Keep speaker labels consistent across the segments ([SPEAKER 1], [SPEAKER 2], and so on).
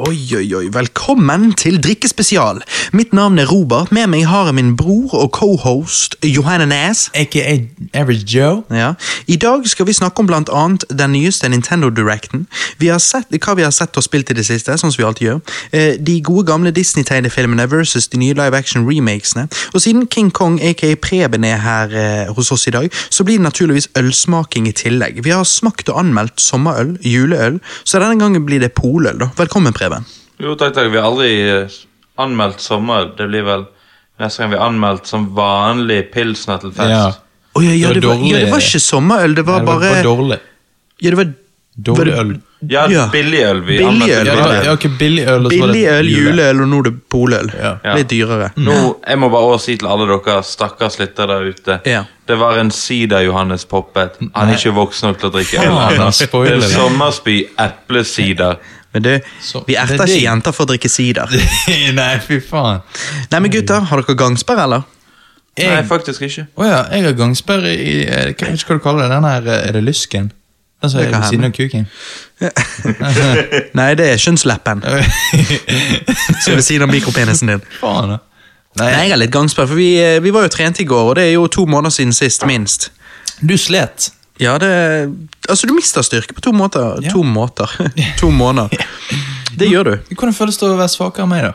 [SPEAKER 1] Oi, oi, oi, velkommen til Drikkespesial. Mitt navn er Robert, med meg har jeg min bror og cohost Johanne Næs.
[SPEAKER 2] aka Average Joe.
[SPEAKER 1] Ja. I dag skal vi snakke om blant annet den nyeste Nintendo Directen. Vi har sett, hva vi har sett og spilt i det siste, sånn som vi alltid gjør. Eh, De gode gamle Disney-tegnefilmene versus de nye live action-remakesene. Og siden King Kong aka Preben er her eh, hos oss i dag, så blir det naturligvis ølsmaking i tillegg. Vi har smakt og anmeldt sommerøl, juleøl, så denne gangen blir det poløl, da. Velkommen, Preben.
[SPEAKER 3] Jo, takk, takk. Vi har aldri eh, anmeldt sommer. Det blir vel neste gang vi har anmeldt som vanlig pilsner til fest.
[SPEAKER 2] Ja.
[SPEAKER 1] Å ja, ja,
[SPEAKER 2] Det
[SPEAKER 1] det var,
[SPEAKER 2] var
[SPEAKER 1] ja,
[SPEAKER 2] dårlig.
[SPEAKER 1] det var ikke sommerøl, det var
[SPEAKER 2] det var
[SPEAKER 1] bare
[SPEAKER 2] bare dårlig.
[SPEAKER 1] Ja, det var var
[SPEAKER 2] Dårlig
[SPEAKER 1] det-
[SPEAKER 2] øl.
[SPEAKER 3] Ja,
[SPEAKER 1] Ja.
[SPEAKER 3] billigøl. Vi
[SPEAKER 1] Billigøl,
[SPEAKER 3] anmeldte
[SPEAKER 2] Ja, det var,
[SPEAKER 3] billigøl.
[SPEAKER 2] ja, ok, billig øl. og så var det
[SPEAKER 1] Billig øl, juleøl, og nå er det poløl.
[SPEAKER 2] Ja. Mm.
[SPEAKER 3] Ja.
[SPEAKER 1] Litt dyrere.
[SPEAKER 3] Nå, jeg må bare også si til alle dere stakkars lyttere der ute
[SPEAKER 1] Ja.
[SPEAKER 3] Det var en sider Johannes poppet. Han er ikke voksen nok til å drikke øl.
[SPEAKER 2] Faen, han
[SPEAKER 3] ennå. Det
[SPEAKER 2] spoiler
[SPEAKER 3] er
[SPEAKER 2] det.
[SPEAKER 3] sommerspy eplesider.
[SPEAKER 1] Men du,
[SPEAKER 2] Så-
[SPEAKER 1] vi
[SPEAKER 2] det
[SPEAKER 1] erter
[SPEAKER 2] er
[SPEAKER 1] ikke
[SPEAKER 2] digg.
[SPEAKER 1] jenter for å drikke sider.
[SPEAKER 2] Nei, fy faen.
[SPEAKER 1] Nei, men gutter, har dere gangsperre, eller?
[SPEAKER 3] Nei,
[SPEAKER 2] Jeg,
[SPEAKER 3] faktisk ikke.
[SPEAKER 2] Å ja, jeg har gangsperre i eh, Jeg vet ikke hva du kaller det. Den her, eh, er det lysken? Den som
[SPEAKER 1] Det
[SPEAKER 2] er
[SPEAKER 1] kan
[SPEAKER 2] ved siden av kuken?
[SPEAKER 1] Nei, det er kjønnsleppen som er ved siden av mikropenisen din.
[SPEAKER 2] faen, da. Nei,
[SPEAKER 1] Nei, jeg har litt gangsperre, for vi, eh, vi var jo trent i går, og det er jo to måneder siden sist, minst.
[SPEAKER 2] du slet.
[SPEAKER 1] Ja, det Altså, du mister styrke på to måter.
[SPEAKER 2] Ja.
[SPEAKER 1] To måter. To måneder. Det gjør du.
[SPEAKER 2] Hvordan føles det å være svakere enn meg, da?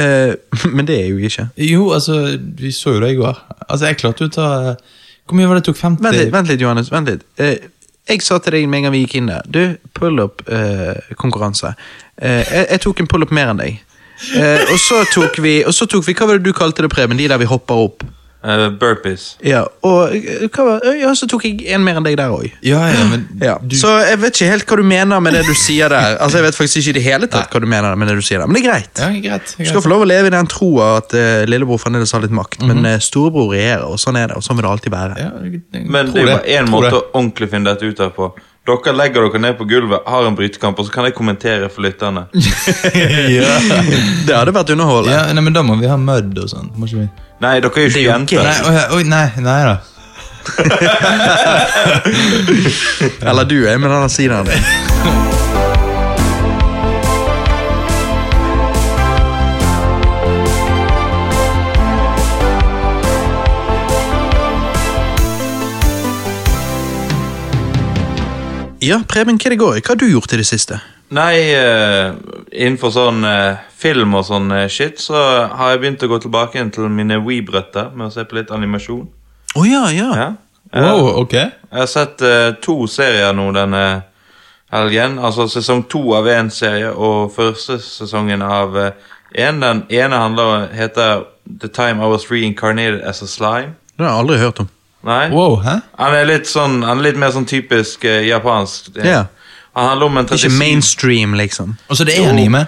[SPEAKER 1] Eh, men det er jo jeg ikke.
[SPEAKER 2] Jo, altså, vi så jo det i går. Altså, jeg klarte jo å ta eh, Hvor mye var det det tok? 50?
[SPEAKER 1] Vent litt, vent litt Johannes. Vent litt. Eh, jeg sa til deg med en gang vi gikk inn der Du, pullup-konkurranse. Eh, jeg, jeg tok en pullup mer enn deg. Eh, og, så tok vi, og så tok vi Hva var det du kalte det, Preben? De der vi hopper opp?
[SPEAKER 3] Eh, burpees.
[SPEAKER 1] Ja, og eh, hva var, ja, så tok jeg en mer enn deg der òg.
[SPEAKER 2] Ja, ja, men
[SPEAKER 1] Ja.
[SPEAKER 2] du
[SPEAKER 1] Så jeg vet ikke helt hva du mener med det du sier der. Altså, jeg vet faktisk ikke i det hele tatt hva du mener med det du sier der, men det er greit.
[SPEAKER 2] Ja, greit.
[SPEAKER 1] Du skal
[SPEAKER 2] greit.
[SPEAKER 1] få lov å leve i den troa at eh, lillebror fremdeles har litt makt,
[SPEAKER 2] Mhm.
[SPEAKER 1] men eh, storebror regjerer, og sånn er det, og sånn vil det alltid være.
[SPEAKER 2] Ja, jeg- jeg
[SPEAKER 3] Men
[SPEAKER 2] tror
[SPEAKER 3] det er jo bare én
[SPEAKER 2] Tror
[SPEAKER 3] måte
[SPEAKER 2] det.
[SPEAKER 3] å ordentlig finne dette ut av på. Dere legger dere ned på gulvet, har en brytekamp, og så kan jeg kommentere for lytterne.
[SPEAKER 1] Det hadde vært underholdende.
[SPEAKER 2] Ja, nei, men da må vi ha mud og sånn. Må ikke vi?
[SPEAKER 3] Nei, dere er jo
[SPEAKER 1] Det
[SPEAKER 3] ikke
[SPEAKER 1] er jo
[SPEAKER 3] jenter.
[SPEAKER 2] Nei, oi, oi, nei, nei da.
[SPEAKER 1] Eller du er med den siden. Ja, Preben, hva det går i? Hva har du gjort i det siste?
[SPEAKER 3] Nei, eh, innenfor sånn eh, film og sånn eh, shit, så har jeg begynt å gå tilbake igjen til mine Weeb-røtter med å se på litt animasjon.
[SPEAKER 1] Å ja, ja.
[SPEAKER 3] Ja. Eh,
[SPEAKER 2] Wow, ok.
[SPEAKER 3] Jeg har sett eh, to serier nå denne helgen. Altså sesong to av én serie og første sesongen av én. Den ene handler, heter The Time I Was Reincarnated as a Slime.
[SPEAKER 1] Den har jeg aldri hørt om.
[SPEAKER 3] Nei?
[SPEAKER 2] Wow, hæ?
[SPEAKER 3] Han er litt sånn, han er litt mer sånn typisk eh, japansk.
[SPEAKER 1] Ja.
[SPEAKER 3] Han handler om en
[SPEAKER 1] Ikke
[SPEAKER 3] 37
[SPEAKER 1] mainstream, liksom.
[SPEAKER 2] Og så det er anime?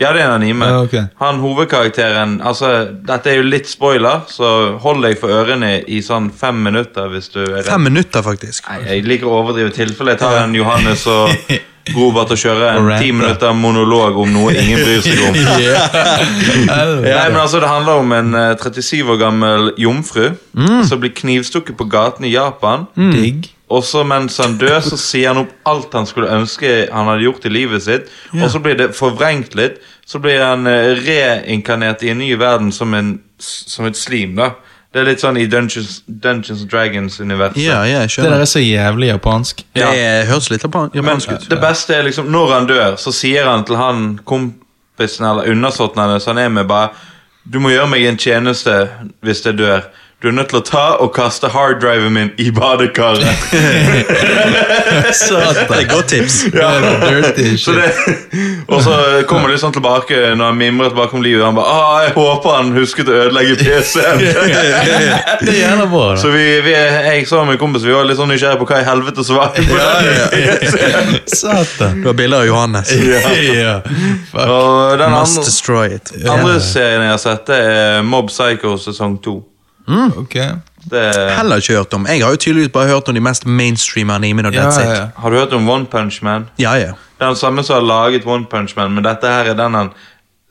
[SPEAKER 3] Ja, det er en anime.
[SPEAKER 2] Ja, ok.
[SPEAKER 3] Han hovedkarakteren altså, Dette er jo litt spoiler, så hold deg for ørene i sånn fem minutter hvis du er
[SPEAKER 1] Fem minutter, faktisk.
[SPEAKER 3] Nei, jeg liker å overdrive tilfellet. Jeg tar en Johannes og Robert og kjører
[SPEAKER 2] Og
[SPEAKER 3] en
[SPEAKER 2] rante.
[SPEAKER 3] ti minutter monolog om noe ingen bryr seg om. Nei, men altså, Det handler om en eh, 37 år gammel jomfru
[SPEAKER 2] Mm.
[SPEAKER 3] som blir knivstukket på gaten i Japan.
[SPEAKER 2] Digg.
[SPEAKER 3] Og så mens han dør, så sier han opp alt han skulle ønske han hadde gjort i livet sitt. Og så blir det forvrengt litt. Så blir han eh, reinkarnert i en ny verden som, en, som et slim. da. Det er litt sånn i Dungeons, Dungeons and Dragons-universet.
[SPEAKER 1] Ja, ja, jeg
[SPEAKER 2] Det der
[SPEAKER 1] skjønner.
[SPEAKER 2] er så jævlig japansk.
[SPEAKER 1] Det er- høres litt japan-
[SPEAKER 3] Men
[SPEAKER 1] japansk ut.
[SPEAKER 3] det beste er liksom Når han dør, så sier han til han kompisen eller undersåtten hennes han er med, bare Du må gjøre meg en tjeneste hvis jeg dør. Du er nødt til å ta og kaste harddriven min i badekaret.
[SPEAKER 1] Det er et godt tips.
[SPEAKER 2] Ja, det er dirty
[SPEAKER 3] Så
[SPEAKER 2] shit.
[SPEAKER 3] det, og så kommer det litt sånn tilbake når han mimrer tilbake om livet. Han bare ah, 'Jeg håper han husket å ødelegge PC-en'.
[SPEAKER 2] Det er jævla bra, da.
[SPEAKER 3] Så vi, vi, jeg sammen med en kompis vi var litt sånn nysgjerrige på hva i helvete som var
[SPEAKER 2] Satan.
[SPEAKER 1] Du har bilder av Johannes.
[SPEAKER 2] Ja. Fuck.
[SPEAKER 3] Og den
[SPEAKER 1] Must
[SPEAKER 3] andre,
[SPEAKER 1] destroy it.
[SPEAKER 3] andre serien jeg har sett, det er Mob Psycho sesong to.
[SPEAKER 2] Mm. Ok.
[SPEAKER 3] Det er
[SPEAKER 1] Heller ikke hørt om. Jeg har jo tydeligvis bare hørt om de mest mainstream animene, og
[SPEAKER 2] Ja,
[SPEAKER 1] that's
[SPEAKER 2] ja,
[SPEAKER 1] it.
[SPEAKER 2] ja.
[SPEAKER 3] Har du hørt om One Punch Man?
[SPEAKER 1] Ja, ja.
[SPEAKER 3] Det er den samme som har laget One Punch Man, men dette her er den han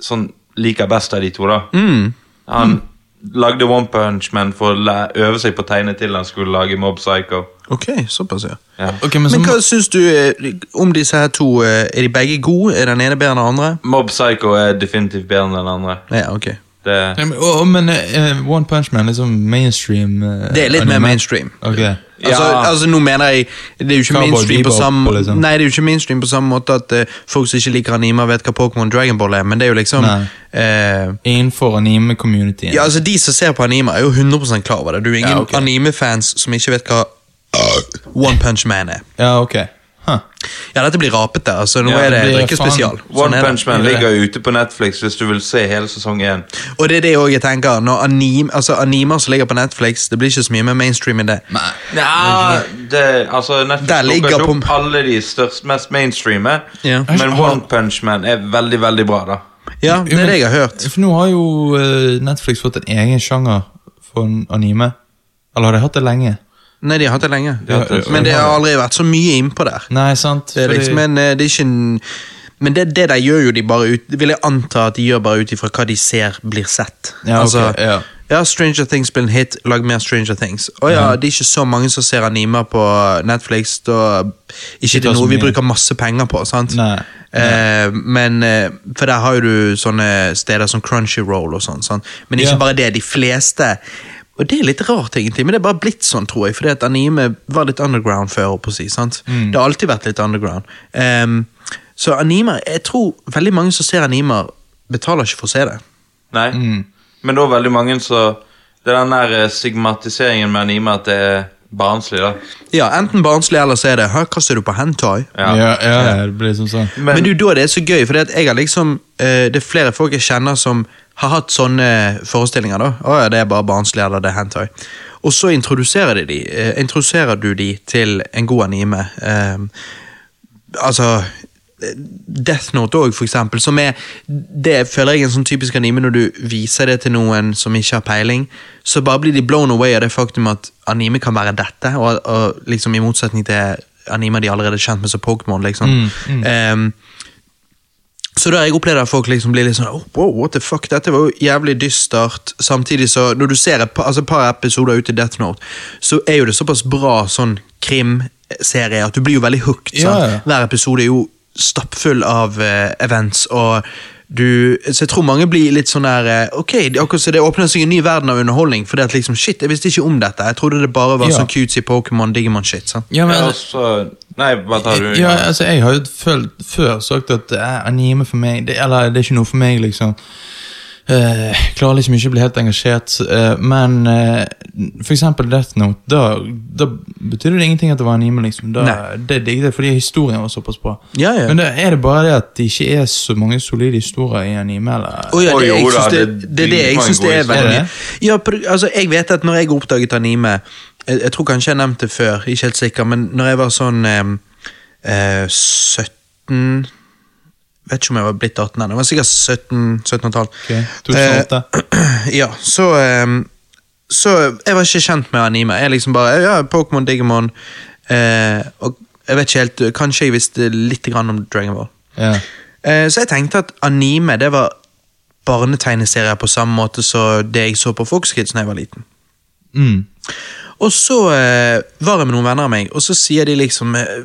[SPEAKER 3] sånn, liker best av de to. da. Han, lagde One Punch Man for å læ- øve seg på å tegne til han skulle lage Mob Psycho.
[SPEAKER 1] Ok, såpass, ja.
[SPEAKER 3] Ja.
[SPEAKER 2] Ok, men så
[SPEAKER 1] Men hva syns du eh, om disse her to? eh, Er de begge gode? Er den ene bedre enn den andre?
[SPEAKER 3] Mob Psycho er definitivt bedre enn den andre.
[SPEAKER 1] Ja, ok.
[SPEAKER 3] Det,
[SPEAKER 2] Ja, men, å, å, men eh, One Punch Man er sånn mainstream eh,
[SPEAKER 1] Det er litt mer
[SPEAKER 2] anime.
[SPEAKER 1] mainstream.
[SPEAKER 2] Ok.
[SPEAKER 1] Altså,
[SPEAKER 3] Ja.
[SPEAKER 1] altså, nå mener jeg Det er jo ikke
[SPEAKER 2] Cowboy
[SPEAKER 1] mainstream på
[SPEAKER 2] Bebop,
[SPEAKER 1] samme
[SPEAKER 2] liksom.
[SPEAKER 1] Nei, det er jo ikke mainstream på samme måte at eh, folk som ikke liker anime, vet hva Pokémon Dragonball er, men det er jo liksom
[SPEAKER 2] Nei.
[SPEAKER 1] eh,
[SPEAKER 2] Innenfor anime-communityen.
[SPEAKER 1] Ja, altså De som ser på anime, er jo 100 klar over det. Du er ingen
[SPEAKER 2] Ja, ok.
[SPEAKER 1] anime-fans som ikke vet hva uh, One Punch Man er.
[SPEAKER 2] Ja, ok. Huh.
[SPEAKER 1] Ja, dette blir rapete. altså Nå
[SPEAKER 3] Ja,
[SPEAKER 1] er
[SPEAKER 2] det
[SPEAKER 1] det
[SPEAKER 2] blir
[SPEAKER 1] drikkespesial.
[SPEAKER 2] faen-
[SPEAKER 1] Sånn
[SPEAKER 3] One
[SPEAKER 1] er det.
[SPEAKER 3] Punch Man
[SPEAKER 2] Det er det.
[SPEAKER 3] ligger ute på Netflix hvis du vil se hele sesong én.
[SPEAKER 1] Og det er det også jeg tenker. Når anime, altså Animer som ligger på Netflix, det blir ikke så mye mer mainstream enn det.
[SPEAKER 3] Ja, det, altså Netflix
[SPEAKER 1] Der
[SPEAKER 3] plukker
[SPEAKER 1] ligger
[SPEAKER 3] ikke opp
[SPEAKER 1] på-
[SPEAKER 3] alle de størst, mest mainstreame,
[SPEAKER 1] Ja.
[SPEAKER 3] men One Punch Man er veldig, veldig bra, da.
[SPEAKER 1] Ja, det er det jeg har hørt.
[SPEAKER 2] For nå har jo eh, Netflix fått en egen sjanger for en anime. Eller har de hatt det lenge?
[SPEAKER 1] Nei, de har hatt det lenge.
[SPEAKER 3] har hatt det.
[SPEAKER 1] Men det har aldri vært så mye innpå der.
[SPEAKER 2] Nei, sant?
[SPEAKER 1] Det er
[SPEAKER 2] Fordi-
[SPEAKER 1] liksom en, eh, det er ikke en men det, det der gjør jo de bare ut Vil jeg anta at de gjør bare ut ifra hva de ser blir sett. Altså,
[SPEAKER 2] Ja, ok, ja.
[SPEAKER 1] ja, Stranger Things blir en hit, lag mer Stranger Things. Å ja, det er ikke så mange som ser animer på Netflix. Da ikke det
[SPEAKER 2] tar
[SPEAKER 1] er
[SPEAKER 2] så
[SPEAKER 1] noe vi
[SPEAKER 2] mye.
[SPEAKER 1] bruker masse penger på, sant?
[SPEAKER 2] Nei.
[SPEAKER 1] Eh, men eh, For der har jo du sånne steder som Crunchyroll og sånn. sant? Men ikke
[SPEAKER 2] Ja.
[SPEAKER 1] bare det. De fleste Og det er litt rart, egentlig, men det er bare blitt sånn, tror jeg. Fordi at anime var litt underground før. holdt på å si, sant?
[SPEAKER 2] Mm.
[SPEAKER 1] Det har alltid vært litt underground. Ehm, så animer Jeg tror veldig mange som ser animer, betaler ikke for å se det.
[SPEAKER 3] Nei.
[SPEAKER 2] Mm.
[SPEAKER 3] Men da er veldig mange så Det er den der eh, stigmatiseringen med anime at det er barnslig, da.
[SPEAKER 1] Ja, Enten barnslig, eller så er det 'Hæ, hva ser du på hentai?'
[SPEAKER 2] Ja,
[SPEAKER 3] Ja.
[SPEAKER 2] ja, ja, det blir liksom sånn.
[SPEAKER 1] Men, du, da er det så gøy, for jeg har liksom eh, Det er flere folk jeg kjenner som har hatt sånne forestillinger. da Å ja, det er bare barnslig, eller det er hentai. Og så introduserer, de de, eh, introduserer du de til en god anime. Eh, altså eh, Death Note òg, for eksempel, som er Det føler jeg er en sånn typisk anime når du viser det til noen som ikke har peiling, så bare blir de blown away av det faktum at anime kan være dette, og, og liksom i motsetning til animer de allerede er kjent med som Pokémon, liksom.
[SPEAKER 2] Mm,
[SPEAKER 1] Ehm, så da har jeg opplevd at folk liksom blir litt sånn oh, wow, what the fuck, dette var jo jævlig dystert. Samtidig så, når du ser et par, altså et par episoder ut i Death Note, så er jo det såpass bra sånn krimserie at du blir jo veldig hooked.
[SPEAKER 2] Ja,
[SPEAKER 1] sant?
[SPEAKER 2] ja.
[SPEAKER 1] Hver episode er jo stappfull av eh, events, og du, så jeg tror mange blir litt sånn der eh, Ok, det- akkurat så det åpner seg en ny verden av underholdning, for det at liksom, shit, jeg visste ikke om dette. Jeg trodde det bare var
[SPEAKER 2] Ja.
[SPEAKER 1] sånn cutesy Pokémon, Digimon-shit. sant?
[SPEAKER 2] Ja, men, altså,
[SPEAKER 3] Ja, så- Nei, hva tar du?
[SPEAKER 2] ja, altså, jeg har jo følt, før sagt at eh, anime for meg det, Eller det er ikke noe for meg, liksom. Eh, klarer liksom ikke å bli helt engasjert. eh, men eh, for eksempel Death Note, da, da betydde det ingenting at det var anime. liksom da,
[SPEAKER 1] Nei.
[SPEAKER 2] Det digget jeg fordi historien var såpass bra.
[SPEAKER 1] Ja, ja.
[SPEAKER 2] Men da er det bare det at det ikke er så mange solide historier i anime. Eller?
[SPEAKER 1] Å ja,
[SPEAKER 3] Å,
[SPEAKER 1] det,
[SPEAKER 3] jo
[SPEAKER 1] jeg
[SPEAKER 3] da,
[SPEAKER 1] synes det,
[SPEAKER 3] det-
[SPEAKER 1] det er det jeg
[SPEAKER 3] mange
[SPEAKER 1] syns det
[SPEAKER 3] gode
[SPEAKER 1] er veldig
[SPEAKER 2] historier.
[SPEAKER 1] mye. Ja, på- altså, jeg vet at når jeg oppdaget anime jeg, jeg tror kanskje jeg nevnte det før, ikke helt sikker, men når jeg var sånn em, eh, 17 Vet ikke om jeg var blitt 18 ennå, men sikkert 17, 17 og et halvt. Eh,
[SPEAKER 2] Ok, 2008.
[SPEAKER 1] ja, så em, Så jeg var ikke kjent med anime. Jeg liksom bare Ja, Pokémon, Digimon eh, Og jeg vet ikke helt Kanskje jeg visste litt grann om Dragon Ball.
[SPEAKER 2] ja.
[SPEAKER 1] Eh, Så jeg tenkte at anime det var barnetegneserier på samme måte som det jeg så på Fox Kids da jeg var liten.
[SPEAKER 2] Mm.
[SPEAKER 1] Og så eh, var jeg med noen venner av meg, og så sier de liksom eh,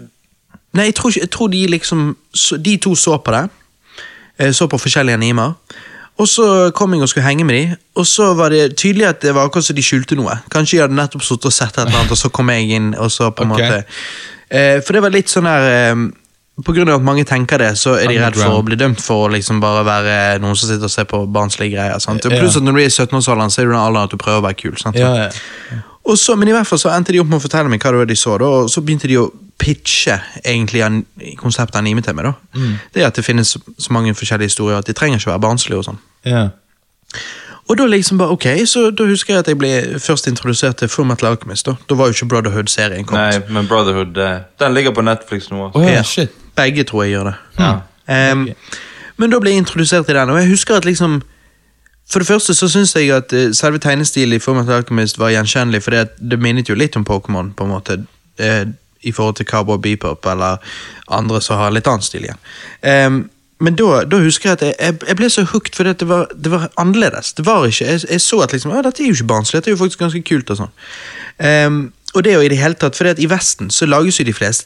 [SPEAKER 1] Nei, jeg tror, ikke, jeg tror de liksom så, De to så på det. Eh, så på forskjellige animer. Og så kom jeg og skulle henge med de, og så var det tydelig at det var akkurat som de skjulte noe. Kanskje de hadde nettopp sittet og sett et eller annet, og så kom jeg inn, og så på en
[SPEAKER 2] Ok.
[SPEAKER 1] måte eh, For det var litt sånn her eh, På grunn av at mange tenker det, så er de redd for å bli dømt for å liksom bare være noen som sitter og ser på barnslige greier. sant? Og
[SPEAKER 2] Ja.
[SPEAKER 1] pluss at når du er i 17-årsalderen, så er du den alderen at du prøver å være kul. sant?
[SPEAKER 2] Ja, ja.
[SPEAKER 1] Og så, men i hvert fall så endte de opp med å fortelle meg hva det var de så, da, og så begynte de å pitche egentlig an, konseptet anime til meg. da. Det at det finnes så mange forskjellige historier, at de trenger ikke være barnslige. Og sånn.
[SPEAKER 2] ja.
[SPEAKER 1] Og da liksom bare, ok, så da husker jeg at jeg ble først introdusert til Fullmetal Alchemist. Da Da var jo ikke Brotherhood-serien
[SPEAKER 3] Nei,
[SPEAKER 1] kommet.
[SPEAKER 3] men Brotherhood eh, Den ligger på Netflix nå.
[SPEAKER 2] Å,
[SPEAKER 3] altså.
[SPEAKER 2] ja,
[SPEAKER 1] Ja.
[SPEAKER 2] shit.
[SPEAKER 1] Begge tror jeg gjør det.
[SPEAKER 3] Ja.
[SPEAKER 1] Ehm, Men da ble jeg introdusert til den, og jeg husker at liksom For det første så syns jeg at eh, selve tegnestilen i Fullmetal Alchemist var gjenkjennelig, for det minnet jo litt om Pokémon, på en måte. eh, I forhold til Cowboy Bebop eller andre som har litt annen stil igjen. Ehm, Men da, da husker jeg at jeg, jeg, jeg ble så hooked fordi at det var, det var annerledes. Det var ikke, jeg, jeg så at liksom, «Å, dette er jo ikke barnslig, dette er jo faktisk ganske kult. og sånn. Ehm, og det er jo i det hele tatt, fordi at i Vesten så lages jo de fleste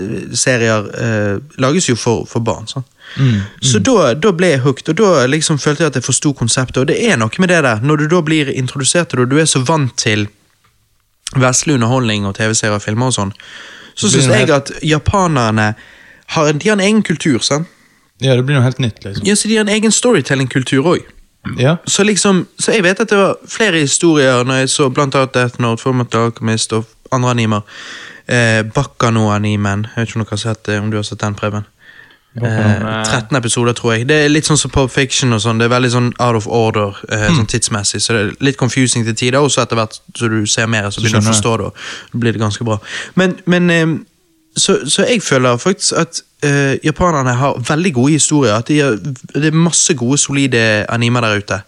[SPEAKER 1] tegneserier eh, lages jo for, for barn. sånn.
[SPEAKER 2] Mm,
[SPEAKER 1] Så da, da ble jeg hooked, og da liksom følte jeg at jeg forsto konseptet. Og det er noe med det der, når du da blir introdusert til det, og du er så vant til vestlig underholdning og tv-serier og filmer og sånn, så
[SPEAKER 2] Det blir
[SPEAKER 1] syns
[SPEAKER 2] noe
[SPEAKER 1] jeg
[SPEAKER 2] helt-
[SPEAKER 1] at japanerne har en, de har en egen kultur, sant?
[SPEAKER 2] Ja, det blir noe helt nytt, liksom.
[SPEAKER 1] Ja, så de har en egen storytelling-kultur òg.
[SPEAKER 2] Ja.
[SPEAKER 1] Så liksom, så jeg vet at det var flere historier når jeg så blant annet Death Note, Format Alchemist og andre animer. Eh, Bakkano-animen. Jeg vet ikke om du har sett det, om du har sett den, Preben? Eh,
[SPEAKER 3] Nei.
[SPEAKER 1] 13 episoder, tror jeg. Det er litt sånn som Pop Fiction og sånn. Det er veldig sånn out of order eh, sånn tidsmessig, så det er litt confusing til tider. Og så etter hvert så du ser mer, så begynner du å
[SPEAKER 2] skjønner jeg.
[SPEAKER 1] forstå det, og da blir det ganske bra. Men, men eh, så, så jeg føler faktisk at eh, japanerne har veldig gode historier. At de har, det er masse gode, solide animer der ute.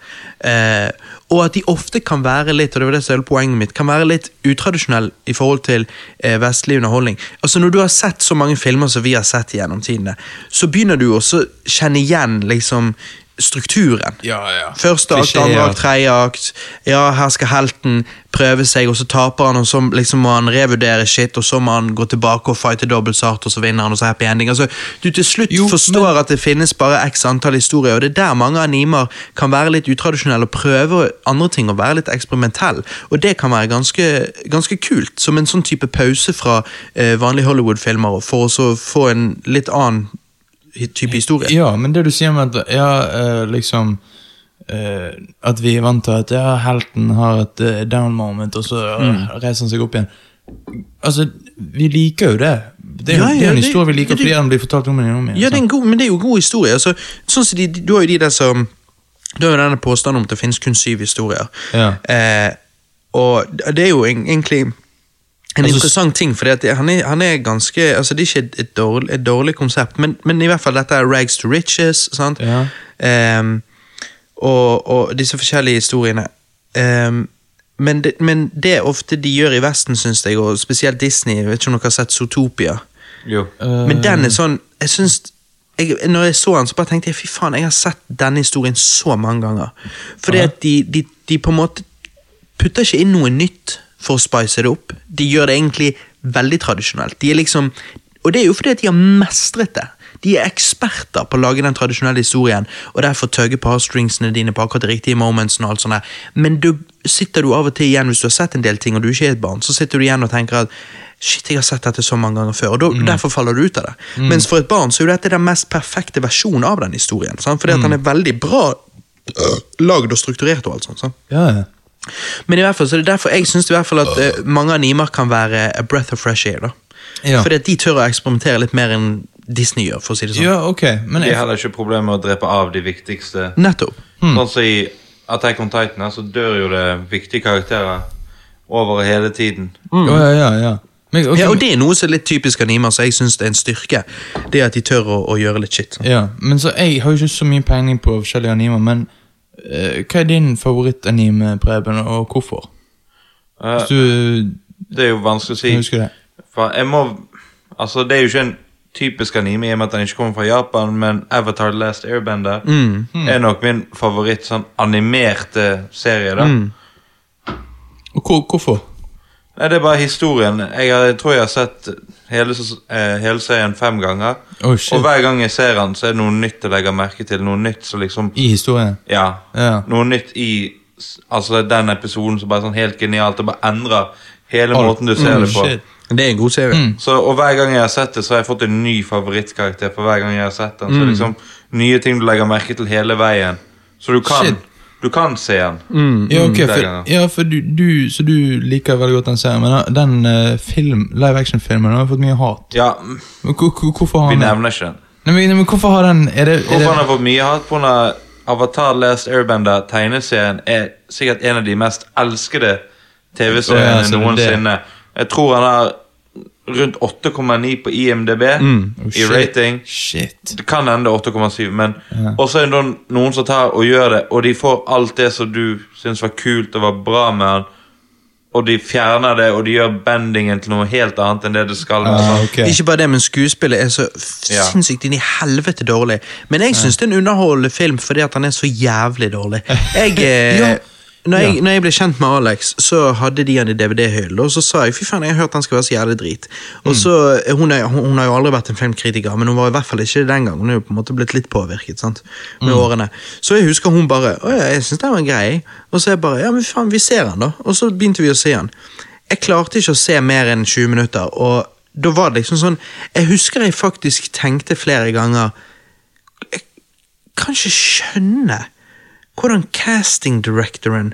[SPEAKER 1] Eh, og at de ofte kan være litt og det var det som var hele poenget mitt, kan være litt utradisjonell i forhold til eh, vestlig underholdning. Altså Når du har sett så mange filmer som vi har sett gjennom tidene, så begynner du også å kjenne igjen liksom strukturen.
[SPEAKER 2] Ja, ja.
[SPEAKER 1] Første akt,
[SPEAKER 2] Klisjeer.
[SPEAKER 1] andre akt, tredje akt. Ja, her skal helten prøve seg, og så taper han, og så liksom må han revurdere shit, og så må han gå tilbake og fighte dobbelt så hardt, og så vinner han, og så happy ending. Altså, du til slutt
[SPEAKER 2] Jo,
[SPEAKER 1] forstår at det finnes bare x antall historier, og det er der mange animer kan være litt utradisjonelle og prøve andre ting, og være litt eksperimentell. Og det kan være ganske, ganske kult, som en sånn type pause fra eh, vanlige Hollywood-filmer, og for å så få en litt annen hi- type historie.
[SPEAKER 2] Ja, men det du sier med at ja, eh, liksom eh, At vi er vant til at ja, helten har et eh, down moment, og så eh, reiser han seg opp igjen. Altså, vi liker jo det. Det er jo
[SPEAKER 1] Ja,
[SPEAKER 2] det
[SPEAKER 1] ja,
[SPEAKER 2] er en
[SPEAKER 1] det-
[SPEAKER 2] historie vi liker
[SPEAKER 1] det-
[SPEAKER 2] fordi den blir fortalt om igjen og om igjen.
[SPEAKER 1] Ja, det er en god, men det er jo en god historie. Altså, sånn som de, du har jo de der som Du har jo denne påstanden om at det finnes kun syv historier.
[SPEAKER 2] Ja.
[SPEAKER 1] Eh, og det er jo en- egentlig en
[SPEAKER 2] Altså,
[SPEAKER 1] interessant ting, for han, er- han er ganske altså Det er ikke et, et, dårlig, et dårlig konsept, men, men i hvert fall dette er rags to riches. sant?
[SPEAKER 2] Ja.
[SPEAKER 1] Ehm, og, og disse forskjellige historiene. Ehm, men, det, men det ofte de gjør i Vesten, syns jeg, og spesielt Disney. Jeg vet ikke om dere har sett Zootopia?
[SPEAKER 3] Jo.
[SPEAKER 2] Eh,
[SPEAKER 1] Men den er sånn Jeg synes jeg, Når jeg så den, så bare tenkte jeg fy faen, jeg har sett denne historien så mange ganger. Fordi
[SPEAKER 2] Ja.
[SPEAKER 1] at de, de, de på en måte putter ikke inn noe nytt for å spice det opp. De gjør det egentlig veldig tradisjonelt. De er liksom, og det er jo fordi at de har mestret det. De er eksperter på å lage den tradisjonelle historien, og derfor tøgge på heartstringsene dine på akkurat de riktige momentsene. og alt sånt der. Men du sitter du av og til igjen, hvis du har sett en del ting og du ikke er et barn, så sitter du igjen og tenker at shit, jeg har sett dette så mange ganger før, og da, derfor faller du ut av det. Mens for et barn så er jo dette den mest perfekte versjonen av den historien, sant? fordi at den er veldig bra øh, lagd og strukturert og alt sånt. sant?
[SPEAKER 2] ja, ja.
[SPEAKER 1] Men i hvert fald, så er det derfor jeg syns i hvert fald at eh, mange animer kan være a breath of fresh air. da.
[SPEAKER 2] Ja.
[SPEAKER 1] Fordi at de tør å eksperimentere litt mer enn Disney gjør. for å si det sånn.
[SPEAKER 2] ja, ok. Men
[SPEAKER 3] De
[SPEAKER 2] jeg,
[SPEAKER 3] har heller ikke problemer med å drepe av de viktigste.
[SPEAKER 1] Nettopp.
[SPEAKER 2] Hmm.
[SPEAKER 3] Sånn som i Attack on Titan, her, så dør jo det viktige karakterer over hele tiden.
[SPEAKER 2] Å, ja, ja, ja. Men, ok,
[SPEAKER 1] Ja, og det er noe som er litt typisk animer, så jeg syns det er en styrke. Det at de tør å, å gjøre litt shit. sånn.
[SPEAKER 2] ja, men så Jeg har jo ikke så mye peiling på forskjellige animer, men eh, hva er din favorittanime, Preben, og hvorfor?
[SPEAKER 3] Eh,
[SPEAKER 2] Hvis du
[SPEAKER 3] det er jo vanskelig å si.
[SPEAKER 2] husker det.
[SPEAKER 3] For jeg må Altså, det er jo ikke en typisk anime i og med at den ikke kommer fra Japan, men Avatar The Last Airbender
[SPEAKER 2] Hmm.
[SPEAKER 3] er nok min favoritt sånn animerte serie, da.
[SPEAKER 2] Hmm. Og hvor, hvorfor?
[SPEAKER 3] Nei, det er bare historien. Jeg, har- jeg tror jeg har sett hele, ses- eh, hele serien fem ganger.
[SPEAKER 2] Oi, Oh, shit.
[SPEAKER 3] og hver gang jeg ser den, så er det noe nytt jeg legger merke til. Noe nytt som liksom
[SPEAKER 2] I historien?
[SPEAKER 3] Ja.
[SPEAKER 2] Ja.
[SPEAKER 3] Noe nytt i s- Altså den episoden som bare er sånn helt genialt. Det bare endrer hele måten du ser
[SPEAKER 2] Mm,
[SPEAKER 3] det på.
[SPEAKER 2] shit.
[SPEAKER 1] Det er en god serie.
[SPEAKER 2] Mm.
[SPEAKER 3] Så, og hver gang jeg har sett det, så har jeg fått en ny favorittkarakter. For hver gang jeg har sett den Så
[SPEAKER 2] Mm.
[SPEAKER 3] liksom Nye ting du legger merke til hele veien. Så du kan,
[SPEAKER 2] Shit. Mm.
[SPEAKER 3] du kan se den.
[SPEAKER 2] Ja, ok,
[SPEAKER 3] Det er
[SPEAKER 2] for,
[SPEAKER 3] greier.
[SPEAKER 2] ja, for du, du, så du liker veldig godt den serien, men den- den eh, film, live action-filmen har fått mye hat.
[SPEAKER 3] Ja,
[SPEAKER 2] Men hvor- hvor- Hvorfor har
[SPEAKER 3] vi
[SPEAKER 2] den
[SPEAKER 3] nevner ikke den.
[SPEAKER 2] Nei, men, nei, men hvorfor har den Er det, er
[SPEAKER 3] Hvorfor han
[SPEAKER 2] det
[SPEAKER 3] har fått mye hat pga. Avatar Last Airbender, tegneserien, er sikkert en av de mest elskede
[SPEAKER 2] Å, ja,
[SPEAKER 3] TV-seriene
[SPEAKER 2] så det er det.
[SPEAKER 3] noensinne. Jeg tror han har rundt 8,9 på IMDb
[SPEAKER 2] Oh,
[SPEAKER 3] i
[SPEAKER 2] shit.
[SPEAKER 3] rating.
[SPEAKER 2] Shit.
[SPEAKER 3] Det kan hende 8,7, men også er det noen, noen som tar og gjør det, og de får alt det som du syns var kult og var bra med han, og de fjerner det, og de gjør bendingen til noe helt annet enn det det skal være.
[SPEAKER 2] Ah,
[SPEAKER 3] sånn.
[SPEAKER 2] ok.
[SPEAKER 1] Ikke bare det, men skuespillet er så f-
[SPEAKER 3] Ja.
[SPEAKER 1] sinnssykt inn i helvete dårlig. Men jeg syns det er en underholdende film fordi at han er så jævlig dårlig. Jeg, eh,
[SPEAKER 2] Ja.
[SPEAKER 1] når, jeg,
[SPEAKER 2] Ja.
[SPEAKER 1] når jeg ble kjent med Alex, så hadde de han i DVD-hyllen, og så sa jeg fy faen, jeg har hørt han skal være så jævlig drit. Og så, eh, hun, er, hun, hun har jo aldri vært en filmkritiker, men hun var i hvert fall ikke det den gang. Hun er jo på en måte blitt litt påvirket sant? med årene. Så jeg husker hun bare å ja, jeg syns den var grei. Og så jeg bare ja, men faen, vi ser han da. Og så begynte vi å se han. Jeg klarte ikke å se mer enn 20 minutter, og da var det liksom sånn Jeg husker jeg faktisk tenkte flere ganger Jeg kan ikke skjønne hvordan casting directoren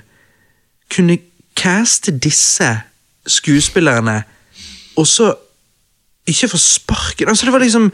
[SPEAKER 1] kunne caste disse skuespillerne, og så ikke få sparken. Altså, det var liksom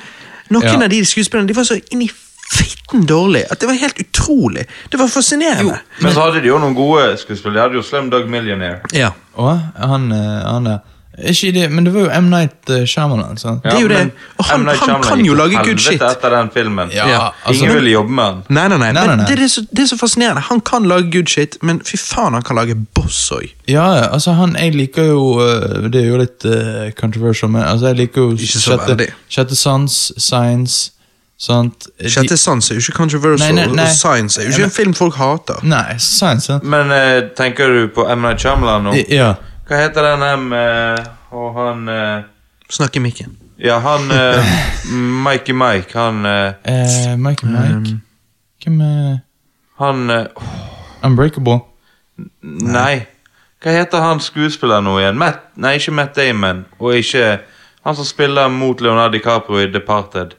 [SPEAKER 1] Noen
[SPEAKER 2] Ja.
[SPEAKER 1] av de skuespillerne de var så inn i fitten dårlig at det var helt utrolig. Det var fascinerende.
[SPEAKER 3] Men så hadde de jo noen gode skuespillere. De hadde jo Slum Dog Millionaire.
[SPEAKER 1] Ja.
[SPEAKER 2] Å, han, eh, han der. Ikke det, men det var jo M. Night eh, Shyamalan, sant?
[SPEAKER 1] Det er jo det.
[SPEAKER 3] men
[SPEAKER 1] Og han-
[SPEAKER 3] M. Night
[SPEAKER 1] han
[SPEAKER 3] Shyamalan
[SPEAKER 1] kan
[SPEAKER 3] gikk
[SPEAKER 1] jo
[SPEAKER 3] til
[SPEAKER 1] lage good
[SPEAKER 3] helvete
[SPEAKER 1] shit.
[SPEAKER 3] etter den filmen.
[SPEAKER 2] Ja, altså-
[SPEAKER 3] Ingen ville jobbe med han.
[SPEAKER 1] Nei, nei, nei.
[SPEAKER 2] Nei, nei,
[SPEAKER 1] men
[SPEAKER 2] nei.
[SPEAKER 1] Det, er så, det er så fascinerende. Han kan lage good shit, men fy faen, han kan lage boss òg.
[SPEAKER 2] Ja, ja, altså han, jeg liker jo eh, Det er jo litt eh, controversial, men altså jeg liker jo
[SPEAKER 1] Ikke så veldig.
[SPEAKER 2] sjette sans, science, sant? De-
[SPEAKER 1] Sjette sans er jo ikke controversial,
[SPEAKER 2] Nei, nei, nei.
[SPEAKER 1] og science er jo
[SPEAKER 2] Nei,
[SPEAKER 1] ikke en film folk hater.
[SPEAKER 2] Nei, science, sant?
[SPEAKER 3] Men eh, tenker du på M. Night Shyamalan nå?
[SPEAKER 2] I- Ja.
[SPEAKER 3] Hva heter den M eh, og han eh,
[SPEAKER 1] Snakk i mikken.
[SPEAKER 3] Ja, han eh, Mikey Mike, han eh,
[SPEAKER 2] Eh, Mike Mike.
[SPEAKER 1] Um,
[SPEAKER 2] Hvem er
[SPEAKER 3] Han eh, åh,
[SPEAKER 2] Unbreakable?
[SPEAKER 3] Nei. Hva heter han skuespilleren nå igjen? Matt, nei, ikke Matt Damon. Og ikke han som spiller mot Leonardo DiCaprio i Departed.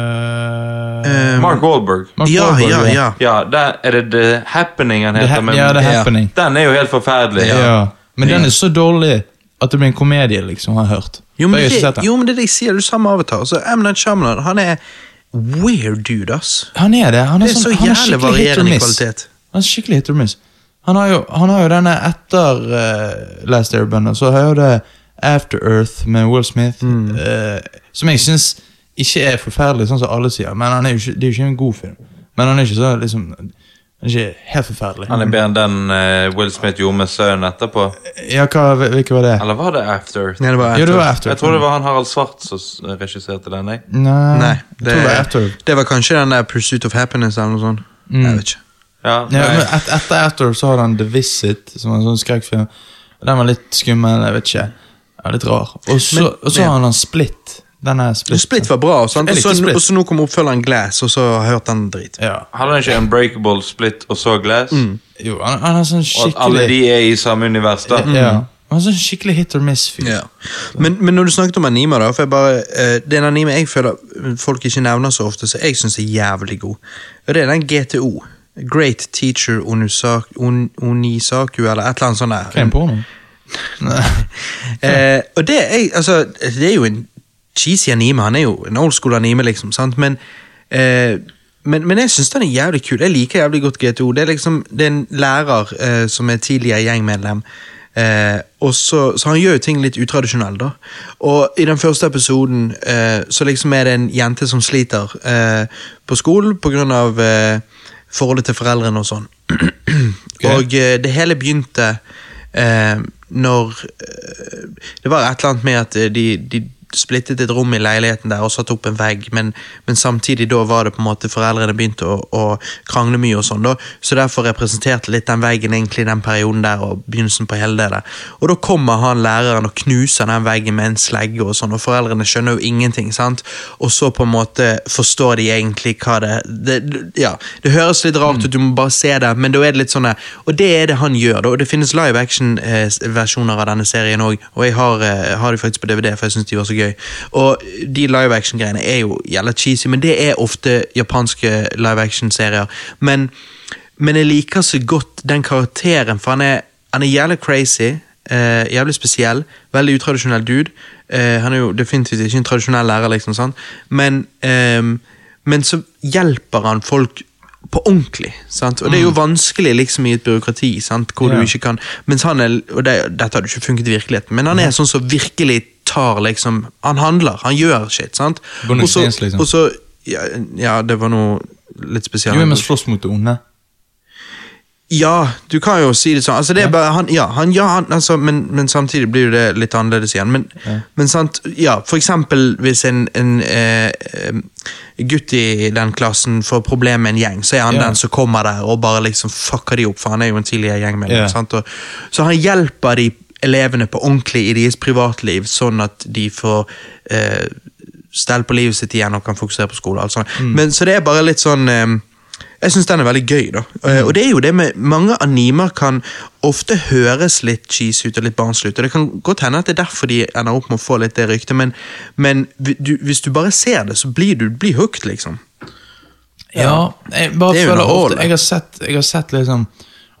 [SPEAKER 2] Eh,
[SPEAKER 1] Um,
[SPEAKER 3] Mark Wahlberg.
[SPEAKER 2] Mark
[SPEAKER 1] ja,
[SPEAKER 2] Wahlberg,
[SPEAKER 1] ja, ja.
[SPEAKER 3] Ja, der er det The Happening han
[SPEAKER 2] The
[SPEAKER 3] heter.
[SPEAKER 2] Ha-
[SPEAKER 3] men-
[SPEAKER 2] ja, The
[SPEAKER 1] Ja.
[SPEAKER 2] Happening.
[SPEAKER 3] Den er jo helt forferdelig.
[SPEAKER 2] Ja. Men den er så dårlig at det blir en komedie, liksom, har jeg hørt.
[SPEAKER 1] Jo, men
[SPEAKER 2] jeg har
[SPEAKER 1] det,
[SPEAKER 2] ikke sett den.
[SPEAKER 1] jo, men det er det jeg sier, du samme avatar. Så Altså, M. Night Shyamalan, han er weird dude, ass.
[SPEAKER 2] Han er det. Han er,
[SPEAKER 1] Det er
[SPEAKER 2] sånn,
[SPEAKER 1] så
[SPEAKER 2] han er
[SPEAKER 1] jævlig
[SPEAKER 2] skikkelig hit or
[SPEAKER 1] varierende
[SPEAKER 2] miss.
[SPEAKER 1] kvalitet.
[SPEAKER 2] Han er skikkelig hit or miss. Han har jo, han har jo denne etter eh, Last Airbender, så har jeg jo det After Earth med Will Smith, eh, som jeg syns ikke er forferdelig, sånn som alle sier, men han er jo ikke, det er jo ikke en god film. Men han er ikke så liksom Han er ikke helt forferdelig.
[SPEAKER 3] Han er bedre enn den eh, Will Smith gjorde med sønnen etterpå.
[SPEAKER 2] Ja, hva, hvilken var det?
[SPEAKER 3] Eller var det After?
[SPEAKER 1] Nei, det var
[SPEAKER 2] Jo, det var
[SPEAKER 1] etter.
[SPEAKER 3] Jeg
[SPEAKER 2] After Earth.
[SPEAKER 3] tror det var han Harald Svart som s- eh, regisserte den. Jeg.
[SPEAKER 2] Nei,
[SPEAKER 1] Nei,
[SPEAKER 2] jeg tror det var After Earth.
[SPEAKER 1] det var kanskje den der Pursuit of Happiness eller noe sånt.
[SPEAKER 2] Mm.
[SPEAKER 1] Jeg vet ikke.
[SPEAKER 3] Ja, eh,
[SPEAKER 2] Ja, men
[SPEAKER 3] nei.
[SPEAKER 2] et, etter After Earth så har han The Visit, som er en sånn skrekkfilm. Den var litt skummel, jeg vet ikke. Ja, litt rar. Og så,
[SPEAKER 1] Men-
[SPEAKER 2] og så har han han Split. Den er Split.
[SPEAKER 1] Split var bra, sant?
[SPEAKER 2] sånn. Jeg
[SPEAKER 1] og
[SPEAKER 2] likte
[SPEAKER 1] så,
[SPEAKER 2] Split.
[SPEAKER 1] og så nå kom oppfølgeren Glass, og så har jeg hørt den drit.
[SPEAKER 2] Ja.
[SPEAKER 3] Hadde han ikke Unbreakable, Split og så Glass?
[SPEAKER 2] Jo, han, han er sånn
[SPEAKER 3] Og at alle de
[SPEAKER 2] Mm. skikkelig
[SPEAKER 3] er i samme univers, da?
[SPEAKER 2] ja. Han er sånn skikkelig hit or miss-fyr.
[SPEAKER 1] Ja. Men, men når du snakket om anime, da, for jeg bare, eh, det er en anime jeg føler folk ikke nevner så ofte, så jeg syns er jævlig god. Og det er den GTO. Great Teacher Onusak- On- Onisaku, eller et eller annet sånt.
[SPEAKER 2] Hva er en
[SPEAKER 1] der.
[SPEAKER 2] porno?
[SPEAKER 1] Eh, og det er, altså, det er jo en cheesy anime, han er jo en old school anime, liksom, sant? Men, eh, men, men jeg syns den er jævlig kul. Jeg liker jævlig godt GTO. Det er liksom, det er en lærer eh, som er tidligere gjengmedlem. Eh, og så, så han gjør jo ting litt utradisjonelle, da. Og i den første episoden eh, så liksom er det en jente som sliter eh, på skolen pga. Eh, forholdet til foreldrene og sånn. Og eh, det hele begynte eh, når eh, Det var et eller annet med at eh, de, de splittet et rom i leiligheten der og satte opp en vegg, men, men samtidig da var det på en måte foreldrene begynte å, å krangle mye og sånn, da. Så derfor representerte litt den veggen egentlig den perioden der og begynnelsen på hele det der. Og da kommer han læreren og knuser den veggen med en slegge og sånn, og foreldrene skjønner jo ingenting, sant. Og så på en måte forstår de egentlig hva det, det Ja, det høres litt rart ut, du må bare se det, men da er det litt sånn der- Og det er det han gjør, da. Og det finnes live action-versjoner av denne serien òg, og jeg har, eh, har de faktisk på DVD, for jeg syns de var så gøy. Og de live action-greiene er jo jævla cheesy, men det er ofte japanske live action-serier. Men, men jeg liker så godt den karakteren, for han er, han er jævla crazy. eh, jævlig spesiell. Veldig utradisjonell dude. Eh, han er jo definitivt ikke en tradisjonell lærer, liksom, sant? men ehm, men så hjelper han folk på ordentlig. Sant? Og det er jo vanskelig liksom, i et byråkrati, sant? hvor du
[SPEAKER 2] Mm. Ja.
[SPEAKER 1] ikke kan Mens han er, og det, Dette hadde jo ikke funket i virkeligheten, men han
[SPEAKER 2] Mhm.
[SPEAKER 1] er sånn som virkelig tar liksom Han handler, han gjør shit, sant?
[SPEAKER 2] Bonus
[SPEAKER 1] Og så-
[SPEAKER 2] Jens, liksom.
[SPEAKER 1] Og så ja, ja, det var noe litt spesielt.
[SPEAKER 2] Du er med slåss mot det onde.
[SPEAKER 1] Ja, du kan jo si det sånn. Altså, det er bare, han, ja, han, ja, han, altså, men, men samtidig blir jo det litt annerledes igjen. Men, men sant, ja, for eksempel hvis en, en eh, eh, gutt i den klassen får problemer med en gjeng, så er han
[SPEAKER 2] Ja.
[SPEAKER 1] den som kommer der og bare liksom fucker de opp, for han er jo en tidligere gjengmedlem.
[SPEAKER 2] Ja.
[SPEAKER 1] sant? Og, så han hjelper de elevene på ordentlig i deres privatliv, sånn at de får eh, stell på livet sitt igjen og kan fokusere på skole. og alt sånt.
[SPEAKER 2] Mm.
[SPEAKER 1] Men, så det er bare litt sånn eh, Jeg syns den er veldig gøy, da. Eh, og det er jo det med Mange animer kan ofte høres litt cheesy ut og litt barnslig ut, og det kan godt hende at det er derfor de ender opp med å få litt det ryktet, men, men vi- du, hvis du bare ser det, så blir du blir hooked, liksom.
[SPEAKER 2] Ja, jeg bare
[SPEAKER 1] Det er jo
[SPEAKER 2] føler ofte
[SPEAKER 1] underholdende.
[SPEAKER 2] jeg har, sett, jeg har sett liksom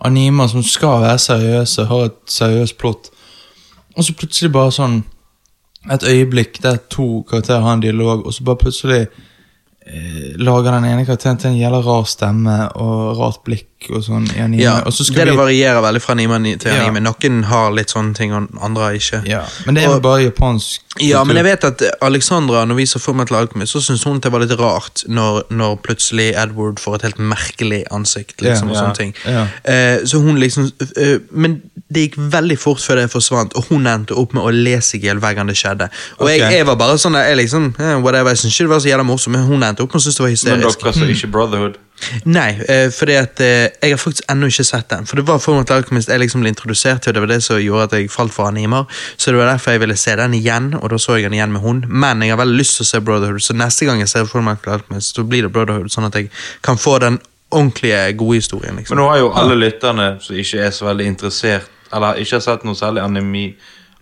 [SPEAKER 2] animer som skal være seriøse, har et seriøst plott, og så plutselig bare sånn Et øyeblikk der to karakterer har en dialog, og så bare plutselig eh, lager den ene karakteren til en jævla rar stemme og rart blikk og sånn i anime, og så
[SPEAKER 1] Mm. det,
[SPEAKER 2] skal
[SPEAKER 1] det
[SPEAKER 2] vi
[SPEAKER 1] varierer veldig fra anime til
[SPEAKER 2] Ja.
[SPEAKER 1] anime. Noen har litt sånne ting, og andre har ikke.
[SPEAKER 2] ja, Men det er
[SPEAKER 1] Og-
[SPEAKER 2] jo bare japansk
[SPEAKER 1] Ja, men jeg
[SPEAKER 2] kultur.
[SPEAKER 1] vet at Alexandra, når vi så Fullmetal Alchemist, så syntes hun det var litt rart når, når plutselig Edward får et helt merkelig ansikt. liksom,
[SPEAKER 2] Ja,
[SPEAKER 1] og
[SPEAKER 3] ja,
[SPEAKER 1] sånne ting.
[SPEAKER 2] ja.
[SPEAKER 1] Eh, så hun liksom, eh, men det gikk veldig fort før det forsvant, og hun endte opp med å le seg i hjel hver gang det skjedde. Og
[SPEAKER 2] Ok.
[SPEAKER 1] jeg, jeg var bare sånn, der, jeg liksom, eh, whatever, jeg synes ikke det var så jævla morsomt, men hun endte opp med å synes det var
[SPEAKER 3] Men
[SPEAKER 1] hysterisk.
[SPEAKER 3] dere så ikke Brotherhood.
[SPEAKER 1] Nei, eh, fordi at eh, jeg har faktisk ennå ikke sett den. For det var Fullmetal Alchemist jeg liksom ble introdusert til, og det var det som gjorde at jeg falt for animer. Så det var derfor jeg ville se den igjen, og da så jeg den igjen med hun. Men jeg har veldig lyst til å se Brotherhood, så neste gang jeg ser Fullmetal Alchemist, så blir det Brotherhood, sånn at jeg kan få den ordentlige, gode historien.
[SPEAKER 3] Men
[SPEAKER 1] liksom.
[SPEAKER 3] nå har jo alle lytterne som ikke er så veldig interessert, eller ikke har sett noe særlig anime,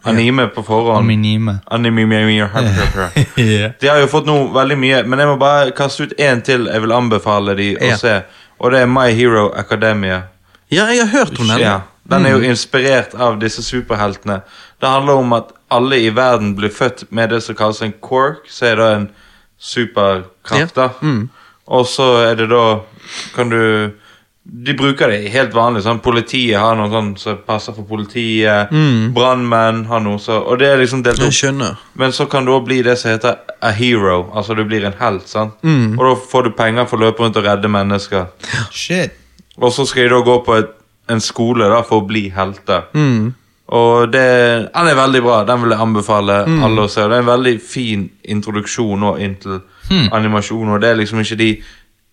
[SPEAKER 3] anime på forhånd
[SPEAKER 2] Anime.
[SPEAKER 3] Anime, anime, anime, anime.
[SPEAKER 2] Ja.
[SPEAKER 3] De har jo fått noe veldig mye, men jeg må bare kaste ut én til jeg vil anbefale de å
[SPEAKER 1] Ja.
[SPEAKER 3] se. Og det er My Hero Academia.
[SPEAKER 1] Ja, jeg har hørt om den.
[SPEAKER 3] Ja, den er jo inspirert av disse superheltene. Det handler om at alle i verden blir født med det som kalles en quirk, så er det en superkraft, da. Og så er det da Kan du De bruker det helt vanlig. sånn Politiet har noe sånn som passer for politiet. Brannmenn har noe så Og det er liksom delt
[SPEAKER 1] Jeg
[SPEAKER 3] opp.
[SPEAKER 1] skjønner.
[SPEAKER 3] Men så kan du òg bli det som heter a hero. Altså du blir en helt. sant? Og da får du penger for å løpe rundt og redde mennesker.
[SPEAKER 2] Shit.
[SPEAKER 3] Og så skal de da gå på et, en skole da for å bli helter. Og det, den er veldig bra. Den vil jeg anbefale alle å se. Det er en veldig fin introduksjon nå inn til animasjon. Og det er liksom ikke de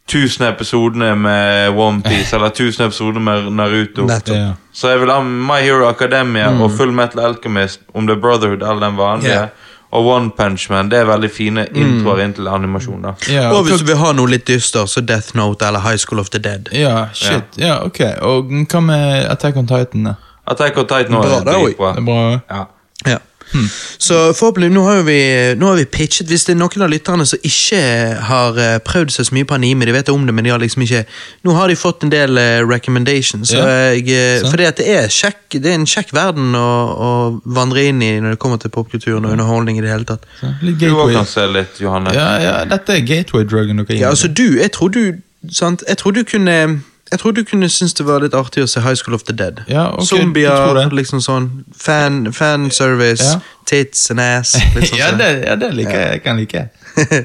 [SPEAKER 3] tusen episodene med Onepiece eller tusen episoder med Naruto.
[SPEAKER 1] Nettopp.
[SPEAKER 2] Ja.
[SPEAKER 3] Så jeg vil ha My Hero Academia og Full Metal Alchemist, om The Brotherhood eller den vanlige.
[SPEAKER 1] Ja.
[SPEAKER 3] Og One Punch Man. Det er veldig fine introer inn til animasjon. da
[SPEAKER 2] Ja,
[SPEAKER 1] Og hvis du vil ha noe litt dyster, så Death Note eller High School of the Dead.
[SPEAKER 2] Ja, shit. Ja, ok. Og hva med Attack on Titan? da?
[SPEAKER 3] Attack on Titan nå
[SPEAKER 1] Bra,
[SPEAKER 3] er
[SPEAKER 1] det er jo-
[SPEAKER 2] Det
[SPEAKER 3] dritbra.
[SPEAKER 2] er bra.
[SPEAKER 3] Ja.
[SPEAKER 1] Ja.
[SPEAKER 2] Hmm.
[SPEAKER 1] Så forhåpentlig, nå har, jo vi, nå har vi pitchet Hvis det er noen av lytterne som ikke har eh, prøvd seg så mye på anime, de vet om det, men de har liksom ikke Nå har de fått en del eh, recommendations, så
[SPEAKER 2] Ja,
[SPEAKER 1] jeg, eh,
[SPEAKER 2] sant.
[SPEAKER 1] fordi at det er, kjekk, det er en kjekk verden å, å vandre inn i når det kommer til popkulturen og underholdning i det hele tatt.
[SPEAKER 2] Så, Litt
[SPEAKER 3] Du òg
[SPEAKER 2] gateway.
[SPEAKER 3] kan se litt, Johanne.
[SPEAKER 2] Ja, ja, dette er gateway-drugen dere
[SPEAKER 1] Ja,
[SPEAKER 2] gir.
[SPEAKER 1] altså du, jeg tror du sant? Jeg tror du kunne jeg tror du kunne synes det var litt artig å se High School of the Dead.
[SPEAKER 2] Ja, ok, du tror
[SPEAKER 1] Zombier,
[SPEAKER 2] det.
[SPEAKER 1] liksom sånn. Fan, fanservice,
[SPEAKER 2] Ja.
[SPEAKER 1] tits and ass. Litt sånn
[SPEAKER 2] ja,
[SPEAKER 1] som-
[SPEAKER 2] det, ja, det liker jeg. Jeg kan like.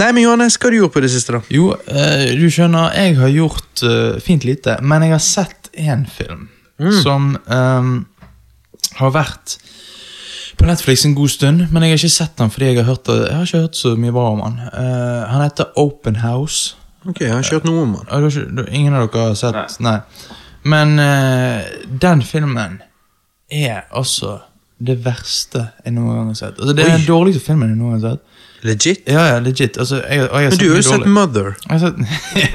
[SPEAKER 1] Nei, men Johannes, hva har du gjort på det siste, da?
[SPEAKER 2] Jo, eh, du skjønner, jeg har gjort eh, fint lite, men jeg har sett én film som eh, har vært på Netflix en god stund, men jeg har ikke sett den fordi jeg har hørt, jeg har ikke hørt så mye bra om den. Eh, han heter Open House.
[SPEAKER 1] Ok, Jeg har ikke hørt noe om han.
[SPEAKER 2] Ja, du har ikke, du, ingen av dere har sett Nei. Men eh, den filmen er altså det verste jeg noen gang har sett. Altså, det er den dårligste filmen jeg noen gang har sett.
[SPEAKER 1] Legit?
[SPEAKER 2] Ja, ja, legit. Altså, jeg, og jeg
[SPEAKER 1] Men du har jo sett
[SPEAKER 2] mye
[SPEAKER 1] Mother.
[SPEAKER 2] dårlig. Jeg har sett-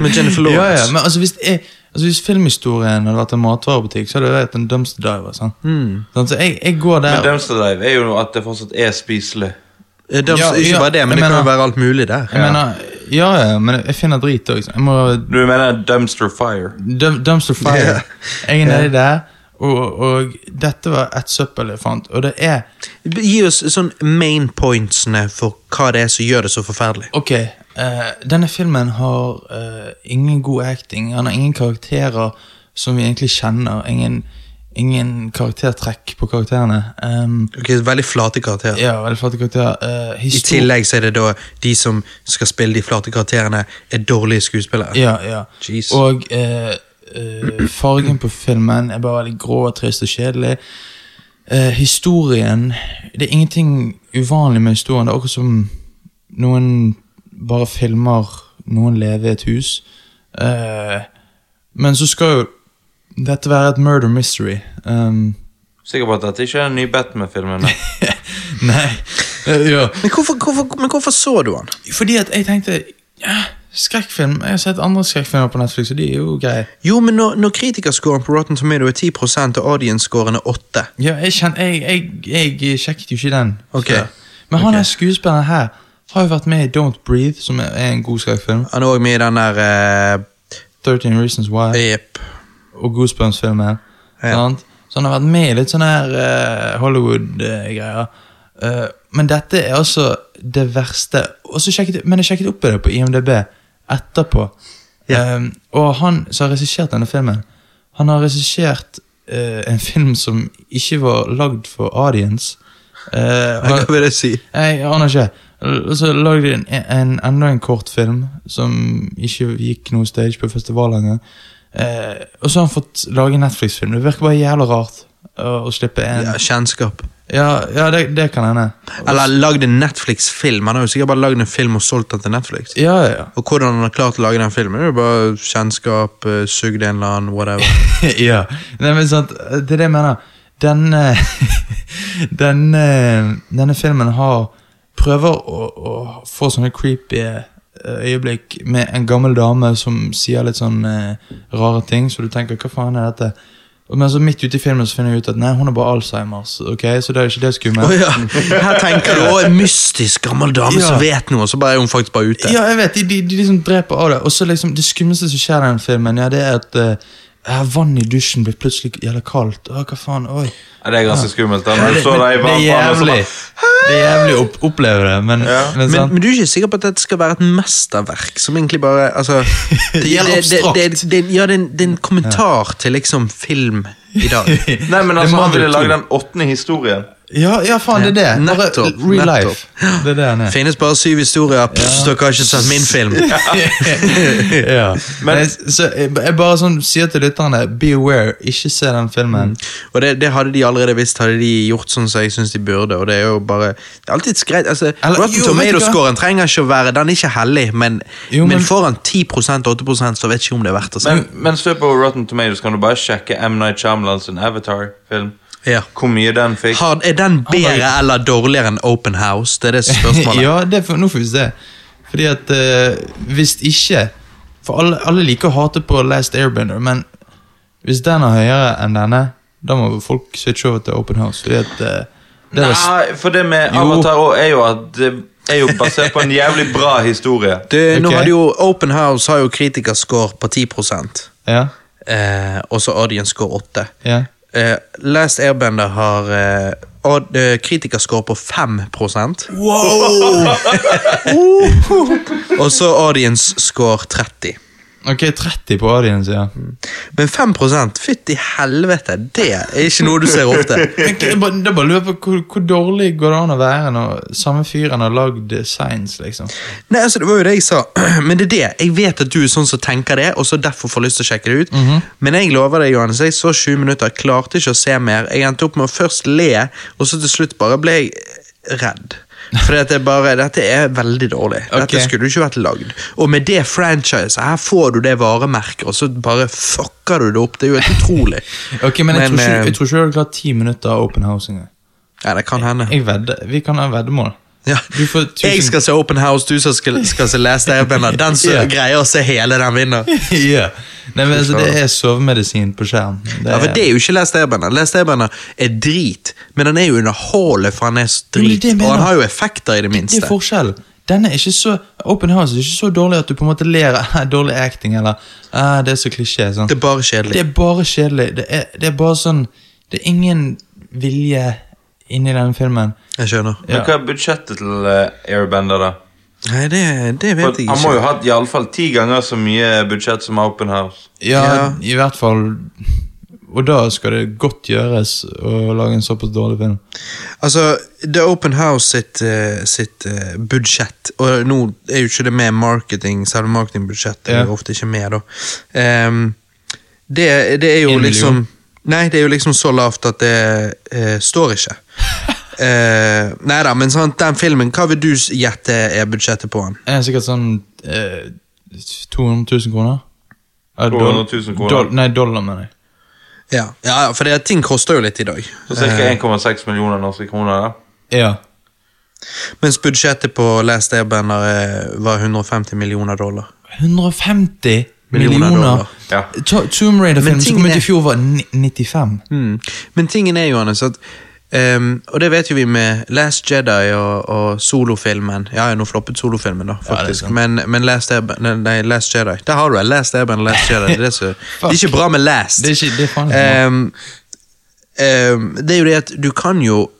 [SPEAKER 1] med Jennifer Lawrence.
[SPEAKER 2] Ja, ja, men altså, hvis, jeg, altså, hvis filmhistorien hadde vært en matvarebutikk, så hadde det vært en dumpster diver. Sant?
[SPEAKER 1] Hmm.
[SPEAKER 2] Sånn, Så jeg, jeg går der
[SPEAKER 3] Men Dumpster Dive er jo at det fortsatt er spiselig.
[SPEAKER 1] Eh, Det er
[SPEAKER 2] Ja,
[SPEAKER 1] ikke
[SPEAKER 2] ja,
[SPEAKER 1] bare det, men
[SPEAKER 2] jeg
[SPEAKER 1] det kan jo
[SPEAKER 2] mener-
[SPEAKER 1] være alt mulig der.
[SPEAKER 2] Jeg mener, ja, ja, men jeg finner drit òg. Jeg må
[SPEAKER 3] Du mener Dumpster Fire?
[SPEAKER 2] Dum- Dumpster Fire.
[SPEAKER 1] Ja.
[SPEAKER 2] Jeg er nedi der, og, og dette var et søppel jeg fant. Og det er
[SPEAKER 1] Gi oss sånn main pointsene for hva det er som gjør det så forferdelig.
[SPEAKER 2] Ok, eh, denne filmen har eh, ingen god acting. Han har ingen karakterer som vi egentlig kjenner. Ingen, ingen karaktertrekk på karakterene. Em,
[SPEAKER 1] Ok, Veldig flate karakterer.
[SPEAKER 2] ja, veldig flotte karakterer. Eh,
[SPEAKER 1] I
[SPEAKER 2] histor-
[SPEAKER 1] tillegg så er det da de som skal spille de flate karakterene, er dårlige skuespillere.
[SPEAKER 2] Ja, ja.
[SPEAKER 1] Jeez.
[SPEAKER 2] Og eh, eh, fargen på filmen er bare veldig grå, trist og kjedelig. Eh, historien Det er ingenting uvanlig med historien. Det er akkurat som noen bare filmer noen leve i et hus. Eh, men så skal jo dette være et murder mystery. Um,
[SPEAKER 3] Sikker på at dette ikke er den nye Batman-filmen. da.
[SPEAKER 2] nei. Eh, ja.
[SPEAKER 1] Men hvorfor, hvorfor, men hvorfor så du han?
[SPEAKER 2] Fordi at jeg tenkte ja, Skrekkfilm Jeg har sett andre skrekkfilmer på Netflix, og de er jo greie.
[SPEAKER 1] Jo, men når, når kritikerscoren på Rotten Tomato er 10 og audience-scoren er 8
[SPEAKER 2] Ja, jeg, kjen, jeg, jeg, jeg sjekket jo ikke den.
[SPEAKER 1] Ok.
[SPEAKER 2] Så- Men han
[SPEAKER 1] Ok.
[SPEAKER 2] er skuespilleren her har jo vært med i Don't Breathe, som er er en god skrekkfilm.
[SPEAKER 1] Han er òg med i den der
[SPEAKER 2] 13 Reasons Why.
[SPEAKER 1] eh, Jepp.
[SPEAKER 2] og Goosebumps-filmen.
[SPEAKER 1] Ja.
[SPEAKER 2] sant? Så han har vært med i litt sånne her eh, Hollywood-greier. Eh, men dette er altså det verste. Og så sjekket, men jeg sjekket opp det på IMDb etterpå.
[SPEAKER 1] Ja.
[SPEAKER 2] Eh, og han som har regissert denne filmen, han har regissert eh, en film som ikke var lagd for audience. Eh,
[SPEAKER 1] Hva
[SPEAKER 2] han-
[SPEAKER 1] vil det si?
[SPEAKER 2] jeg aner ikke. L- Så lagde de en, en, enda en kortfilm som ikke gikk noe stage på festivalene. Eh, og så har han fått lage en Netflix-film. Det virker bare jævla rart å, å slippe en
[SPEAKER 1] Ja,
[SPEAKER 2] Ja,
[SPEAKER 1] Kjennskap.
[SPEAKER 2] ja, det, det kan hende.
[SPEAKER 1] Eller lagd en Netflix-film. Han har jo sikkert bare lagd en film og solgt den til Netflix.
[SPEAKER 2] Ja, ja,
[SPEAKER 1] Og hvordan han har klart å lage den filmen, det er jo bare kjennskap, eh, sugd en eller annen, whatever.
[SPEAKER 2] ja. ja. Nei, men sant, det er det jeg mener. Denne, denne, eh, denne filmen har prøver å, å få sånne creepy eh, øyeblikk med en gammel dame som sier litt sånn eh, rare ting, så du tenker 'hva faen er dette'? Men så midt ute i filmen så finner jeg ut at nei, hun har bare Alzheimers, ok? så det er ikke det
[SPEAKER 1] Å
[SPEAKER 2] skummelt.
[SPEAKER 1] ja. Her tenker du å, en mystisk gammel dame som
[SPEAKER 2] Ja.
[SPEAKER 1] vet noe, og så bare er hun faktisk bare ute.
[SPEAKER 2] Ja, jeg vet, de, de, de liksom dreper av det. Og så liksom, det skumleste som skjer i den filmen, ja, det er at eh, ja, vann i dusjen blir plutselig jævla kaldt. Å, hva faen, oi.
[SPEAKER 3] Ja, det er ganske skummelt. da.
[SPEAKER 2] Ja,
[SPEAKER 3] Når du
[SPEAKER 2] det,
[SPEAKER 3] står der i
[SPEAKER 2] men, det er
[SPEAKER 3] varmtvannet, og så
[SPEAKER 2] jævlig
[SPEAKER 3] bare-
[SPEAKER 2] Det er jævlig å opp, oppleve det, men,
[SPEAKER 3] Ja.
[SPEAKER 2] men,
[SPEAKER 1] Men,
[SPEAKER 2] sant?
[SPEAKER 1] men du er ikke sikker på at dette skal være et mesterverk? Som egentlig bare altså, det,
[SPEAKER 2] gjelder
[SPEAKER 1] det, det, ja, det, er en- det er en kommentar til liksom film i dag.
[SPEAKER 3] Nei, men
[SPEAKER 2] Det
[SPEAKER 3] altså,
[SPEAKER 2] må
[SPEAKER 3] han
[SPEAKER 2] du
[SPEAKER 3] ville
[SPEAKER 2] tro.
[SPEAKER 3] lage den åttende historien.
[SPEAKER 2] ja, ja, faen, det er det. Bare
[SPEAKER 1] Nettopp,
[SPEAKER 2] Real
[SPEAKER 1] nettopp.
[SPEAKER 2] life. Det er det han er.
[SPEAKER 1] Finnes bare syv historier. Pss, Dere har ikke sett min film.
[SPEAKER 2] ja. Men, så jeg, jeg bare sånn sier til lytterne, be aware, ikke se den filmen.
[SPEAKER 1] Og det, det hadde de allerede visst, hadde de gjort sånn som jeg syns de burde. Og det er jo bare Det er alltid greit. Altså,
[SPEAKER 2] Eller-
[SPEAKER 1] Rotten
[SPEAKER 2] jo, vet du hva?
[SPEAKER 1] Tomatoes-scoren trenger ikke å være Den er ikke hellig, men,
[SPEAKER 2] Jo,
[SPEAKER 1] men,
[SPEAKER 2] men-
[SPEAKER 1] foran 10-8 så vet jeg ikke om det er verdt å se.
[SPEAKER 2] Mm.
[SPEAKER 3] Men mens du er på Rotten Tomatoes, kan du bare sjekke M. Night Shyamalan sin Avatar-film.
[SPEAKER 1] Ja.
[SPEAKER 3] Hvor mye den fikk.
[SPEAKER 1] Har, er den bedre
[SPEAKER 2] bare-
[SPEAKER 1] eller dårligere enn Open House? Det er det som er spørsmålet.
[SPEAKER 2] ja, det får- nå får vi se. Fordi at eh, hvis ikke For alle, alle liker å hate på Last Airbender, men hvis den er høyere enn denne, da må folk switche over til Open House. Fordi at eh, det er
[SPEAKER 3] Nei, Ah, for det med
[SPEAKER 2] Jo.
[SPEAKER 3] Avatar også er jo at det er jo basert på en jævlig bra historie.
[SPEAKER 1] Du, nå
[SPEAKER 2] Ok.
[SPEAKER 1] hadde jo Open House har jo kritikerscore på 10
[SPEAKER 2] Ja,
[SPEAKER 1] eh, og så audience score 8.
[SPEAKER 2] ja.
[SPEAKER 1] Eh, Last Airbender har eh, aud- eh, kritikerscore på 5 Og så audience score 30.
[SPEAKER 2] Ok, 30 på audience, ja.
[SPEAKER 1] Men 5 fytti helvete, det er ikke noe du ser ofte.
[SPEAKER 2] Men jeg bare, jeg bare lurer på hvor, hvor dårlig går det an å være når samme fyren har lagd science, liksom.
[SPEAKER 1] Nei, altså, Det var jo det jeg sa, men det er det. Jeg vet at du er sånn som tenker det, og så derfor får lyst til å sjekke det ut.
[SPEAKER 2] Mhm.
[SPEAKER 1] Men jeg lover deg, Johannes, jeg så 20 minutter, klarte ikke å se mer. Jeg endte opp med å først le, og så til slutt bare ble jeg redd. For det er bare, dette er veldig dårlig. Dette
[SPEAKER 2] Ok.
[SPEAKER 1] skulle jo ikke vært lagd. Og med det franchiset, her får du det varemerket, og så bare fucker du det opp. Det er jo helt utrolig.
[SPEAKER 2] Ok, Men
[SPEAKER 1] Men,
[SPEAKER 2] jeg tror ikke,
[SPEAKER 1] eh,
[SPEAKER 2] jeg tror ikke du hadde klart 10 minutter av open house engang.
[SPEAKER 1] Ja, det kan hende.
[SPEAKER 2] Jeg vedder. Vi kan ha veddemål.
[SPEAKER 1] Ja.
[SPEAKER 2] Du får tusen-
[SPEAKER 1] Jeg skal se Open House, du som skal, skal se Last Airbender. Den som
[SPEAKER 2] Ja.
[SPEAKER 1] greier å se hele, den vinner.
[SPEAKER 2] ja. Nei, men altså, Det er sovemedisin på skjerm. Det
[SPEAKER 1] Ja, for det er jo ikke Last Airbender. Last Airbender er drit, men han er jo underholdende, for han er så
[SPEAKER 2] Jo, men det er
[SPEAKER 1] drit.
[SPEAKER 2] det jeg
[SPEAKER 1] og han
[SPEAKER 2] mener.
[SPEAKER 1] har jo effekter, i det
[SPEAKER 2] det
[SPEAKER 1] minste.
[SPEAKER 2] er forskjell. Denne er ikke så, Open House er ikke så dårlig at du på en måte ler av dårlig acting eller «Ah, det er så klisjé. Sånn.
[SPEAKER 1] Det er bare
[SPEAKER 2] Det
[SPEAKER 1] kjedelig.
[SPEAKER 2] er bare kjedelig. Det er, det er bare sånn Det er ingen vilje inni den filmen.
[SPEAKER 1] Jeg skjønner.
[SPEAKER 3] Men hva er budsjettet til eh, Airbender, da?
[SPEAKER 1] Nei, det, det
[SPEAKER 3] For
[SPEAKER 1] vet jeg
[SPEAKER 3] han må jo
[SPEAKER 1] ikke.
[SPEAKER 3] ha hatt iallfall ti ganger så mye budsjett som Open House.
[SPEAKER 2] Ja,
[SPEAKER 1] Ja.
[SPEAKER 2] i hvert fall Og da skal det godt gjøres å lage en såpass dårlig film.
[SPEAKER 1] Altså, The Open House sitt, eh, sitt eh, budsjett Og nå er jo ikke det med marketing, selve marketingbudsjettet er
[SPEAKER 2] Ja.
[SPEAKER 1] jo ofte ikke med, da. Ehm, Det, det er jo
[SPEAKER 2] En million.
[SPEAKER 1] liksom Nei, det er jo liksom så lavt at det eh, står ikke. eh, nei da, men sant, den filmen, hva vil du s- gjette er budsjettet på den?
[SPEAKER 2] Det er sikkert sånn eh, 200 000 kroner. Eh, doll-
[SPEAKER 3] 200 000 kroner.
[SPEAKER 2] doll- nei, dollar, mener jeg.
[SPEAKER 1] Ja, ja ja, for det, ting koster jo litt i dag.
[SPEAKER 3] Så ca. 1,6 millioner norske kroner. da.
[SPEAKER 2] Ja.
[SPEAKER 1] Mens budsjettet på Last Airbender eh, var 150 millioner dollar.
[SPEAKER 2] 150
[SPEAKER 1] Millioner
[SPEAKER 2] millioner.
[SPEAKER 1] dollar.
[SPEAKER 3] Ja.
[SPEAKER 2] To- Tomb Raider-filmen som
[SPEAKER 1] tingen
[SPEAKER 2] kom ut
[SPEAKER 1] er-
[SPEAKER 2] i fjor, var ni- 95.
[SPEAKER 1] Mm. Men tingen er jo, Anders, at ehm, Og det vet jo vi med Last Jedi og, og solofilmen. Ja, ja, nå floppet solofilmen, da,
[SPEAKER 2] er
[SPEAKER 1] faktisk.
[SPEAKER 2] sant.
[SPEAKER 1] men men Last, Airb- nei, nei, Last Jedi Der har du det! Last Airben og Last Jedi. Det er, så, det er ikke bra med Last.
[SPEAKER 2] Det er ikke- det er faen ikke bra.
[SPEAKER 1] Ehm, ehm, det er jo det at du kan jo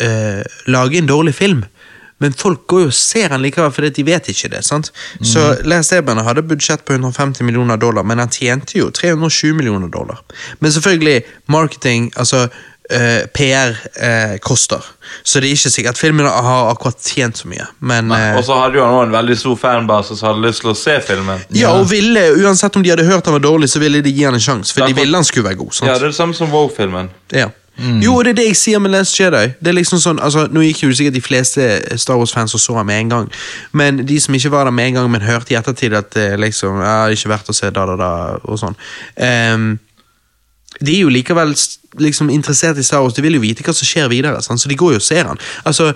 [SPEAKER 1] eh, lage en dårlig film, men folk går jo og ser den likevel fordi de vet ikke det. sant? Så
[SPEAKER 2] Mhm.
[SPEAKER 1] Last Airbander hadde budsjett på 150 millioner dollar, men han tjente jo 320 millioner dollar. Men selvfølgelig, marketing, altså eh, PR, eh, koster. Så det er ikke sikkert filmen har akkurat tjent så mye, men eh,
[SPEAKER 3] Og så hadde jo han også en veldig stor fanbase som hadde lyst til å se filmen.
[SPEAKER 1] ja, og ville, Uansett om de hadde hørt han var dårlig, så ville de gi han en sjanse. For de ville han skulle være god. sant?
[SPEAKER 3] Ja, Det er det samme som Wow-filmen.
[SPEAKER 1] Ja. Jo, og det er det jeg sier med Last Jedi. Det er liksom sånn, altså, Nå gikk jo sikkert de fleste Star Wars-fans og så ham med en gang, men de som ikke var der med en gang, men hørte i ettertid at eh, liksom, ja, det er ikke verdt å se da, da, da, og sånn. Ehm, de er jo likevel s- liksom interessert i Star Wars, de vil jo vite hva som skjer videre, sant? så de går jo og ser han. Altså,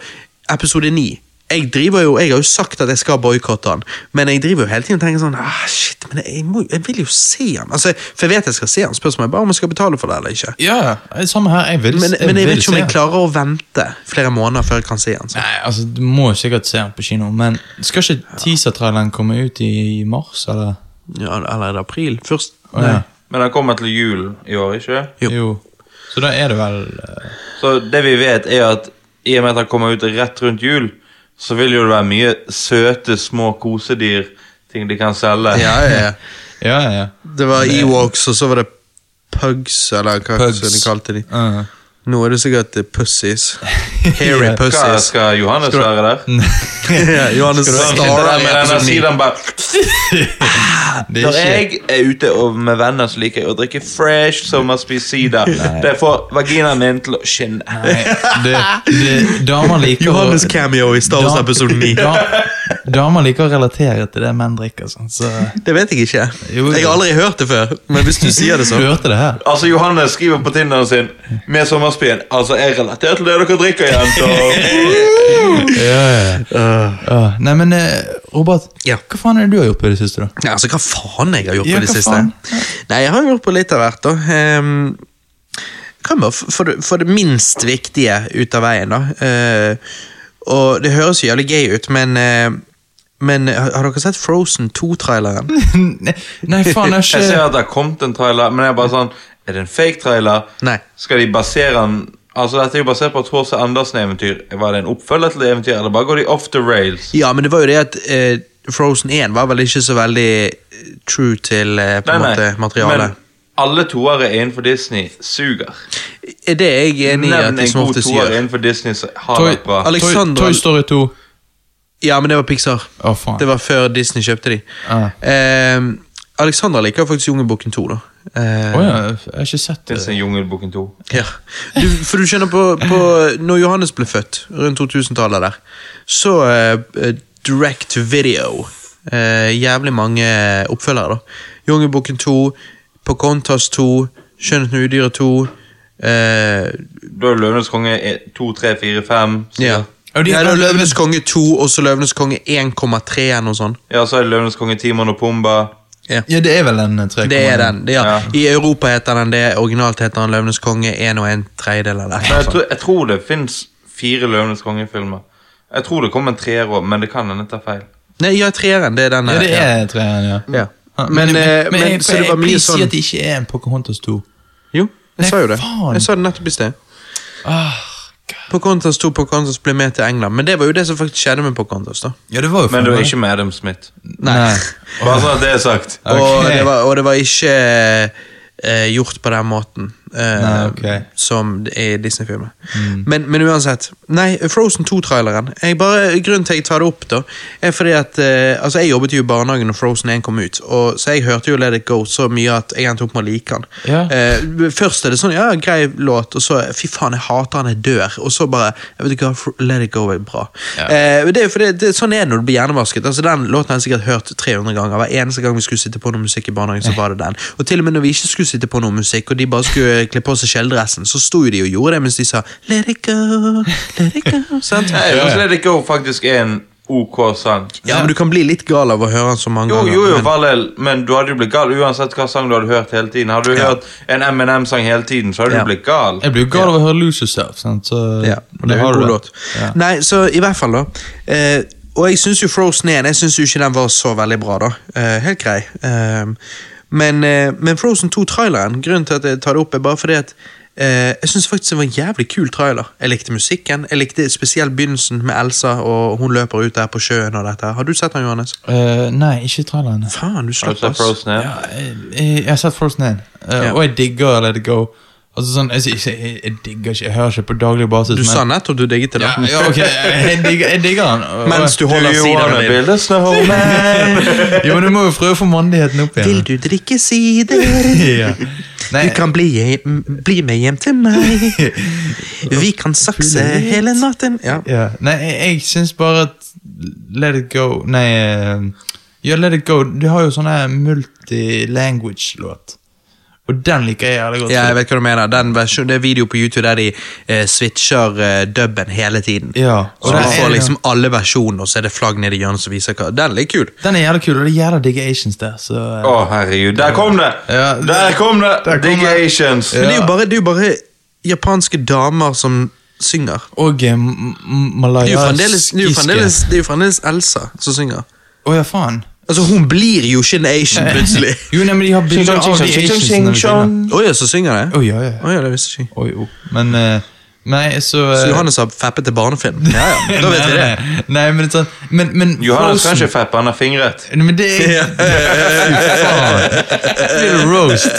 [SPEAKER 1] episode 9. Jeg driver jo, jeg har jo sagt at jeg skal boikotte han, men jeg driver jo hele tiden og tenker sånn ah, shit, men jeg, må, jeg vil jo se han. Altså, For jeg vet jeg skal se han, spørsmålet er bare om jeg skal betale for det eller ikke.
[SPEAKER 2] Ja, samme her. Jeg vil,
[SPEAKER 1] Men, men jeg
[SPEAKER 2] vil
[SPEAKER 1] vet ikke om
[SPEAKER 2] se
[SPEAKER 1] jeg
[SPEAKER 2] den.
[SPEAKER 1] klarer å vente flere måneder før jeg kan se den. Så.
[SPEAKER 2] Nei, altså, Du må jo sikkert se den på kino, men skal ikke teasertraileren komme ut i, i mars, eller?
[SPEAKER 1] Ja, eller er det april? Først?
[SPEAKER 2] Å, ja.
[SPEAKER 3] Men den kommer til julen i år, ikke?
[SPEAKER 1] Jo.
[SPEAKER 2] Så da er det vel eh,
[SPEAKER 3] Så det vi vet, er at i og med at han kommer ut rett rundt jul, så vil jo det være mye søte, små kosedyr. Ting de kan selge.
[SPEAKER 1] Ja, ja, ja.
[SPEAKER 2] Ja, ja, ja.
[SPEAKER 1] Det var Ewoks, og så var det Pugs, eller hva
[SPEAKER 2] Pugs.
[SPEAKER 1] som de kalte de.
[SPEAKER 2] Ja.
[SPEAKER 1] Nå er det sikkert eh, Pussies. Hairy
[SPEAKER 2] Ja.
[SPEAKER 3] Hva
[SPEAKER 1] Pussies.
[SPEAKER 3] skal Johannes være der?
[SPEAKER 1] Ja, Johannes
[SPEAKER 3] Skal han sitte
[SPEAKER 1] Stara
[SPEAKER 3] der med denne siden bare
[SPEAKER 2] Det
[SPEAKER 3] Når
[SPEAKER 2] er ikke
[SPEAKER 3] jeg er ute og med venner, så liker jeg å drikke fresh sommerspist sider. Det får vaginaen min til å skinne.
[SPEAKER 2] Nei, det, det, damer liker å-
[SPEAKER 1] Johannes cameo i Star Wars
[SPEAKER 2] Da-
[SPEAKER 1] episode 9.
[SPEAKER 2] Da, damer liker å relatere til det menn drikker. Sånn, så
[SPEAKER 1] Det vet jeg ikke.
[SPEAKER 2] Jo, jo.
[SPEAKER 1] Jeg har aldri hørt det før, men hvis du sier det sånn.
[SPEAKER 2] Du
[SPEAKER 1] så
[SPEAKER 2] hørte det her.
[SPEAKER 3] Altså, Johannes skriver på Tinderen sin med sommerspien. Altså, jeg relaterer til det dere drikker igjen, så
[SPEAKER 2] Ja, ja. Ja, Nei, men eh, Robert,
[SPEAKER 1] Ja.
[SPEAKER 2] hva faen er det du har gjort på det siste? da?
[SPEAKER 1] Nei, altså, hva faen jeg har gjort
[SPEAKER 2] Ja,
[SPEAKER 1] på det
[SPEAKER 2] hva
[SPEAKER 1] siste?
[SPEAKER 2] faen?
[SPEAKER 1] Nei, jeg har gjort på litt av hvert, da. Ehm, kan bare f- få det, få det minst viktige ut av veien, da. Eh, og det høres jo jævlig gøy ut, men eh, men har har dere sett Frozen 2-traileren?
[SPEAKER 2] Nei, Nei, faen, jeg
[SPEAKER 3] Jeg
[SPEAKER 2] har
[SPEAKER 3] ser
[SPEAKER 2] ikke
[SPEAKER 3] at det har kommet en trailer, men jeg er bare sånn Er det en fake trailer?
[SPEAKER 1] Nei.
[SPEAKER 3] Skal de basere den Altså, Dette er jo basert på et H.C. Andersen-eventyr. Var det en oppfølger til det eventyret, eller bare går de off the rails?
[SPEAKER 1] Ja, men det var jo det at eh, Frozen 1 var vel ikke så veldig eh, true til eh, på en måte materialet.
[SPEAKER 3] Men alle toere innenfor Disney suger.
[SPEAKER 1] Er det er jeg enig i at
[SPEAKER 3] Nevn
[SPEAKER 1] de
[SPEAKER 3] en
[SPEAKER 1] som
[SPEAKER 3] god
[SPEAKER 1] ofte
[SPEAKER 3] toer
[SPEAKER 1] sier?
[SPEAKER 3] innenfor Disney som har
[SPEAKER 2] Toy,
[SPEAKER 3] vært bra.
[SPEAKER 1] Alexander-
[SPEAKER 2] Toy, Toy Story 2.
[SPEAKER 1] Ja, men det var Pixar.
[SPEAKER 2] Å, faen.
[SPEAKER 1] Det var før Disney kjøpte de.
[SPEAKER 2] Ah.
[SPEAKER 1] Ehm, Alexander liker faktisk Jungelboken 2, da. Eh,
[SPEAKER 2] Å ja, jeg har ikke sett det.
[SPEAKER 3] Fins en Jungelboken 2.
[SPEAKER 1] ja. du, for du skjønner, på, på når Johannes ble født, rundt 2000-tallet der, så eh, eh, direct video eh, Jævlig mange oppfølgere, da. Jungelboken 2, Pocahontas 2, Skjønnheten og udyret 2 eh,
[SPEAKER 3] Da er Løvenes konge 2, 3, 4, 5. Så
[SPEAKER 1] ja.
[SPEAKER 2] Og de-
[SPEAKER 1] Nei, det var Løvenes konge 2, og så Løvenes konge 1,3 eller noe sånt.
[SPEAKER 3] ja, så er det Løvenes konge Timon og Pumba.
[SPEAKER 2] Ja, det er vel en eh, 3,1.
[SPEAKER 1] Det er den. det- Ja.
[SPEAKER 3] Ja.
[SPEAKER 1] I Europa heter den det. Originalt heter den Løvenes konge 1 og 1 tredjedel eller
[SPEAKER 3] Men
[SPEAKER 1] noe
[SPEAKER 3] jeg,
[SPEAKER 1] sånt.
[SPEAKER 3] tror, jeg tror det fins fire Løvenes konge-filmer. Jeg tror det kom en treer òg, men det kan hende ta feil.
[SPEAKER 1] Nei, ja, treeren. Det er den
[SPEAKER 2] Ja,
[SPEAKER 1] her,
[SPEAKER 2] det
[SPEAKER 1] eh, ja.
[SPEAKER 2] er 3,1, ja.
[SPEAKER 1] Ja.
[SPEAKER 2] Ja,
[SPEAKER 1] Men, eh, men,
[SPEAKER 2] jeg-
[SPEAKER 1] så det var
[SPEAKER 2] jeg-
[SPEAKER 1] mye
[SPEAKER 2] please si
[SPEAKER 1] sånn
[SPEAKER 2] at det ikke er en Pocahontas 2.
[SPEAKER 1] Jo, jeg
[SPEAKER 2] Nei,
[SPEAKER 1] sa jo det.
[SPEAKER 2] faen.
[SPEAKER 1] Jeg sa det nettopp i sted.
[SPEAKER 2] Ah,
[SPEAKER 1] Pocahontas 2 Pocahontas ble med til England, men det var jo det som faktisk skjedde med Pocahontas. da.
[SPEAKER 2] ja, det var jo
[SPEAKER 3] Men det var
[SPEAKER 2] faen
[SPEAKER 3] ikke med Adam Smith.
[SPEAKER 1] Nei.
[SPEAKER 3] Bare sånn at det er sagt.
[SPEAKER 2] Ok.
[SPEAKER 1] Og, det var, og det var ikke eh, eh, gjort på den måten. eh,
[SPEAKER 2] Nei, ok. Mm.
[SPEAKER 1] som er Disney-filmer. Men, men uansett. Nei, Frozen 2-traileren. Jeg bare, grunnen til at jeg tar det opp, da, er fordi at eh, Altså, jeg jobbet jo i barnehagen når Frozen 1 kom ut, og, så jeg hørte jo Let It Go så mye at jeg endte opp med å like den.
[SPEAKER 2] Ja.
[SPEAKER 1] Eh, først er det sånn, ja, grei låt, og så fy faen, jeg hater han, jeg dør. Og så bare jeg vet ikke hva, Fr- Let It Go er bra.
[SPEAKER 2] Ja.
[SPEAKER 1] Eh, det, er jo fordi det, sånn er det når du blir hjernevasket. Altså, den låten har jeg sikkert hørt 300 ganger. Hver eneste gang vi skulle sitte på noe musikk i barnehagen, så var det den. Og til og med når vi ikke skulle sitte på noe musikk, og de bare skulle kle på seg skjelldressen, så sto jo de og gjorde det mens de sa Let It Go, Let It Go. Sant?
[SPEAKER 3] Nei, Jeg synes Let It Go faktisk er en ok sang.
[SPEAKER 1] Ja, men du kan bli litt gal av å høre den så mange
[SPEAKER 3] Jo,
[SPEAKER 1] ganger.
[SPEAKER 3] jo, jo,
[SPEAKER 1] men-
[SPEAKER 3] Valel, men du hadde jo blitt gal uansett hva sang du hadde hørt hele tiden. Hadde du
[SPEAKER 1] Ja.
[SPEAKER 3] hørt en M&M-sang hele tiden, så hadde
[SPEAKER 1] Ja.
[SPEAKER 3] du blitt gal.
[SPEAKER 2] Jeg blir jo gal av å høre Lose Yourself. Sant? Så,
[SPEAKER 1] Ja, og det er jo
[SPEAKER 2] har
[SPEAKER 1] en
[SPEAKER 2] du
[SPEAKER 1] god
[SPEAKER 2] det.
[SPEAKER 1] låt.
[SPEAKER 2] Ja.
[SPEAKER 1] Nei, så i hvert fall, da. Eh, og jeg syns jo Frozen 1 Jeg synes jo ikke den var så veldig bra, da. Eh, helt grei. Eh, men, eh, men Frozen 2-traileren, grunnen til at jeg tar det opp, er bare fordi at eh, jeg syns faktisk det var en jævlig kul trailer. Jeg likte musikken. Jeg likte spesielt begynnelsen med Elsa, og hun løper ut der på sjøen og dette. Har du sett den, Johannes?
[SPEAKER 2] Eh, nei, ikke traileren.
[SPEAKER 1] Faen, du
[SPEAKER 3] Har du
[SPEAKER 1] slapp,
[SPEAKER 3] sett
[SPEAKER 1] ass.
[SPEAKER 3] Frozen? Ja.
[SPEAKER 2] Ja, jeg, jeg har sett Frozen 1, eh,
[SPEAKER 1] Ja.
[SPEAKER 2] og jeg digger Let It Go. Altså sånn, jeg, jeg, jeg, jeg digger ikke, jeg hører ikke på daglig basis.
[SPEAKER 1] Du sa nettopp du digget det.
[SPEAKER 2] ja,
[SPEAKER 1] da.
[SPEAKER 2] ja, ok, jeg, jeg, digger, jeg digger den. og-
[SPEAKER 1] Mens du
[SPEAKER 3] Do
[SPEAKER 1] holder
[SPEAKER 3] you wanna
[SPEAKER 1] sideren din.
[SPEAKER 3] build a snowman?
[SPEAKER 2] Jo, men du må jo prøve å få mandigheten opp
[SPEAKER 1] Vil
[SPEAKER 2] igjen.
[SPEAKER 1] du drikke sider?
[SPEAKER 2] Ja. Nei,
[SPEAKER 1] Du kan bli, hjem, bli med hjem til meg. Vi kan sakse
[SPEAKER 2] Pulle litt.
[SPEAKER 1] hele natten. Ja.
[SPEAKER 2] ja. nei jeg, jeg syns bare at Let It Go Nei, eh, ja, Let It Go Du har jo sånne multilanguage-låt, og den liker jeg jævlig godt.
[SPEAKER 1] ja, jeg vet hva du mener. Den versjon, det er video på YouTube der de eh, switcher eh, dubben hele tiden.
[SPEAKER 2] Ja,
[SPEAKER 1] Så
[SPEAKER 2] og
[SPEAKER 1] du
[SPEAKER 2] den er-
[SPEAKER 1] får liksom alle versjoner, og så er det flagg nede i hjørnet som viser hva Den er litt kul.
[SPEAKER 2] Den er jævlig kul, og det er jævla digge Asians der, så eh,
[SPEAKER 3] Å, herregud. Der kom det!
[SPEAKER 2] Ja.
[SPEAKER 3] Der kom
[SPEAKER 2] Der
[SPEAKER 3] det!
[SPEAKER 2] kom
[SPEAKER 3] Digg
[SPEAKER 2] det.
[SPEAKER 3] Asians.
[SPEAKER 1] Men det er jo bare, det er jo bare japanske damer som synger.
[SPEAKER 2] Og eh, m-
[SPEAKER 1] Det
[SPEAKER 2] m-
[SPEAKER 1] er jo
[SPEAKER 2] malayaskiske
[SPEAKER 1] fremdeles, det er jo fremdeles, det er jo fremdeles Elsa som synger.
[SPEAKER 2] Å ja, faen.
[SPEAKER 1] Altså, hun blir jo ikke en Asian plutselig.
[SPEAKER 2] Jo, nei, men de har bilder av de Asiansene. når de synger.
[SPEAKER 1] Å ja, så synger jeg.
[SPEAKER 2] Å ja, ja.
[SPEAKER 1] Å ja, det visste jeg ikke.
[SPEAKER 2] Oi, jo. Men eh, Nei, så
[SPEAKER 1] Så
[SPEAKER 2] eh,
[SPEAKER 1] Johannes har fappet til barnefilm. Ja, ja, da vet vi det.
[SPEAKER 2] Nei, nei, men sånn Men, men
[SPEAKER 3] Johannes kan
[SPEAKER 2] Frozen-
[SPEAKER 3] ikke fappe, han har fingret.
[SPEAKER 2] Nei, Men det er
[SPEAKER 1] Ja.
[SPEAKER 2] Fy faen. Blir det roast?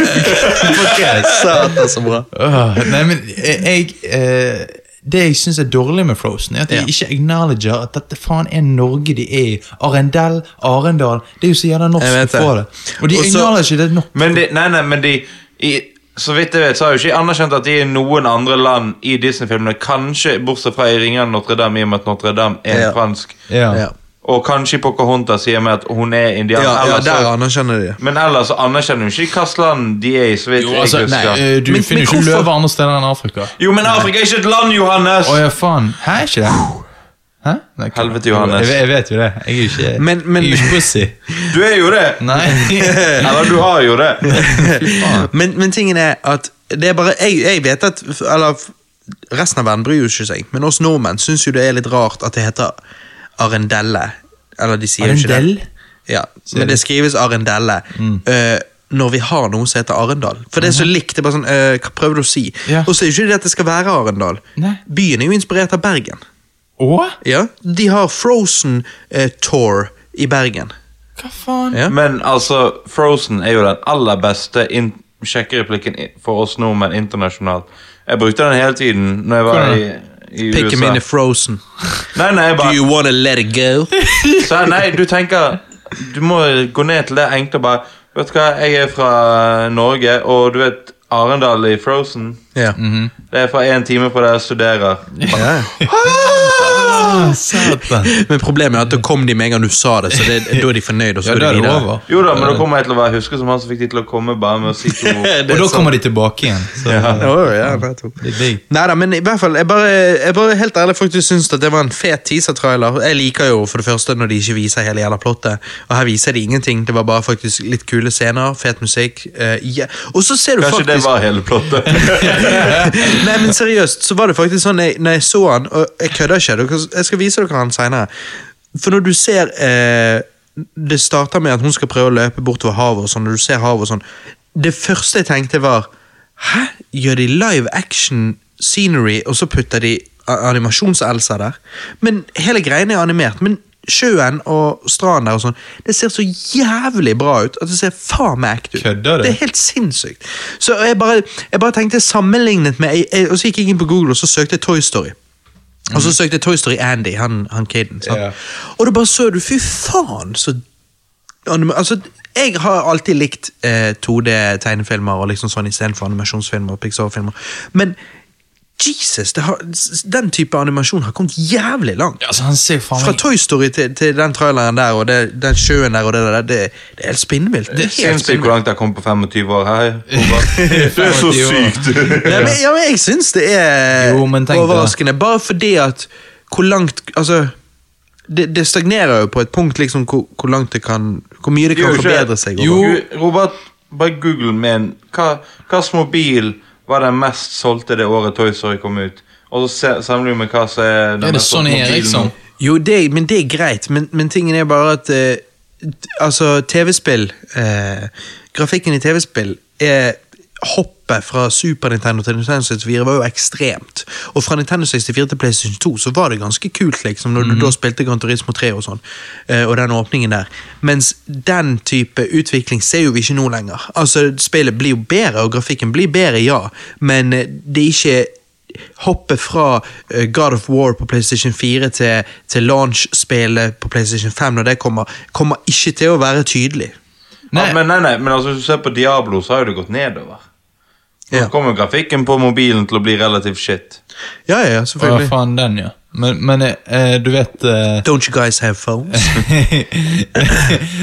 [SPEAKER 2] Fuck ass.
[SPEAKER 1] Satan, så bra.
[SPEAKER 2] Åh, nei, men eh, jeg eh, Det jeg syns er dårlig med Frozen, er at de
[SPEAKER 1] Ja.
[SPEAKER 2] ikke acknowledger at dette faen er Norge de er i. Arendal, Arendal Det er jo så jævla
[SPEAKER 1] Jeg
[SPEAKER 2] norsk
[SPEAKER 1] vet
[SPEAKER 2] du får det.
[SPEAKER 1] det.
[SPEAKER 2] Og de
[SPEAKER 1] Og så-
[SPEAKER 2] acknowledger ikke det nok.
[SPEAKER 3] Men de, nei, nei, men de i, Så vidt jeg vet, så har jo ikke jeg anerkjent at de er i noen andre land i Disney-filmene. Kanskje bortsett fra i 'Ringeren Notre-Dame', i og med at Notre-Dame er
[SPEAKER 1] Ja.
[SPEAKER 3] fransk.
[SPEAKER 2] Ja.
[SPEAKER 1] Ja.
[SPEAKER 3] Og kanskje i 'Pocahontas', i og med at hun er indianer.
[SPEAKER 1] Ja, altså. ja,
[SPEAKER 3] Ellers så-
[SPEAKER 1] der anerkjenner de det.
[SPEAKER 3] men ellers så anerkjenner jo ikke hvilket land de er i. så vidt
[SPEAKER 2] Jo,
[SPEAKER 3] jeg
[SPEAKER 2] altså,
[SPEAKER 3] husker.
[SPEAKER 2] nei, eh, du
[SPEAKER 1] Men-
[SPEAKER 2] finner
[SPEAKER 1] men
[SPEAKER 2] jo ikke
[SPEAKER 1] hvorfor-
[SPEAKER 2] løver andre steder enn Afrika.
[SPEAKER 3] Jo, men Afrika er ikke et land, Johannes!
[SPEAKER 2] Å ja, faen. Hæ, er ikke det? Hæ? Nei, ikke-
[SPEAKER 3] Helvete, Johannes.
[SPEAKER 2] Jeg, jeg vet jo det. Jeg er jo ikke,
[SPEAKER 1] Men- men-
[SPEAKER 2] jeg er jo ikke pussy.
[SPEAKER 3] Du er jo det!
[SPEAKER 2] Nei.
[SPEAKER 3] Eller du har jo det.
[SPEAKER 1] men, men tingen er at det er bare Jeg, jeg vet at Eller resten av verden bryr jo ikke seg, men oss nordmenn syns jo det er litt rart at det heter Arendelle. Eller de sier jo ikke det.
[SPEAKER 2] Arendel?
[SPEAKER 1] Ja, men det skrives Arendelle.
[SPEAKER 2] Mm.
[SPEAKER 1] eh, når vi har noe som heter Arendal. For det er så likt. det er bare sånn, eh, Hva prøver du å si?
[SPEAKER 2] Ja.
[SPEAKER 1] Og så er jo ikke det at det skal være Arendal.
[SPEAKER 2] Nei.
[SPEAKER 1] Byen er jo inspirert av Bergen.
[SPEAKER 2] Å?
[SPEAKER 1] Ja, De har Frozen eh, Tour i Bergen.
[SPEAKER 2] Hva faen?
[SPEAKER 1] Ja.
[SPEAKER 3] Men altså, Frozen er jo den aller beste in- sjekkereplikken i- for oss nordmenn internasjonalt. Jeg brukte den hele tiden når jeg var i, i
[SPEAKER 1] Pick him in
[SPEAKER 3] USA.
[SPEAKER 1] the frozen.
[SPEAKER 3] Nei, nei, jeg
[SPEAKER 1] Do
[SPEAKER 3] bare
[SPEAKER 1] you wanna let it go?
[SPEAKER 3] sa, Nei, du tenker Du må gå ned til det enkle og bare Vet du hva, jeg er fra Norge, og du vet Arendal i Frozen.
[SPEAKER 1] Ja.
[SPEAKER 2] Mhm.
[SPEAKER 3] Det er fra én time på der jeg studerer.
[SPEAKER 1] ja.
[SPEAKER 2] Ah, satan.
[SPEAKER 1] Men problemet er at da kom de med en gang du sa det, så det, da er de fornøyd, og så
[SPEAKER 2] Ja,
[SPEAKER 1] går
[SPEAKER 2] da
[SPEAKER 1] de
[SPEAKER 2] er det
[SPEAKER 1] videre.
[SPEAKER 2] over.
[SPEAKER 3] Jo da, men da kommer jeg til å være huske som han som fikk de til å komme bare med å si to ord.
[SPEAKER 1] Det er
[SPEAKER 2] Og da
[SPEAKER 1] sant.
[SPEAKER 2] kommer de tilbake igjen. Så
[SPEAKER 1] Ja, ja, nettopp.
[SPEAKER 2] det er digg.
[SPEAKER 1] Neida, men i hvert fall, jeg bare, jeg bare helt ærlig faktisk syns at det var en fet teaser-trailer. Jeg liker jo for det første når de ikke viser hele jævla plottet, og her viser de ingenting. Det var bare faktisk litt kule scener, fet musikk. eh, ja. Og så ser du
[SPEAKER 3] Kanskje det
[SPEAKER 1] faktisk
[SPEAKER 3] var hele plottet.
[SPEAKER 1] Nei, men seriøst, så var det faktisk sånn jeg, Når jeg så han, og jeg kødder ikke dere- Jeg skal vise dere han senere For når du ser eh, Det starter med at hun skal prøve å løpe bortover havet og sånn, Når du ser havet og sånn Det første jeg tenkte var Hæ? Gjør de live action scenery Og så putter de a- animasjons-Elsa der Men hele greien er animert Men sjøen og stranden der og sånn, det ser så jævlig bra ut at det ser faen meg ekte ut.
[SPEAKER 2] Kødder du?
[SPEAKER 1] Det er helt sinnssykt. Så jeg bare, jeg bare tenkte sammenlignet med jeg, jeg, Og så gikk jeg inn på Google og så søkte jeg Toy Story. Og så søkte jeg Toy Story Andy, han, han kiden. sant?
[SPEAKER 2] Ja.
[SPEAKER 1] Og da bare så du, fy faen, så anima- Altså, jeg har alltid likt eh, 2D-tegnefilmer og liksom sånn istedenfor animasjonsfilmer og Pixar-filmer, men Jesus, det har, s- den type animasjon har kommet jævlig langt.
[SPEAKER 2] Ja, altså, han ser faen
[SPEAKER 1] Fra
[SPEAKER 2] meg
[SPEAKER 1] Toy Story til, til den traileren der og det, den sjøen der og det der, det, det er helt spinnvilt. Det er helt
[SPEAKER 3] Sinnssykt hvor
[SPEAKER 1] spinnvilt.
[SPEAKER 3] langt jeg kom på 25 år. Hei, Robert. Du er så
[SPEAKER 2] 25 år.
[SPEAKER 3] sykt.
[SPEAKER 1] Ja, men, ja, men jeg syns det er
[SPEAKER 2] Jo, men tenk deg.
[SPEAKER 1] overraskende, bare fordi at hvor langt Altså, det, det stagnerer jo på et punkt, liksom, hvor, hvor langt det kan Hvor mye det
[SPEAKER 3] Det
[SPEAKER 1] kan
[SPEAKER 3] gjør jo ikke-
[SPEAKER 1] forbedre seg. over.
[SPEAKER 3] Jo, Gu- Robert, bare google med en. Hva, hva små bil var den mest solgte det året Toy Story kom ut? Og så se- sammenligner vi med hva som er den
[SPEAKER 2] Er det
[SPEAKER 3] mest solgte
[SPEAKER 2] Sonny
[SPEAKER 3] mobilen
[SPEAKER 2] Eriksson?
[SPEAKER 3] nå.
[SPEAKER 1] Jo, det, men det er greit, men, men tingen er bare at eh, t- Altså, TV-spill eh, Grafikken i TV-spill er Hoppet fra Super Nintendo til Nintendo 64 var jo ekstremt. Og fra Nintendo 64 til PlayStation 2 så var det ganske kult, liksom, når du da spilte Gran Turismo 3 og sånn, eh, og den åpningen der. Mens den type utvikling ser jo vi ikke nå lenger. Altså, spillet blir jo bedre, og grafikken blir bedre, ja, men eh, det er ikke hoppe fra eh, God of War på PlayStation 4 til, til launch-spillet på PlayStation 5 når det kommer, kommer ikke til å være tydelig.
[SPEAKER 2] Nei.
[SPEAKER 3] Ja, men, nei, nei, men altså, hvis du ser på Diablo, så har jo det gått nedover. Nå
[SPEAKER 1] Ja.
[SPEAKER 3] kommer jo grafikken på mobilen til å bli relativt shit.
[SPEAKER 1] Ja, ja, ja,
[SPEAKER 2] Å,
[SPEAKER 1] selvfølgelig.
[SPEAKER 2] faen, den, ja. Men, men eh, eh, du vet eh,
[SPEAKER 1] Don't you guys have phones?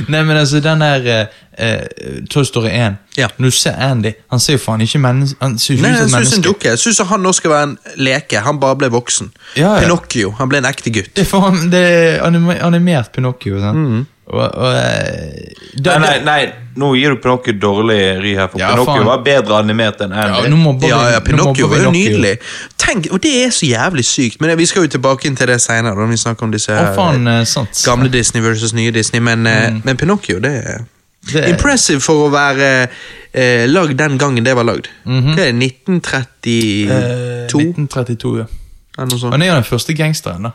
[SPEAKER 2] Nei, men altså, den der eh, eh, Toy Story 1
[SPEAKER 1] Ja.
[SPEAKER 2] Når du ser Andy, han ser jo faen ikke menneske Han ser jo
[SPEAKER 1] Nei,
[SPEAKER 2] ikke ut
[SPEAKER 1] jeg
[SPEAKER 2] som et
[SPEAKER 1] synes en
[SPEAKER 2] menneske.
[SPEAKER 1] dukke. Jeg synes at han nå skal være en leke. Han bare ble voksen.
[SPEAKER 2] Ja, ja.
[SPEAKER 1] Pinocchio. Han ble en ekte gutt.
[SPEAKER 2] Det er faen, det er anima animert Pinocchio, sant?
[SPEAKER 1] Mm.
[SPEAKER 2] Og, og eh, da,
[SPEAKER 3] Nei, nei, nei, nå gir du Pinocchio dårlig ry her, for
[SPEAKER 2] Ja,
[SPEAKER 3] Pinocchio
[SPEAKER 2] faen.
[SPEAKER 3] var bedre animert enn
[SPEAKER 2] Ja,
[SPEAKER 3] Andy.
[SPEAKER 2] nå må Bobby,
[SPEAKER 1] Ja, ja, Pinocchio
[SPEAKER 2] nå må
[SPEAKER 1] var jo
[SPEAKER 2] Bobby Pinocchio.
[SPEAKER 1] nydelig. Tenk, og Det er så jævlig sykt, men vi skal jo tilbake inn til det senere. Når vi snakker om disse
[SPEAKER 2] Å,
[SPEAKER 1] her,
[SPEAKER 2] faen, eh, sant.
[SPEAKER 1] gamle Disney versus nye Disney, men, eh, men Pinocchio, det er
[SPEAKER 2] Mm. Det er-
[SPEAKER 1] Impressive for å være eh, lagd den gangen det var lagd. Hva er det, 1932?
[SPEAKER 2] Mhm. Eh, 1932, ja.
[SPEAKER 1] eller noe sånt?
[SPEAKER 2] Han er jo den første gangsteren, da.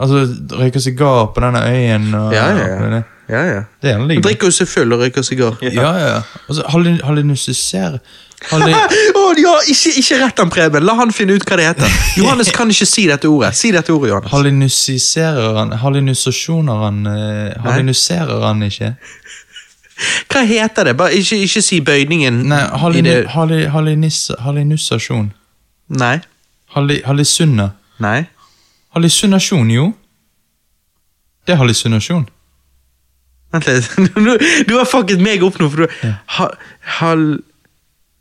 [SPEAKER 2] Altså, røyker sigar på denne øyen og
[SPEAKER 1] Ja, ja,
[SPEAKER 2] og
[SPEAKER 1] ja.
[SPEAKER 2] det-
[SPEAKER 1] ja, ja.
[SPEAKER 2] Det er han
[SPEAKER 1] Han
[SPEAKER 2] ligger
[SPEAKER 1] drikker jo seg full og røyker sigar. Å,
[SPEAKER 2] Ja, ja. ja. Altså, halli- hallusiser halli-
[SPEAKER 1] ja, ikke, ikke rett han Preben! La han finne ut hva det heter. Johannes kan ikke si dette ordet. Si dette ordet, Johannes.
[SPEAKER 2] Hallinisiserer han Hallinusasjoner han eh, Hallinuserer han ikke?
[SPEAKER 1] Hva heter det? Bare ikke, ikke si bøyningen
[SPEAKER 2] Nei,
[SPEAKER 1] i
[SPEAKER 2] hallin,
[SPEAKER 1] det
[SPEAKER 2] halli, hallinis, hallinusasjon.
[SPEAKER 1] Nei.
[SPEAKER 2] Halli, hallisunna.
[SPEAKER 1] Nei.
[SPEAKER 2] Hallisunasjon, jo. Det er hallisunasjon.
[SPEAKER 1] Vent litt. Du, du har fucket meg opp nå, for du ha, Hal...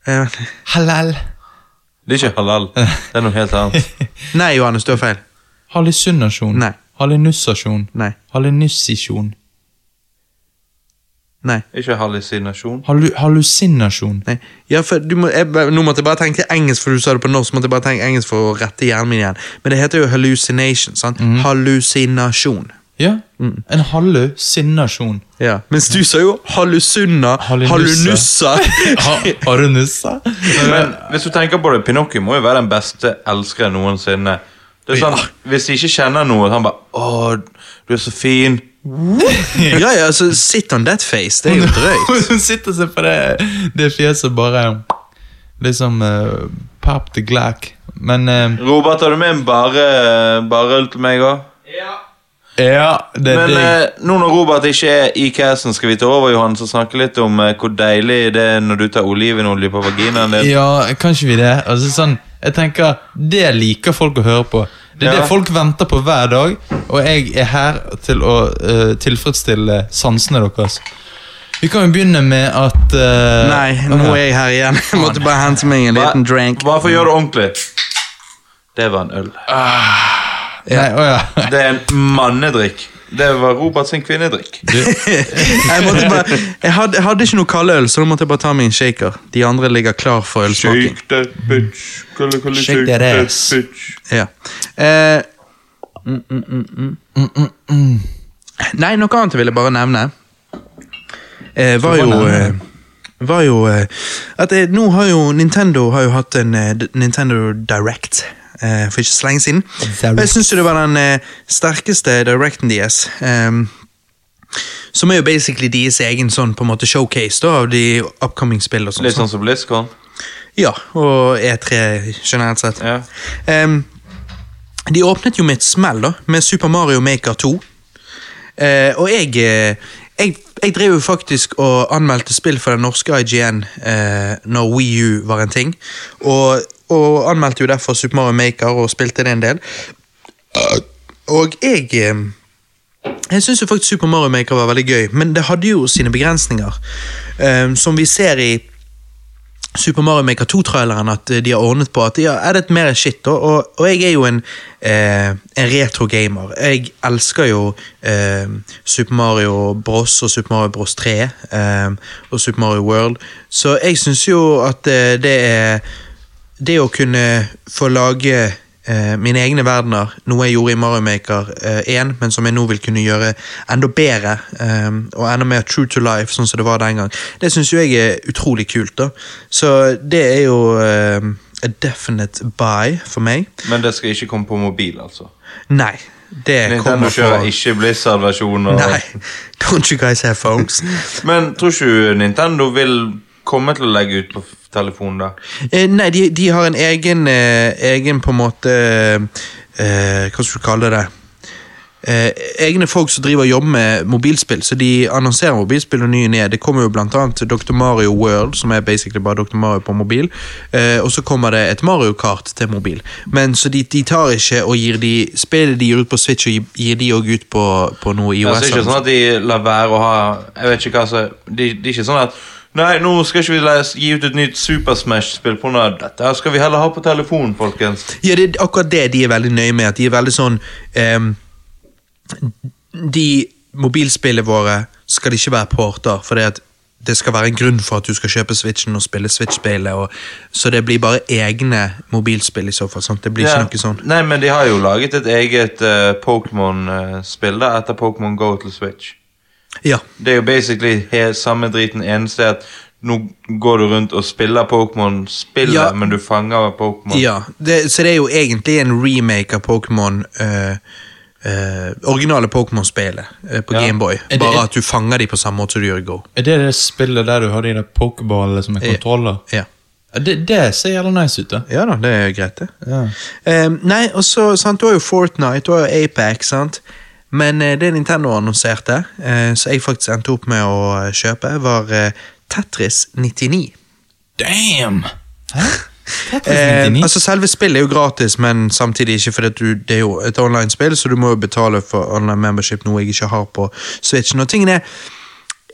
[SPEAKER 1] eh,
[SPEAKER 2] Halal.
[SPEAKER 3] Det er ikke halal. Det er noe helt annet.
[SPEAKER 1] Nei, Johannes, du har feil.
[SPEAKER 2] Hallisunasjon.
[SPEAKER 1] Nei.
[SPEAKER 2] Hallinusasjon.
[SPEAKER 1] Nei.
[SPEAKER 2] Hallinusisjon.
[SPEAKER 1] Nei.
[SPEAKER 3] Ikke hallusinasjon.
[SPEAKER 2] Hallu, hallusinasjon.
[SPEAKER 1] Nei. Ja, for du må, jeg, bare- nå måtte jeg bare tenke engelsk, for du sa det på norsk. så måtte jeg bare tenke engelsk for å rette hjernen min igjen. Men det heter jo hallucination. sant?
[SPEAKER 3] Mhm.
[SPEAKER 1] Hallusinasjon.
[SPEAKER 2] Ja.
[SPEAKER 1] Mm.
[SPEAKER 2] En hallusinasjon.
[SPEAKER 1] Ja. Mens du sa jo hallusunna, hallunussa.
[SPEAKER 2] Hallunussa. Ha, Harunussa?
[SPEAKER 3] Men
[SPEAKER 2] eh,
[SPEAKER 3] hvis du tenker på det, Pinocchio må jo være den beste elskeren noensinne. Det er sånn, Hvis de ikke kjenner noe, han bare 'Å, du er så fin'.
[SPEAKER 1] ja, ja, altså, sit on that face. Det er jo drøyt.
[SPEAKER 2] Hun sitter seg på det, det fjeset bare Liksom eh, Pop the glack. Men eh,
[SPEAKER 3] Robert, har du med en bare, bareøl til meg òg?
[SPEAKER 2] Ja, det er
[SPEAKER 3] Men
[SPEAKER 2] digg.
[SPEAKER 3] eh, nå når Robert ikke er i casen, skal vi ta over Johan, og snakke litt om eh, hvor deilig det er når du tar olivenolje på vaginaen din.
[SPEAKER 2] Ja, kanskje vi det. Altså sånn, jeg tenker, Det liker folk å høre på. Det er
[SPEAKER 3] Ja.
[SPEAKER 2] det folk venter på hver dag, og jeg er her til å eh, tilfredsstille sansene deres. Vi kan jo begynne med at eh,
[SPEAKER 1] Nei, nå er jeg her igjen. Jeg måtte bare hente meg en
[SPEAKER 3] Hva-
[SPEAKER 1] liten drink.
[SPEAKER 3] Bare for å gjøre det ordentlig. Det var en øl.
[SPEAKER 2] Nei, å ja.
[SPEAKER 3] Det er en mannedrikk. Det var Robert sin kvinnedrikk.
[SPEAKER 1] Jeg, måtte bare, jeg, hadde, jeg hadde ikke noe kaldøl, så da måtte jeg bare ta meg en shaker. De andre ligger klar for ølsmaking.
[SPEAKER 3] Shake that bitch. Kalle, kalle,
[SPEAKER 2] Shake that ass.
[SPEAKER 3] bitch.
[SPEAKER 1] Ja. Eh, mm, mm, mm, mm. Nei, noe annet jeg ville bare nevne, eh, var jo eh, var jo eh, at eh, nå har jo Nintendo har jo hatt en eh, D- Nintendo Direct. eh, for ikke så lenge siden.
[SPEAKER 2] Direct.
[SPEAKER 1] Og jeg syns det var den eh, sterkeste directen deres. ehm, som er jo basically deres egen sånn på en måte showcase da, av de upcoming spill og sånn.
[SPEAKER 3] Litt sånn som BlizzCon.
[SPEAKER 1] Ja, og E3 generelt sett.
[SPEAKER 3] Ja.
[SPEAKER 1] Ehm, de åpnet jo med et smell, da, med Super Mario Maker 2. Eh, og jeg, eh, jeg Jeg drev jo faktisk og anmeldte spill for den norske IGN eh, når Wii U var en ting. Og, og anmeldte jo derfor Super Mario Maker og spilte det en del. Og jeg eh, jeg syns jo faktisk Super Mario Maker var veldig gøy, men det hadde jo sine begrensninger. Ehm, som vi ser i Super Mario Maker 2-traileren at eh, de har ordnet på at ja, er det et mer shit, da? Og, og jeg er jo en, eh, en retro-gamer. Jeg elsker jo eh, Super Mario Bros. og Super Mario Bros. 3 eh, og Super Mario World, så jeg syns jo at eh, det er det å kunne få lage eh, mine egne verdener, noe jeg gjorde i Mario Maker eh, 1, men som jeg nå vil kunne gjøre enda bedre, eh, og enda mer true to life, sånn som det var den gang, det syns jo jeg er utrolig kult. da. Så det er jo eh, a definite buy for meg.
[SPEAKER 3] Men det skal ikke komme på mobil, altså.
[SPEAKER 1] Nei, det
[SPEAKER 3] Nintendo
[SPEAKER 1] kommer fra
[SPEAKER 3] kjører ikke Blizzard-versjonen.
[SPEAKER 1] Nei, don't you guys have phones?
[SPEAKER 3] Men tror ikke du Nintendo vil komme til å legge ut på f- telefonen, da?
[SPEAKER 1] Eh, nei, de, de har en egen, eh, egen på en måte eh, Hva skal du kalle det? Eh, egne folk som driver og jobber med mobilspill, så de annonserer mobilspill og nye ned. Det kommer jo blant annet Dr. Mario World, som er basically bare Dr. Mario på mobil. Eh, og så kommer det et Mario Kart til mobil. Men så de, de tar ikke og gir de Spillet de gir ut på Switch, og gir, gir de òg ut på, på noe
[SPEAKER 3] Det
[SPEAKER 1] iOS.
[SPEAKER 3] er ikke sånn at de lar være å ha Jeg vet ikke hva som de, de er ikke sånn at Nei, nå skal ikke vi les- gi ut et nytt Super Smash-spill på grunn av Dette her skal vi heller ha på telefonen, folkens.
[SPEAKER 1] Ja, det er akkurat det de er veldig nøye med. At de er veldig sånn ehm, De mobilspillene våre skal det ikke være porter, for det, det skal være en grunn for at du skal kjøpe Switchen og spille Switch-spillet. og- Så det blir bare egne mobilspill i så fall. sant? Det blir
[SPEAKER 3] Ja.
[SPEAKER 1] ikke noe sånn.
[SPEAKER 3] Nei, men de har jo laget et eget eh, Pokémon-spill da, etter Pokémon Go til Switch.
[SPEAKER 1] Ja.
[SPEAKER 3] Det er jo basically he, samme driten, eneste at nå går du rundt og spiller Pokémon-spillet,
[SPEAKER 1] Ja.
[SPEAKER 3] men du fanger Pokémon.
[SPEAKER 1] ja. Det, så det er jo egentlig en remake av Pokémon eh, eh, originale Pokémon-spillet eh, på
[SPEAKER 3] Ja.
[SPEAKER 1] Gameboy.
[SPEAKER 2] det-
[SPEAKER 1] Bare at du fanger dem på samme måte som du gjør i Go.
[SPEAKER 2] Er det det spillet der du har de der pokeballene som er kontroller?
[SPEAKER 1] Ja.
[SPEAKER 2] Ja, Det, det ser jævla nice ut, da.
[SPEAKER 1] ja da, det er greit, det.
[SPEAKER 2] Ja.
[SPEAKER 1] Ehm, nei, og så, sant, Du har jo Fortnite, du har jo Apex, sant? men eh, det Nintendo annonserte, eh, så jeg faktisk endte opp med å eh, kjøpe, var eh, Tetris 99.
[SPEAKER 2] Damn! Hæ?
[SPEAKER 1] Eh,
[SPEAKER 2] 99?
[SPEAKER 1] altså Selve spillet er jo gratis, men samtidig ikke, for det, du, det er jo et online-spill, så du må jo betale for online membership, noe jeg ikke har på Switchen. Og tingen er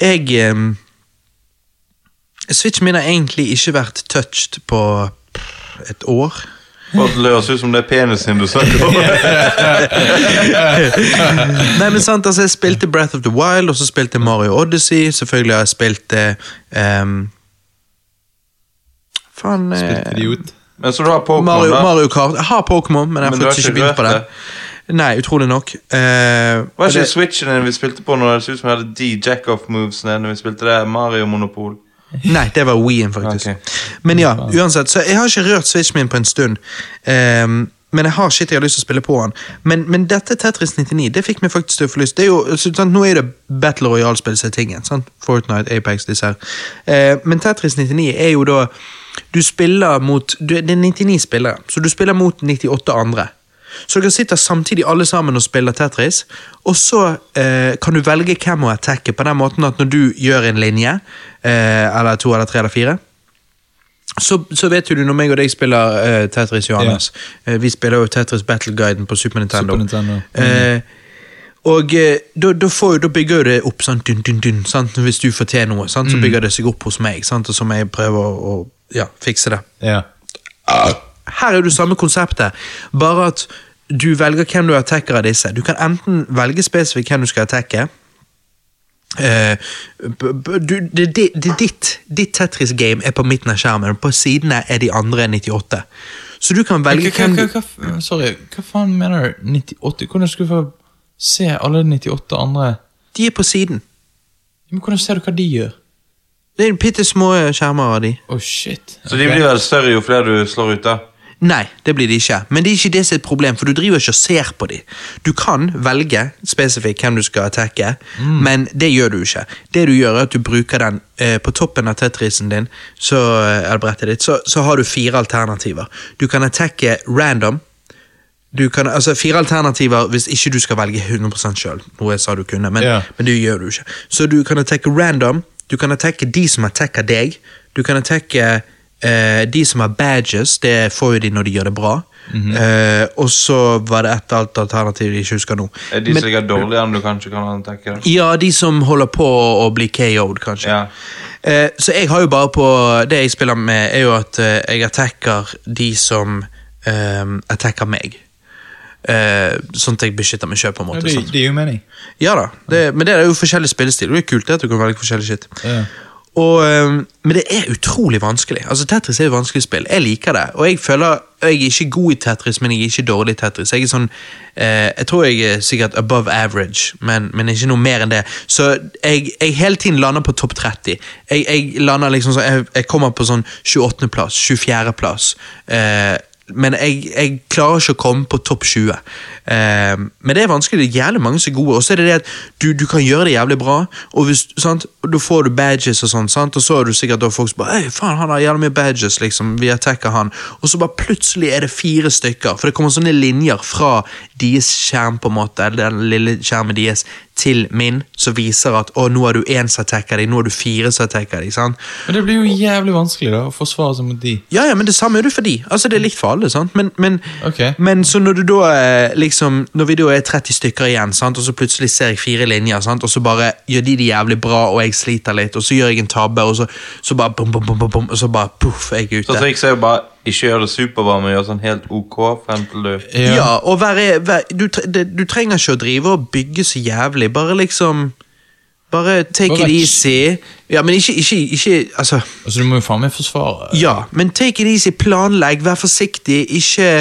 [SPEAKER 1] Jeg ehm, Switchen min har egentlig ikke vært touched på pff, et år.
[SPEAKER 3] For det høres ut som det er penisen du snakker om.
[SPEAKER 1] Nei, men sant, altså Jeg spilte Breath of the Wild, og så spilte jeg Mario Odyssey. Selvfølgelig har jeg spilt eh, um, Faen eh,
[SPEAKER 2] Spilt idiot.
[SPEAKER 3] Men så du har Pokémon,
[SPEAKER 1] Mario,
[SPEAKER 3] da.
[SPEAKER 1] Mario Kart. Jeg har Pokémon, men jeg har
[SPEAKER 3] Men du har
[SPEAKER 1] faktisk ikke
[SPEAKER 3] ikke
[SPEAKER 1] begynt på
[SPEAKER 3] rørt
[SPEAKER 1] det. Nei, utrolig nok. Eh,
[SPEAKER 3] Var
[SPEAKER 1] og
[SPEAKER 3] ikke
[SPEAKER 1] det,
[SPEAKER 3] Switchen din vi spilte på når det så ut som vi hadde de jackoff-movesene når vi spilte det Mario Monopol?
[SPEAKER 1] nei, det var Wien, faktisk.
[SPEAKER 3] Ok.
[SPEAKER 1] Men ja, uansett. Så jeg har ikke rørt Switchen min på en stund. Eh, men jeg har shit jeg har lyst til å spille på han. Men, men dette Tetris 99 det fikk meg faktisk til å få lyst. Det er jo, så- sant, nå er det Battle Royale-spill som er tingen. Sant? Fortnite, Apex, disse her. Eh, men Tetris 99 er jo da Du spiller mot du, Det er 99 spillere, så du spiller mot 98 andre. Så dere sitter samtidig alle sammen og spiller Tetris, og så eh, kan du velge hvem å attacke på den måten at når du gjør en linje, eh, eller to eller tre eller fire, så, så vet jo du, når meg og deg spiller eh, Tetris Johannes eh, Vi spiller jo Tetris Battle Guiden på Super Nintendo.
[SPEAKER 2] Super Nintendo.
[SPEAKER 1] Eh, og eh, da, da, får, jo- da bygger jo det opp sånn dun, dun, dun, sant? Hvis du får til noe, sant? så
[SPEAKER 2] Mm.
[SPEAKER 1] bygger det seg opp hos meg, sant? og så må jeg prøve å, å ja, fikse det.
[SPEAKER 2] Ja.
[SPEAKER 1] Her er jo det samme konseptet, bare at du velger hvem du attacker av disse. Du kan enten velge spesifikt hvem du skal attacke. Eh, b- b- du, det, det, det, ditt ditt Tetris-game er på midten av skjermen, og på sidene er de andre 98. Så du kan
[SPEAKER 2] Hva,
[SPEAKER 1] velge
[SPEAKER 2] hva,
[SPEAKER 1] hvem du
[SPEAKER 2] hva, hva, f- eh, sorry, hva faen mener du? 98? Hvordan skal du få se alle 98 andre
[SPEAKER 1] De er på siden.
[SPEAKER 2] Men Hvordan ser du hva de gjør?
[SPEAKER 1] Det er bitte små skjermer av de.
[SPEAKER 2] Å, shit.
[SPEAKER 3] Så de blir vel større jo flere du slår ut, da.
[SPEAKER 1] Nei, det blir de ikke. Men det er ikke det som er et problem, for du driver ikke og ser på dem. Du kan velge spesifikt hvem du skal attacke, men det gjør du ikke. Det du gjør, er at du bruker den eh, på toppen av Tetrisen din, så, eh, eller brettet ditt, så, så har du fire alternativer. Du kan attacke random. Du kan, altså Fire alternativer hvis ikke du skal velge 100 sjøl, noe jeg sa du kunne, men,
[SPEAKER 2] Ja.
[SPEAKER 1] men det gjør du ikke. Så du kan attacke random, du kan attacke de som attacker deg, du kan attacke eh, de som har badges, det får jo de når de gjør det bra. Eh, og så var det et alt alternativ de ikke husker nå.
[SPEAKER 3] Er de som ligger dårligere enn du kanskje kan tenke deg?
[SPEAKER 1] Ja, de som holder på å bli KO'd, kanskje.
[SPEAKER 3] Ja.
[SPEAKER 1] Eh, så jeg har jo bare på Det jeg spiller med, er jo at eh, jeg attacker de som eh, attacker meg. Eh, sånn at jeg beskytter meg sjøl, på en måte. sånn.
[SPEAKER 2] det,
[SPEAKER 1] sant?
[SPEAKER 2] det gir jo mening.
[SPEAKER 1] Ja da, det, men det er jo forskjellig spillestil. og Det er kult det at du kan velge forskjellig shit.
[SPEAKER 2] Ja.
[SPEAKER 1] Og, øhm, men det er utrolig vanskelig. Altså Tetris er jo et vanskelig spill. Jeg liker det. Og jeg føler jeg er ikke god i Tetris, men jeg er ikke dårlig i Tetris. Jeg er sånn, eh, jeg tror jeg er sikkert above average, men, men ikke noe mer enn det. Så jeg, jeg hele tiden lander på topp 30. Jeg, jeg lander liksom sånn, jeg, jeg kommer på sånn 28.-plass, 24.-plass. Eh, men jeg, jeg klarer ikke å komme på topp 20. Eh, men det er vanskelig. Det er jævlig mange som er gode. Og så er det det at du, du kan gjøre det jævlig bra, og hvis, sant? og da får du badges og sånn, sant? og så er du sikkert da folk som bare Øy, faen, han har jævlig mye badges, liksom. Vi attacker han. Og så bare plutselig er det fire stykker, for det kommer sånne linjer fra deres skjerm, på en måte, eller den lille skjermen deres, til min, som viser at å, nå er du én som attacker deg, nå er du fire som attacker deg. sant?
[SPEAKER 2] Men det blir jo jævlig vanskelig da, å forsvare seg mot de.
[SPEAKER 1] Ja, ja, men det samme er det for de. Altså, det er likt for alle, sant? Men, men,
[SPEAKER 2] Ok.
[SPEAKER 1] men så når du da eh, liksom, når vi da er 30 stykker igjen, sant? og så plutselig ser jeg fire linjer, sant? og så bare gjør de det jævlig bra, og jeg sliter litt, og så gjør jeg en tabbe, og så, så bare bom, bom, bom, bom, bom, og så bare poff, jeg er ute.
[SPEAKER 3] Så trikset er jo bare ikke gjøre det superbra, men gjøre sånn helt OK frem til du
[SPEAKER 1] ja. og være, være, du, tre- det- du trenger ikke å drive og bygge så jævlig, bare liksom, bare take
[SPEAKER 2] Bare
[SPEAKER 1] it
[SPEAKER 2] vekk.
[SPEAKER 1] easy. Ja, men ikke, ikke, ikke, altså...
[SPEAKER 2] Altså, du må jo faen meg forsvare.
[SPEAKER 1] Ja, men take it easy, planlegg, vær forsiktig, ikke,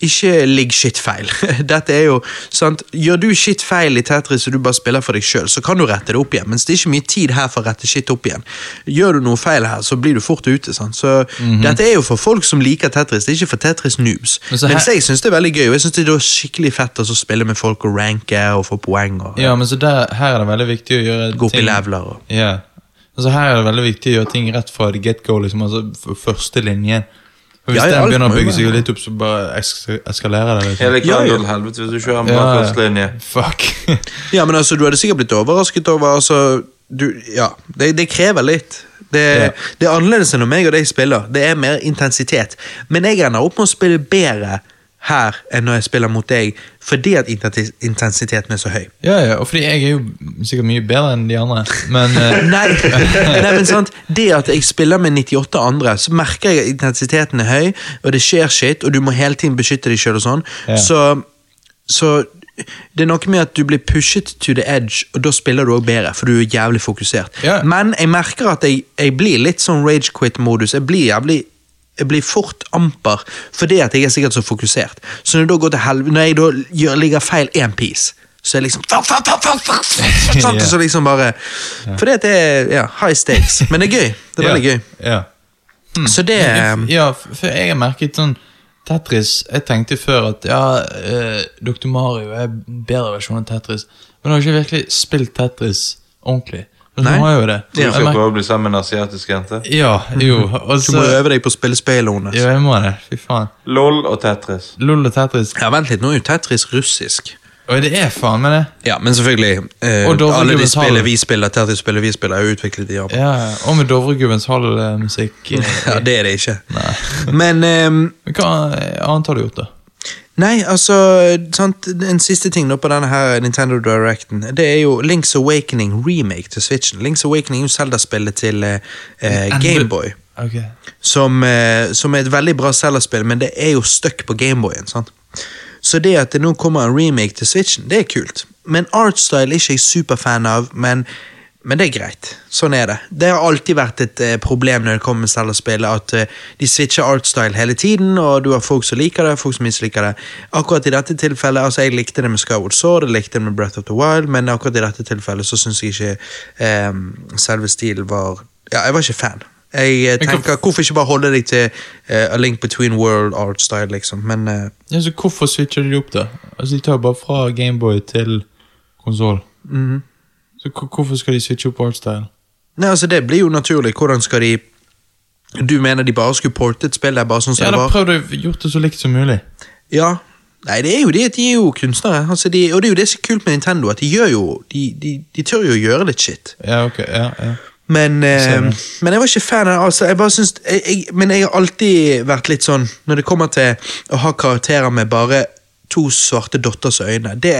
[SPEAKER 1] ikke ligg shit feil. Dette er jo, sant, Gjør du shit feil i Tetris og du bare spiller for deg sjøl, så kan du rette det opp igjen, mens det er ikke mye tid her for å rette shit opp igjen. Gjør du noe feil her, så blir du fort ute. sant, så Dette er jo for folk som liker Tetris, det er ikke for Tetris noobs.
[SPEAKER 2] Mhm. Men
[SPEAKER 1] Men,
[SPEAKER 2] så her-
[SPEAKER 1] så jeg syns det er veldig gøy, og jeg synes det er da skikkelig fett å så spille med folk og ranke og få poeng og
[SPEAKER 2] Ja, men så der, her er det veldig viktig å gjøre
[SPEAKER 1] gå opp i leveler og
[SPEAKER 2] Ja. Altså Her er det veldig viktig å gjøre ting rett fra the get go. Liksom, altså f- Første linjen. Og Hvis
[SPEAKER 1] Ja, ja,
[SPEAKER 2] den
[SPEAKER 1] alt
[SPEAKER 2] begynner
[SPEAKER 1] må
[SPEAKER 2] å
[SPEAKER 1] jo
[SPEAKER 2] bygge seg
[SPEAKER 1] være-
[SPEAKER 2] litt opp, så bare es- eskalerer det. Liksom.
[SPEAKER 3] Hele
[SPEAKER 1] Ja, ja.
[SPEAKER 3] kvelden til helvete hvis du kjører med
[SPEAKER 2] Ja, ja.
[SPEAKER 3] førstelinje.
[SPEAKER 2] Fuck.
[SPEAKER 1] Ja, men altså, du hadde sikkert blitt overrasket over altså, du, ja, det, det krever litt. Det,
[SPEAKER 2] Ja.
[SPEAKER 1] det er annerledes enn når meg og deg spiller. Det er mer intensitet. Men jeg ender opp med å spille bedre her enn når jeg spiller mot deg, fordi at intensi- intensiteten er så høy.
[SPEAKER 2] ja, ja, og fordi jeg er jo sikkert mye bedre enn de andre, men eh,
[SPEAKER 1] Nei, nei men sant Det at jeg spiller med 98 andre Så merker jeg at intensiteten er høy Og det skjer shit, og du må hele tiden beskytte deg selv og sånn
[SPEAKER 2] Ja.
[SPEAKER 1] Så, så det er noe med at du blir pushet to the edge Og da spiller du også bedre For du er jævlig fokusert
[SPEAKER 2] Ja.
[SPEAKER 1] Men jeg merker at jeg, jeg blir litt sånn rage quit modus Jeg blir jævlig jeg blir fort amper Fordi at jeg er sikkert så fokusert Så når jeg da går til helvete Når jeg da gjør, ligger feil en piece Så er jeg liksom fuck, fuck, fuck, fuck, fuck, fuck,
[SPEAKER 2] Ja.
[SPEAKER 1] fuck, så liksom bare Fordi at det er ja, high stakes. Men det er gøy. Det er veldig gøy.
[SPEAKER 2] Ja, ja.
[SPEAKER 1] Så det um,
[SPEAKER 2] Men jeg- Ja, for for jeg har merket sånn Tetris Jeg tenkte før at ja, eh, Dr. Mario er en bedre versjon av Tetris. Men jeg har ikke virkelig spilt Tetris ordentlig. Men
[SPEAKER 1] Nei.
[SPEAKER 2] nå har jeg jo det.
[SPEAKER 3] Du
[SPEAKER 2] Jeg
[SPEAKER 3] skal
[SPEAKER 2] merker-
[SPEAKER 3] prøve å bli sammen med en asiatisk jente.
[SPEAKER 2] Ja, jo. Og
[SPEAKER 1] Du må
[SPEAKER 2] så
[SPEAKER 1] øve deg på å spille spill, Ones.
[SPEAKER 2] Ja, jeg må det. Fy faen.
[SPEAKER 3] LOL og Tetris.
[SPEAKER 2] LOL og Tetris.
[SPEAKER 1] Ja, vent litt, nå er jo Tetris russisk.
[SPEAKER 2] Og det er faen meg det.
[SPEAKER 1] Ja, men selvfølgelig. Eh,
[SPEAKER 2] Og Dovre
[SPEAKER 1] alle de
[SPEAKER 2] Gubbens
[SPEAKER 1] spillene
[SPEAKER 2] Hall.
[SPEAKER 1] vi spiller, Tetris-spillene vi spiller, er jo utviklet i Japan.
[SPEAKER 2] Ja, og med Dovregubbens hall-musikk.
[SPEAKER 1] Ja, det er det ikke. Men ehm,
[SPEAKER 2] Hva annet har du gjort, da?
[SPEAKER 1] Nei, altså sant, En siste ting nå på denne her Nintendo Directen. Det er jo Links Awakening remake til Switchen. Links Awakening er jo Zelda-spillet til eh, eh,
[SPEAKER 2] Enda-
[SPEAKER 1] Gameboy.
[SPEAKER 2] Ok.
[SPEAKER 1] som, eh, som er et veldig bra Zelda-spill, men det er jo stuck på Gameboyen. sant? Så det at det nå kommer en remake til Switchen, det er kult. Men artstyle er ikke jeg superfan av, men, men det er greit. Sånn er det. Det har alltid vært et eh, problem når det kommer med Zelda-spill, at eh, de switcher artstyle hele tiden, og du har folk som liker det, og folk som misliker det. Akkurat i dette tilfellet, altså jeg likte det med Skyward Sword, jeg likte det med Breath of the Wild, men akkurat i dette tilfellet så syns jeg ikke eh, selve stilen var Ja, jeg var ikke fan. Jeg eh,
[SPEAKER 2] Men
[SPEAKER 1] tenker, Hvorfor ikke bare holde deg til eh, A Link Between World Art Style, liksom? Men eh,
[SPEAKER 2] Ja, så hvorfor switcher de opp, da? Altså, De tar jo bare fra Gameboy til konsoll. Mhm. Så hvor- hvorfor skal de switche opp artstyle?
[SPEAKER 1] Nei, altså Det blir jo naturlig. Hvordan skal de Du mener de bare skulle porte et spill der bare sånn som
[SPEAKER 2] Ja,
[SPEAKER 1] det
[SPEAKER 2] da
[SPEAKER 1] var?
[SPEAKER 2] prøv å gjort det så likt som mulig.
[SPEAKER 1] Ja. Nei, det er jo det. De er jo kunstnere. Altså de, og det er jo det som er kult med Nintendo, at de gjør jo De, de, de tør jo å gjøre litt shit.
[SPEAKER 2] Ja, ok, ja, ja.
[SPEAKER 1] Men, eh,
[SPEAKER 2] ser det.
[SPEAKER 1] men jeg var ikke fan av det. Altså, jeg bare syns, jeg, jeg, men jeg har alltid vært litt sånn Når det kommer til å ha karakterer med bare to svarte dotters øyne det,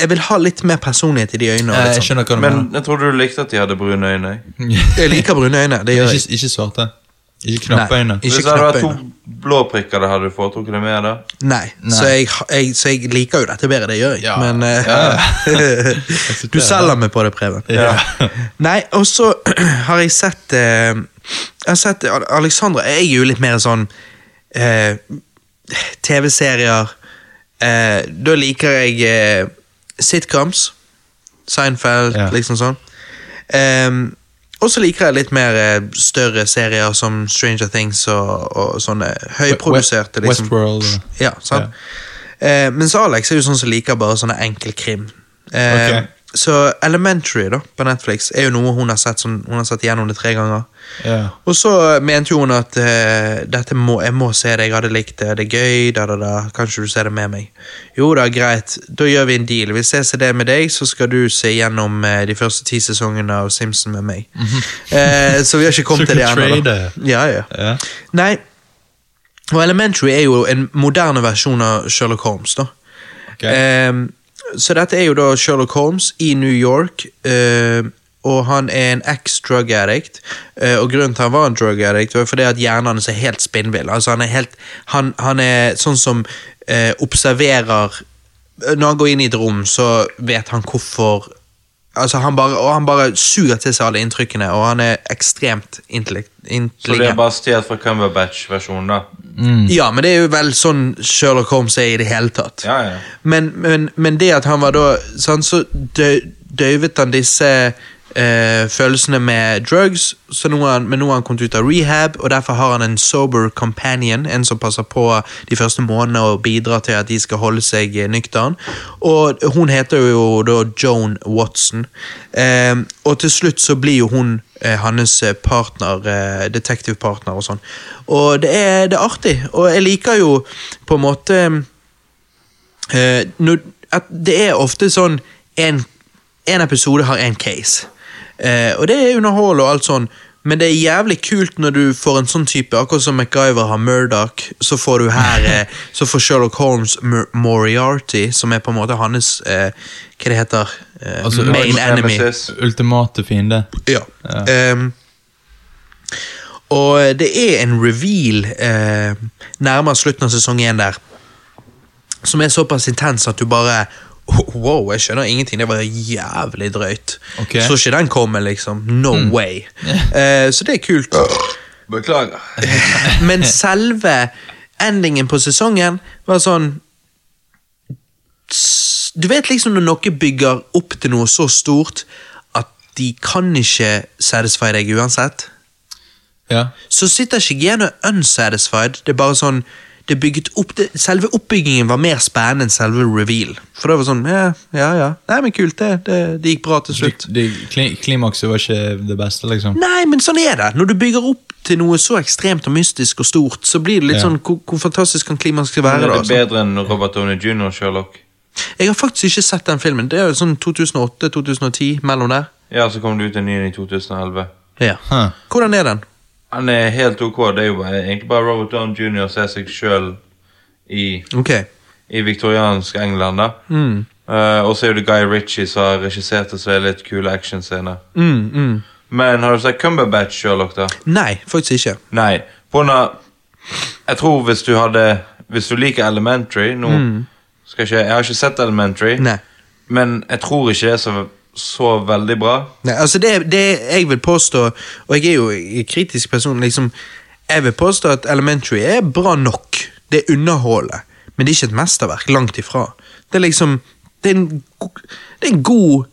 [SPEAKER 1] Jeg vil ha litt mer personlighet i de øynene. Og
[SPEAKER 2] Eh, Jeg
[SPEAKER 1] litt sånn.
[SPEAKER 2] skjønner hva du
[SPEAKER 3] Men
[SPEAKER 2] mener.
[SPEAKER 3] jeg trodde du likte at de hadde brune øyne. jeg.
[SPEAKER 1] Jeg liker Eh, brune er øyne. Det gjør jeg.
[SPEAKER 2] ikke, ikke svarte. Ikke knappe
[SPEAKER 1] Nei,
[SPEAKER 2] øyne.
[SPEAKER 1] ikke
[SPEAKER 3] Hvis det hadde vært
[SPEAKER 1] knappe
[SPEAKER 3] to blå prikker, det hadde du foretrukket det mer da?
[SPEAKER 1] Nei,
[SPEAKER 2] Nei.
[SPEAKER 1] Så, jeg, jeg, så jeg liker jo dette bedre, det gjør jeg.
[SPEAKER 2] Ja.
[SPEAKER 1] Men eh, du
[SPEAKER 2] det.
[SPEAKER 1] selger meg på det, Preben.
[SPEAKER 2] Ja.
[SPEAKER 1] Nei, og så har jeg sett eh, Jeg har sett Al- Alexandra Jeg er jo litt mer sånn eh, TV-serier eh, Da liker jeg eh, sitcoms. Seinfeld,
[SPEAKER 2] Ja.
[SPEAKER 1] liksom sånn. Ehm, og så liker jeg litt mer eh, større serier som Stranger Things og, og sånne høyproduserte. liksom.
[SPEAKER 2] Westworld. og-
[SPEAKER 1] Ja, sant? Eh, mens Alex er jo sånn som liker bare sånne enkel krim. Eh,
[SPEAKER 2] Ok.
[SPEAKER 1] Så Elementary da, på Netflix er jo noe hun har sett sånn, Hun har sett gjennom det tre ganger.
[SPEAKER 2] Ja.
[SPEAKER 1] Og så mente jo hun at eh, dette må, jeg må se det, jeg hadde likt det, det er gøy, da, da, da. kanskje du ser det med meg. Jo da, greit, da gjør vi en deal. Hvis jeg ser det med deg, så skal du se gjennom eh, de første ti sesongene av Simpson med meg. eh, så vi har ikke kommet
[SPEAKER 2] Mhm. Så
[SPEAKER 1] til det
[SPEAKER 2] kan
[SPEAKER 1] ennå. da.
[SPEAKER 2] trade.
[SPEAKER 1] Ja, ja.
[SPEAKER 2] Ja.
[SPEAKER 1] Nei, og Elementary er jo en moderne versjon av Sherlock Holmes, da.
[SPEAKER 2] ok.
[SPEAKER 1] Ehm, så dette er jo da Sherlock Holmes i New York, ehm, og han er en ex-drug addict. eh, og grunnen til at han var en drug addict, var fordi at hjernen hans er helt spinnvill. Altså, han, er helt, han, han er sånn som eh, observerer eh, Når han går inn i et rom, så vet han hvorfor Altså, han bare, og han bare suger til seg alle inntrykkene, og han er ekstremt intellekt-
[SPEAKER 3] Så det
[SPEAKER 1] intelligent.
[SPEAKER 3] er bare stjålet fra Cumberbatch-versjonen, da?
[SPEAKER 1] Ja, men det er jo vel sånn Sherlock Holmes er i det hele tatt.
[SPEAKER 3] Ja, ja.
[SPEAKER 1] Men, men, men det at han var da sant, Så dø, døyvet han disse eh, følelsene med drugs, så nå har han, men nå har han kommet ut av rehab, og derfor har han en sober companion, en som passer på de første månedene og bidrar til at de skal holde seg eh, nøktern. Og hun heter jo da Joan Watson, eh, og til slutt så blir jo hun eh, hans eh, partner, eh, detektivpartner og sånn. Og det er, det er artig, og jeg liker jo på en måte Eh, når, at det er ofte sånn en, en episode har en case. Eh, og det er underhold og alt sånn, men det er jævlig kult når du får en sånn type, akkurat som MacGyver har Murdoch, så får du her eh, Så får Sherlock Holmes Mor Moriarty, som er på en måte hans eh, Hva det heter eh,
[SPEAKER 2] Altså,
[SPEAKER 1] Main enemy.
[SPEAKER 3] Nemesis.
[SPEAKER 2] Ultimate fiende.
[SPEAKER 1] Ja. Ehm, og det er en reveal eh, nærmere slutten av sesong én der, som er såpass intens at du bare Wow, jeg skjønner ingenting. Det var jævlig drøyt.
[SPEAKER 2] Ok.
[SPEAKER 1] Så ikke den komme, liksom. No way. Eh, så det er kult.
[SPEAKER 3] Beklager.
[SPEAKER 1] Men selve endingen på sesongen var sånn s- Du vet liksom når noe bygger opp til noe så stort at de kan ikke satisfy deg uansett,
[SPEAKER 2] Ja.
[SPEAKER 1] så sitter ikke jeg igjen og er unsatisfied. Det er bare sånn det er bygget opp, det, Selve oppbyggingen var mer spennende enn selve reveal. For det var sånn Ja, ja. ja. Nei, men kult, det. Det, det gikk bra til slutt.
[SPEAKER 2] Det- kli- Klimakset var ikke det beste, liksom.
[SPEAKER 1] Nei, men sånn er det. Når du bygger opp til noe så ekstremt og mystisk og stort, så blir det litt
[SPEAKER 2] Ja.
[SPEAKER 1] sånn hvor, hvor fantastisk kan klimaet skal
[SPEAKER 3] Er
[SPEAKER 1] være? da?
[SPEAKER 3] det
[SPEAKER 1] sant?
[SPEAKER 3] bedre enn Robert Downey Jr. Sherlock?
[SPEAKER 1] Jeg har faktisk ikke sett den filmen. Det er jo sånn 2008-2010, mellom der.
[SPEAKER 3] Ja, så kom det ut en ny i 2011.
[SPEAKER 1] Ja.
[SPEAKER 2] Huh.
[SPEAKER 1] Hvordan er den?
[SPEAKER 3] Han er helt ok. Det er jo bare, egentlig bare Robert Downey Jr. ser seg sjøl i,
[SPEAKER 1] Ok. Mm,
[SPEAKER 3] i viktoriansk England, da. Eh, og så er det Guy Ritchie som har regissert det, så er det litt kule actionscener.
[SPEAKER 1] Mm, mm.
[SPEAKER 3] Men har du sett Cumberbatch, Sherlock, da?
[SPEAKER 1] Nei, faktisk ikke.
[SPEAKER 3] Nei. Ponna, jeg tror hvis du hadde Hvis du liker Elementary Nå skal ikke Jeg har ikke sett Elementary,
[SPEAKER 1] Mm. Nei.
[SPEAKER 3] men jeg tror ikke det er så, så veldig bra.
[SPEAKER 1] Nei, altså det, det jeg vil påstå, og jeg er jo en kritisk person, liksom, jeg vil påstå at Elementary er bra nok. Det er underholdet, men det er ikke et mesterverk, langt ifra. Det er liksom, det er en, go- det er en god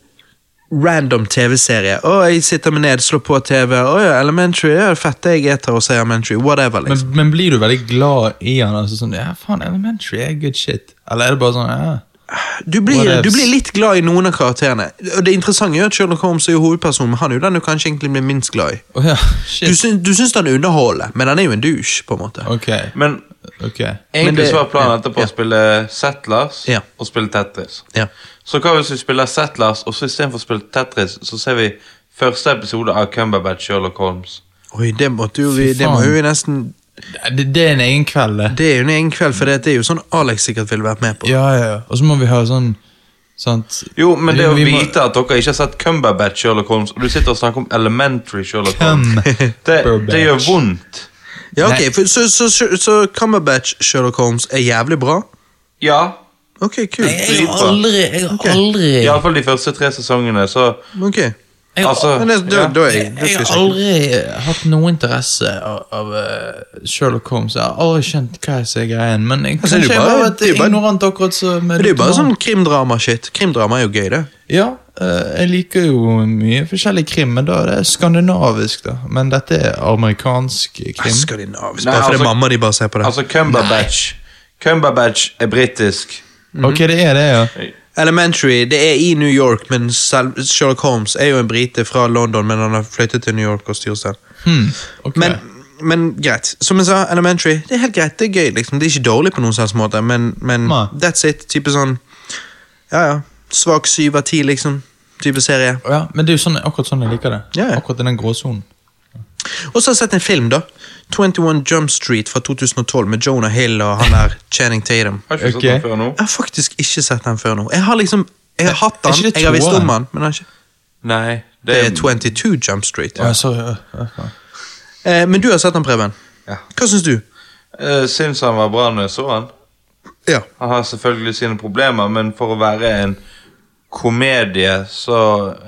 [SPEAKER 1] random TV-serie. Å, jeg sitter meg ned, slår på TV. Å ja, Elementary. Ja, fett det jeg eter og ser Elementary. Whatever, liksom.
[SPEAKER 2] Men, men blir du veldig glad i han? Altså sånn, ja, faen, Elementary er good shit. Eller er det bare sånn, ja.
[SPEAKER 1] Du blir,
[SPEAKER 2] Whatevs.
[SPEAKER 1] du blir litt glad i noen av karakterene. Og Det interessante er jo at Sherlock Holmes er jo hovedpersonen, men han er jo den du kanskje egentlig blir minst glad i.
[SPEAKER 2] Å ja,
[SPEAKER 1] Du,
[SPEAKER 2] shit.
[SPEAKER 1] syn, du syns han underholder, men han er jo en douche, på en måte.
[SPEAKER 2] Ok,
[SPEAKER 3] Men
[SPEAKER 2] ok.
[SPEAKER 1] Men
[SPEAKER 3] egentlig
[SPEAKER 1] det-
[SPEAKER 3] så var planen
[SPEAKER 1] ja,
[SPEAKER 3] etterpå
[SPEAKER 1] ja.
[SPEAKER 3] å spille Settlers
[SPEAKER 1] Ja.
[SPEAKER 3] og spille Tetris.
[SPEAKER 1] Ja.
[SPEAKER 3] Så hva hvis vi spiller Settlers, og så istedenfor å spille Tetris, så ser vi første episode av Cumberbatch Sherlock Holmes.
[SPEAKER 1] Oi, det måtte jo vi
[SPEAKER 2] Fy
[SPEAKER 1] Det må
[SPEAKER 2] faen.
[SPEAKER 1] jo vi nesten
[SPEAKER 2] Det, det er en egen kveld, det.
[SPEAKER 1] Det er jo en egen kveld, for det er jo sånn Alex sikkert ville vært med på.
[SPEAKER 2] Ja, ja, ja. Og så må vi ha sånn, sant?
[SPEAKER 3] Jo, men det å
[SPEAKER 2] Vi må-
[SPEAKER 3] vite at dere ikke har sett Cumberbatch Sherlock Holmes, og du sitter og snakker om Elementary Sherlock Holmes, det, det gjør
[SPEAKER 2] Cumberbatch.
[SPEAKER 3] vondt.
[SPEAKER 1] Ja,
[SPEAKER 2] Nei.
[SPEAKER 1] ok, for, så, så, så, så Cumberbatch Sherlock Holmes er jævlig bra?
[SPEAKER 3] Ja.
[SPEAKER 1] Ok, kult.
[SPEAKER 2] Jeg har aldri, jeg har aldri,
[SPEAKER 3] Iallfall de første tre sesongene, så
[SPEAKER 1] Ok.
[SPEAKER 2] jeg har
[SPEAKER 3] Altså,
[SPEAKER 1] Men det, da,
[SPEAKER 3] ja.
[SPEAKER 1] da er jeg,
[SPEAKER 2] Jeg,
[SPEAKER 1] det skal
[SPEAKER 2] jeg
[SPEAKER 1] jeg
[SPEAKER 2] har
[SPEAKER 1] sjekke.
[SPEAKER 2] aldri hatt noe interesse av, av eh, Sherlock Holmes. Jeg har aldri skjønt hva jeg ser greien, men jeg,
[SPEAKER 1] Altså, det er jo
[SPEAKER 2] kanskje jeg
[SPEAKER 1] bare-
[SPEAKER 2] bare har vært
[SPEAKER 1] det er jo bare-
[SPEAKER 2] ignorant akkurat som
[SPEAKER 1] Men Det er jo bare sånn krimdrama-shit. Krimdrama er jo gøy, det.
[SPEAKER 2] Ja, eh, jeg liker jo mye forskjellig krim, men da er det skandinavisk, da. Men dette er amerikansk
[SPEAKER 1] Ah,
[SPEAKER 2] krim.
[SPEAKER 1] Skandinavisk,
[SPEAKER 3] Nei,
[SPEAKER 1] bare fordi
[SPEAKER 3] altså-
[SPEAKER 1] mamma de bare ser på det.
[SPEAKER 3] Altså, Cumberbatch Cumberbatch er britisk.
[SPEAKER 2] Ok, det er det, ja.
[SPEAKER 1] Elementary, det er i New York, men selv, Sherlock Holmes er jo en brite fra London, men han har flyttet til New York og styrsted.
[SPEAKER 2] Hmm, ok.
[SPEAKER 1] Men, men greit. Som jeg sa, Elementary, det er helt greit, det er gøy, liksom. Det er ikke dårlig på noen slags måte, men, men
[SPEAKER 2] Nei.
[SPEAKER 1] that's it. Type sånn, ja ja, svak syv av ti, liksom. Type serie.
[SPEAKER 2] ja, men det er jo sånn, akkurat sånn jeg liker det.
[SPEAKER 1] Ja, ja.
[SPEAKER 2] Akkurat i den gråsonen.
[SPEAKER 1] Og så har jeg sett en film, da. 21 Jump Street fra 2012 med Jonah Hill og han der Channing Tatum.
[SPEAKER 3] Har ikke sett
[SPEAKER 2] Ok.
[SPEAKER 3] den før nå.
[SPEAKER 1] Jeg har faktisk ikke sett den før nå. Jeg har liksom Jeg har hatt
[SPEAKER 2] Er
[SPEAKER 1] den,
[SPEAKER 2] ikke det
[SPEAKER 1] jeg har visst om
[SPEAKER 2] toeren?
[SPEAKER 1] den, men jeg har ikke
[SPEAKER 3] Nei, det
[SPEAKER 1] Det
[SPEAKER 3] er,
[SPEAKER 1] er 22 Jump Street.
[SPEAKER 2] Ja, sorry. ja, ja, ja.
[SPEAKER 1] Eh, men du har sett den, Preben.
[SPEAKER 3] Ja.
[SPEAKER 1] Hva syns du?
[SPEAKER 3] Eh, Syns han var bra når jeg så han.
[SPEAKER 1] Ja.
[SPEAKER 3] Han har selvfølgelig sine problemer, men for å være en komedie, så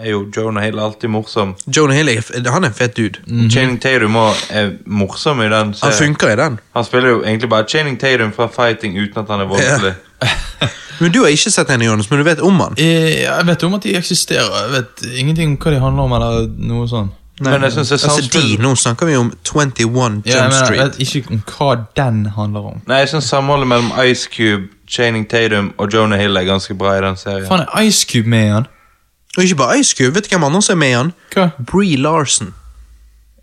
[SPEAKER 3] er jo Jonah Hill alltid morsom.
[SPEAKER 1] Jonah Hill er f- han er en fet dude.
[SPEAKER 3] Channing Tatum også er morsom i den.
[SPEAKER 1] Han
[SPEAKER 3] serien.
[SPEAKER 1] funker i den.
[SPEAKER 3] han spiller jo egentlig bare Channing Tatum fra fighting uten at han er voldelig.
[SPEAKER 1] Men du har ikke sett den, Jonas, men du vet om han.
[SPEAKER 2] Eh, Jeg vet om at de eksisterer. Jeg vet ingenting om hva de handler om, eller noe sånn.
[SPEAKER 3] Men jeg synes det er
[SPEAKER 1] altså,
[SPEAKER 3] samspill-
[SPEAKER 1] de, Nå snakker vi om 21 Jump
[SPEAKER 3] eh,
[SPEAKER 2] Ja, jeg, mener, jeg
[SPEAKER 1] Street.
[SPEAKER 2] vet ikke om hva den handler om.
[SPEAKER 3] Nei, jeg synes samholdet mellom Ice Cube, Channing Tatum og Jonah Hill er ganske bra i den serien.
[SPEAKER 2] Faen, er Ice Cube med i den?
[SPEAKER 1] Og ikke bare Ice Cube. Vet du hvem andre som er med i han?
[SPEAKER 2] Hva?
[SPEAKER 1] Bree Larson.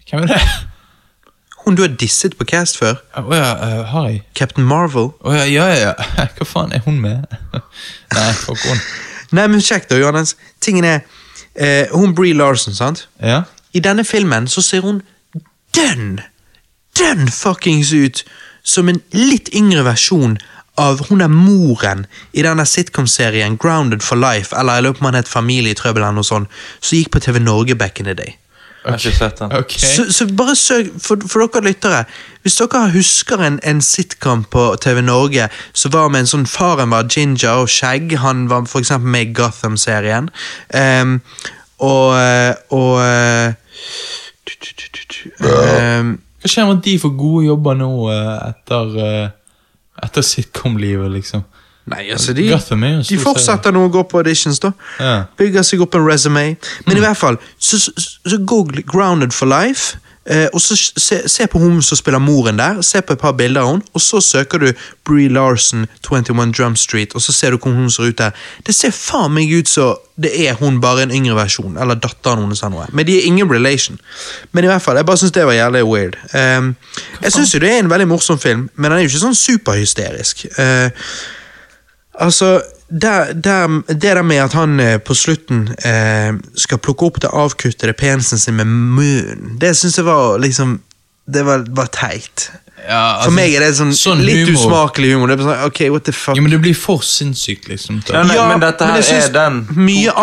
[SPEAKER 2] Hvem er det?
[SPEAKER 1] Hun du har disset på cast før.
[SPEAKER 2] Å ja, eh, Harry.
[SPEAKER 1] Captain Marvel.
[SPEAKER 2] Å ja, ja, ja. ja. Hva faen, er hun med? Nei, fuck hun.
[SPEAKER 1] Nei, men sjekk da, Johannes. Tingen er eh, Hun Bree Larson, sant?
[SPEAKER 2] Ja?
[SPEAKER 1] I denne filmen så ser hun dønn, dønn fuckings ut som en litt yngre versjon av hun er moren i denne sitcom-serien Grounded for Life, eller jeg lurer på om han het Familietrøbbel eller noe sånt, som gikk på TV Norge back in the day.
[SPEAKER 3] Jeg har ikke sett den.
[SPEAKER 2] Ok.
[SPEAKER 1] Så, så bare søk, for, for dere lyttere, hvis dere husker en, en sitcom på TV Norge som var med en sånn faren var ginger og skjegg, han var for eksempel med i Gotham-serien, Ehm, og, og eh, tu, tu, tu, tu, tu, ehm,
[SPEAKER 2] Hva skjer med at de får gode jobber nå eh, etter, eh, etter sitcom-livet, liksom?
[SPEAKER 1] Nei, altså de,
[SPEAKER 2] Gotham er jo en stor
[SPEAKER 1] de fortsetter nå å gå på auditions, da.
[SPEAKER 2] Ja. Mm.
[SPEAKER 1] Bygger seg opp en resume. Men i hvert fall, så, så, så google 'Grounded for life'. Eh, og så se, se på hun som spiller moren der, se på et par bilder av hun, og så søker du Bree Larson, 21 Drum Street, og så ser du hvordan hun ser ut der. Det ser faen meg ut som det er hun, bare en yngre versjon, eller datteren hennes eller noe. Men de er ingen relation. Men i hvert fall, jeg bare syns det var jævlig weird. Ehm, jeg syns jo det er en veldig morsom film, men den er jo ikke sånn superhysterisk. Eh, Altså, der, der, det der med at han eh, på slutten eh, skal plukke opp det avkuttede penisen sin med munnen, det syns jeg var liksom Det var, var teit. For
[SPEAKER 2] Ja, altså,
[SPEAKER 1] meg er det sånn,
[SPEAKER 2] sånn
[SPEAKER 1] litt
[SPEAKER 2] humor.
[SPEAKER 1] usmakelig humor. Det er bare sånn, ok, what the fuck
[SPEAKER 2] Ja, men det blir for sinnssykt, liksom.
[SPEAKER 3] Nei, nei, men dette her
[SPEAKER 1] jeg syns
[SPEAKER 3] er den
[SPEAKER 1] Mye
[SPEAKER 3] 2000.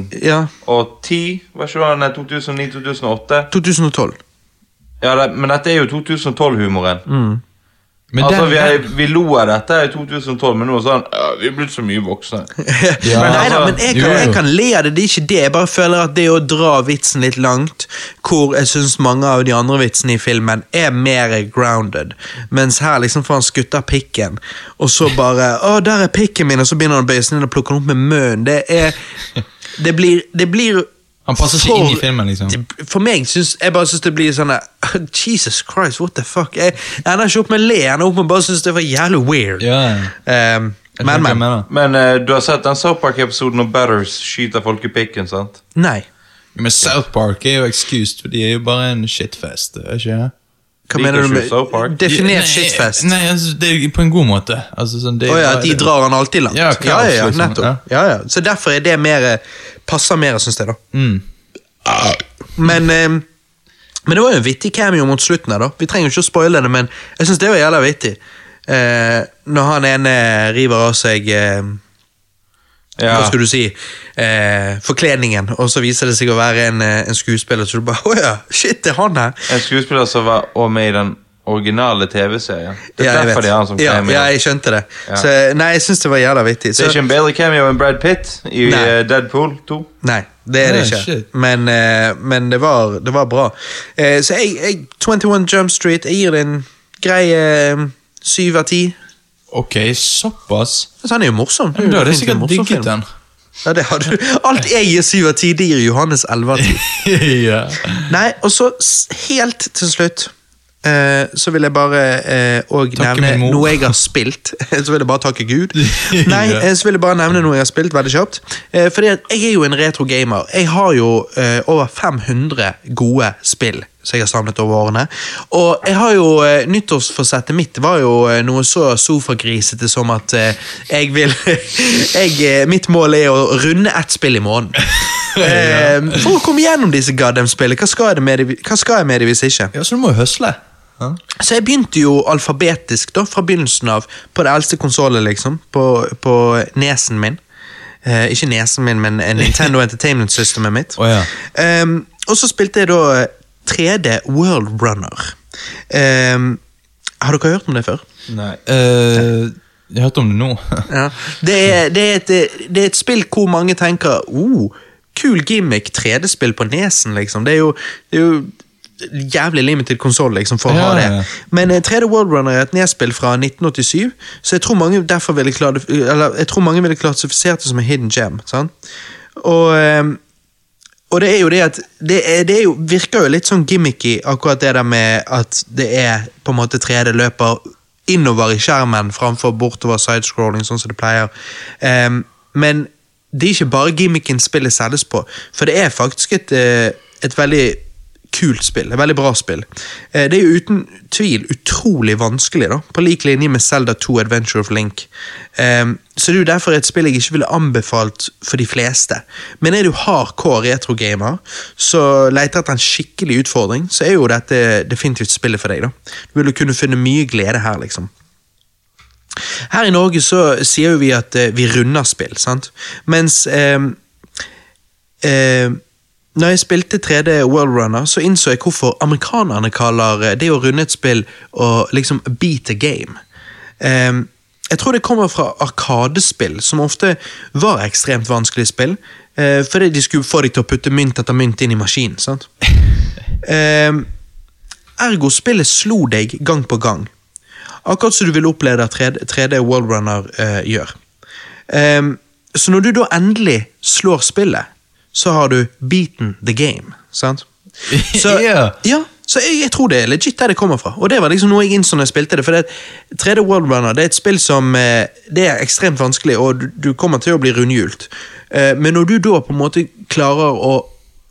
[SPEAKER 1] annet. Ja,
[SPEAKER 3] Og 10, var ikke det? Nei, 2009-2008.
[SPEAKER 1] 2012. Mm,
[SPEAKER 3] Ja, det, men dette er jo 2012-humoren.
[SPEAKER 2] Men
[SPEAKER 3] altså,
[SPEAKER 2] den-
[SPEAKER 3] vi, er, vi lo av dette i 2012, men nå er det sånn ja, Vi er blitt så mye voksne.
[SPEAKER 2] Ja.
[SPEAKER 1] men nei da, men jeg kan,
[SPEAKER 2] altså, Jo, jo.
[SPEAKER 1] jeg kan le av det, det er ikke det. Jeg bare føler at det å dra vitsen litt langt, hvor jeg syns mange av de andre vitsene i filmen er mer grounded, mens her liksom får han skutt av pikken, og så bare Å, der er pikken min, og så begynner han å bøye seg ned og plukke den opp med munnen. Det er Det blir, det blir
[SPEAKER 2] Han passer ikke inn i filmen, liksom.
[SPEAKER 1] det- For meg syns jeg bare synes det blir sånn der, Jesus Christ, what the fuck? Jeg, jeg ender ikke opp med å le, jeg ender opp med å bare synes det var jævlig weird.
[SPEAKER 2] Ja, ja.
[SPEAKER 1] Eh,
[SPEAKER 2] Jeg
[SPEAKER 1] men,
[SPEAKER 2] skjønner hva
[SPEAKER 1] men.
[SPEAKER 2] jeg mener.
[SPEAKER 3] Men eh, du har sett den South Park-episoden når Batters skyter folk i pikken, sant?
[SPEAKER 1] Nei.
[SPEAKER 2] Men South Park er jo excused, for de er jo bare en shitfest. er ikke det?
[SPEAKER 1] Hva
[SPEAKER 3] Liker
[SPEAKER 1] mener du
[SPEAKER 3] ikke
[SPEAKER 1] med
[SPEAKER 3] South Park?
[SPEAKER 1] Definer
[SPEAKER 2] Nei,
[SPEAKER 1] shitfest.
[SPEAKER 2] Nei, altså, det er jo på en god måte. Altså, sånn, det er
[SPEAKER 1] Å ja,
[SPEAKER 2] bare-
[SPEAKER 1] at de drar han alltid langt.
[SPEAKER 2] Ja,
[SPEAKER 1] Ja,
[SPEAKER 2] kaos,
[SPEAKER 1] ja, ja,
[SPEAKER 2] liksom. Ja.
[SPEAKER 1] nettopp. Ja, ja. Så derfor er det mer eh, Passer mer, syns jeg, da.
[SPEAKER 2] Mm.
[SPEAKER 1] Men eh, Men det var jo en vittig cameo mot slutten her, da. Vi trenger jo ikke å spoile det, men jeg syns det var jævla vittig. Eh, når han ene river av seg eh,
[SPEAKER 3] Ja.
[SPEAKER 1] Hva skal du si? Eh, forkledningen, og så viser det seg å være en, eh, en skuespiller, så du bare Å ja, shit, det er han her!
[SPEAKER 3] En skuespiller som var også med i den originale TV-serien. Det
[SPEAKER 1] Ja,
[SPEAKER 3] er
[SPEAKER 1] jeg
[SPEAKER 3] derfor
[SPEAKER 1] vet.
[SPEAKER 3] de har han som
[SPEAKER 1] ja,
[SPEAKER 3] cameo.
[SPEAKER 1] ja, jeg skjønte det.
[SPEAKER 3] Ja.
[SPEAKER 1] Så, nei, jeg syns det var jævla vittig.
[SPEAKER 3] Det
[SPEAKER 1] Så,
[SPEAKER 3] er ikke en bedre cameo enn Brad Pitt i
[SPEAKER 1] Nei.
[SPEAKER 3] eh, Deadpool 2.
[SPEAKER 1] Nei, det er
[SPEAKER 2] Nei,
[SPEAKER 1] det ikke.
[SPEAKER 2] shit.
[SPEAKER 1] Men, eh, men det, var, det var bra. Eh, så jeg, jeg 21 Jump Street, jeg gir det en grei eh, syv av ti.
[SPEAKER 2] Ok, såpass.
[SPEAKER 1] Altså, han er jo morsom.
[SPEAKER 2] Men da hadde jeg
[SPEAKER 1] Fint, en
[SPEAKER 2] sikkert
[SPEAKER 1] morsom
[SPEAKER 2] digget
[SPEAKER 1] film.
[SPEAKER 2] den.
[SPEAKER 1] Ja, det har du. Alt jeg gir syv av ti, det gir Johannes elleve av ti.
[SPEAKER 2] ja.
[SPEAKER 1] Nei, og så s- helt til slutt eh, så vil jeg bare òg
[SPEAKER 2] Takke
[SPEAKER 1] nevne
[SPEAKER 2] min mor.
[SPEAKER 1] noe jeg har spilt. så vil jeg bare takke Gud. Nei,
[SPEAKER 2] Ja.
[SPEAKER 1] eh, så vil jeg bare nevne noe jeg har spilt veldig kjapt. Eh, fordi at jeg er jo en retro gamer. Jeg har jo eh, over 500 gode spill som jeg har samlet over årene. Og jeg har jo eh, nyttårsforsettet mitt var jo eh, noe så sofagrisete som at eh, jeg vil jeg, eh, Mitt mål er å runde ett spill i måneden. Eh, for å komme gjennom disse goddamn spillene. Hva skal jeg med de- hva skal jeg med dem hvis ikke?
[SPEAKER 2] ja, så du må jo høsle. Ja.
[SPEAKER 1] Så jeg begynte jo alfabetisk da, fra begynnelsen av, på det eldste konsollet, liksom. På, på nesen min. Eh, ikke nesen min, men eh, Nintendo Entertainment Systemet mitt.
[SPEAKER 2] Å, ja.
[SPEAKER 1] Ehm, og så spilte jeg da eh, 3D World Runner. Ehm, har dere hørt om det før?
[SPEAKER 3] Nei.
[SPEAKER 2] Eh, jeg hørte om det nå.
[SPEAKER 1] Ja. Det, er, det, er et, det er et spill hvor mange tenker oh, Kul gimmick, 3D-spill på nesen, liksom. Det er jo, det er jo jævlig limited konsoll liksom, for å
[SPEAKER 2] Ja,
[SPEAKER 1] ha
[SPEAKER 2] ja, ja.
[SPEAKER 1] det. Men eh, 3D World Runner er et nedspill fra 1987, så jeg tror mange derfor ville klare, eller, jeg tror mange ville klassifisert det som en hidden gem. Sant? Og... ehm, og det er jo det at det, er, det er jo, virker jo litt sånn gimmicky, akkurat det der med at det er på en måte 3D-løper innover i skjermen framfor bortover sidescrolling, sånn som det pleier. Ehm, men det er ikke bare gimmicken spillet selges på, for det er faktisk et, eh, et veldig kult spill. Et veldig bra spill. Eh, det er jo uten tvil utrolig vanskelig, da, på lik linje med Zelda 2 Adventure of Link. Ehm, så det er jo derfor et spill jeg ikke ville anbefalt for de fleste. Men er du hardcore retrogamer så leter etter en skikkelig utfordring, så er jo dette definitivt spillet for deg. da. Du vil jo kunne finne mye glede her, liksom. Her i Norge så sier jo vi at eh, vi runder spill, sant? Mens ehm, eh, når jeg spilte 3D World Runner, så innså jeg hvorfor amerikanerne kaller eh, det å runde et spill å liksom beat a game. Ehm, jeg tror det kommer fra arkadespill, som ofte var ekstremt vanskelige spill. eh, fordi de skulle få deg til å putte mynt etter mynt inn i maskinen. sant? Ehm, ergo spillet slo deg gang på gang. Akkurat som du vil oppleve at 3D, 3D World Runner eh, gjør. Ehm, så når du da endelig slår spillet, så har du beaten the game. Sant? Så,
[SPEAKER 2] Ja.
[SPEAKER 1] ja, så jeg, jeg tror det er legit der det kommer fra. Og det var liksom noe jeg innså når jeg spilte det. For det er- 3D World Runner det er et spill som eh, det er ekstremt vanskelig, og du, du kommer til å bli rundhjult. Eh, men når du da på en måte klarer å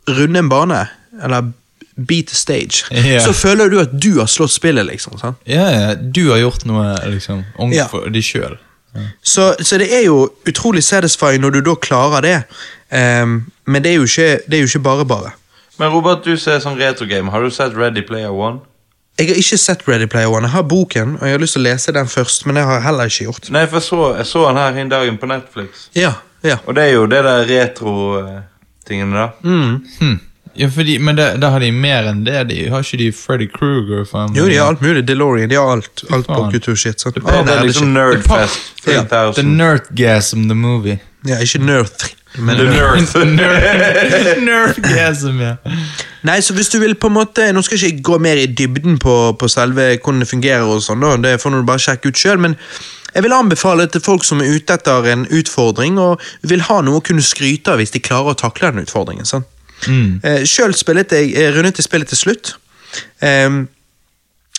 [SPEAKER 1] runde en bane, eller beat the stage,
[SPEAKER 2] Ja.
[SPEAKER 1] så føler du at du har slått spillet, liksom. sant?
[SPEAKER 2] ja, ja, du har gjort noe liksom, ordentlig
[SPEAKER 1] Ja.
[SPEAKER 2] for deg sjøl.
[SPEAKER 1] Så, så det er jo utrolig satisfying når du da klarer det, Ehm, men det er jo ikke, det er jo ikke bare bare.
[SPEAKER 3] Men Robert, du ser sånn retrogame. Har du sett Ready Player One?
[SPEAKER 1] Jeg har ikke sett Ready Player One. Jeg har boken, og jeg har lyst til å lese den først, men det har jeg heller ikke gjort.
[SPEAKER 3] Nei, for jeg så, jeg så han her en dagen på Netflix.
[SPEAKER 1] Ja, ja. Mm.
[SPEAKER 3] Og det er jo det der retro-tingene, eh, da.
[SPEAKER 2] Hm. Ja, fordi, men der, der har de mer enn det. De har ikke de Freddy Kruger? faen meg?
[SPEAKER 1] Jo, de har alt mulig. DeLorean, de har alt. Alt på
[SPEAKER 2] faen.
[SPEAKER 1] kulturshit. sant? Nei,
[SPEAKER 3] Ja, det
[SPEAKER 1] Ah, det
[SPEAKER 3] er liksom
[SPEAKER 1] ikke.
[SPEAKER 3] Nerdfest
[SPEAKER 1] Ja,
[SPEAKER 3] 3000.
[SPEAKER 2] The Nerdgasm, the movie.
[SPEAKER 1] Ja, ikke Nerth. Men
[SPEAKER 3] The Nerd.
[SPEAKER 2] Nerd- Nerdgasm, ja.
[SPEAKER 1] Nei, så hvis du vil på en måte Nå skal ikke jeg gå mer i dybden på, på selve hvordan det fungerer, og sånn da, det får du bare sjekke ut sjøl, men jeg vil anbefale til folk som er ute etter en utfordring og vil ha noe å kunne skryte av hvis de klarer å takle den utfordringen. sant?
[SPEAKER 2] Mm.
[SPEAKER 1] Eh, sjøl spilte jeg eh, rundet til spillet til slutt, Ehm,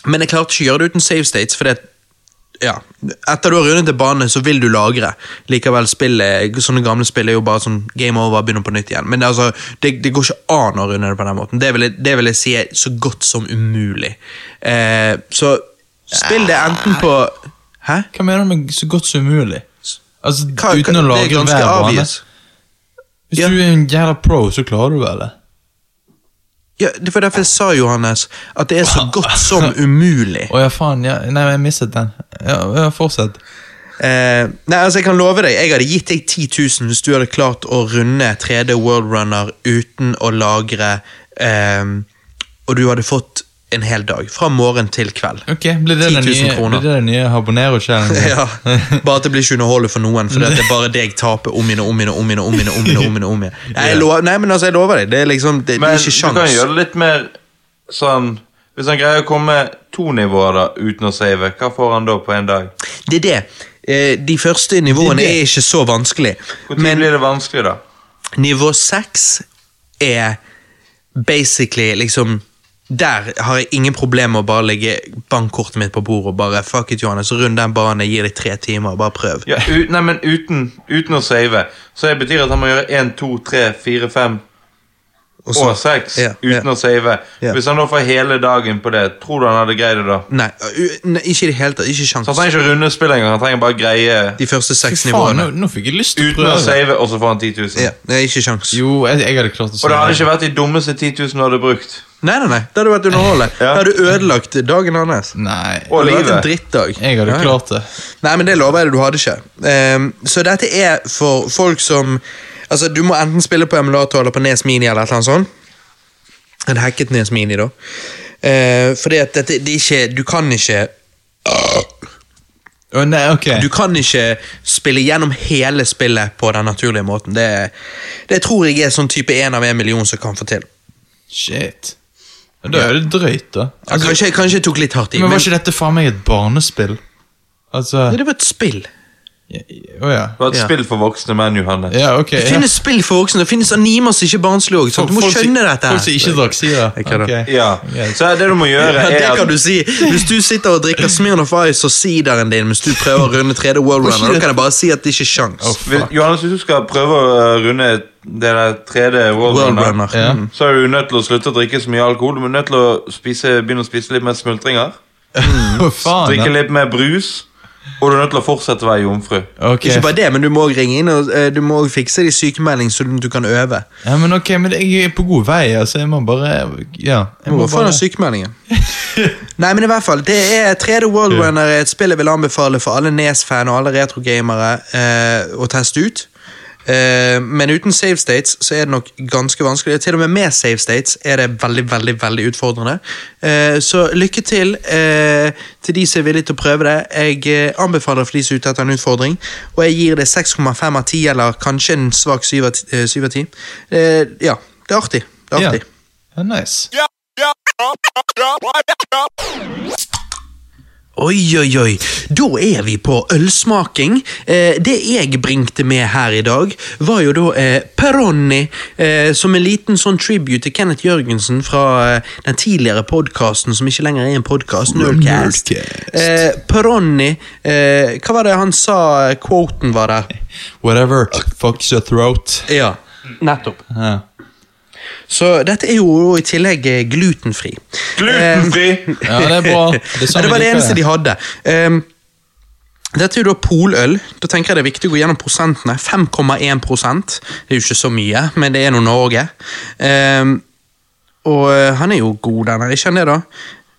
[SPEAKER 1] men jeg klarte ikke å gjøre det uten save states, fordi at ja, etter du har rundet til bane, så vil du lagre. Likevel, spillet, sånne gamle spill er jo bare sånn game over, begynner på nytt igjen. Men det, er altså, det, det går ikke an å runde det på den måten. Det vil jeg, det vil jeg si er så godt som umulig. Eh, så spill det enten på Hæ?
[SPEAKER 2] Hva mener du med så godt som mulig? Altså,
[SPEAKER 1] Hva-
[SPEAKER 2] Uten
[SPEAKER 1] hva- det
[SPEAKER 2] å
[SPEAKER 1] er
[SPEAKER 2] lage
[SPEAKER 1] ganske
[SPEAKER 2] hver bane?
[SPEAKER 1] obvious.
[SPEAKER 2] Hvis
[SPEAKER 1] Ja.
[SPEAKER 2] du er en jævla pro, så klarer du vel det?
[SPEAKER 1] Ja, det var derfor jeg sa, Johannes, at det er så godt som umulig.
[SPEAKER 2] Å ja, faen. Ja. Nei, jeg mistet den. Ja, ja, Fortsett.
[SPEAKER 1] Eh, nei, altså Jeg kan love deg, jeg hadde gitt deg 10 000 hvis du hadde klart å runde 3D World Runner uten å lagre, ehm, og du hadde fått en hel dag. Fra morgen til kveld.
[SPEAKER 2] Ok, Blir det
[SPEAKER 1] 10 000
[SPEAKER 2] den nye,
[SPEAKER 1] kroner.
[SPEAKER 2] blir det den nye Habonero-challengen?
[SPEAKER 1] Ja, Bare at det blir ikke underholdende for noen, for det er bare det jeg taper om igjen og om igjen. og om igjen og om igjen og om igjen og om igjen og om igjen Nei, jeg lover, nei, men altså, jeg lover deg. Det er liksom, det, det
[SPEAKER 3] Men
[SPEAKER 1] er ikke
[SPEAKER 3] du kan
[SPEAKER 1] sjans.
[SPEAKER 3] gjøre det litt mer sånn Hvis han greier å komme to nivåer da, uten å save, hva får han da på en dag?
[SPEAKER 1] Det er det. Eh, de første nivåene
[SPEAKER 2] Det er
[SPEAKER 1] er
[SPEAKER 2] det.
[SPEAKER 1] ikke så vanskelig.
[SPEAKER 3] Når blir det vanskelig, da?
[SPEAKER 1] Nivå 6 er basically liksom Der har jeg ingen problemer med å bare legge bankkortet mitt på bordet og bare fuck it, Johannes, rund den banen, gi deg tre timer, bare prøv.
[SPEAKER 3] Ja, u, nei, men uten, uten å save. Så det betyr at han må gjøre 1, 2, 3, 4, 5
[SPEAKER 1] Og så-
[SPEAKER 3] og 6
[SPEAKER 1] Ja,
[SPEAKER 3] uten
[SPEAKER 1] ja.
[SPEAKER 3] å save.
[SPEAKER 1] Ja.
[SPEAKER 3] Hvis han da får hele dagen på det, tror du han hadde greid det da?
[SPEAKER 1] Nei, u- nei, ikke i det hele tatt. Ikke sjans.
[SPEAKER 3] Så han trenger ikke runde spill engang, han trenger bare greie
[SPEAKER 1] De første seks
[SPEAKER 2] Fy faen, nå,
[SPEAKER 1] nivåene.
[SPEAKER 2] nå fikk jeg lyst til å
[SPEAKER 3] uten å
[SPEAKER 2] prøve.
[SPEAKER 3] save, og så får han 10 000.
[SPEAKER 1] Ja, nei, ikke sjans.
[SPEAKER 2] Jo, jeg, jeg hadde klart å
[SPEAKER 3] Og det hadde
[SPEAKER 2] save.
[SPEAKER 3] ikke vært de dummeste 10 000 du hadde brukt.
[SPEAKER 1] Nei, nei, nei. Det hadde vært underholdende. Da hadde du ødelagt dagen hans.
[SPEAKER 2] Nei,
[SPEAKER 3] Og
[SPEAKER 1] Det hadde vært en
[SPEAKER 3] livet.
[SPEAKER 1] drittdag.
[SPEAKER 2] jeg hadde
[SPEAKER 1] Ja, ja.
[SPEAKER 2] klart det.
[SPEAKER 1] Nei, men det lover jeg deg, du hadde ikke. Ehm, så dette er for folk som Altså, du må enten spille på emulator eller på Nes Mini eller et eller annet sånt. En hacket Nes Mini, da. Eh, fordi at dette det er ikke Du kan ikke
[SPEAKER 2] Å, nei, ok.
[SPEAKER 1] Du kan ikke spille gjennom hele spillet på den naturlige måten. Det, det tror jeg er sånn type én av en million som kan få til.
[SPEAKER 2] Shit. Men Da er det drøyt, da.
[SPEAKER 1] Ja,
[SPEAKER 2] Altså,
[SPEAKER 1] kanskje, kanskje jeg tok litt hardt i,
[SPEAKER 2] men
[SPEAKER 1] men
[SPEAKER 2] var ikke dette faen meg et barnespill? Altså
[SPEAKER 1] Ja, det var et spill.
[SPEAKER 2] Å ja.
[SPEAKER 3] Det var et
[SPEAKER 1] Ja.
[SPEAKER 3] spill for voksne menn, Johannes.
[SPEAKER 2] Ja, ok.
[SPEAKER 1] Det
[SPEAKER 2] Ja.
[SPEAKER 1] finnes spill for voksne, det finnes animer som ikke er barnslige òg. Du må
[SPEAKER 2] Folk som-
[SPEAKER 1] skjønne dette.
[SPEAKER 2] Folk som ikke drakk sida.
[SPEAKER 1] Jeg kødder.
[SPEAKER 2] Ok.
[SPEAKER 3] Ja.
[SPEAKER 2] Ja.
[SPEAKER 3] Så det du må gjøre,
[SPEAKER 1] Ja,
[SPEAKER 3] er
[SPEAKER 1] det kan
[SPEAKER 3] at
[SPEAKER 1] du si. Hvis du sitter og drikker Smirnoff Ice og sideren din mens du prøver å runde 3D World Runner, da kan jeg bare si at det ikke er sjans.
[SPEAKER 2] Å, faen.
[SPEAKER 3] Hvis- Johannes, hvis du skal prøve å eh, runde det der 3D World
[SPEAKER 1] World
[SPEAKER 3] Runner,
[SPEAKER 1] Runner.
[SPEAKER 2] Ja.
[SPEAKER 1] Mm.
[SPEAKER 3] så er du nødt til å slutte å drikke så mye alkohol. Du er nødt til å spise, begynne å spise litt mer smultringer.
[SPEAKER 2] Å,
[SPEAKER 1] Ah,
[SPEAKER 2] faen,
[SPEAKER 3] Drikke
[SPEAKER 2] ja.
[SPEAKER 3] litt mer brus. Og du er nødt til å fortsette å være jomfru.
[SPEAKER 2] Ok.
[SPEAKER 1] Ikke bare det, men du må også ringe inn og eh, du må også fikse de sykemelding så du kan øve.
[SPEAKER 2] Ja, men ok, men jeg er på god vei, altså. Jeg må bare Ja. Jeg må
[SPEAKER 1] Hvorfor
[SPEAKER 2] bare
[SPEAKER 1] den sykemeldingen? Nei, men i hvert fall, det er 3D World Runner er et spill jeg vil anbefale for alle Nes-fan og alle retrogamere eh, å teste ut. Eh, men uten save states så er det nok ganske vanskelig. Til og med med save states er det veldig veldig, veldig utfordrende. Eh, så lykke til eh, til de som er villige til å prøve det. Jeg eh, anbefaler for de som er ute etter en utfordring, og jeg gir det 6,5 av 10, eller kanskje en svak 7 av 10. eh, 7 av 10. Eh, ja, det er artig. Det er
[SPEAKER 2] Ja.
[SPEAKER 1] artig.
[SPEAKER 2] Ja, nice.
[SPEAKER 1] Oi, oi, oi. Da er vi på ølsmaking. Eh, det jeg bringte med her i dag, var jo da eh, Peroni, eh, som en liten sånn tribute til Kenneth Jørgensen fra eh, den tidligere podkasten som ikke lenger er en podkast, Nerdcast.
[SPEAKER 2] Nerdcast.
[SPEAKER 1] Eh, Peroni eh, Hva var det han sa eh, quoten var der?
[SPEAKER 2] Whatever. Fucks your throat.
[SPEAKER 1] Ja, nettopp.
[SPEAKER 2] Ja.
[SPEAKER 1] Så dette er jo i tillegg eh, glutenfri.
[SPEAKER 3] Glutenfri!
[SPEAKER 1] Eh,
[SPEAKER 2] ja, det er bra. Det, er
[SPEAKER 1] Ja,
[SPEAKER 2] sånn
[SPEAKER 1] det var
[SPEAKER 2] vi
[SPEAKER 1] det
[SPEAKER 2] liker
[SPEAKER 1] eneste de hadde. Ehm, dette er jo da poløl. Da tenker jeg det er viktig å gå gjennom prosentene. 5,1 prosent. Det er jo ikke så mye, men det er nå Norge. Ehm, og eh, han er jo god, den her. Ikke han det, da?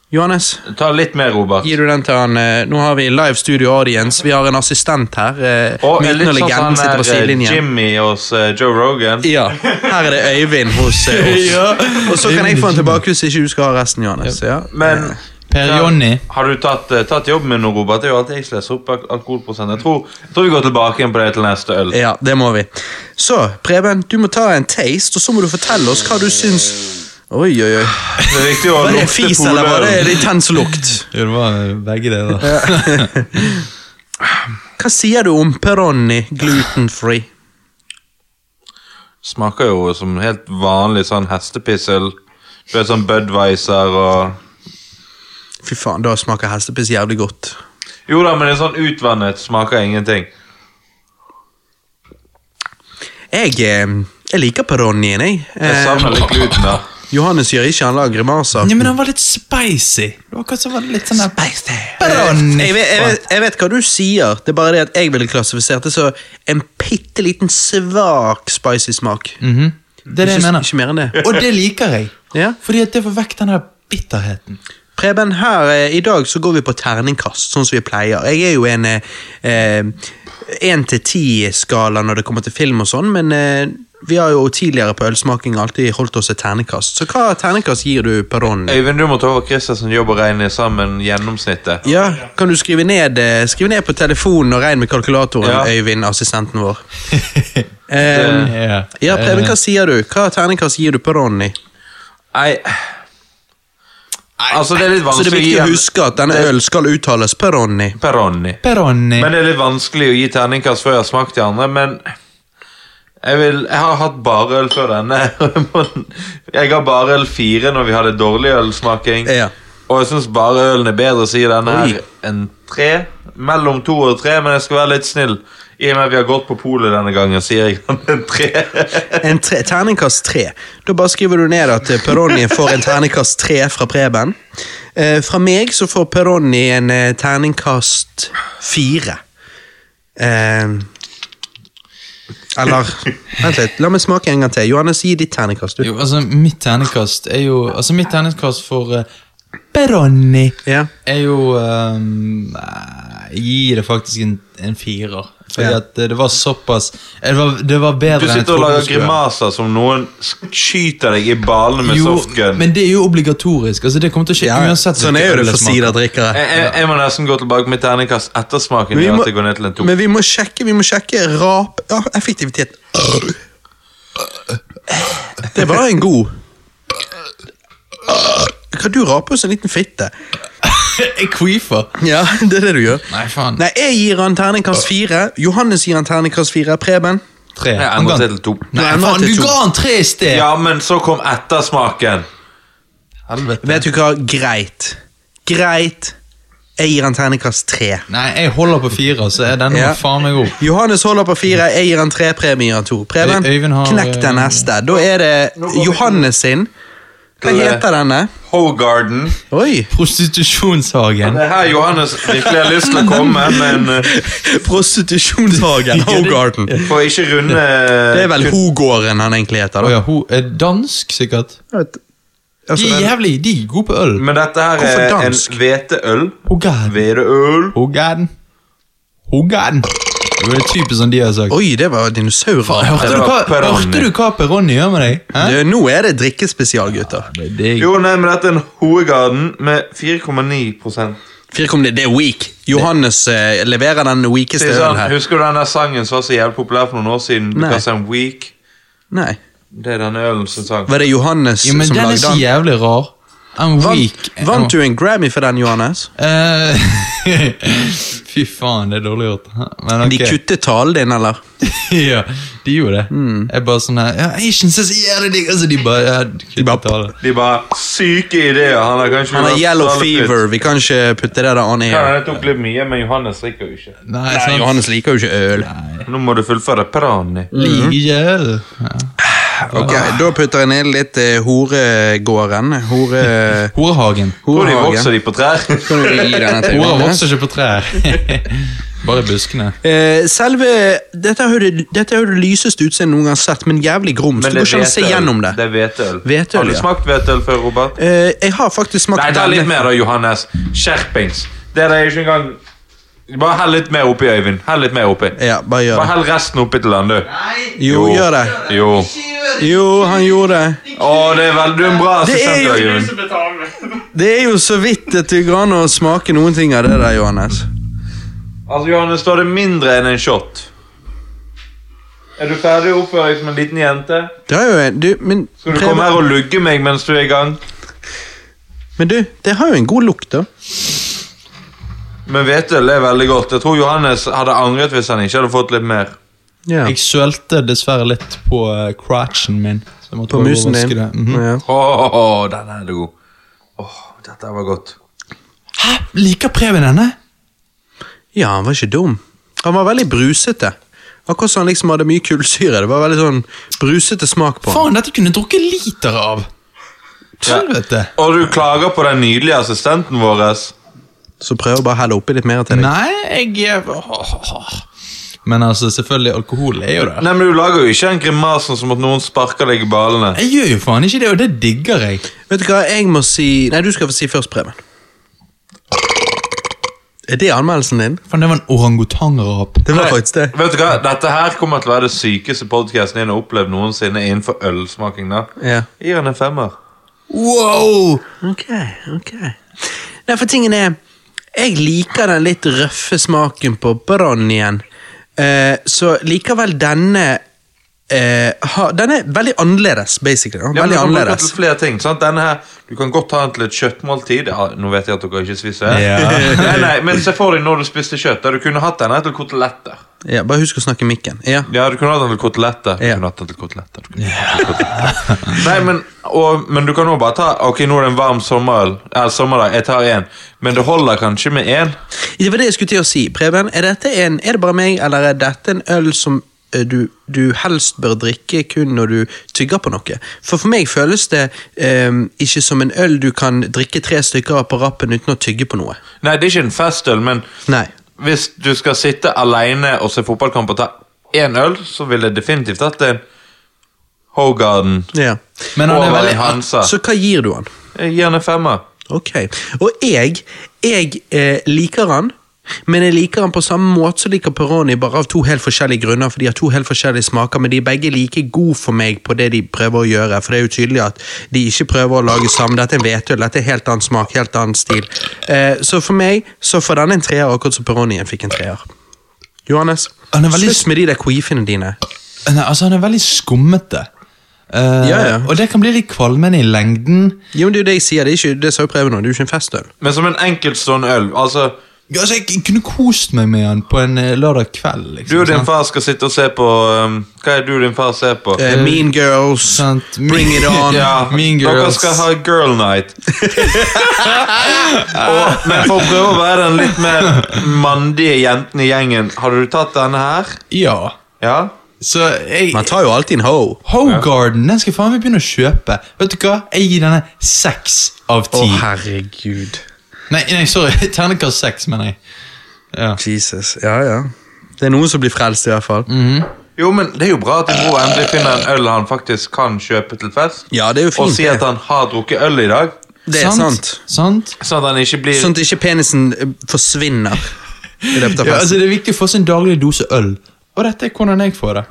[SPEAKER 1] Johannes,
[SPEAKER 3] Ta litt mer, Robert.
[SPEAKER 1] gir du den til han eh, Nå har vi live studio audience. Vi har en assistent her. eh,
[SPEAKER 3] Og
[SPEAKER 1] Myten
[SPEAKER 3] litt
[SPEAKER 1] og
[SPEAKER 3] sånn
[SPEAKER 1] legenden
[SPEAKER 3] som
[SPEAKER 1] sitter på
[SPEAKER 3] han er
[SPEAKER 1] sidelinjen.
[SPEAKER 3] Jimmy hos eh, Joe Rogan.
[SPEAKER 1] Ja, Her er det Øyvind hos eh, oss. Og så kan jeg få den tilbake hvis ikke du skal ha resten, Johannes. Ja.
[SPEAKER 3] Men
[SPEAKER 2] Per
[SPEAKER 3] Ja.
[SPEAKER 2] Jonny.
[SPEAKER 3] Har du tatt, eh, tatt jobben min nå, Robert? Det er jo alltid jeg som leser opp al- alkoholprosent. Jeg tror, jeg tror vi går tilbake igjen på det til neste øl.
[SPEAKER 1] Ja, det må vi. Så, Preben, du må ta en taste, og så må du fortelle oss hva du syns Oi, oi, oi.
[SPEAKER 3] Det er viktig å
[SPEAKER 1] Var det
[SPEAKER 3] lukte
[SPEAKER 1] fis,
[SPEAKER 3] poløl.
[SPEAKER 1] eller var det en intens lukt?
[SPEAKER 2] Jo, det var begge deler.
[SPEAKER 1] Hva sier du om Peroni glutenfree?
[SPEAKER 3] Smaker jo som helt vanlig sånn hestepissel. Du vet sånn Budwiser og
[SPEAKER 1] Fy faen, da smaker hestepiss jævlig godt.
[SPEAKER 3] Jo da, men det er sånn utvannet smaker ingenting.
[SPEAKER 1] Jeg, eh, jeg liker Peronien, jeg.
[SPEAKER 3] Jeg
[SPEAKER 1] Eh,
[SPEAKER 3] savner litt gluten, da.
[SPEAKER 1] Johannes gjør ikke, han lager grimaser.
[SPEAKER 2] Ja, men han var litt spicy. Det var akkurat som var litt sånn der
[SPEAKER 1] Peroni.
[SPEAKER 2] Peroni.
[SPEAKER 1] Jeg, vet- jeg, vet- jeg vet hva du sier, det er bare det at jeg ville klassifisert det som en bitte liten svak spicy smak.
[SPEAKER 2] Mhm. Det er det jeg
[SPEAKER 1] ikke,
[SPEAKER 2] mener.
[SPEAKER 1] ikke mer enn det.
[SPEAKER 2] Og det liker jeg.
[SPEAKER 1] Ja.
[SPEAKER 2] Fordi at det får vekk den der bitterheten.
[SPEAKER 1] Preben, her eh, i dag så går vi på terningkast, sånn som vi pleier. Jeg er jo en eh, eh, 1-10-skala når det kommer til film og sånn, men eh, vi har jo tidligere på ølsmaking alltid holdt oss et terningkast. Så hva terningkast gir du Peroni?
[SPEAKER 3] Øyvind, du må ta over Christensen jobb og regne sammen gjennomsnittet.
[SPEAKER 1] Ja, kan du skrive ned, eh, skrive ned på telefonen og regn med kalkulatoren,
[SPEAKER 3] Ja.
[SPEAKER 1] Øyvind, assistenten vår. Em,
[SPEAKER 2] Ja.
[SPEAKER 1] ja, Preben, hva sier du? Hva terningkast gir du Peroni?
[SPEAKER 3] Nei Altså, det er litt
[SPEAKER 1] Så det
[SPEAKER 3] vanskelig
[SPEAKER 1] er viktig å
[SPEAKER 3] gi en-
[SPEAKER 1] huske at denne øl skal uttales Peroni.
[SPEAKER 3] Peroni.
[SPEAKER 2] Peroni.
[SPEAKER 3] Men det er litt vanskelig å gi terningkast før jeg har smakt de andre, men jeg, vil, jeg har hatt barøl før denne. og jeg må- Jeg ga barøl fire når vi hadde dårlig ølsmaking.
[SPEAKER 1] Ja.
[SPEAKER 3] Og jeg syns barølen er bedre, sier denne her, enn tre. Mellom to og tre, men jeg skal være litt snill. I og med at vi har gått på polet denne gangen, sier jeg han en tre.
[SPEAKER 1] En tre, terningkast tre. Da bare skriver du ned at eh, Peroni får en terningkast tre fra Preben. Eh, fra meg så får Peroni en eh, terningkast fire. Eh, eller Vent litt, la meg smake en gang til. Johannes, gi ditt terningkast. Du.
[SPEAKER 2] Jo, altså, mitt terningkast er jo Altså, mitt terningkast for eh, Peroni
[SPEAKER 1] Ja.
[SPEAKER 2] er jo ehm, eh, Jeg gir det faktisk en, en firer. Fordi
[SPEAKER 1] Ja.
[SPEAKER 2] at eh, det var såpass eh, Det var, det var bedre
[SPEAKER 3] Du
[SPEAKER 2] enn jeg
[SPEAKER 3] sitter og
[SPEAKER 2] trodde
[SPEAKER 3] lager
[SPEAKER 2] det skulle være.
[SPEAKER 3] grimaser som noen skyter deg i balene med
[SPEAKER 2] Jo,
[SPEAKER 3] softgun.
[SPEAKER 2] men det er jo obligatorisk. Altså, det kommer til å skje uansett.
[SPEAKER 1] sånn
[SPEAKER 2] hvilken
[SPEAKER 1] er jo
[SPEAKER 2] øl
[SPEAKER 1] det for
[SPEAKER 2] smaker.
[SPEAKER 1] siderdrikkere.
[SPEAKER 3] Jeg, jeg, jeg må nesten gå tilbake med terningkast etter smaken.
[SPEAKER 1] Men vi
[SPEAKER 3] gjør
[SPEAKER 1] må-
[SPEAKER 3] at det går ned til en to.
[SPEAKER 1] Men vi må sjekke vi må sjekke rap... Ja, effektivitet. Det var en god Kan du rape hos en liten fitte?
[SPEAKER 2] Jeg queefer.
[SPEAKER 1] Ja, det er det du gjør.
[SPEAKER 2] Nei, faen.
[SPEAKER 1] Nei, Jeg gir han terningkast fire. Johannes gir han terningkast fire. Preben?
[SPEAKER 2] Tre.
[SPEAKER 3] Jeg
[SPEAKER 2] Han ga-
[SPEAKER 3] endret det til to.
[SPEAKER 2] Nei,
[SPEAKER 1] Nei,
[SPEAKER 2] faen,
[SPEAKER 1] til
[SPEAKER 2] du
[SPEAKER 1] to.
[SPEAKER 2] ga han tre i sted!
[SPEAKER 3] Ja, men så kom ettersmaken.
[SPEAKER 2] Helvete.
[SPEAKER 1] Vet du hva? Greit. Greit. Jeg gir han terningkast tre.
[SPEAKER 2] Nei, jeg holder på fire, så er denne
[SPEAKER 1] Ja.
[SPEAKER 2] faen meg god.
[SPEAKER 1] Johannes holder på fire. Jeg gir han tre premier av to. Preben,
[SPEAKER 2] Øy- Øyvind har-
[SPEAKER 1] knekk den neste. Da er det Johannes sin. Hva
[SPEAKER 3] Til-
[SPEAKER 1] heter denne?
[SPEAKER 3] Hogarden.
[SPEAKER 1] Oi!
[SPEAKER 2] Prostitusjonshagen.
[SPEAKER 3] Det er her Johannes virkelig har lyst til å komme, men eh,
[SPEAKER 1] Prostitusjonshagen. Hogarden.
[SPEAKER 3] får ikke runde
[SPEAKER 1] Det er vel Hogården han egentlig heter.
[SPEAKER 2] Å
[SPEAKER 1] da.
[SPEAKER 2] ja, hun er dansk, sikkert.
[SPEAKER 1] Altså,
[SPEAKER 2] De er
[SPEAKER 1] den-
[SPEAKER 2] jævlig de er gode på øl.
[SPEAKER 3] Men dette her er
[SPEAKER 1] Hvorfor
[SPEAKER 3] en
[SPEAKER 1] dansk?
[SPEAKER 3] hveteøl.
[SPEAKER 2] Hogan.
[SPEAKER 3] Hveteøl.
[SPEAKER 2] Hogan. Hogan. Det er typisk som de har sagt.
[SPEAKER 1] Oi, det var dinosaurer.
[SPEAKER 2] Hørte
[SPEAKER 3] det
[SPEAKER 2] du,
[SPEAKER 3] var
[SPEAKER 2] hva,
[SPEAKER 3] Peroni.
[SPEAKER 2] hørte du hva Peroni gjør med deg? Hæ?
[SPEAKER 1] Det- Nå er det drikkespesial, gutter.
[SPEAKER 2] Det er digg.
[SPEAKER 3] Jo, nei, men dette er en Hogarden med 4,9
[SPEAKER 1] Fire kom det, det er weak. Johannes eh, leverer den
[SPEAKER 3] Si
[SPEAKER 1] weakeste ølen
[SPEAKER 3] sånn,
[SPEAKER 1] her.
[SPEAKER 3] Husker du den der sangen som var så jævlig populær for noen år siden? Du
[SPEAKER 1] Nei.
[SPEAKER 3] kastet en week.
[SPEAKER 1] Nei.
[SPEAKER 3] Det er denne ølen som sang.
[SPEAKER 1] Var det Johannes
[SPEAKER 2] Ja, men
[SPEAKER 1] som
[SPEAKER 2] den er
[SPEAKER 1] lagde
[SPEAKER 2] så
[SPEAKER 1] den?
[SPEAKER 2] jævlig rar. I'm weak.
[SPEAKER 1] Vant, vant du en Grammy for den, Johannes?
[SPEAKER 2] Eh, Fy faen, det er dårlig gjort. Men ok.
[SPEAKER 1] De kuttet talen din, eller?
[SPEAKER 2] ja, de gjorde det.
[SPEAKER 1] Mm.
[SPEAKER 2] Jeg bare sånn her ja, Asians er så jævlig digg! Altså, de bare ja, De
[SPEAKER 1] bare-
[SPEAKER 2] bare
[SPEAKER 3] De bare Syke ideer! Han har kanskje
[SPEAKER 1] Han har
[SPEAKER 3] vært
[SPEAKER 1] yellow
[SPEAKER 3] særlig ut.
[SPEAKER 1] fever. Vi kan ikke putte det der on
[SPEAKER 3] Ja,
[SPEAKER 1] air.
[SPEAKER 3] jeg tok litt mye, men Johannes drikker jo ikke.
[SPEAKER 2] Nei,
[SPEAKER 1] Nei,
[SPEAKER 2] sant?
[SPEAKER 1] Johannes liker jo ikke øl.
[SPEAKER 2] Mm.
[SPEAKER 3] Nå må du fullføre Perani.
[SPEAKER 2] Ligel. Ja.
[SPEAKER 1] Ok, Da putter jeg ned litt eh, horegården. Hore...
[SPEAKER 2] Horehagen.
[SPEAKER 3] Hvor de
[SPEAKER 1] Horehagen.
[SPEAKER 3] vokser de på trær?
[SPEAKER 1] Kan du gi denne til
[SPEAKER 2] Horer
[SPEAKER 1] Johanne?
[SPEAKER 2] vokser ikke på trær. Bare buskene.
[SPEAKER 1] Eh, Selve Dette er jo det, dette er jo det lyseste utseendet noen gang har sett, men jævlig grums.
[SPEAKER 3] Men
[SPEAKER 1] Du
[SPEAKER 3] det
[SPEAKER 1] går ikke
[SPEAKER 3] er
[SPEAKER 1] an å se
[SPEAKER 3] hvetøl.
[SPEAKER 1] gjennom det.
[SPEAKER 3] Det er hvetøl.
[SPEAKER 1] Hvetøl,
[SPEAKER 3] Har du
[SPEAKER 1] ja.
[SPEAKER 3] smakt hvetøl før, Robert?
[SPEAKER 1] Eh, jeg har faktisk smakt
[SPEAKER 3] Nei, ta
[SPEAKER 1] denne.
[SPEAKER 3] litt mer da, Johannes. Skjerpings. Det er det ikke engang Bare hell litt mer oppi, Øyvind. Hell litt mer oppi.
[SPEAKER 1] Ja, bare gjør
[SPEAKER 3] Bare
[SPEAKER 1] det.
[SPEAKER 3] hell resten oppi til han, du.
[SPEAKER 1] Jo,
[SPEAKER 3] Jo.
[SPEAKER 1] gjør det.
[SPEAKER 3] Jo.
[SPEAKER 1] Jo, han gjorde det.
[SPEAKER 3] Å, det er veldig du er en bra
[SPEAKER 1] Det er
[SPEAKER 3] assistent,
[SPEAKER 1] jo-
[SPEAKER 3] Øyvind.
[SPEAKER 1] Det er jo så vidt at det går an å smake noen ting av det der, Johannes.
[SPEAKER 3] Altså, Johannes, da er det mindre enn en shot. Er du ferdig å oppføre deg som en liten jente?
[SPEAKER 1] Det har jo en, du, men,
[SPEAKER 3] Skal du
[SPEAKER 1] Preben-
[SPEAKER 3] komme her og lugge meg mens du er i gang?
[SPEAKER 1] men du, det har jo en god lukt, da.
[SPEAKER 3] Men hvetøl er veldig godt. Jeg tror Johannes hadde angret hvis han ikke hadde fått litt mer.
[SPEAKER 1] Ja.
[SPEAKER 2] Jeg sølte dessverre litt på eh, crotchen min. Så jeg måtte
[SPEAKER 1] På
[SPEAKER 2] bare
[SPEAKER 1] musen din.
[SPEAKER 2] overvaske det. Mhm.
[SPEAKER 1] ja.
[SPEAKER 3] Åh, oh, oh, den er god. Åh, dette var godt.
[SPEAKER 2] Hæ? Liker Preben denne?
[SPEAKER 1] ja, han var ikke dum. Han var veldig brusete. Akkurat som han liksom hadde mye kullsyre. Det var veldig sånn brusete smak på han.
[SPEAKER 2] Faen, dette kunne jeg drukket liter av! Helvete.
[SPEAKER 3] Og du klager på den nydelige assistenten vår.
[SPEAKER 1] Så prøv å bare helle oppi litt mer til deg.
[SPEAKER 2] Nei, jeg eh, Men altså, selvfølgelig, alkohol er jo der.
[SPEAKER 3] Nei, men Du lager jo ikke den grimasen som at noen sparker deg i ballene.
[SPEAKER 2] Jeg gjør jo faen ikke det, og det digger jeg.
[SPEAKER 1] Vet du hva, jeg må si Nei, du skal få si først, Preben. Er det anmeldelsen din?
[SPEAKER 2] Faen, det var en orangutangrap.
[SPEAKER 1] Det var faktisk det.
[SPEAKER 3] Vet du hva, Dette her kommer til å være det sykeste podkasten din har opplevd noensinne innenfor ølsmaking. da.
[SPEAKER 1] Ja.
[SPEAKER 3] Gir han en femmer.
[SPEAKER 2] Wow!
[SPEAKER 1] Ok, ok. Nei, for tingen er Jeg liker den litt røffe smaken på branjen. Eh, så likevel denne eh, ha, Den er veldig annerledes, basically. da.
[SPEAKER 3] Ja, men
[SPEAKER 1] veldig
[SPEAKER 3] du kan bruke den
[SPEAKER 1] annerledes.
[SPEAKER 3] Til flere ting, sant? Denne her, Du kan godt ta den til et kjøttmåltid. Ja, nå vet jeg at dere ikke spiser
[SPEAKER 2] Ja.
[SPEAKER 3] nei, nei, Men se for deg når du spiste kjøtt. da Du kunne hatt denne til koteletter.
[SPEAKER 1] Ja, bare husk å snakke i mikken. Ja.
[SPEAKER 3] Ja, du kunne hatt den til koteletter. Du
[SPEAKER 1] Ja.
[SPEAKER 3] kunne hatt den til koteletter. Du kunne hatt den til koteletter. Nei, men, og, men du kan også bare ta Ok, nå er det en varm sommerøl. Eh, sommerdag. Jeg tar én. Men det holder kanskje med én.
[SPEAKER 1] Det var det jeg skulle til å si. Preben, er, dette en, er det bare meg, eller er dette en øl som eh, du, du helst bør drikke kun når du tygger på noe? For for meg føles det eh, ikke som en øl du kan drikke tre stykker av på rappen uten å tygge på noe.
[SPEAKER 3] Nei, det er ikke en festøl, men
[SPEAKER 1] Nei.
[SPEAKER 3] hvis du skal sitte alene og se fotballkamp og ta én øl, så ville jeg definitivt hatt en Hogarden
[SPEAKER 1] Ja.
[SPEAKER 2] Men han er
[SPEAKER 3] over
[SPEAKER 2] veldig
[SPEAKER 3] en Hansa.
[SPEAKER 1] Så hva gir du han?
[SPEAKER 3] Jeg gir han en femmer.
[SPEAKER 1] Ok. Og jeg, jeg eh, liker han, men jeg liker han på samme måte som jeg liker Peroni, bare av to helt forskjellige grunner, for de har to helt forskjellige smaker, men de er begge like gode for meg på det de prøver å gjøre, for det er jo tydelig at de ikke prøver å lage sammen. Dette er hvetøl, dette er helt annen smak, helt annen stil. Eh, så for meg, så får den en treer, akkurat som Peronien fikk en treer. Johannes,
[SPEAKER 2] Han er veldig-
[SPEAKER 1] slutt med de der queefene dine.
[SPEAKER 2] Nei, altså, han er veldig skummete. Eh,
[SPEAKER 1] Ja, ja.
[SPEAKER 2] Og det kan bli litt kvalmende i lengden.
[SPEAKER 1] Jo, men det er jo det jeg sier, det er ikke, det sa jo Preben nå, det er jo ikke en festøl.
[SPEAKER 3] Men som en enkeltstående øl. Altså,
[SPEAKER 2] Ja, Altså, jeg kunne kost meg med han på en eh, lørdag kveld. liksom.
[SPEAKER 3] du og din
[SPEAKER 2] sant?
[SPEAKER 3] far skal sitte og se på um, Hva er det du og din far ser på?
[SPEAKER 1] Eh, mean Girls,
[SPEAKER 2] sant.
[SPEAKER 1] Bring It On.
[SPEAKER 3] Ja,
[SPEAKER 2] Mean
[SPEAKER 3] Dere
[SPEAKER 2] Girls.
[SPEAKER 3] skal ha girl night. og, men for å prøve å være den litt mer mandige jenten i gjengen, hadde du tatt denne her?
[SPEAKER 2] Ja.
[SPEAKER 3] Ja?
[SPEAKER 2] Så jeg
[SPEAKER 1] Man tar jo alltid en ho.
[SPEAKER 2] Hogarden den skal faen meg begynne å kjøpe. Vet du hva? Jeg gir denne seks av ti.
[SPEAKER 1] herregud.
[SPEAKER 2] nei, nei, sorry. Ternekast seks, mener jeg. Ja.
[SPEAKER 1] Jesus, ja, ja. Det er noen som blir frelst, i hvert fall.
[SPEAKER 2] Mm.
[SPEAKER 3] Jo, men det er jo bra at din bror endelig finner en øl han faktisk kan kjøpe til fest.
[SPEAKER 1] Ja, det er jo
[SPEAKER 3] Og
[SPEAKER 1] fint.
[SPEAKER 3] si at han har drukket øl i dag,
[SPEAKER 1] det er sant.
[SPEAKER 2] Sant?
[SPEAKER 3] sånn at han ikke blir
[SPEAKER 1] Sånn at ikke penisen eh, forsvinner i løpet av
[SPEAKER 2] Ja, altså,
[SPEAKER 1] festen,
[SPEAKER 2] det er viktig å få sin daglige dose øl. Og dette er hvordan jeg får det.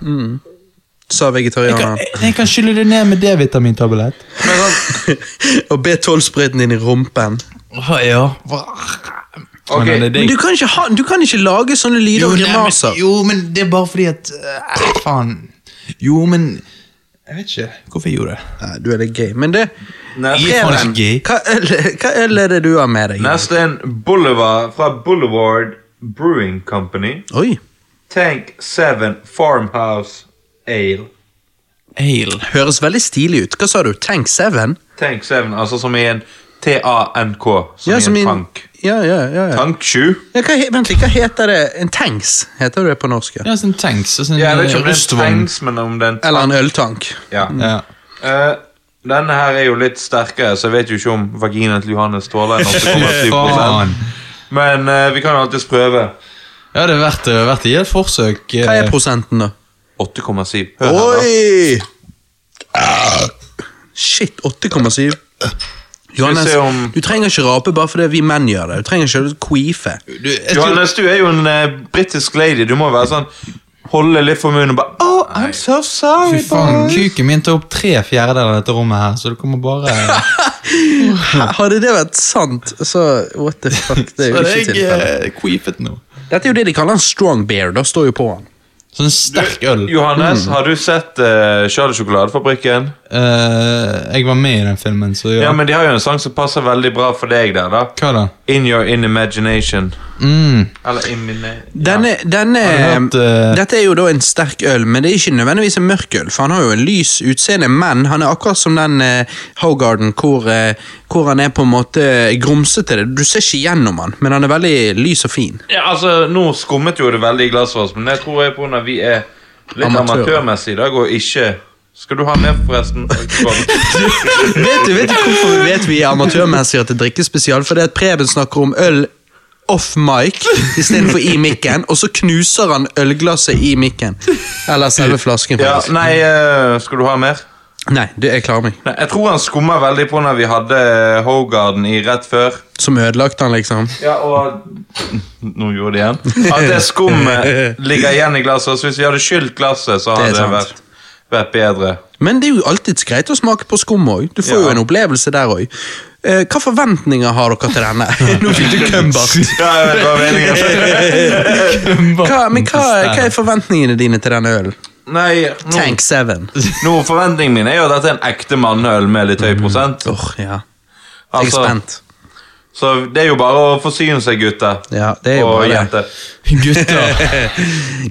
[SPEAKER 1] sa
[SPEAKER 2] Jeg kan,
[SPEAKER 1] vegetarianeren.
[SPEAKER 2] altså- jeg, jeg kan skylle det ned med D-vitamintablett.
[SPEAKER 3] Men sånn,
[SPEAKER 1] Og B12-sprøyten din i rumpen.
[SPEAKER 2] Oh, ja.
[SPEAKER 3] Ok,
[SPEAKER 2] Men det er
[SPEAKER 1] Men du
[SPEAKER 2] digg.
[SPEAKER 1] kan ikke, ha, du kan ikke lage sånne lyder
[SPEAKER 2] Jo,
[SPEAKER 1] og
[SPEAKER 2] nei, men,
[SPEAKER 1] grimaser.
[SPEAKER 2] jo, men det er bare fordi at eh, Faen. Jo, men Jeg vet ikke hvorfor jeg gjorde det.
[SPEAKER 1] Nei, du er litt gay, men det
[SPEAKER 3] neste,
[SPEAKER 2] Jeg er
[SPEAKER 1] Preben,
[SPEAKER 2] faen ikke gay.
[SPEAKER 1] hva øl, hva øl er det du har med deg?
[SPEAKER 3] neste er en Boulevard fra Boulevard Brewing Company.
[SPEAKER 1] Oi,
[SPEAKER 3] Tank 7 Farmhouse Ale.
[SPEAKER 2] Ale.
[SPEAKER 1] høres veldig stilig ut. Hva sa du? Tank 7?
[SPEAKER 3] Tank 7, altså som i en T-A-N-K, som
[SPEAKER 1] Ja,
[SPEAKER 3] i
[SPEAKER 1] som i
[SPEAKER 3] en
[SPEAKER 1] en-
[SPEAKER 3] tank.
[SPEAKER 1] Ja, ja, ja. ja.
[SPEAKER 3] Tank 7?
[SPEAKER 1] ja hva, he- vent litt, hva heter det? En tanks, heter det på norsk? ja.
[SPEAKER 2] Ja, sånn tanks. Sånn
[SPEAKER 3] Ja, jeg vet ikke om det er en
[SPEAKER 2] rustvogn.
[SPEAKER 3] tanks, men om det er en
[SPEAKER 1] Eller en øltank.
[SPEAKER 3] Ja.
[SPEAKER 2] Ja.
[SPEAKER 3] Eh, denne her er jo litt sterkere, så jeg vet jo ikke om vaginaen til Johannes tåler en 8,7
[SPEAKER 2] Faen.
[SPEAKER 3] Men eh, vi kan jo alltids prøve.
[SPEAKER 2] Ja, det er verdt det. det er verdt det. Gi et forsøk.
[SPEAKER 1] Hva er
[SPEAKER 2] eh,
[SPEAKER 1] prosenten, da?
[SPEAKER 3] 8,7. Hør her, da.
[SPEAKER 1] Oi! Shit, 8,7. Johannes,
[SPEAKER 3] se om-
[SPEAKER 1] du trenger ikke rape bare fordi vi menn gjør det. Du trenger ikke å queefe.
[SPEAKER 2] du, jeg tror,
[SPEAKER 3] Johannes, du er jo en uh, britisk lady. Du må være sånn Holde litt for munnen og bare Oh, I'm so sorry,
[SPEAKER 2] fy faen,
[SPEAKER 3] boy.
[SPEAKER 2] kuken min tar opp tre fjerdedeler av dette rommet her, så det kommer bare
[SPEAKER 1] Hadde det vært sant, så what the fuck. Det er
[SPEAKER 2] Så
[SPEAKER 1] jo ikke
[SPEAKER 2] jeg
[SPEAKER 1] tilfellet.
[SPEAKER 2] eh, queefet nå.
[SPEAKER 1] Dette er jo det de kaller en strong bear. Da står jo på han.
[SPEAKER 2] Sånn sterk øl. Mm.
[SPEAKER 3] Johannes, har du sett uh, Charlie Sjokoladefabrikken?
[SPEAKER 2] Eh, jeg var med i den filmen, så ja.
[SPEAKER 3] Ja, men de har jo en sang som passer veldig bra for deg der, da.
[SPEAKER 2] Hva da?
[SPEAKER 3] In Your In Imagination.
[SPEAKER 2] Mm.
[SPEAKER 3] Eller Immine...
[SPEAKER 1] Denne, denne
[SPEAKER 2] Har du hørt, eh,
[SPEAKER 1] Dette er jo da en sterk øl, men det er ikke nødvendigvis en mørk øl, for han har jo en lys utseende, men han er akkurat som den eh, Hogarden hvor, eh, hvor han er på en måte grumsete. Du ser ikke gjennom han, men han er veldig lys og fin.
[SPEAKER 3] Ja, altså, Nå skummet jo det veldig i glasset vårt, men jeg tror jeg på grunn av vi er litt
[SPEAKER 1] Amatører.
[SPEAKER 3] amatørmessige i dag og ikke Skal du ha med, forresten?
[SPEAKER 1] Vet du, vet du hvorfor vi vet vi er amatørmessige at det drikkes spesial? Fordi at Preben snakker om øl off mic istedenfor i mikken, og så knuser han ølglasset i mikken. Eller selve flasken,
[SPEAKER 3] Ja,
[SPEAKER 1] faktisk.
[SPEAKER 3] nei, eh, skal du ha mer?
[SPEAKER 1] Nei, det, jeg klarer meg.
[SPEAKER 3] Nei, jeg tror han skumma veldig på når vi hadde eh, Hogarden i rett før.
[SPEAKER 1] Som ødelagte han, liksom.
[SPEAKER 3] Ja, og Nå gjorde det igjen. At det skummet ligger igjen i glasset. Så hvis vi hadde skylt glasset, så hadde
[SPEAKER 1] Det er
[SPEAKER 3] det,
[SPEAKER 1] sant.
[SPEAKER 3] vært, vært bedre.
[SPEAKER 1] Men det er jo alltid greit å smake på skum òg. Du får jo
[SPEAKER 3] Ja.
[SPEAKER 1] en opplevelse der òg. Eh, hva forventninger har dere til denne? Nå fikk du kømbart.
[SPEAKER 3] Ja, jeg vet hva meningen er.
[SPEAKER 1] Hva, men hva, hva er forventningene dine til denne ølen?
[SPEAKER 3] Nei, nå,
[SPEAKER 1] Tank 7.
[SPEAKER 3] nå forventningen min er jo at dette er en ekte mannøl med litt høy prosent.
[SPEAKER 1] Åh, ja. Jeg er
[SPEAKER 3] Altså,
[SPEAKER 1] spent.
[SPEAKER 3] Så det er jo bare å forsyne seg, gutter.
[SPEAKER 1] Ja, det er jo
[SPEAKER 3] og
[SPEAKER 1] bare det.
[SPEAKER 3] jenter.
[SPEAKER 2] Gutter.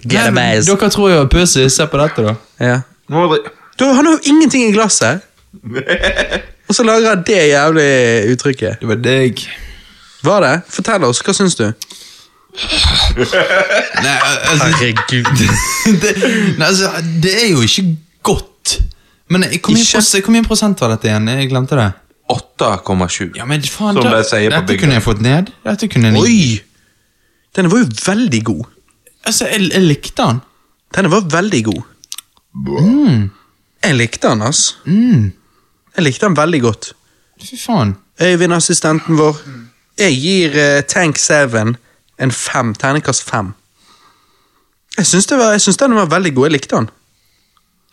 [SPEAKER 1] Get a
[SPEAKER 2] Men
[SPEAKER 1] base.
[SPEAKER 2] Dere tror jo er pussy. Se på dette, da.
[SPEAKER 1] Ja.
[SPEAKER 3] Nå må dere-
[SPEAKER 1] Du, han har jo ingenting i glasset! Og så lager han det jævlig uttrykket.
[SPEAKER 2] Det var deg.
[SPEAKER 1] Var det? Fortell oss, hva syns du?
[SPEAKER 2] Nei, altså,
[SPEAKER 1] Herregud.
[SPEAKER 2] det, nei, altså, det er jo ikke godt. Men jeg- hvor mye,
[SPEAKER 1] Ikke?
[SPEAKER 2] pros- hvor mye prosent var dette igjen? Jeg glemte det.
[SPEAKER 3] 8,7.
[SPEAKER 2] Ja, men faen,
[SPEAKER 3] Som
[SPEAKER 2] da-
[SPEAKER 3] de sier på
[SPEAKER 2] dette
[SPEAKER 3] bygda.
[SPEAKER 2] kunne jeg fått ned. Dette kunne jeg
[SPEAKER 1] Oi! Denne var jo veldig god.
[SPEAKER 2] Altså, jeg, jeg likte den.
[SPEAKER 1] Denne var veldig god. Jeg likte den, ass. Jeg likte den veldig godt.
[SPEAKER 2] Fy faen.
[SPEAKER 1] Øyvind, assistenten vår. Jeg gir eh, Tank 7 en fem, terningkast fem. Jeg syns, det var, jeg syns den var veldig god. Jeg likte den.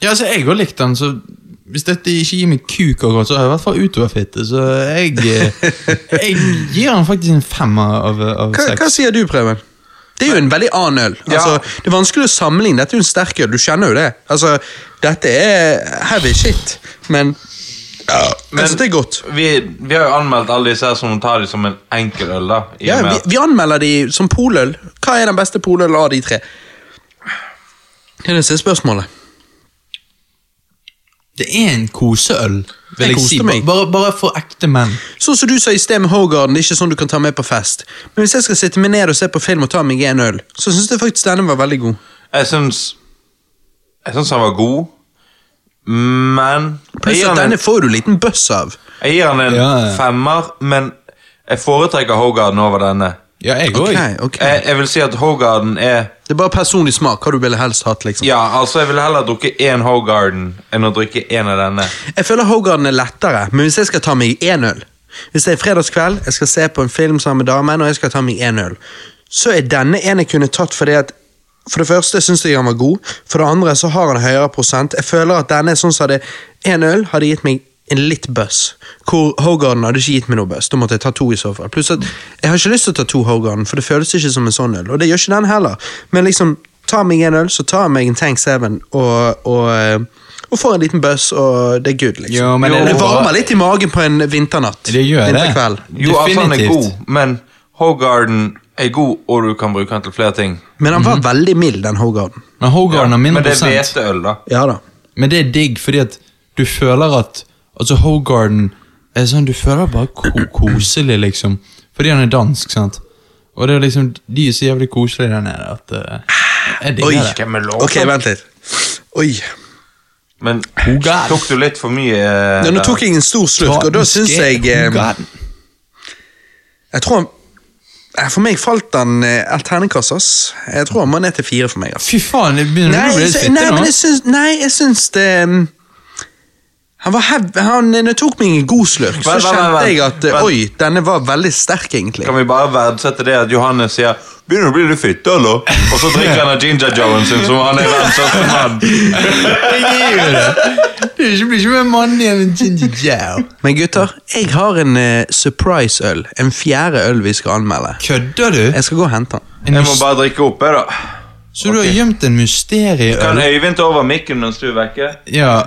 [SPEAKER 2] Ja, altså, jeg òg likte den, så hvis dette ikke gir meg kuk og godt, så har jeg i hvert fall utoverfitte. Så jeg, eh, jeg gir den faktisk en femmer av, av
[SPEAKER 1] Hva, hva
[SPEAKER 2] seks.
[SPEAKER 1] sier du, Preben? Det er jo en veldig annen øl. Altså,
[SPEAKER 3] Ja.
[SPEAKER 1] det er vanskelig å sammenligne. Dette er jo en sterk øl. Du kjenner jo det. Altså, dette er heavy shit, men Jeg syns det er godt.
[SPEAKER 3] Vi, vi har jo anmeldt alle disse her som tar dem som en enkel øl, da. I
[SPEAKER 1] Ja,
[SPEAKER 3] og med
[SPEAKER 1] vi,
[SPEAKER 3] at-
[SPEAKER 1] vi anmelder de som poløl. Hva er den beste polølen av de tre? Det er det siste spørsmålet.
[SPEAKER 2] Det er en koseøl, vil
[SPEAKER 1] Jeg
[SPEAKER 2] jeg,
[SPEAKER 1] koste
[SPEAKER 2] si.
[SPEAKER 1] meg.
[SPEAKER 2] Bare, bare for ekte menn.
[SPEAKER 1] Sånn som du sa i sted med Hogarden, det er ikke sånn du kan ta med på fest. Men hvis jeg skal sitte meg ned og se på film og ta meg en øl, så syns jeg faktisk denne var veldig god.
[SPEAKER 3] Jeg syns Jeg syns han var god, men Jeg
[SPEAKER 1] Pluss
[SPEAKER 3] gir
[SPEAKER 1] at
[SPEAKER 3] han en,
[SPEAKER 1] denne får du liten bøss av.
[SPEAKER 3] jeg gir han en
[SPEAKER 2] Ja, ja.
[SPEAKER 3] femmer, men jeg foretrekker Hogarden over denne.
[SPEAKER 2] Ja, jeg òg.
[SPEAKER 1] Ok, ok.
[SPEAKER 3] Jeg, jeg vil si at Hogarden er
[SPEAKER 1] Det er bare personlig smak, hva du ville helst hatt, liksom.
[SPEAKER 3] Ja, altså, jeg ville heller drukke én Hogarden enn å drikke én av denne.
[SPEAKER 1] Jeg føler Hogarden er lettere, men hvis jeg skal ta meg en øl Hvis det er fredagskveld, jeg skal se på en film sammen med damen, og jeg skal ta meg en øl, så er denne en jeg kunne tatt fordi at For det første syns jeg han var god, for det andre så har han høyere prosent. Jeg føler at denne er sånn som hadde En øl hadde gitt meg en litt buzz, hvor Hogarden hadde ikke gitt meg noe buzz. Da måtte jeg ta to i så fall. Pluss at jeg har ikke lyst til å ta to Hogarden, for det føles ikke som en sånn øl, og det gjør ikke den heller. Men liksom, ta meg en øl, så tar jeg meg en Tank 7 og, og, eh, og får en liten buzz, og det er good, liksom.
[SPEAKER 2] Jo, men
[SPEAKER 1] Jo,
[SPEAKER 2] det-
[SPEAKER 1] det varmer litt i magen på en vinternatt.
[SPEAKER 2] Det gjør det.
[SPEAKER 1] Vinterkveld.
[SPEAKER 3] Jo, altså, han er
[SPEAKER 2] Definitivt.
[SPEAKER 3] god, men Hogarden er god, og du kan bruke han til flere ting.
[SPEAKER 1] Men han
[SPEAKER 2] Mhm.
[SPEAKER 1] var veldig mild, den Hogarden.
[SPEAKER 2] Men Hogarden har
[SPEAKER 3] men
[SPEAKER 2] mindre
[SPEAKER 3] det er
[SPEAKER 2] prosent.
[SPEAKER 3] hveteøl, da.
[SPEAKER 1] Ja da.
[SPEAKER 2] Men det er digg, fordi at du føler at Altså, Hogarden er sånn, du føler bare ko koselig, liksom. Fordi han er dansk, sant. Og det er liksom, de er så jævlig koselige der nede at eh, jeg
[SPEAKER 1] Oi.
[SPEAKER 2] digger det.
[SPEAKER 3] Hvem er lov?
[SPEAKER 1] Ok, vent litt. Oi.
[SPEAKER 3] Men
[SPEAKER 2] God.
[SPEAKER 3] tok du litt for mye eh,
[SPEAKER 1] Ja, nå tok jeg en stor slurk, og da syns jeg eh, Jeg tror han eh, For meg falt han eh, et terningkast, ass. Jeg tror han må ned til fire for meg. ass.
[SPEAKER 2] Fy faen, det begynner
[SPEAKER 1] Nei,
[SPEAKER 2] å bli
[SPEAKER 1] jeg
[SPEAKER 2] litt
[SPEAKER 1] sy-
[SPEAKER 2] fitte
[SPEAKER 1] nei,
[SPEAKER 2] nå.
[SPEAKER 1] men jeg syns, nei, jeg syns det mm, Han var hev... Han eh, det tok meg en god slurk, så
[SPEAKER 3] Vent, vent, vent,
[SPEAKER 1] kjente jeg
[SPEAKER 3] vent.
[SPEAKER 1] at eh,
[SPEAKER 3] Vent.
[SPEAKER 1] Oi, denne var veldig sterk, egentlig.
[SPEAKER 3] Kan vi bare verdsette det at Johannes sier 'Begynner du å bli litt fitte, eller?' Og så drikker han av ginger jowen sin, som han er verdens største mann.
[SPEAKER 2] Jeg gir jo det. Du er ikke- blir ikke mer mann igjen enn Ginger Joe.
[SPEAKER 1] Men gutter, jeg har en eh, surprise-øl. En fjerde øl vi skal anmelde.
[SPEAKER 2] Kødder du?
[SPEAKER 1] Jeg skal gå og hente den.
[SPEAKER 2] En
[SPEAKER 3] Jeg må
[SPEAKER 2] mys-
[SPEAKER 3] bare drikke opp, jeg, da.
[SPEAKER 2] Så du har gjemt en
[SPEAKER 3] Kan
[SPEAKER 2] mysterieøl?
[SPEAKER 3] Øyvind ta over mikken mens du er vekke?
[SPEAKER 2] Ja.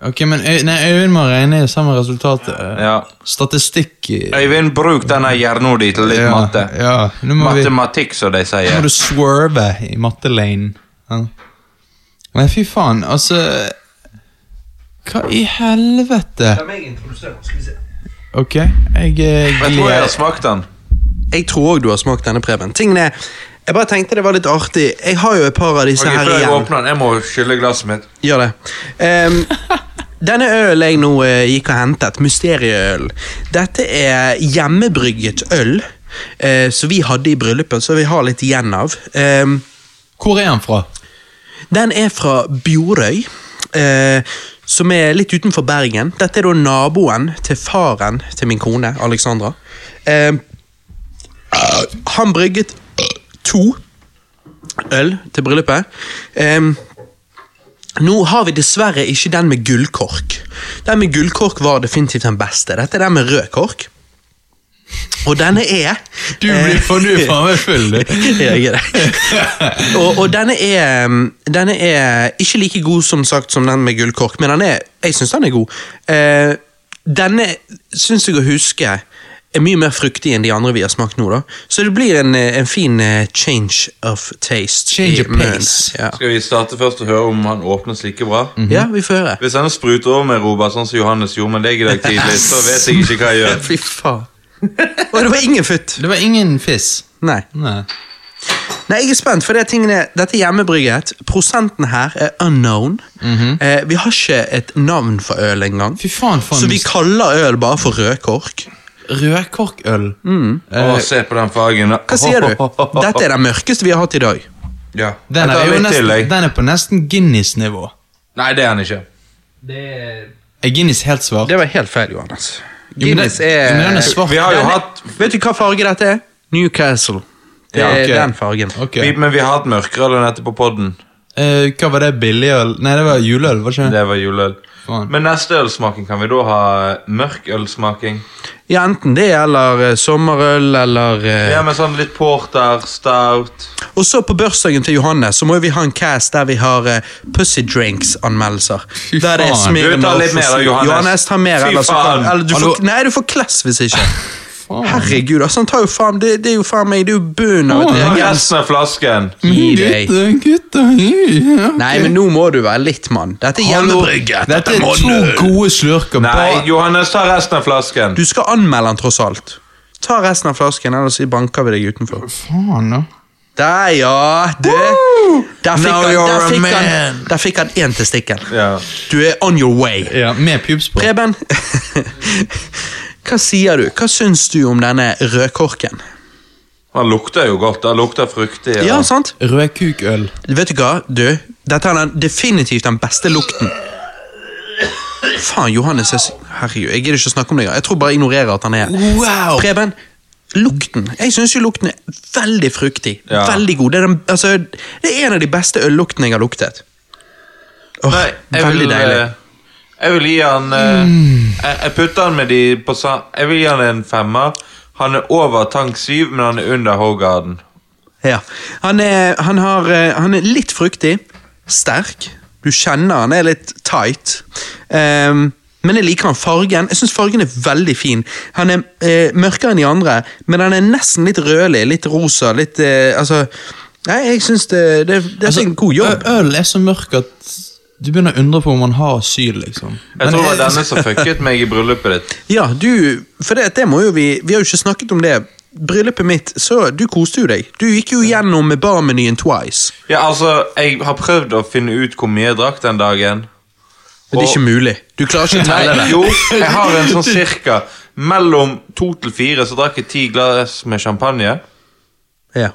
[SPEAKER 2] Ok, men Øy- nei, Øyvind må regne i samme resultat. eh,
[SPEAKER 3] Ja.
[SPEAKER 2] Statistikk i-
[SPEAKER 3] Øyvind, bruk denne hjernen din til litt
[SPEAKER 2] ja,
[SPEAKER 3] matte.
[SPEAKER 2] Ja, nå må vi nå
[SPEAKER 3] Matematikk, som de
[SPEAKER 2] må
[SPEAKER 3] sier.
[SPEAKER 2] du swerve i mattelanen. Ja. Men fy faen, altså Hva i helvete? Ok, jeg eh,
[SPEAKER 3] Jeg tror jeg har
[SPEAKER 2] gleder
[SPEAKER 3] smakt den.
[SPEAKER 1] Jeg tror òg du har smakt denne, Preben. Tingen er, Jeg bare tenkte det var litt artig. Jeg har jo et par av disse
[SPEAKER 3] Ok,
[SPEAKER 1] her
[SPEAKER 3] før jeg
[SPEAKER 1] igjen.
[SPEAKER 3] åpner den, jeg må skylle glasset mitt.
[SPEAKER 1] Gjør det. Ehm, denne ølen jeg nå eh, gikk og hentet, mysterieøl, dette er hjemmebrygget øl. eh, som vi hadde i bryllupet, så vi har litt igjen av. Ehm,
[SPEAKER 2] Hvor er han fra?
[SPEAKER 1] Den er fra Bjorøy, eh, som er litt utenfor Bergen. Dette er da naboen til faren til min kone, Alexandra. Eh, han brygget to øl til bryllupet. Eh, nå har vi dessverre ikke den med gullkork. Den med gullkork var definitivt den beste. Dette er den med rød kork. Og denne er
[SPEAKER 2] Du
[SPEAKER 3] Eh.
[SPEAKER 2] blir for du er faen meg full, du.
[SPEAKER 1] jeg er det. Og, og denne, er, um, denne er ikke like god som sagt som den med gullkork, men den er, jeg syns den er god. Eh, denne syns jeg å huske er mye mer fruktig enn de andre vi har smakt nå. da. Så det blir en, eh, en fin eh, change of taste.
[SPEAKER 2] Change
[SPEAKER 1] i
[SPEAKER 2] of pace.
[SPEAKER 1] munnen. Ja.
[SPEAKER 3] Skal vi starte først og høre om han åpnes like bra?
[SPEAKER 1] ja, vi får høre.
[SPEAKER 3] Hvis han spruter over med Robert, sånn som Johannes gjorde med deg i dag tidlig, så vet jeg ikke hva jeg gjør.
[SPEAKER 1] Fy faen. Og det var ingen futt!
[SPEAKER 2] Det var ingen fiss.
[SPEAKER 1] Nei.
[SPEAKER 2] Nei.
[SPEAKER 1] Nei, jeg er spent, for det er tingene, dette er hjemmebrygget. Prosenten her er unknown.
[SPEAKER 2] Mhm.
[SPEAKER 1] eh, vi har ikke et navn for øl engang.
[SPEAKER 2] Fy faen, for
[SPEAKER 1] Så
[SPEAKER 2] en
[SPEAKER 1] vi kaller øl bare for rødkork?
[SPEAKER 2] rødkorkøl. Eh,
[SPEAKER 3] Å, se på den fargen.
[SPEAKER 1] Hva sier du? Dette er den mørkeste vi har hatt i dag.
[SPEAKER 3] Ja. Jeg
[SPEAKER 2] Den er,
[SPEAKER 3] tar
[SPEAKER 2] jo
[SPEAKER 3] litt til,
[SPEAKER 2] nesten,
[SPEAKER 3] jeg.
[SPEAKER 2] den er på nesten Guinness-nivå.
[SPEAKER 3] Nei, det er han ikke.
[SPEAKER 2] Er Guinness helt svart?
[SPEAKER 1] Det var helt feil, Johannes.
[SPEAKER 2] Jo, men den-
[SPEAKER 1] Guinness
[SPEAKER 2] jo, men den er
[SPEAKER 1] er
[SPEAKER 2] svart.
[SPEAKER 3] Vi har jo
[SPEAKER 1] Den er-
[SPEAKER 3] hatt
[SPEAKER 1] Vet du hva farge dette er? Newcastle. Det
[SPEAKER 3] Ja,
[SPEAKER 1] er
[SPEAKER 2] ok.
[SPEAKER 1] den fargen.
[SPEAKER 2] Ok.
[SPEAKER 3] vi, Men vi har hatt mørkere enn dette på podden.
[SPEAKER 2] Eh, hva var det? Billigøl? Nei, det var juleøl, var ikke det?
[SPEAKER 3] Det var juleøl.
[SPEAKER 2] Faen.
[SPEAKER 3] Men neste ølsmaking, kan vi da ha mørkølsmaking?
[SPEAKER 1] Ja, Enten det eller eh, sommerøl eller eh,
[SPEAKER 3] Ja, men sånn litt porter, stout
[SPEAKER 1] Og så på bursdagen til Johannes så må vi ha en cast der vi har eh, Pussy Drinks-anmeldelser. Der det er
[SPEAKER 2] faen.
[SPEAKER 1] Smirnoff
[SPEAKER 3] Du tar litt
[SPEAKER 1] og
[SPEAKER 3] mer da,
[SPEAKER 1] Sli-
[SPEAKER 3] Johannes.
[SPEAKER 1] Johannes tar mer,
[SPEAKER 3] Fy
[SPEAKER 1] eller så kan,
[SPEAKER 3] faen.
[SPEAKER 1] eller du
[SPEAKER 2] Hallo.
[SPEAKER 1] får, Nei, du får klass hvis ikke.
[SPEAKER 2] Faen.
[SPEAKER 1] Herregud, altså, han tar jo faen Det, det er jo faen meg, det er jo bunnen av
[SPEAKER 2] Å,
[SPEAKER 1] et
[SPEAKER 2] ja. Mm.
[SPEAKER 1] reagent.
[SPEAKER 3] Resten av flasken.
[SPEAKER 1] Gi deg.
[SPEAKER 2] Gutter, gutter, ja.
[SPEAKER 1] Nei, men nå må du være litt mann. Dette er
[SPEAKER 2] Hallo,
[SPEAKER 1] hjemmebrygget.
[SPEAKER 2] Dette er
[SPEAKER 1] må
[SPEAKER 2] to
[SPEAKER 1] du-
[SPEAKER 2] gode slurker.
[SPEAKER 3] Nei,
[SPEAKER 2] Bare
[SPEAKER 3] Johannes, ta resten av flasken.
[SPEAKER 1] Du skal anmelde den, tross alt. Ta resten av flasken, ellers banker vi deg utenfor.
[SPEAKER 2] faen, da.
[SPEAKER 1] Der, ja. Du. Der fikk
[SPEAKER 2] Now
[SPEAKER 1] han,
[SPEAKER 2] you're
[SPEAKER 1] der
[SPEAKER 2] a
[SPEAKER 1] fikk han,
[SPEAKER 2] man.
[SPEAKER 1] der fikk han én til stikken.
[SPEAKER 3] Ja.
[SPEAKER 1] Du er on your way.
[SPEAKER 2] Ja, med pubspray.
[SPEAKER 1] Preben, hva sier du? Hva syns du om denne rødkorken?
[SPEAKER 3] Han lukter jo godt. Han lukter fruktig.
[SPEAKER 1] Ja, sant?
[SPEAKER 2] Rødkukøl.
[SPEAKER 1] Vet du hva, du? Dette har den, definitivt den beste lukten. Faen, Johannes. Jeg, s- herregud, jeg gidder ikke å snakke om det engang. Jeg tror bare jeg ignorerer at han er her.
[SPEAKER 2] Wow!
[SPEAKER 1] Preben, lukten. Jeg syns jo lukten er veldig fruktig.
[SPEAKER 3] Ja.
[SPEAKER 1] Veldig god. Det er, den, altså, det er en av de beste ølluktene jeg har luktet. Åh,
[SPEAKER 3] Nei, jeg
[SPEAKER 1] veldig
[SPEAKER 3] vil,
[SPEAKER 1] deilig. Mm.
[SPEAKER 3] eh, Jeg vil gi han eh, jeg, jeg putter han med de på sa... Jeg vil gi han en femmer. Han er over tank 7, men han er under Hogarden.
[SPEAKER 1] Ja. Han, er, han, har, eh, han er litt fruktig, sterk. Du kjenner han er litt tight. Ehm, men jeg liker han fargen. Jeg synes fargen er veldig fin. Han er eh, mørkere enn de andre, men han er nesten litt rødlig, litt rosa, litt altså, eh,
[SPEAKER 3] Altså,
[SPEAKER 1] Altså Nei, jeg syns det, det, det er en god jobb.
[SPEAKER 2] ø- Øl er så mørk at du begynner å undre på om han har asyl, liksom.
[SPEAKER 3] Jeg tror det var
[SPEAKER 2] Men-
[SPEAKER 3] denne som fucket meg i bryllupet ditt.
[SPEAKER 1] Ja, du, for det, det må jo vi Vi har jo ikke snakket om det. Bryllupet mitt, så du koste jo deg. Du gikk jo gjennom barmenyen twice.
[SPEAKER 3] Ja, altså, jeg har prøvd å finne ut hvor mye jeg drakk den dagen.
[SPEAKER 1] Men det er
[SPEAKER 3] Og-
[SPEAKER 1] ikke mulig. Du klarer ikke å telle
[SPEAKER 3] Nei,
[SPEAKER 1] det.
[SPEAKER 3] jo, jeg har en sånn cirka. Mellom to til fire så drakk jeg ti glass med champagne.
[SPEAKER 1] Ja,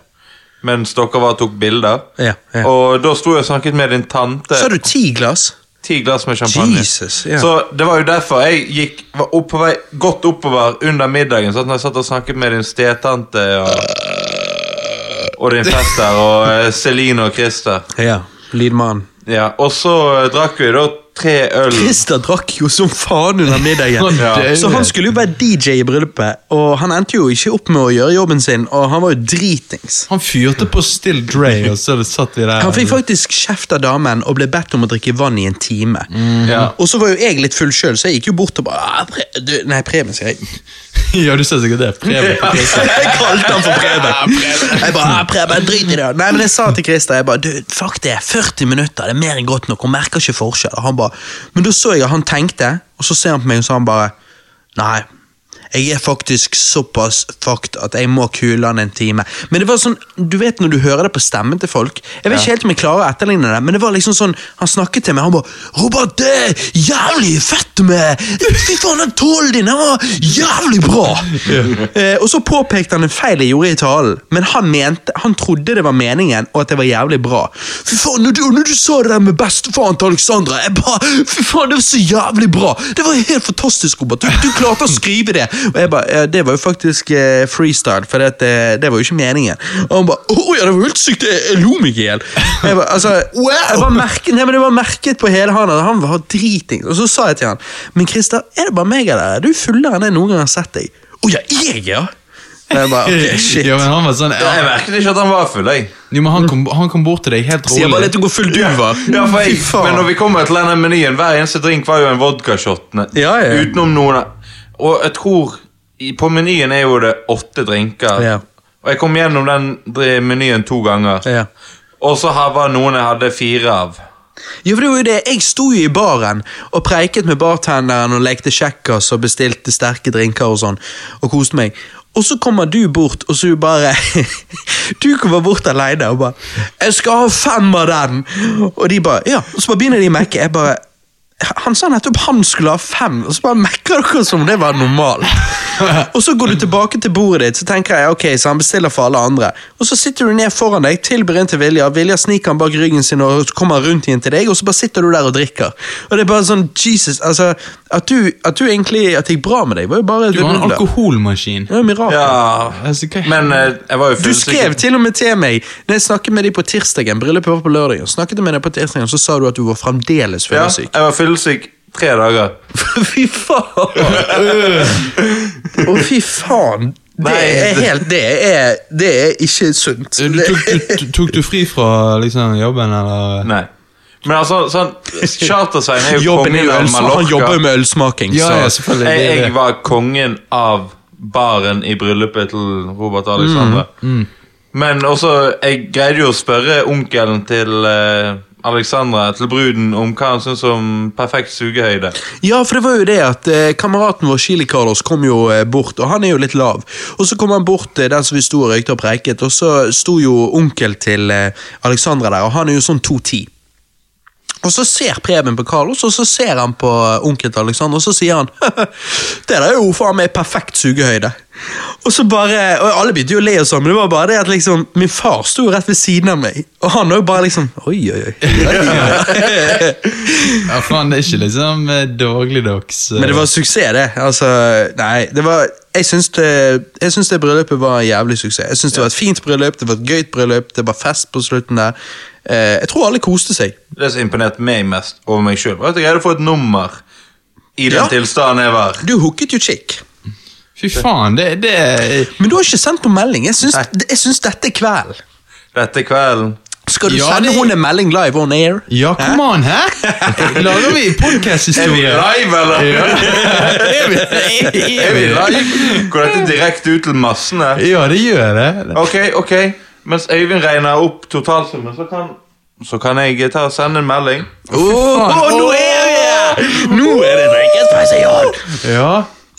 [SPEAKER 3] Mens dere var og tok bilder.
[SPEAKER 1] ja, ja.
[SPEAKER 3] Og da sto jeg og snakket med din tante.
[SPEAKER 1] Sa du ti glass?
[SPEAKER 3] Ti glass med champagne.
[SPEAKER 1] Jesus, ja.
[SPEAKER 3] Så det var jo derfor jeg gikk var opp på vei, godt oppover under middagen. Sånn at når jeg satt og snakket med din stetante og, og din fester og eh, Celine og Christer.
[SPEAKER 1] Ja. Lydmannen.
[SPEAKER 3] Ja, og så eh, drakk vi da tre øl.
[SPEAKER 1] Christer drakk jo som faen under middagen.
[SPEAKER 2] Han døde.
[SPEAKER 1] Så han skulle jo være DJ i bryllupet, og han endte jo ikke opp med å gjøre jobben sin, og han var jo dritings.
[SPEAKER 2] Han fyrte på Still Dre, og så satt vi der.
[SPEAKER 1] Han fikk faktisk kjeft av damen og ble bedt om å drikke vann i en time.
[SPEAKER 3] Ja.
[SPEAKER 1] Og så var jo jeg litt full sjøl, så jeg gikk jo bort og bare «Ah, pre du, Nei, Preben, sier jeg.
[SPEAKER 2] ja, du ser sikkert det. Preben.
[SPEAKER 1] Jeg kalte han for Preben. Jeg bare, «Ah, Preben, drit i det. Nei, men jeg sa til Christer jeg bare, du, fuck det, 40 minutter, det er mer enn godt nok, hun merker ikke forskjell. Og han bare, Men da så jeg at han tenkte, og så ser han på meg og så han bare Nei. Jeg er faktisk såpass fucked at jeg må kule han en time. Men det var sånn, du vet når du hører det på stemmen til folk Jeg vet ikke helt om jeg klarer å etterligne det, men det var liksom sånn Han snakket til meg, han bare 'Robert, det er jævlig fett med Fy faen, den tålen din, den var jævlig bra!' eh, og så påpekte han en feil jeg gjorde i talen, men han mente, han trodde det var meningen, og at det var jævlig bra. Fy faen, når du, når du sa det der med bestefaren til Alexandra, jeg bare Fy faen, det var så jævlig bra! Det var helt fantastisk, Robert. Du, du klarte å skrive det! Og jeg bare, «Ja, det var jo faktisk eh, freestyle, for det, at, eh, det var jo ikke meningen. Og han bare, å ja, det var helt sykt, jeg, jeg lo meg i hjel. Jeg bare, altså, jeg var merket, nei, men det var merket på hele han, at han var driting. Og så sa jeg til han, men Christer, er det bare meg eller er du fullere enn jeg noen gang har sett deg? Å ja, jeg, ja! Og Jeg bare, ok, shit.
[SPEAKER 2] Ja, men han var sånn
[SPEAKER 3] Ja, Jeg
[SPEAKER 2] ja,
[SPEAKER 3] merket ikke at han var full, jeg.
[SPEAKER 2] Jo, men han kom, han kom bort til deg helt
[SPEAKER 1] Sier Mm. bare litt
[SPEAKER 2] rolig.
[SPEAKER 1] om hvor full du var.
[SPEAKER 3] Ja, for jeg,
[SPEAKER 1] Fy faen.
[SPEAKER 3] men når vi kommer til denne menyen, hver eneste drink var jo en vodkashot. ne-
[SPEAKER 1] Ja, ja, ja.
[SPEAKER 3] Utenom noen Og jeg tror i- På menyen er jo det åtte drinker.
[SPEAKER 1] Ja.
[SPEAKER 3] Og jeg kom gjennom den dri- menyen to ganger.
[SPEAKER 1] Ja.
[SPEAKER 3] Og så her var noen jeg hadde fire av.
[SPEAKER 1] Jo, for det var jo det. Jeg sto jo i baren og preiket med bartenderen og lekte kjekkas og bestilte sterke drinker og sånn, og koste meg. Og så kommer du bort, og så er du bare Du kommer bort aleine og bare 'Jeg skal ha fem av den!' Og de bare Ja. Og så bare begynner de å mekke. Jeg bare han sa nettopp han skulle ha fem, og så bare mekker dere som om det var normalt. Og så går du tilbake til bordet ditt, så tenker jeg ok, så han bestiller for alle andre. Og så sitter du ned foran deg, tilber en til Vilja, Vilja sniker han bak ryggen sin og kommer rundt igjen til deg, og så bare sitter du der og drikker. Og det er bare sånn, Jesus, altså, at du, at du egentlig, at det gikk bra med deg, var jo bare
[SPEAKER 2] Du var en alkoholmaskin.
[SPEAKER 1] Det var mirakel.
[SPEAKER 3] Ja,
[SPEAKER 2] Altså, hva-
[SPEAKER 3] Men eh, jeg var jo
[SPEAKER 1] Du skrev
[SPEAKER 3] fullsikker.
[SPEAKER 1] til og med til meg Når jeg snakket med deg på tirsdagen Bryllupet var på lørdagen Snakket med deg på tirsdagen Så sa du at du var fremdeles
[SPEAKER 3] Ja,
[SPEAKER 1] fyllesyk
[SPEAKER 3] jeg var fyllesyk tre dager.
[SPEAKER 1] Fy faen! Å, fy faen. Det
[SPEAKER 3] Nei,
[SPEAKER 1] er
[SPEAKER 3] det-
[SPEAKER 1] helt Det er, det er ikke sunt.
[SPEAKER 2] Du,
[SPEAKER 1] Det-
[SPEAKER 2] tok, du, tok du fri fra liksom, jobben, eller?
[SPEAKER 3] Nei. Men altså, sånn Chartersveien er jo
[SPEAKER 1] Jobben
[SPEAKER 3] kongen
[SPEAKER 1] er jo
[SPEAKER 3] av
[SPEAKER 1] ølsmaking. Han
[SPEAKER 3] Mallorca.
[SPEAKER 1] jobber jo med ølsmaking,
[SPEAKER 2] Ja, ja,
[SPEAKER 1] så
[SPEAKER 2] selvfølgelig. det
[SPEAKER 3] Jeg,
[SPEAKER 2] er
[SPEAKER 3] jeg
[SPEAKER 2] det.
[SPEAKER 3] var kongen av baren i bryllupet til
[SPEAKER 1] Mm,
[SPEAKER 3] Robert Alexandra. Men også, jeg greide jo å spørre onkelen til eh, Alexandra, til bruden, om hva han syntes om perfekt sugehøyde.
[SPEAKER 1] Ja, for det var jo det at eh, kameraten vår Chili Carlos kom jo eh, bort, og han er jo litt lav. Og så kom han bort eh, der som vi sto og røykte og preiket, og så sto jo onkel til eh, Alexandra der, og han er jo sånn 2,10. Og så ser Preben på Carlos, og så ser han på onkelen til Alexander, og så sier han Det der er jo faen meg perfekt sugehøyde. Og så bare, og alle begynte jo å le og sånn, men det var bare det at liksom, min far sto jo rett ved siden av meg, og han òg bare liksom Oi, oi, oi.
[SPEAKER 2] Ja, faen, det er ikke liksom eh, dagligdags eh,
[SPEAKER 1] Men det var suksess, det. Altså, nei, det var Jeg syns det, jeg syns det bryllupet var en jævlig suksess. Jeg syns det var et fint bryllup, det var et gøyt bryllup, det var fest på slutten der. Eh, jeg tror alle koste seg.
[SPEAKER 3] Det som imponerte meg mest over meg sjøl, var at jeg greide å få et nummer i den
[SPEAKER 1] Ja.
[SPEAKER 3] tilstanden jeg var.
[SPEAKER 1] Du hooket jo chick.
[SPEAKER 2] Fy faen, det, det er
[SPEAKER 1] Men du har ikke sendt noen melding. Jeg syns,
[SPEAKER 3] Nei.
[SPEAKER 1] jeg syns dette er kvelden.
[SPEAKER 3] Dette kvelden.
[SPEAKER 1] Skal du
[SPEAKER 2] Ja,
[SPEAKER 1] sende
[SPEAKER 2] det-
[SPEAKER 1] henne en melding live on air?
[SPEAKER 2] Ja, kom an, hæ? Lager vi
[SPEAKER 3] Er vi
[SPEAKER 2] podkast-historier?
[SPEAKER 3] live, eller?
[SPEAKER 2] Er vi-
[SPEAKER 3] Er
[SPEAKER 2] er
[SPEAKER 3] vi
[SPEAKER 2] vi live?
[SPEAKER 3] live? Går dette direkte ut til massene?
[SPEAKER 2] Ja, det gjør det.
[SPEAKER 3] Ok, ok. Mens Øyvind regner opp totalsummen, så kan så kan jeg eh, ta og sende en melding.
[SPEAKER 1] nå er vi her! Nå er det drikkespesial!
[SPEAKER 2] Ja,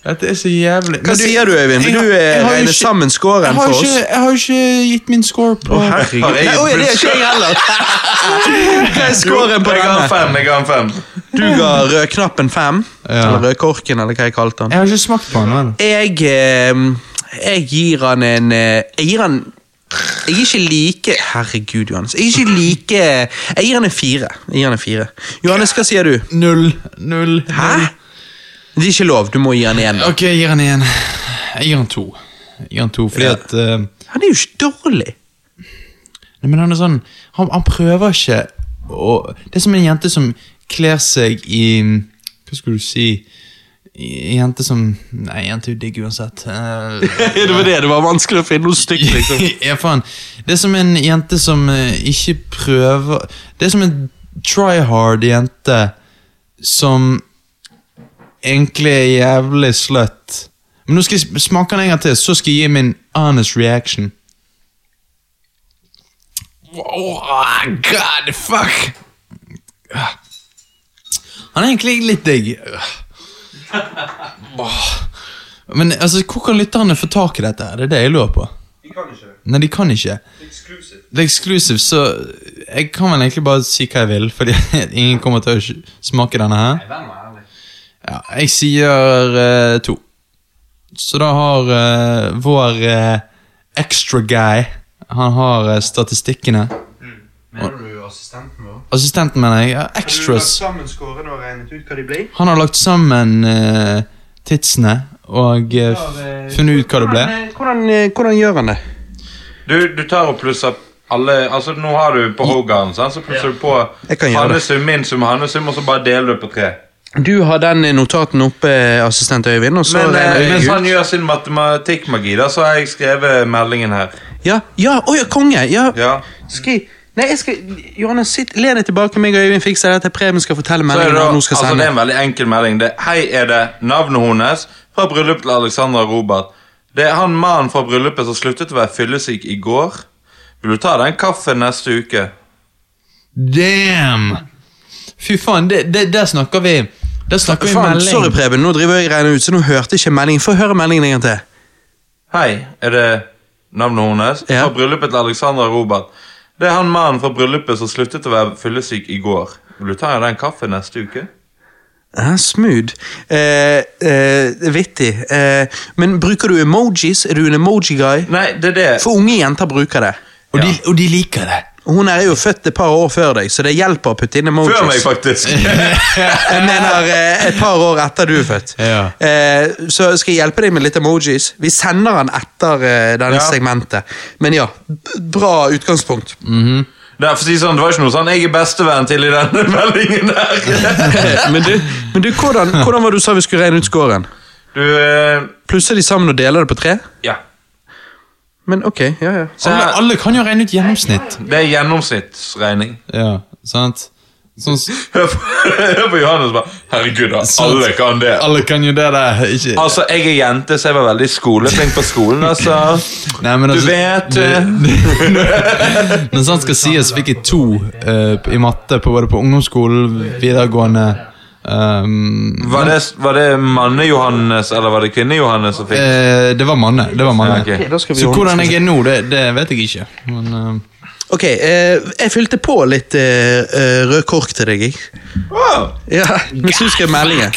[SPEAKER 2] dette er så jævlig.
[SPEAKER 1] Hva sier du, Øyvind? Vil
[SPEAKER 2] jeg-
[SPEAKER 1] du eh,
[SPEAKER 2] jeg har jo
[SPEAKER 1] regne
[SPEAKER 2] ikke-
[SPEAKER 1] sammen
[SPEAKER 2] Jeg
[SPEAKER 1] scoren
[SPEAKER 2] har,
[SPEAKER 1] for
[SPEAKER 2] ikke,
[SPEAKER 1] oss?
[SPEAKER 2] jeg har ikke gitt min score på
[SPEAKER 3] herregud.
[SPEAKER 1] Nei, oi, det er ikke jeg heller! Hva er scoren på
[SPEAKER 3] Jeg ga en
[SPEAKER 1] denne?
[SPEAKER 3] fem. jeg ga en fem.
[SPEAKER 1] Du ga rødknappen fem.
[SPEAKER 2] Ja.
[SPEAKER 1] Eller rødkorken, eller hva jeg kalte den.
[SPEAKER 2] Jeg har ikke smakt på den. vel?
[SPEAKER 1] Jeg, ehm, jeg gir han en eh, Jeg gir han jeg er ikke like Herregud, Johannes. Jeg er ikke like Jeg gir han en fire. Jeg gir han en fire. Johannes, hva sier du?
[SPEAKER 2] Null. Null.
[SPEAKER 1] Hæ?
[SPEAKER 2] null.
[SPEAKER 1] Det er ikke lov. Du må gi han en.
[SPEAKER 2] Ok, jeg gir den igjen. Jeg gir den to. Jeg gir den to, fordi
[SPEAKER 1] Ja.
[SPEAKER 2] at eh,
[SPEAKER 1] Han er jo ikke dårlig.
[SPEAKER 2] Nei, men han er sånn Han, han prøver ikke å Det er som en jente som kler seg i Hva skulle du si I- En jente som Nei, en jente er jo digg uansett. Eh,
[SPEAKER 1] det var det. Det var vanskelig å finne noe stygt, liksom.
[SPEAKER 2] ja, faen. Det er som en jente som eh, ikke prøver Det er som en try hard jente som egentlig er jævlig slutt. Men nå skal jeg sm- smake den en gang til, så skal jeg gi min honest reaction. Oh, God, fuck! Han er egentlig litt digg. Åh. Men altså, hvor kan lytterne få tak i dette? her? Det er det jeg lurer på.
[SPEAKER 3] De kan ikke.
[SPEAKER 2] Nei, de kan ikke.
[SPEAKER 3] Exclusive.
[SPEAKER 2] Det er exclusive, så jeg kan vel egentlig bare si hva jeg vil, fordi ingen kommer til å sj- smake denne her. Ja, jeg sier eh, to. Så da har eh, vår eh, extra guy Han har eh, statistikkene.
[SPEAKER 1] Mm. Mener du assistenten vår?
[SPEAKER 2] Assistenten, mener jeg. Ja, extras.
[SPEAKER 1] sammen scorene og regnet ut hva de ble?
[SPEAKER 2] Han har lagt sammen eh, tidsene og eh, f- funnet ut hva det ble.
[SPEAKER 1] Hvordan, eh, hvordan gjør han det?
[SPEAKER 3] Du, du tar og plusser alle Altså Nå har du på Hogan, sant? så plusser du på
[SPEAKER 1] Jeg kan gjøre det.
[SPEAKER 3] hannesum, min sum, hannesum, og så bare deler du på tre.
[SPEAKER 1] Du har den eh, notaten oppe, assistent Øyvind, og så
[SPEAKER 3] Men
[SPEAKER 1] regner
[SPEAKER 3] eh,
[SPEAKER 1] jeg
[SPEAKER 3] mens
[SPEAKER 1] ut.
[SPEAKER 3] han gjør sin matematikkmagi, da, så har jeg skrevet meldingen her.
[SPEAKER 1] Ja, ja, åja, konge! Ja.
[SPEAKER 3] Ja.
[SPEAKER 1] Skal jeg Nei, jeg skal Johannes, sitt, len deg tilbake. meg og Øyvind fikser dette. Preben skal fortelle
[SPEAKER 3] Så er det,
[SPEAKER 1] meldingen
[SPEAKER 3] da,
[SPEAKER 1] han nå skal
[SPEAKER 3] altså, det
[SPEAKER 1] sende.
[SPEAKER 3] er en veldig enkel melding. Det, er, Hei, er det navnet hennes fra bryllup til Alexandra og Robert? Det er han mannen fra bryllupet som sluttet å være fyllesyk i går. Vil du ta den kaffen neste uke?
[SPEAKER 2] Damn! Fy faen, det, det, der snakker vi Der snakker vi
[SPEAKER 1] Faen,
[SPEAKER 2] melding.
[SPEAKER 1] sorry, Preben. Nå driver jeg og regner ut, så nå hørte jeg ikke meldingen. Få høre meldingen en gang til.
[SPEAKER 3] Hei, er det navnet hennes
[SPEAKER 1] Ja.
[SPEAKER 3] fra bryllupet til Alexandra og Robert? Det er han mannen fra bryllupet som sluttet å være fyllesyk i går. Vil du ta den kaffen neste uke?
[SPEAKER 1] Ja, smooth. Eh, eh, vittig. Eh, men bruker du emojis? Er du en emoji-guy?
[SPEAKER 3] Nei, det er det.
[SPEAKER 1] For unge jenter bruker det.
[SPEAKER 2] Og, de, og de liker det.
[SPEAKER 1] Hun er jo født et par år før deg, så det hjelper å putte inn emojis.
[SPEAKER 3] Før meg, faktisk.
[SPEAKER 1] Jeg mener eh, et par år etter du er født.
[SPEAKER 2] Ja.
[SPEAKER 1] Eh, så skal jeg hjelpe deg med litt emojis. Vi sender han etter eh, denne
[SPEAKER 3] Ja.
[SPEAKER 1] segmentet. Men ja, b- bra utgangspunkt.
[SPEAKER 3] Det er for å si sånn, det var ikke noe sånn 'jeg er bestevenn til' i denne meldingen der.
[SPEAKER 1] eh, men du, men du hvordan, hvordan var det du sa vi skulle regne ut scoren?
[SPEAKER 3] Du, eh,
[SPEAKER 1] Plusser de sammen og deler det på tre?
[SPEAKER 3] ja.
[SPEAKER 1] Men ok, ja, ja.
[SPEAKER 3] Så
[SPEAKER 2] Alle,
[SPEAKER 3] her-
[SPEAKER 2] alle kan jo regne ut gjennomsnitt.
[SPEAKER 3] Det er gjennomsnittsregning.
[SPEAKER 2] Ja, sant? Sånn, s-
[SPEAKER 3] Hør på- hør på Johannes bare Herregud, da.
[SPEAKER 2] Sant.
[SPEAKER 3] Alle kan det.
[SPEAKER 2] alle kan jo det der. Ikke
[SPEAKER 3] Altså, jeg er jente, så jeg var veldig skoleflink på skolen, altså.
[SPEAKER 2] Nei, men
[SPEAKER 3] Du
[SPEAKER 2] altså,
[SPEAKER 3] vet eh,
[SPEAKER 2] Når sant skal sies, fikk jeg to eh, i matte på både på ungdomsskolen, videregående ehm,
[SPEAKER 3] Var det, var det manne-Johannes, eller var det kvinne-Johannes som fikk?
[SPEAKER 2] eh, Det var manne. Det var manne.
[SPEAKER 3] Ja, ok.
[SPEAKER 1] Da skal vi
[SPEAKER 2] Så
[SPEAKER 1] ordne-
[SPEAKER 2] hvordan jeg er nå, det, det vet jeg ikke. Men eh,
[SPEAKER 1] Ok, eh, jeg fylte på litt eh, eh, rød kork til deg, jeg.
[SPEAKER 3] Wow.
[SPEAKER 1] Ja, mens du skrev meldingen.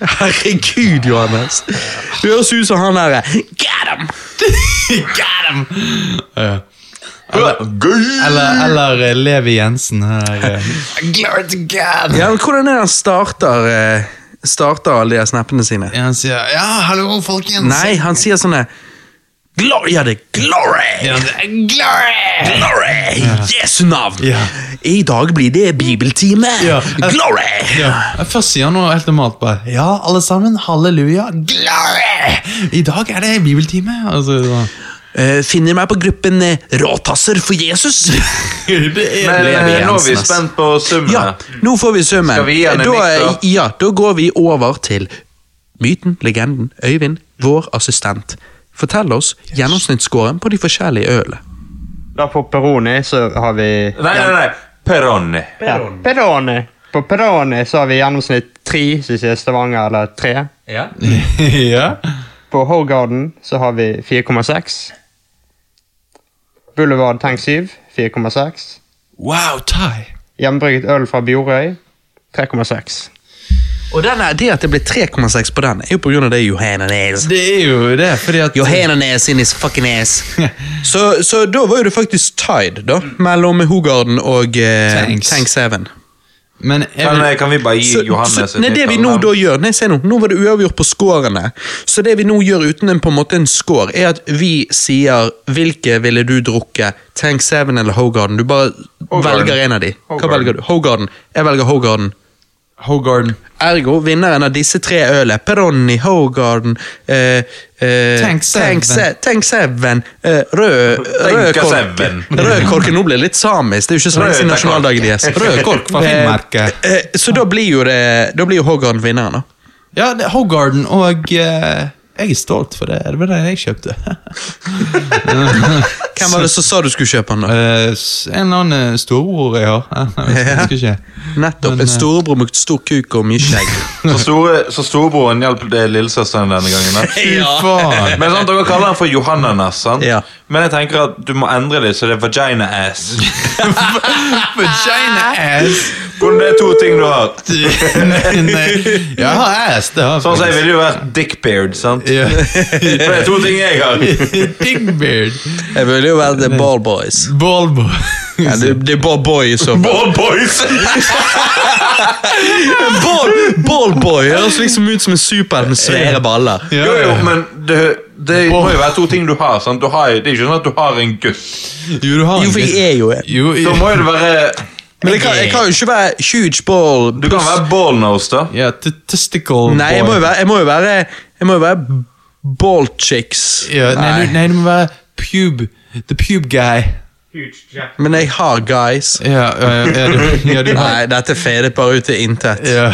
[SPEAKER 1] Herregud, Johannes. Du høres ut som han derre Get him!
[SPEAKER 2] Got him! Ja. Eller, eller eh, Levi Jensen her. eh. Glory to God!
[SPEAKER 1] Ja, men hvordan er det han starter eh, Starter alle de her snappene sine?
[SPEAKER 2] Ja, han sier Ja, hallo, folkens!
[SPEAKER 1] Nei, han sier sånne Gloria de glory!
[SPEAKER 2] Ja, han- Glory!
[SPEAKER 1] Glory! Jesu navn!
[SPEAKER 2] Ja.
[SPEAKER 1] I dag blir det bibeltime!
[SPEAKER 2] Ja.
[SPEAKER 1] Glory!
[SPEAKER 2] Ja, Først sier han noe helt normalt. bare Ja, alle sammen, halleluja, glory! I dag er det bibeltime. Altså, så-
[SPEAKER 1] Eh, finner meg på gruppen eh, Råtasser for Jesus.
[SPEAKER 2] det
[SPEAKER 3] Men
[SPEAKER 1] Levi
[SPEAKER 3] eh, nå er vi
[SPEAKER 1] Jensen, ass.
[SPEAKER 3] spent på summene.
[SPEAKER 1] ja, nå får vi summen.
[SPEAKER 3] Skal vi gi han en
[SPEAKER 1] da,
[SPEAKER 3] miks, da?
[SPEAKER 1] ja, da går vi over til myten, legenden, Øyvind, vår assistent. Fortell oss gjennomsnittsscoren på de forskjellige ølene.
[SPEAKER 4] Da på Peroni så har vi
[SPEAKER 3] Nei, nei, nei. Peroni.
[SPEAKER 4] ja, Peroni. På Peroni så har vi i gjennomsnitt tre som sier Stavanger, eller tre.
[SPEAKER 5] Ja.
[SPEAKER 2] ja.
[SPEAKER 4] På Hogarden så har vi 4,6. Boulevard Tank 7, 4,6.
[SPEAKER 2] Wow, Thai!
[SPEAKER 4] Hjemmebrygget øl fra Bjorøy, 3,6.
[SPEAKER 1] Og den er, det at det ble 3,6 på den, er jo på grunn av det Johannes.
[SPEAKER 2] Det er jo det, fordi at
[SPEAKER 1] Johannes in his fucking ass. så, så da var jo det faktisk tied, da, mellom Hogarden og eh,
[SPEAKER 2] Tanks.
[SPEAKER 1] Tank 7.
[SPEAKER 2] Men jeg
[SPEAKER 3] Men
[SPEAKER 2] vil,
[SPEAKER 3] eh, kan vi bare gi
[SPEAKER 1] Så,
[SPEAKER 3] Johannes
[SPEAKER 1] så, nei, det vi nå da gjør, nei, se nå, nå var det uavgjort på scorene. Så det vi nå gjør uten en, på en måte en score, er at vi sier hvilke ville du drukke, Tank 7 eller Hogarden? Du bare
[SPEAKER 4] Hogarden.
[SPEAKER 1] velger en av de. Hva
[SPEAKER 4] Hogarden.
[SPEAKER 1] velger du? Hogarden. Jeg velger Hogarden.
[SPEAKER 2] Hogarden.
[SPEAKER 1] Ergo vinneren av disse tre ølene, Peroni, Hogarden eh, eh,
[SPEAKER 2] Tank Seven.
[SPEAKER 1] Tank Se- Tank Seven. Eh, rød, rød
[SPEAKER 3] Tanka
[SPEAKER 1] kork.
[SPEAKER 3] Seven.
[SPEAKER 1] Rød kork nå blir det litt samisk. Det er jo ikke så lenge
[SPEAKER 3] Rød
[SPEAKER 1] siden
[SPEAKER 3] kork.
[SPEAKER 1] nasjonaldagen deres. Rød kork
[SPEAKER 2] Fra Finnmark.
[SPEAKER 1] Eh, eh, så da blir jo det Da blir jo Hogarden vinneren, da.
[SPEAKER 2] Ja, det, Hogarden og eh, Jeg er stolt for det. Det var det jeg kjøpte.
[SPEAKER 1] Hvem var det som sa du skulle kjøpe den, da?
[SPEAKER 2] Eh, s- en eller annen eh, storebror jeg har. Jeg husker ikke.
[SPEAKER 1] Nettopp.
[SPEAKER 2] men,
[SPEAKER 1] En
[SPEAKER 2] eh,
[SPEAKER 1] storebror med stor kuk og mye skjegg.
[SPEAKER 3] Så, store, så storebroren hjalp det lillesøsteren denne gangen. da.
[SPEAKER 2] Fy faen!
[SPEAKER 3] Men sant, Dere kaller den for Johannes, sant?
[SPEAKER 1] Ja.
[SPEAKER 3] men jeg tenker at du må endre det, så det er vagina ass.
[SPEAKER 2] Vagina
[SPEAKER 1] Ah.
[SPEAKER 2] ass!
[SPEAKER 3] Hvordan det er to ting du har.
[SPEAKER 2] nei, nei. Jeg har ass, det har jeg.
[SPEAKER 3] Sånn som jeg
[SPEAKER 2] faktisk.
[SPEAKER 3] ville jo vært dickbeard, sant?
[SPEAKER 2] Ja.
[SPEAKER 3] For det er to ting jeg har.
[SPEAKER 2] Dickbeard.
[SPEAKER 1] Jeg ville jo vært The Ball Boys.
[SPEAKER 2] Ballboy.
[SPEAKER 1] Ja, det, det er bare boy, så.
[SPEAKER 3] Ball boys!
[SPEAKER 1] Ball, ball boy høres liksom ut som en superhelt med svære baller.
[SPEAKER 2] Ja,
[SPEAKER 3] Jo, jo,
[SPEAKER 2] ja.
[SPEAKER 3] men det, det må jo være to ting du har. sant? Du har, jo- det er ikke sånn at du har en gutt.
[SPEAKER 2] Jo, du har
[SPEAKER 1] Jo, for jeg er jo en.
[SPEAKER 2] Jo,
[SPEAKER 3] Da må jo det være
[SPEAKER 1] Men jeg kan, jeg kan jo ikke være huge ball
[SPEAKER 3] Du kan være ballnose, da.
[SPEAKER 2] Ja, t- testicle
[SPEAKER 1] Nei, jeg må jo være Jeg må jo være, jeg må jo være ball chicks.
[SPEAKER 2] ja, nei, du- nei, du må være pube. The pube guy.
[SPEAKER 1] Men jeg har guys.
[SPEAKER 2] Ja, ja, ja, du, ja, du
[SPEAKER 1] Nei, dette fader bare ut til intet.
[SPEAKER 2] ja.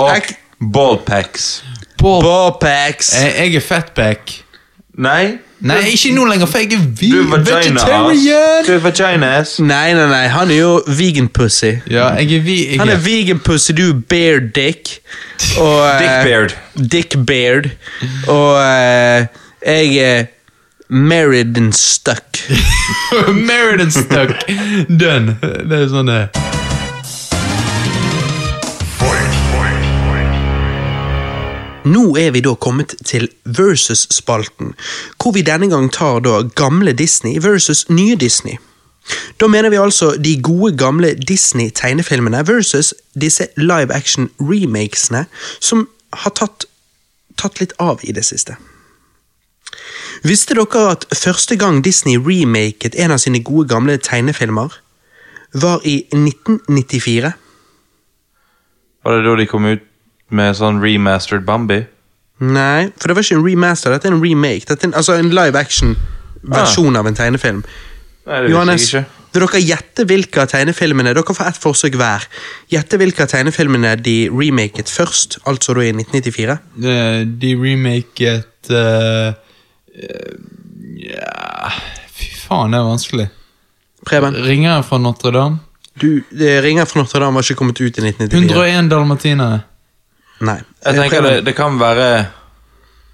[SPEAKER 3] Og
[SPEAKER 1] Jeg-
[SPEAKER 3] ballpacks.
[SPEAKER 2] Ball.
[SPEAKER 1] Ball packs.
[SPEAKER 2] Jeg, jeg er fatback.
[SPEAKER 3] Nei,
[SPEAKER 2] Nei, ikke nå lenger, for jeg er vi
[SPEAKER 3] du er vagina ass. Du
[SPEAKER 2] vegetarian.
[SPEAKER 3] er vagina ass.
[SPEAKER 1] Nei, nei, nei, han er jo vegan pussy.
[SPEAKER 2] Ja, jeg er vi... Jeg
[SPEAKER 1] Han er vegan pussy, du er bear dick. Og, eh,
[SPEAKER 3] Dick beard.
[SPEAKER 1] Dick beard. Og eh, jeg er married and stuck.
[SPEAKER 2] Married and stuck. Done. Det er sånn det er.
[SPEAKER 1] Nå er vi da kommet til versus-spalten, hvor vi denne gang tar da gamle Disney versus nye Disney. Da mener vi altså de gode gamle Disney-tegnefilmene versus disse live action-remakesene som har tatt, tatt litt av i det siste. Visste dere at første gang Disney remaket en av sine gode gamle tegnefilmer, var i 1994?
[SPEAKER 3] Var det da de kom ut med sånn remastered Bambi?
[SPEAKER 1] Nei, for det var ikke en remaster, dette er en remake. Dette er en, altså en live action-versjon av en tegnefilm.
[SPEAKER 3] Nei, Ah. det
[SPEAKER 1] Johannes,
[SPEAKER 3] visste jeg ikke.
[SPEAKER 1] vil dere gjette hvilke av tegnefilmene Dere får ett forsøk hver. Gjette hvilke av tegnefilmene de remaket først, altså da i 1994?
[SPEAKER 2] Eh, De remaket eh, eh, Ja Fy faen, det er vanskelig.
[SPEAKER 1] Preben,
[SPEAKER 2] Ringeren fra Notre-Dame.
[SPEAKER 1] du, eh, Ringer fra Notre-Dame var ikke kommet ut i 1994.
[SPEAKER 2] 101 dalmatinere.
[SPEAKER 1] Nei. Eh,
[SPEAKER 3] Jeg tenker det,
[SPEAKER 1] Preben,
[SPEAKER 3] det kan være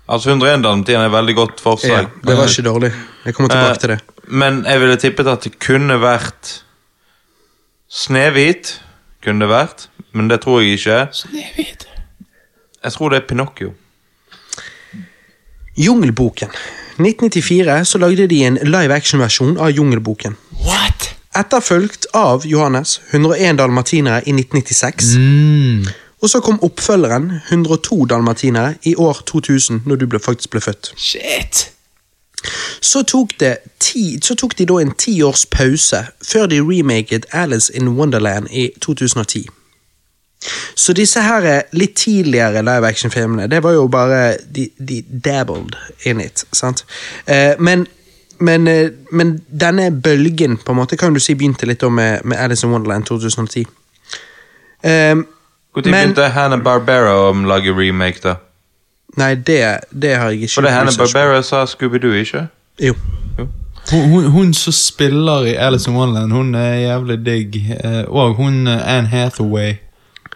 [SPEAKER 3] Altså 101 Dalmatiner er et veldig godt
[SPEAKER 1] ja,
[SPEAKER 3] forslag.
[SPEAKER 1] det var ikke dårlig. Jeg kommer
[SPEAKER 3] Eh,
[SPEAKER 1] tilbake til det.
[SPEAKER 3] Men jeg ville tippet at det kunne vært Snehvit. Kunne det vært, men det tror jeg ikke. Jeg tror det er Pinocchio.
[SPEAKER 1] Jungelboken. 1994 så lagde de en live action-versjon av Jungelboken.
[SPEAKER 2] What?
[SPEAKER 1] Etterfulgt av Johannes 101 dalmatinere i 1996.
[SPEAKER 2] Mm.
[SPEAKER 1] Og så kom oppfølgeren 102 dalmatinere i år 2000, når du ble, faktisk ble født.
[SPEAKER 2] Shit!
[SPEAKER 1] Så tok, det ti, så tok de da en tiårs pause før de remaket Alice in Wonderland i 2010. Så disse her er litt tidligere live action-filmene, det var jo bare De, de dabbled in it, sant? Eh, men, men, eh, men denne bølgen, på en måte, kan du si begynte litt da med, med Alice in Wonderland 2010. Um,
[SPEAKER 3] Når
[SPEAKER 1] Men-
[SPEAKER 3] begynte Hanna Barbera å lage remake, da?
[SPEAKER 1] Nei, det, det har jeg ikke
[SPEAKER 3] For det Hanna
[SPEAKER 1] research på.
[SPEAKER 3] Barbera sa Scooby-Doo, ikke?
[SPEAKER 1] Jo.
[SPEAKER 3] Jo.
[SPEAKER 2] Hun, hun, hun som spiller i Alice in Wonderland, hun er jævlig digg. Eh, og hun eh, Anne Hathaway.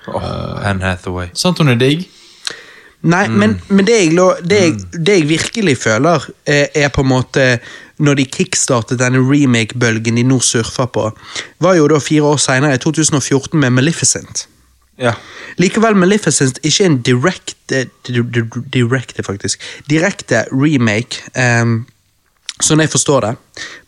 [SPEAKER 3] Åh, Eh, Anne Hathaway.
[SPEAKER 2] Sant hun er digg?
[SPEAKER 1] Nei,
[SPEAKER 3] Mm.
[SPEAKER 1] men, men det, jeg, lå- det, jeg, det jeg virkelig føler, eh, er på en måte Når de kickstartet denne remake-bølgen de nå surfer på, var jo da fire år seinere, i 2014, med Maleficent.
[SPEAKER 3] Ja.
[SPEAKER 1] Likevel Maleficent ikke en direkte di- di- Direkte, faktisk. Direkte remake, ehm, sånn jeg forstår det.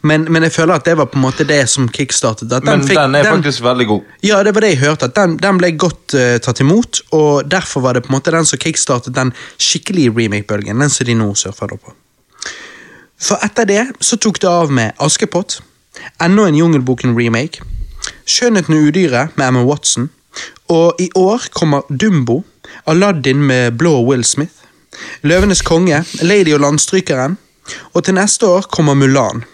[SPEAKER 1] Men, men jeg føler at det var på en måte det som kickstartet. At
[SPEAKER 3] Men
[SPEAKER 1] fikk-
[SPEAKER 3] den er faktisk veldig god.
[SPEAKER 1] ja, det var det jeg hørte, at den, den ble godt eh, tatt imot, og derfor var det på en måte den som kickstartet den skikkelige remake-bølgen, den som de nå surfer da på. For etter det så tok det av med Askepott, enda en Jungelboken-remake, Skjønnheten og udyret med Emma Watson, og i år kommer Dumbo, Aladdin med blå Will Smith, Løvenes konge, Lady og landstrykeren, og til neste år kommer Mulan.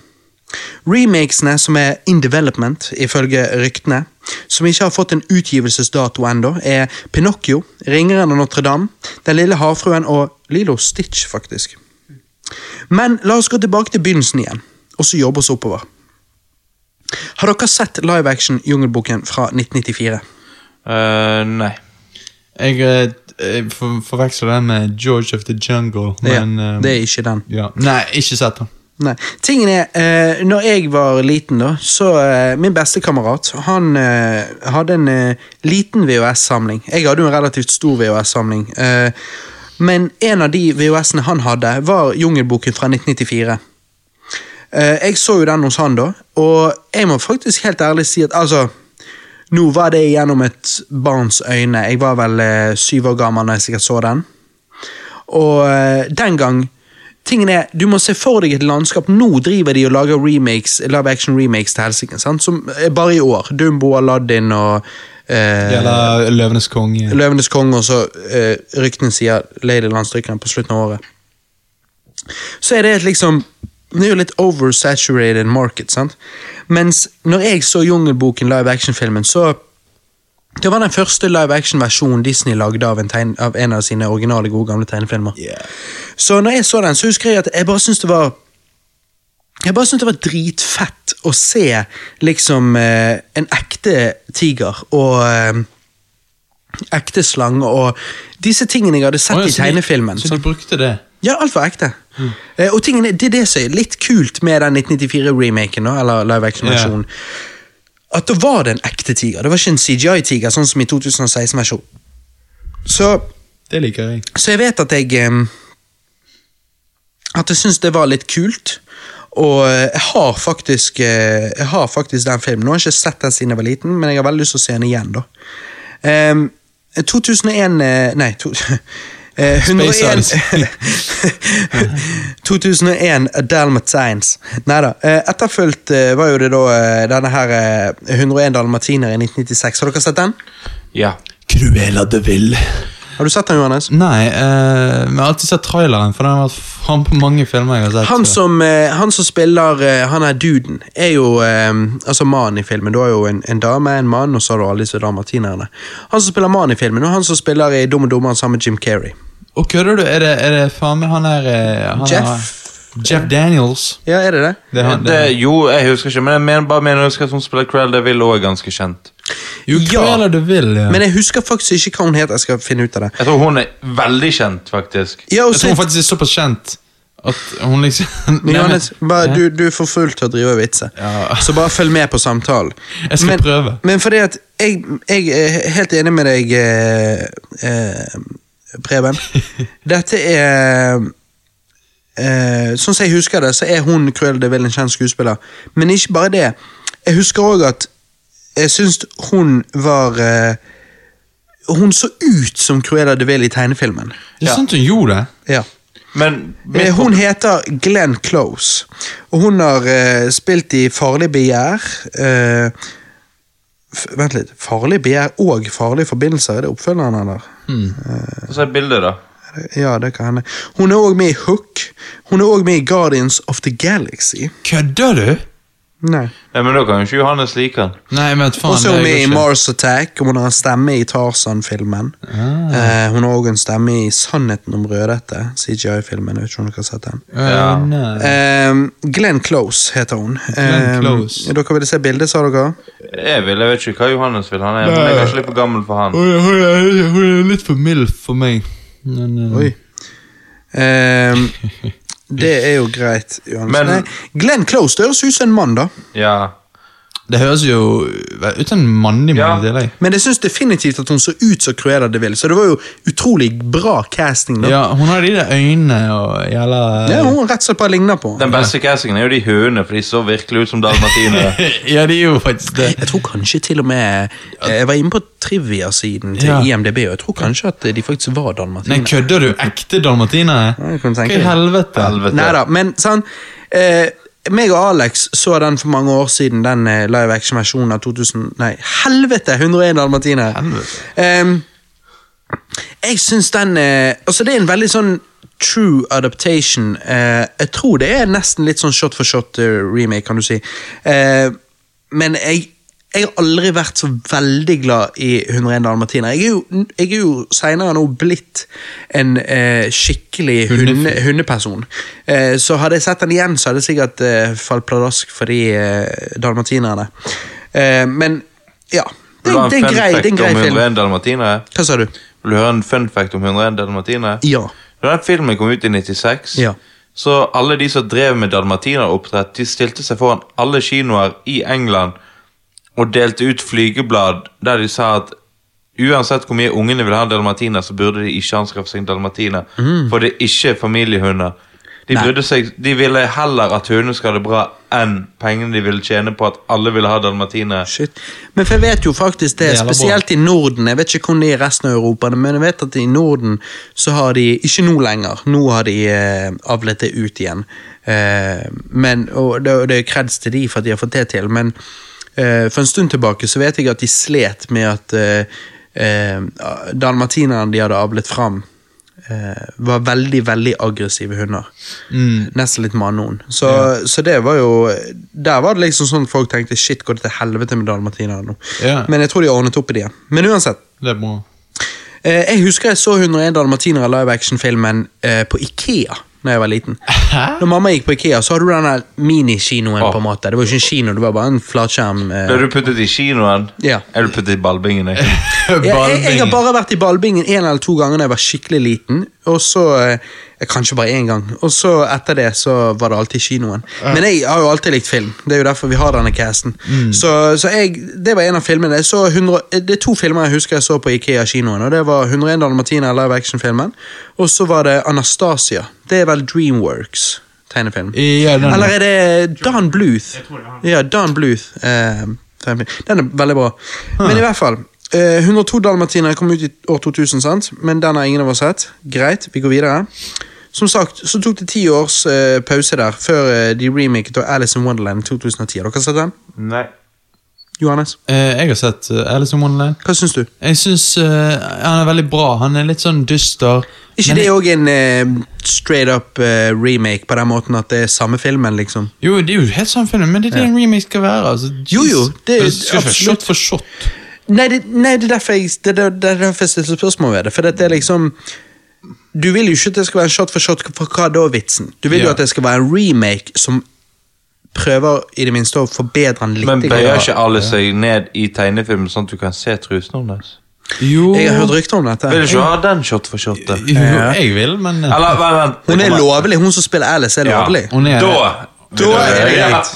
[SPEAKER 1] Remakesene som er in development, ifølge ryktene, som ikke har fått en utgivelsesdato ennå, er Pinocchio, Ringeren og Notre-Dame, Den lille havfruen og Lilo Stitch, faktisk. Men la oss gå tilbake til begynnelsen igjen, og så jobbe oss oppover. Har dere sett live action Jungelboken fra 1994?
[SPEAKER 3] Eh, nei.
[SPEAKER 2] Jeg eh, jeg for, forveksler den med George of the Jungle, men
[SPEAKER 1] ja,
[SPEAKER 2] eh,
[SPEAKER 1] det er ikke den.
[SPEAKER 2] ja. Nei, ikke sett den.
[SPEAKER 1] Nei. Tingen er, eh, når jeg var liten, da, så eh, Min bestekamerat han eh, hadde en eh, liten VHS-samling. Jeg hadde jo en relativt stor VHS-samling. Eh, men en av de VHS-ene han hadde, var Jungelboken fra 1994. Eh, jeg så jo den hos han, da, og jeg må faktisk helt ærlig si at altså Nå var det gjennom et barns øyne. Jeg var vel eh, syv år gammel når jeg sikkert så den. Og eh, den gang Tingen er, Du må se for deg et landskap. Nå driver de og lager remakes, live action remakes til helsike. sant? Som eh, Bare i år. Dumbo, Aladdin og eh,
[SPEAKER 2] Eller Løvenes konge.
[SPEAKER 1] Løvenes konge, og så eh, ryktene sier Lady Landstrykeren på slutten av året. Så er det et liksom Det er jo litt oversaturated market, sant? Mens når jeg så Jungelboken live action-filmen, så Det var den første live action-versjonen Disney lagde av en, tegn, av en av sine originale, gode gamle tegnefilmer. Så når jeg så den, så husker jeg at jeg bare syntes det var jeg bare syntes det var dritfett å se liksom eh, en ekte tiger og eh, ekte slange og disse tingene jeg hadde sett
[SPEAKER 2] Å, ja,
[SPEAKER 1] i
[SPEAKER 2] så de-
[SPEAKER 1] tegnefilmen.
[SPEAKER 2] Så de Mm. brukte det.
[SPEAKER 1] Ja, alt var ekte. Eh, og tingene, det er det som er litt kult med den 1994-remaken, da, eller live action-versjonen. At da var det en ekte tiger. Det var ikke en CGI-tiger, sånn som i 2016-versjonen. Så,
[SPEAKER 2] Det liker jeg.
[SPEAKER 1] så jeg vet at jeg eh, At jeg syns det var litt kult. Og eh, jeg har faktisk eh, Jeg har faktisk den filmen. Nå har jeg ikke sett den siden jeg var liten, men jeg har veldig lyst til å se den igjen, da. Ehm, 2001 eh, Nei, to, eh, 101
[SPEAKER 2] Space
[SPEAKER 1] 2001 A Dalmatines. Nei da. Etterfulgt eh, var jo det da eh, denne her eh, 101 dalmatiner i 1996. Har dere sett den?
[SPEAKER 3] Ja.
[SPEAKER 2] Cruella de Ville.
[SPEAKER 1] Har du sett den, Johannes?
[SPEAKER 2] Nei, eh, men jeg har alltid sett traileren, for den har vært faen på mange filmer jeg har sett.
[SPEAKER 1] Han
[SPEAKER 2] så-
[SPEAKER 1] som, eh, han som spiller eh, han er duden, er jo eh, altså mannen i filmen. Du har jo en, en dame, en mann, og så har du alle disse dalmatinerne. Han som spiller mannen i filmen, og han som spiller i Dum og dummeren sammen med Jim Carrey.
[SPEAKER 2] Og kødder du? Er det, er det faen meg han der eh, han
[SPEAKER 1] Jeff?
[SPEAKER 2] er- Jeff Daniels.
[SPEAKER 1] Ja, er det det?
[SPEAKER 2] Det er han, det,
[SPEAKER 3] Det, jo, jeg husker ikke, men jeg mener bare mener jeg husker at hun spiller Crell Deville og er ganske kjent.
[SPEAKER 2] jo, Cruella de Ville, ja.
[SPEAKER 1] Eh, Men jeg husker faktisk ikke hva hun het. Jeg skal finne ut av det.
[SPEAKER 3] Jeg tror hun er veldig kjent, faktisk.
[SPEAKER 1] Ja, og
[SPEAKER 2] jeg tror
[SPEAKER 1] så
[SPEAKER 2] hun faktisk er såpass kjent at hun liksom Nei,
[SPEAKER 1] Men
[SPEAKER 2] men-
[SPEAKER 1] Johannes, bare, du, du er for full til å drive og vitse,
[SPEAKER 2] Ja.
[SPEAKER 1] så bare følg med på samtalen.
[SPEAKER 2] Jeg skal
[SPEAKER 1] men,
[SPEAKER 2] prøve.
[SPEAKER 1] Men fordi at jeg, jeg er helt enig med deg, eh, eh, Preben. Dette er eh, Sånn som jeg husker det, så er hun Cruel de Vil en kjent skuespiller. Men ikke bare det. Jeg husker òg at jeg syns hun var eh, Hun så ut som Cruella de Vil i tegnefilmen.
[SPEAKER 2] Det er sant hun gjorde det.
[SPEAKER 1] Ja.
[SPEAKER 3] Men mitt
[SPEAKER 1] Eh, Hun
[SPEAKER 3] problem-
[SPEAKER 1] heter Glenn Close, og hun har eh, spilt i Farlig begjær eh, f Vent litt. Farlig begjær og Farlige forbindelser, er det oppfølgeren, eller?
[SPEAKER 3] Få se bildet, da.
[SPEAKER 1] Ja, det kan hende. Hun er òg med i Hook. Hun er òg med i Guardians of the Galaxy.
[SPEAKER 2] Kødder du?
[SPEAKER 1] Nei.
[SPEAKER 3] Nei, men da kan jo ikke Johannes like han.
[SPEAKER 2] Nei, men faen,
[SPEAKER 1] Og så er hun
[SPEAKER 2] det er
[SPEAKER 1] med i
[SPEAKER 2] jo ikke-
[SPEAKER 1] Mars Attack, og hun har en stemme i Tarzan-filmen.
[SPEAKER 2] Ah.
[SPEAKER 1] Eh, hun har òg en stemme i Sannheten om Rødhette, CGI-filmen. jeg vet ikke om dere har sett den.
[SPEAKER 2] Øh,
[SPEAKER 3] Ja.
[SPEAKER 2] nei.
[SPEAKER 1] Ehm, Glenn Close heter hun.
[SPEAKER 2] Glenn
[SPEAKER 1] Ehm,
[SPEAKER 2] Close.
[SPEAKER 1] Dere ville se bildet, sa dere?
[SPEAKER 3] Jeg vil, jeg vet ikke hva Johannes vil. Han er, men jeg er kanskje litt for gammel for han.
[SPEAKER 2] Hun er- hun er- hun er litt for mild for meg. Men, øh,
[SPEAKER 1] Oi. Ehm, det er jo greit. Johannes.
[SPEAKER 3] Men-
[SPEAKER 1] Nei, Glenn Close det høres ut som en mann, da.
[SPEAKER 3] Ja.
[SPEAKER 2] Det høres jo øh, ut som en mannig
[SPEAKER 3] Ja.
[SPEAKER 2] mann i tillegg.
[SPEAKER 1] Men jeg syns definitivt at hun så ut som Cruella de Vil, så det var jo utrolig bra casting. da. Ja,
[SPEAKER 2] Ja, hun har de der øynene og jævla
[SPEAKER 1] Hun rett og slett bare ligner på.
[SPEAKER 3] Den beste castingen er jo de hønene, for de så virkelig ut som dalmatinere.
[SPEAKER 2] Ja, de er jo faktisk det.
[SPEAKER 1] Jeg tror kanskje til og med Jeg var inne på trivia-siden til
[SPEAKER 2] Ja.
[SPEAKER 1] IMDb, og jeg tror kanskje at de faktisk var
[SPEAKER 2] Nei,
[SPEAKER 1] dalmatiner.
[SPEAKER 2] kødder du? Ekte dalmatinere?
[SPEAKER 1] Ja, jeg kunne tenke
[SPEAKER 2] Hva i
[SPEAKER 1] det.
[SPEAKER 2] helvete?
[SPEAKER 3] Helvete.
[SPEAKER 1] Nei da, men sånn eh, meg og Alex så den for mange år siden, den eh, live action-versjonen av 2000 Nei, helvete! 101 dalmatiner. Ehm, Em, jeg syns den eh, Altså, det er en veldig sånn true adaptation. Eh, jeg tror det er nesten litt sånn shot for shot-remake, kan du si. Eh, men jeg, jeg har aldri vært så veldig glad i 101 dalmatiner. Jeg er jo, jeg er jo seinere nå blitt en eh, skikkelig hunde, hundeperson. Eh, så hadde jeg sett den igjen, så hadde jeg sikkert eh, falt pladask for de eh, dalmatinerne. Eh, men ja. Det,
[SPEAKER 3] Vil du ha en
[SPEAKER 1] det, er en
[SPEAKER 3] fun
[SPEAKER 1] grei, det er
[SPEAKER 3] fact
[SPEAKER 1] en grei
[SPEAKER 3] om
[SPEAKER 1] film.
[SPEAKER 3] 101 dalmatinere?
[SPEAKER 1] Hva sa du?
[SPEAKER 3] Vil du høre en fun fact om 101 dalmatinere?
[SPEAKER 1] Ja.
[SPEAKER 3] Da den filmen kom ut i 96,
[SPEAKER 1] Ja.
[SPEAKER 3] så alle de som drev med dalmatineroppdrett, de stilte seg foran alle kinoer i England og delte ut flygeblad der de sa at uansett hvor mye ungene vil ha en dalmatiner, så burde de ikke anskaffe seg en dalmatiner, for det er ikke familiehunder. De,
[SPEAKER 1] Mm. Nei.
[SPEAKER 3] brydde seg, de ville heller at hundene skal ha det bra, enn pengene de ville tjene på at alle ville ha dalmatinere.
[SPEAKER 1] Shit. Men for jeg vet jo faktisk det,
[SPEAKER 2] Det gjelder
[SPEAKER 1] spesielt i Norden. Jeg vet ikke hvordan det er i resten av Europa, men jeg vet at i Norden så har de Ikke nå lenger, nå har de eh, avlet det ut igjen. Eh, men, og det, og det er kreds til de for at de har fått det til, men eh, for en stund tilbake så vet jeg at de slet med at eh, eh, dalmatinerne de hadde avlet fram, eh, var veldig, veldig aggressive hunder.
[SPEAKER 2] Mm,
[SPEAKER 1] Nesten litt manon. Så, så det var jo Der var det liksom sånn at folk tenkte shit, går det til helvete med dalmatinerne nå?
[SPEAKER 2] Ja.
[SPEAKER 1] Men jeg tror de har ordnet opp i det igjen. Men uansett.
[SPEAKER 2] Det er bra.
[SPEAKER 1] Eh, jeg husker jeg så 101 dalmatinere live action-filmen eh, på Ikea da jeg var liten. Når mamma gikk på Ikea, så hadde du den der minikinoen.
[SPEAKER 3] Åh.
[SPEAKER 1] på en måte. Det var jo ikke en kino, det var bare en flatskjerm. Eh.
[SPEAKER 3] Da du puttet i kinoen,
[SPEAKER 1] Ja.
[SPEAKER 3] er du puttet i ballbingen. jeg.
[SPEAKER 1] Ja, jeg, jeg har
[SPEAKER 2] Ballbingen.
[SPEAKER 1] bare vært i ballbingen en eller to ganger da jeg var skikkelig liten. Og så, eh, Kanskje bare én gang. Og så etter det så var det alltid kinoen. Men jeg har jo alltid likt film. Det er jo derfor vi har denne casten. Så, så jeg, det var en av filmene. Jeg så 100, det er to filmer jeg husker jeg så på Ikea-kinoen. Og Det var 101 dalmatiner, live action-filmen. Og så var det Anastasia. Det er vel Dreamworks. Tegnefilm.
[SPEAKER 2] Ja, den er-
[SPEAKER 1] Eller er det Dan Bluth? Ja, Dan Bluth. eh, tegnefilm. Den er veldig bra. Men i hvert fall. eh, 102 dalmatiner kom ut i år 2000, sant? men den har ingen av oss sett. Greit, vi går videre. Som sagt, så tok det ti års eh, pause der før eh, de remaket av Alice in Wonderland i 2010. Har dere sett den?
[SPEAKER 3] Nei.
[SPEAKER 1] Johannes,
[SPEAKER 2] Eh, Jeg har sett eh, Alice in Wonderland.
[SPEAKER 1] hva syns du?
[SPEAKER 2] Jeg syns han er veldig bra. Han er litt sånn dyster.
[SPEAKER 1] Ikke
[SPEAKER 2] men-
[SPEAKER 1] det òg en eh, straight up eh, remake på den måten at det er samme filmen, liksom?
[SPEAKER 2] Jo, det er jo helt samme film, men det er det en remake skal være. Altså, jeez.
[SPEAKER 1] Jo, jo, det er
[SPEAKER 2] Du skal ikke være
[SPEAKER 1] absolutt-
[SPEAKER 2] Shot for shot.
[SPEAKER 1] Nei, det, nei, det er derfor jeg, det, er- det er derfor jeg stiller spørsmål ved det. For det er liksom Du vil jo ikke at det skal være en shot for shot, for hva da er vitsen? Du vil jo
[SPEAKER 2] Ja.
[SPEAKER 1] at det skal være en remake som prøver i det minste å forbedre den litt.
[SPEAKER 3] Men bøyer
[SPEAKER 1] grann.
[SPEAKER 3] ikke alle seg ned i tegnefilmen sånn at du kan se trusene hennes?
[SPEAKER 2] Jo,
[SPEAKER 1] Jeg har hørt rykter om dette.
[SPEAKER 3] Vil du ikke ha den shot for shot? da?
[SPEAKER 2] jo jeg vil, men eh,
[SPEAKER 3] Eller, vent, vent.
[SPEAKER 1] Hun er lovlig, hun som spiller Alice, er
[SPEAKER 3] Ja.
[SPEAKER 1] lovelig.
[SPEAKER 2] Hun er
[SPEAKER 3] Da!
[SPEAKER 1] Da er det greit.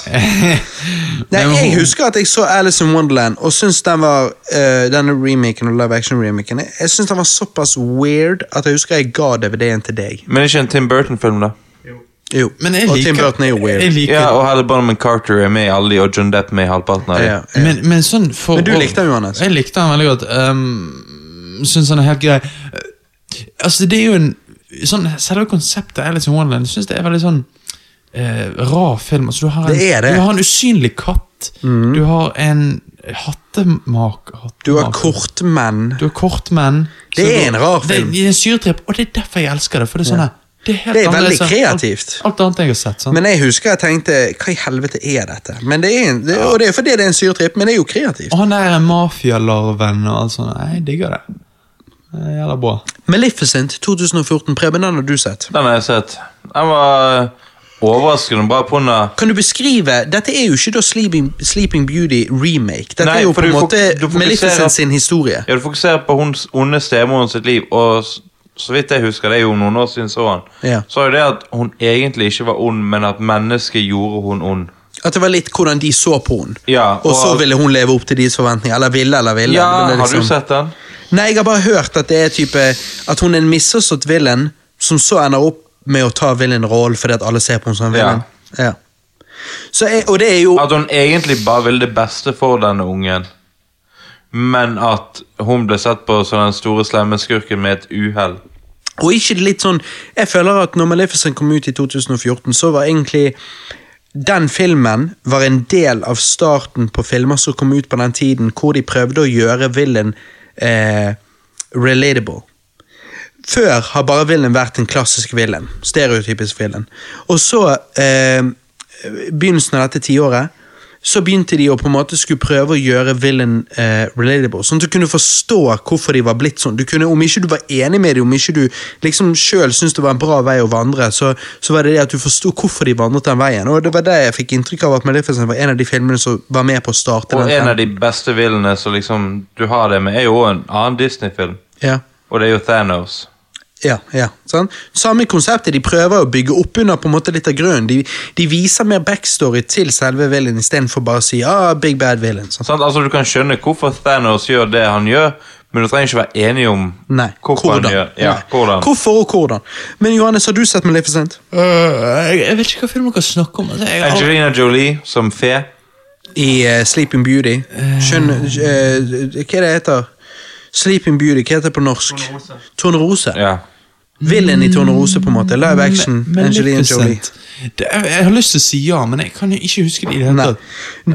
[SPEAKER 1] Nei,
[SPEAKER 2] men
[SPEAKER 1] jeg
[SPEAKER 2] hun-
[SPEAKER 1] husker at jeg så Alice in Wonderland og syntes den var eh, denne remaken og live action-remaken Jeg, jeg syntes den var såpass weird at jeg husker jeg ga DVD-en til deg.
[SPEAKER 3] Men ikke en Tim Burton-film, da?
[SPEAKER 1] Jo,
[SPEAKER 2] Men jeg
[SPEAKER 1] Og
[SPEAKER 2] liker
[SPEAKER 1] Tim Burton er jo weird.
[SPEAKER 2] Jeg liker,
[SPEAKER 3] Ja, og Halle Bonham Carter er med i alle de, og John Depp er med i halvparten
[SPEAKER 1] Ja,
[SPEAKER 3] av dem.
[SPEAKER 1] ja.
[SPEAKER 2] Men, men sånn for
[SPEAKER 1] Men du likte han, Johannes.
[SPEAKER 2] Jeg likte han veldig godt. Um, Syns han er helt grei. Eh, Altså, det er jo en sånn, Selve konseptet Alice in Wonderland synes det er veldig sånn eh, rar film. Altså, du, har en,
[SPEAKER 1] Det er det. Mhm.
[SPEAKER 2] du har en usynlig katt. Du har en hattemak... hattemaker.
[SPEAKER 1] Du har kortmenn.
[SPEAKER 2] Du har kortmenn.
[SPEAKER 1] Det
[SPEAKER 2] Så
[SPEAKER 1] er
[SPEAKER 2] du-
[SPEAKER 1] en rar film.
[SPEAKER 2] Det, det er en syretripp, og det er derfor jeg elsker det. For det er sånn her Det er, helt
[SPEAKER 1] Det er veldig
[SPEAKER 2] annerledes enn
[SPEAKER 1] kreativt.
[SPEAKER 2] Alt, alt annet jeg har sett. sant?
[SPEAKER 1] Men jeg husker jeg tenkte Hva i helvete er dette? Men det er en, det, og det er fordi det er en syrtripp, men det er jo kreativt.
[SPEAKER 2] og han der er mafialarven og alt sånt. Nei, Jeg digger det. Det er Jævla bra.
[SPEAKER 1] Maleficent 2014, Preben, den har du sett.
[SPEAKER 3] Den har jeg sett. Den var eh, overraskende bra på under
[SPEAKER 1] Kan du beskrive Dette er jo ikke da Sleeping, Sleeping Beauty remake. Dette
[SPEAKER 3] Nei,
[SPEAKER 1] er jo
[SPEAKER 3] for
[SPEAKER 1] på en
[SPEAKER 3] du fok-
[SPEAKER 1] måte
[SPEAKER 3] du fokuserer-
[SPEAKER 1] Maleficent sin historie.
[SPEAKER 3] Ja, du fokuserer på hennes onde stemoren sitt liv, og s- så vidt jeg husker, det er jo noen år siden så han,
[SPEAKER 1] Ja.
[SPEAKER 3] så er det at hun egentlig ikke var ond, men at mennesket gjorde hun ond.
[SPEAKER 1] At det var litt hvordan de så på henne.
[SPEAKER 3] Ja,
[SPEAKER 1] og, så ville hun leve opp til deres forventninger. Eller ville, eller ville.
[SPEAKER 3] Ja,
[SPEAKER 1] men det er
[SPEAKER 3] har du
[SPEAKER 1] liksom-
[SPEAKER 3] sett den?
[SPEAKER 1] Nei, jeg har bare hørt at det er type At hun er en misforstått villain som så ender opp med å ta villain-rollen fordi at alle ser på henne som en
[SPEAKER 3] Ja.
[SPEAKER 1] villain. Ja. Så jeg, og det er jo
[SPEAKER 3] At hun egentlig bare ville det beste for denne ungen, men at hun ble sett på som den store slemme skurken med et uhell.
[SPEAKER 1] Og ikke litt sånn Jeg føler at når Maleficent kom ut i 2014, så var egentlig den filmen var en del av starten på filmer som kom ut på den tiden, hvor de prøvde å gjøre villain eh, relatable. Før har bare villain vært en klassisk villain. Stereotypisk villain. Og så, eh, begynnelsen av dette tiåret, så begynte de å på en måte skulle prøve å gjøre villain eh, relatable. Sånn at du kunne forstå hvorfor de var blitt sånn. Du kunne, om ikke du var enig med dem, om ikke du liksom sjøl syntes det var en bra vei å vandre, så, så var det det at du forsto hvorfor de vandret den veien. Og det var det jeg fikk inntrykk av at Maleficent var en av de filmene som var med på å starte
[SPEAKER 3] Og
[SPEAKER 1] den.
[SPEAKER 3] en av de beste villene som liksom du har det med, er jo en annen Disney-film,
[SPEAKER 1] ja.
[SPEAKER 3] og det er jo Thanos.
[SPEAKER 1] Ja, ja, sant? Samme konseptet, de prøver å bygge opp under på en måte litt av grunnen. De, de viser mer backstory til selve villain istedenfor bare å si ah, big bad villain. Sant?
[SPEAKER 3] Sant? Altså, du kan skjønne hvorfor Thanos gjør det han gjør, men du trenger ikke være enig om
[SPEAKER 1] Nei,
[SPEAKER 3] hvorfor
[SPEAKER 1] hvordan?
[SPEAKER 3] han gjør ja,
[SPEAKER 1] Nei.
[SPEAKER 3] hvordan.
[SPEAKER 1] Hvorfor og hvordan? Men Johannes, har du sett Maleficent?
[SPEAKER 2] Øh, jeg, jeg vet ikke hva film dere snakker om. Altså, jeg, har aldri-
[SPEAKER 3] Angelina Jolie som fe.
[SPEAKER 1] I eh, Sleeping Beauty. Skjønn... eh, hva er det heter? Sleeping Beauty, hva heter det på norsk? Tornerose.
[SPEAKER 3] Ja.
[SPEAKER 1] Villain i Tornerose, på en måte. Live action.
[SPEAKER 2] Men-
[SPEAKER 1] Angelina
[SPEAKER 2] Mm, Maleficent.
[SPEAKER 1] Jolie.
[SPEAKER 2] Det, jeg, jeg har lyst til å si ja, men jeg kan jo ikke huske det i det hele
[SPEAKER 1] Nei.
[SPEAKER 2] tatt.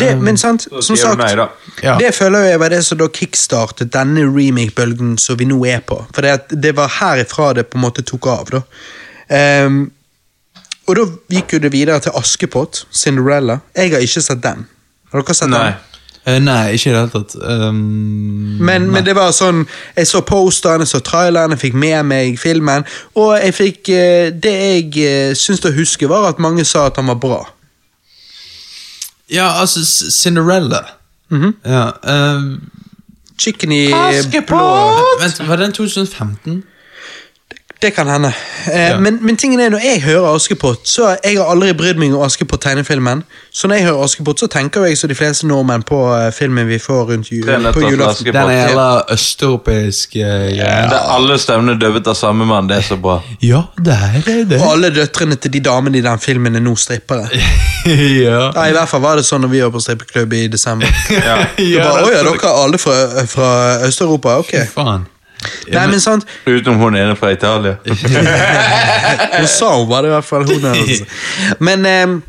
[SPEAKER 1] Det, men sant, som
[SPEAKER 3] sier du
[SPEAKER 1] sagt
[SPEAKER 3] nei, da.
[SPEAKER 2] Ja.
[SPEAKER 1] Det føler jeg var det som da kickstartet denne remake-bølgen som vi nå er på. For det, at det var herifra det på en måte tok av, da. Ehm, og da gikk jo det videre til Askepott, Cinderella. Jeg har ikke sett den. Har dere sett
[SPEAKER 3] Nei.
[SPEAKER 1] den?
[SPEAKER 2] Eh, nei, ikke i det hele tatt. Um,
[SPEAKER 1] Men, men det var sånn Jeg så posteren, jeg så traileren, jeg fikk med meg filmen. Og jeg fikk eh, Det jeg eh, syns å huske, var at mange sa at han var bra.
[SPEAKER 2] ja, altså, C- Cinderella.
[SPEAKER 1] Mhm.
[SPEAKER 2] Ja, eh,
[SPEAKER 1] Chicken i blå
[SPEAKER 2] vent, var den 2015?
[SPEAKER 1] Det kan hende. Eh,
[SPEAKER 2] Ja.
[SPEAKER 1] men, men tingen er, når jeg hører Askepott, så jeg har aldri brydd meg om Askepott-tegnefilmen. Så når jeg hører Askepott, så tenker jeg som de fleste nordmenn på eh, filmen vi får rundt jul.
[SPEAKER 3] Det er lett
[SPEAKER 1] På
[SPEAKER 3] å
[SPEAKER 1] julaften.
[SPEAKER 3] flaske
[SPEAKER 2] Den
[SPEAKER 3] på.
[SPEAKER 2] er jævla østeuropeisk eh,
[SPEAKER 3] Det
[SPEAKER 2] ja.
[SPEAKER 3] er alle stemmene døvet av samme mann, det er så bra.
[SPEAKER 2] ja, det er det. det.
[SPEAKER 1] Og alle døtrene til de damene i den filmen er nå strippere.
[SPEAKER 2] ja.
[SPEAKER 1] Ja, I hvert fall var det sånn når vi var på strippeklubb i desember.
[SPEAKER 3] Ja.
[SPEAKER 1] Du bare,
[SPEAKER 2] det
[SPEAKER 1] Åja,
[SPEAKER 2] er
[SPEAKER 1] dere er alle fra, eh, fra Øst-Europa? Ok.
[SPEAKER 2] så- Faen.
[SPEAKER 1] Nei, men sant,
[SPEAKER 3] Utenom hun ene fra Italia.
[SPEAKER 1] Hun sa hun var det i hvert fall. Hun er altså. Men ehm,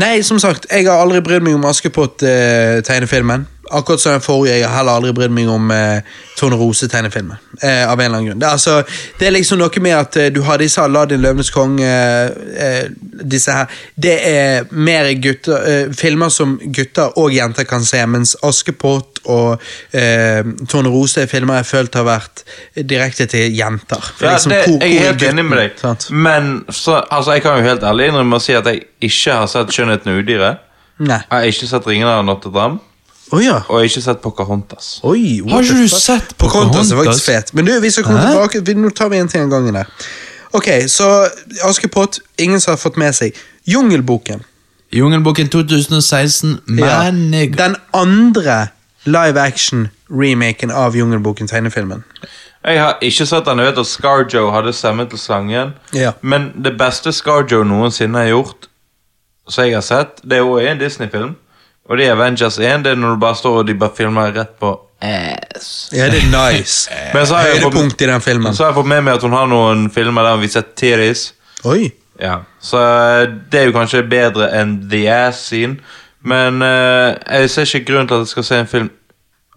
[SPEAKER 1] Nei, som sagt, jeg har aldri brydd meg om Askepott-tegnefilmen. Akkurat som den forrige. Jeg har heller aldri brydd meg om eh, Tornerose-tegnefilmen. Eh, av en eller annen grunn. Det er, altså, det er liksom noe med at eh, du har disse Aladdin, Løvenes konge eh, eh, Disse her. Det er mer gutter, eh, filmer som gutter og jenter kan se, mens Askepott og eh, Tornerose er filmer jeg har følt har vært direkte til jenter. For
[SPEAKER 3] Ja,
[SPEAKER 1] liksom,
[SPEAKER 3] det,
[SPEAKER 1] hvor-
[SPEAKER 3] jeg
[SPEAKER 1] hvor
[SPEAKER 3] er helt
[SPEAKER 1] gutten?
[SPEAKER 3] enig med deg,
[SPEAKER 1] Sant?
[SPEAKER 3] men så, altså, jeg kan jo helt ærlig innrømme å si at jeg ikke har sett 'Skjønnheten og udyret'.
[SPEAKER 1] Nei.
[SPEAKER 3] Jeg har ikke sett 'Ringen av Notre-Dame',
[SPEAKER 1] Å ja.
[SPEAKER 3] og jeg har ikke sett 'Pocahontas'.
[SPEAKER 1] Oi, what
[SPEAKER 2] Har
[SPEAKER 1] the
[SPEAKER 2] ikke du
[SPEAKER 1] fuck?
[SPEAKER 2] sett
[SPEAKER 1] Pocahontas er
[SPEAKER 2] Pocahontas?
[SPEAKER 1] faktisk fet. Men du, vi skal komme
[SPEAKER 2] Hæ?
[SPEAKER 1] tilbake. Vi, nå tar vi en ting av gangen her. Ok, så Askepott, ingen som har fått med seg. Jungelboken.
[SPEAKER 2] Jungelboken 2016,
[SPEAKER 1] Ja.
[SPEAKER 2] men jeg
[SPEAKER 1] Den andre live action-remaken av Jungelboken, tegnefilmen.
[SPEAKER 3] Jeg har ikke sett den. Jeg vet at Scarjo hadde stemme til sangen.
[SPEAKER 1] Ja.
[SPEAKER 3] Men det beste Scarjo noensinne har gjort, som jeg har sett, det er også en Disney-film. Og det er Avengers 1. Det er når du bare står og de bare filmer rett på ass.
[SPEAKER 1] Ja, det er nice.
[SPEAKER 3] Men så har jeg
[SPEAKER 1] Eh,
[SPEAKER 3] fått,
[SPEAKER 1] Høydepunkt i den filmen.
[SPEAKER 3] så har jeg fått med meg at hun har noen filmer der hun viser titties.
[SPEAKER 1] Oi.
[SPEAKER 3] Ja. Så eh, det er jo kanskje bedre enn The Ass-scene. Men eh, jeg ser ikke grunn til at jeg skal se en film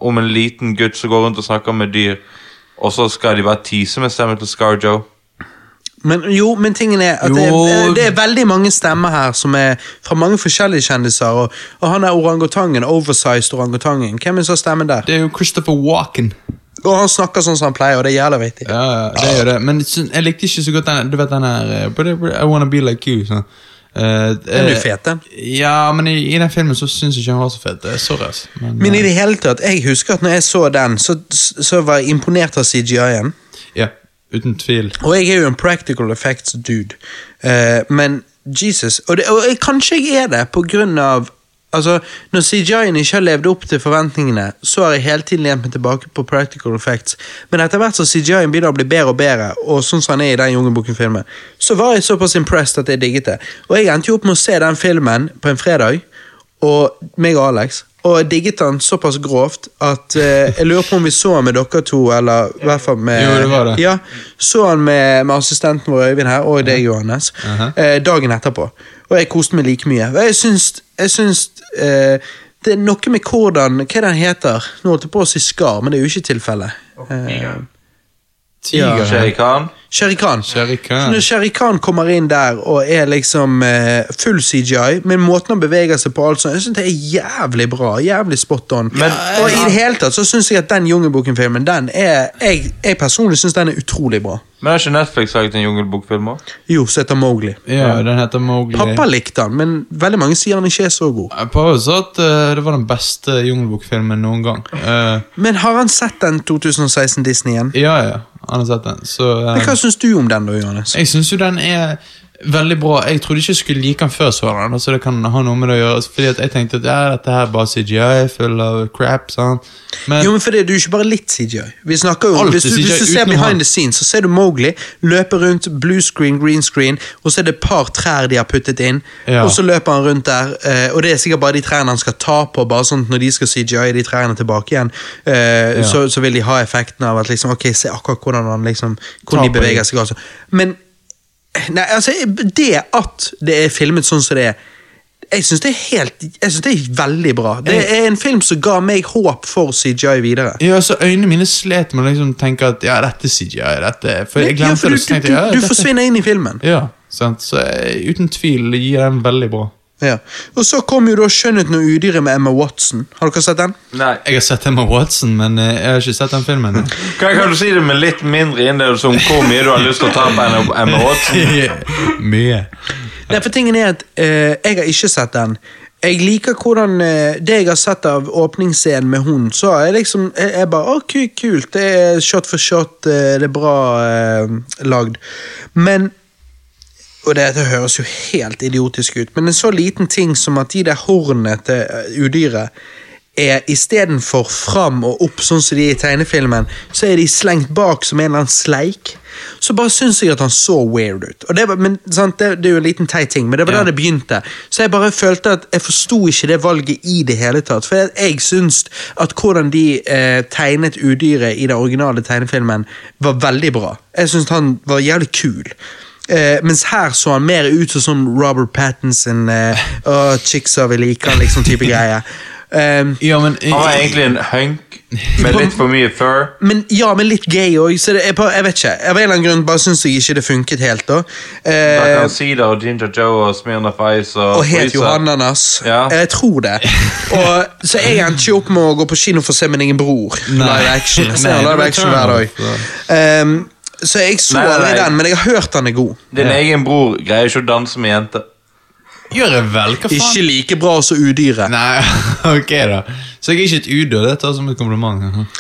[SPEAKER 3] om en liten gutt som går rundt og snakker med dyr, og så skal de bare tease med stemmen til Scarjo.
[SPEAKER 1] Men jo, men tingen er at det
[SPEAKER 2] Jo.
[SPEAKER 1] er, det er veldig mange stemmer her som er fra mange forskjellige kjendiser. Og, og han er orangutangen, oversized orangutangen. Hvem er så stemmen der?
[SPEAKER 2] Det er jo Christopher Walken.
[SPEAKER 1] Og han snakker sånn som han pleier, og det er jævla vittig.
[SPEAKER 2] Ja, ja, det er jo det. Men jeg syn- jeg likte ikke så godt den Du vet den her eh, but I- I wanna be like you. Sånn. Eh,
[SPEAKER 1] Den er jo
[SPEAKER 2] eh,
[SPEAKER 1] fet, den.
[SPEAKER 2] Ja, men i, i den filmen så syns jeg ikke han var så fet. Eh, Sorry, ass. Men,
[SPEAKER 1] Men i
[SPEAKER 2] eh,
[SPEAKER 1] det hele tatt, jeg husker at når jeg så den, så, så var jeg imponert av CGI-en.
[SPEAKER 2] ja, uten tvil.
[SPEAKER 1] Og jeg er jo en practical effects dude, Eh, men Jesus Og, det, og jeg, kanskje jeg er det på grunn av Altså, Når CGI-en ikke har levd opp til forventningene, så har jeg hele tiden lent meg tilbake på practical effects, men etter hvert som CGI-en begynner å bli bedre og bedre, og sånn som han er i den Jungelbukken-filmen, så var jeg såpass impressed at jeg digget det. Og jeg endte jo opp med å se den filmen på en fredag, og meg og Alex, og jeg digget den såpass grovt at eh, jeg lurer på om vi så den med dere to, eller i hvert fall med
[SPEAKER 2] Jo, det var det.
[SPEAKER 1] Ja, så han med, med assistenten vår Øyvind her, og deg, Johannes, eh, dagen etterpå. Og jeg koste meg like mye. Og jeg syns, jeg syns eh, Det er noe med hvordan Hva er det han heter? Nå holdt jeg på å si Skar, men det er jo ikke tilfellet. Eh,
[SPEAKER 2] Tiger.
[SPEAKER 3] Shere Khan.
[SPEAKER 1] Sherry Khan.
[SPEAKER 2] Shere Khan.
[SPEAKER 1] Så Når Sherry Khan kommer inn der og er liksom eh, full CGI, men måten han beveger seg på alt sånt, jeg synes det er jævlig bra. Jævlig spot on. og i det hele tatt så syns jeg at den Jungelboken-filmen, den er Jeg, jeg personlig syns den er utrolig bra.
[SPEAKER 3] Men har ikke Netflix laget en jungelbokfilm òg?
[SPEAKER 1] Jo, så heter Mowgli.
[SPEAKER 2] Ja, den heter Mowgli.
[SPEAKER 1] Pappa likte han, men veldig mange sier han ikke er så god.
[SPEAKER 2] Eh, Pappa sa at eh, det var den beste Jungelbok-filmen noen gang. Eh,
[SPEAKER 1] Men har han sett den 2016 Disneyen?
[SPEAKER 2] ja, ja. Han har sett den. Så eh,
[SPEAKER 1] Men Hva syns du om den, da, Johannes?
[SPEAKER 2] Jeg syns jo den er veldig bra. Jeg trodde ikke jeg skulle like den før, så den, så det kan ha noe med det å gjøre. Fordi at jeg tenkte at ja, dette her er bare CGI, full av crap. Sant? Men
[SPEAKER 1] Jo, men fordi Du er ikke bare litt CGI. Vi snakker jo,
[SPEAKER 2] Alt er
[SPEAKER 1] hvis, du, hvis du
[SPEAKER 2] CGI
[SPEAKER 1] ser
[SPEAKER 2] utenom
[SPEAKER 1] behind
[SPEAKER 2] han.
[SPEAKER 1] the scenes, så ser du Mowgli løpe rundt blue screen, green screen, og så er det et par trær de har puttet inn.
[SPEAKER 2] Ja.
[SPEAKER 1] Og så løper han rundt der, eh, og det er sikkert bare de trærne han skal ta på. bare sånn at Når de skal CGI de trærne tilbake igjen, eh,
[SPEAKER 2] Ja.
[SPEAKER 1] så, så vil de ha effekten av at liksom, ok, se akkurat hvordan han liksom,
[SPEAKER 2] Ta
[SPEAKER 1] hvordan de
[SPEAKER 2] på
[SPEAKER 1] beveger
[SPEAKER 2] de.
[SPEAKER 1] seg. Altså. Men Nei, altså, det at det er filmet sånn som det er jeg syns det er helt Jeg synes det er veldig bra. Det er en film som ga meg håp for CGI videre.
[SPEAKER 2] ja, så øynene mine slet med å liksom tenke at ja, dette er CGI. Dette, er- for jeg
[SPEAKER 1] Ja,
[SPEAKER 2] glemte
[SPEAKER 1] for
[SPEAKER 2] det.
[SPEAKER 1] du,
[SPEAKER 2] Så tenkte
[SPEAKER 1] du,
[SPEAKER 2] jeg, ja,
[SPEAKER 1] du,
[SPEAKER 2] dette-
[SPEAKER 1] forsvinner inn i filmen.
[SPEAKER 2] Ja, sant? Så jeg, uten tvil gir den veldig bra.
[SPEAKER 1] Ja. Og så kom jo da 'Skjønnheten og udyret' med Emma Watson. Har dere sett den?
[SPEAKER 3] Nei.
[SPEAKER 2] Jeg har sett Emma Watson, men eh, jeg har ikke sett den filmen.
[SPEAKER 3] Kan, kan du si det med litt mindre innlevelse om hvor mye du har lyst til å ta på Emma- Emma Watson?
[SPEAKER 2] Mye.
[SPEAKER 1] Nei, for tingen er at eh, jeg har ikke sett den. Jeg liker hvordan eh, Det jeg har sett av åpningsscenen med hun, så er jeg liksom Jeg, jeg bare Å, ku- kult. Det er shot for shot. eh, det er bra eh, lagd. Men Og det, det høres jo helt idiotisk ut, men en så liten ting som at de der hornene til eh, udyret er istedenfor fram og opp, sånn som de er i tegnefilmen, så er de slengt bak som en eller annen sleik. Så bare syns jeg at han så weird ut. Og det, var, men, sant, det, det er jo en liten teit ting, men det var
[SPEAKER 2] Ja.
[SPEAKER 1] der det begynte. Så jeg bare følte at jeg forsto ikke det valget i det hele tatt. For jeg, jeg syns at hvordan de eh, tegnet udyret i den originale tegnefilmen, var veldig bra. Jeg syns han var jævlig kul. Eh, mens her så han mer ut som sånn Robert Pattinson eh, og chicksa vi liker han, liksom type greie. Ehm,
[SPEAKER 2] Ja, men
[SPEAKER 3] Han var egentlig en hunk med litt for mye fur.
[SPEAKER 1] men ja, men litt gay òg, så det er bare, jeg vet ikke. Av en eller annen grunn bare syns jeg ikke det funket helt, da. Eh,
[SPEAKER 3] Bakan Sida og Ginger Joe og Smirnoff Ice og
[SPEAKER 1] og het
[SPEAKER 3] Freezer.
[SPEAKER 1] jo Ananas.
[SPEAKER 3] Ja.
[SPEAKER 1] Jeg tror det. Og, så jeg endte ikke opp med å gå på kino for å se min egen bror.
[SPEAKER 2] Nei.
[SPEAKER 1] Live action. Jeg ser
[SPEAKER 2] Nei,
[SPEAKER 1] han
[SPEAKER 2] det
[SPEAKER 1] live
[SPEAKER 2] var
[SPEAKER 1] action hver dag. Ehm, så jeg så
[SPEAKER 3] Nei, nei,
[SPEAKER 1] aldri
[SPEAKER 3] nei.
[SPEAKER 1] den, men jeg har hørt han er god.
[SPEAKER 3] Din egen bror greier ikke å danse med jenter.
[SPEAKER 2] Gjør jeg vel, hva faen?
[SPEAKER 1] Ikke like bra som Udyret.
[SPEAKER 2] Nei, ok da. Så jeg er ikke et udød, det tar jeg som et kompliment.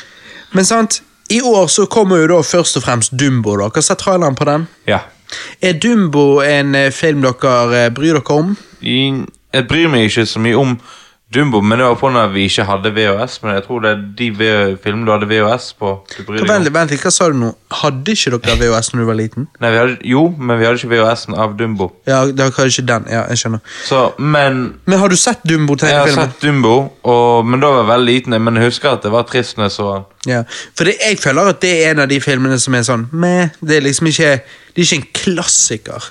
[SPEAKER 1] Men sant, i år så kommer jo da først og fremst Dumbo. da. Hva sa traileren på den?
[SPEAKER 3] Ja.
[SPEAKER 1] Er Dumbo en eh, film dere eh, bryr dere om?
[SPEAKER 3] I- Jeg bryr meg ikke så mye om Dumbo, men det var på når vi ikke hadde VHS. Men jeg tror det er de V- filmene du hadde VHS på. Du bryr deg
[SPEAKER 1] Vent,
[SPEAKER 3] om.
[SPEAKER 1] litt, vent, litt, Hva sa du nå? Hadde ikke dere VHS når du var liten?
[SPEAKER 3] Nei, vi hadde, jo, men vi hadde ikke VHS-en av Dumbo.
[SPEAKER 1] Ja, dere hadde ikke den. Ja, jeg skjønner.
[SPEAKER 3] Så, men
[SPEAKER 1] Men har du sett
[SPEAKER 3] jeg har
[SPEAKER 1] Dumbo-tegnefilmen?
[SPEAKER 3] sett Dumbo, og, men da var jeg veldig liten. Men jeg husker at det var trist når jeg så den.
[SPEAKER 1] Ja, for det, jeg føler at det er en av de filmene som er sånn meh, Det er liksom ikke Det er ikke en klassiker.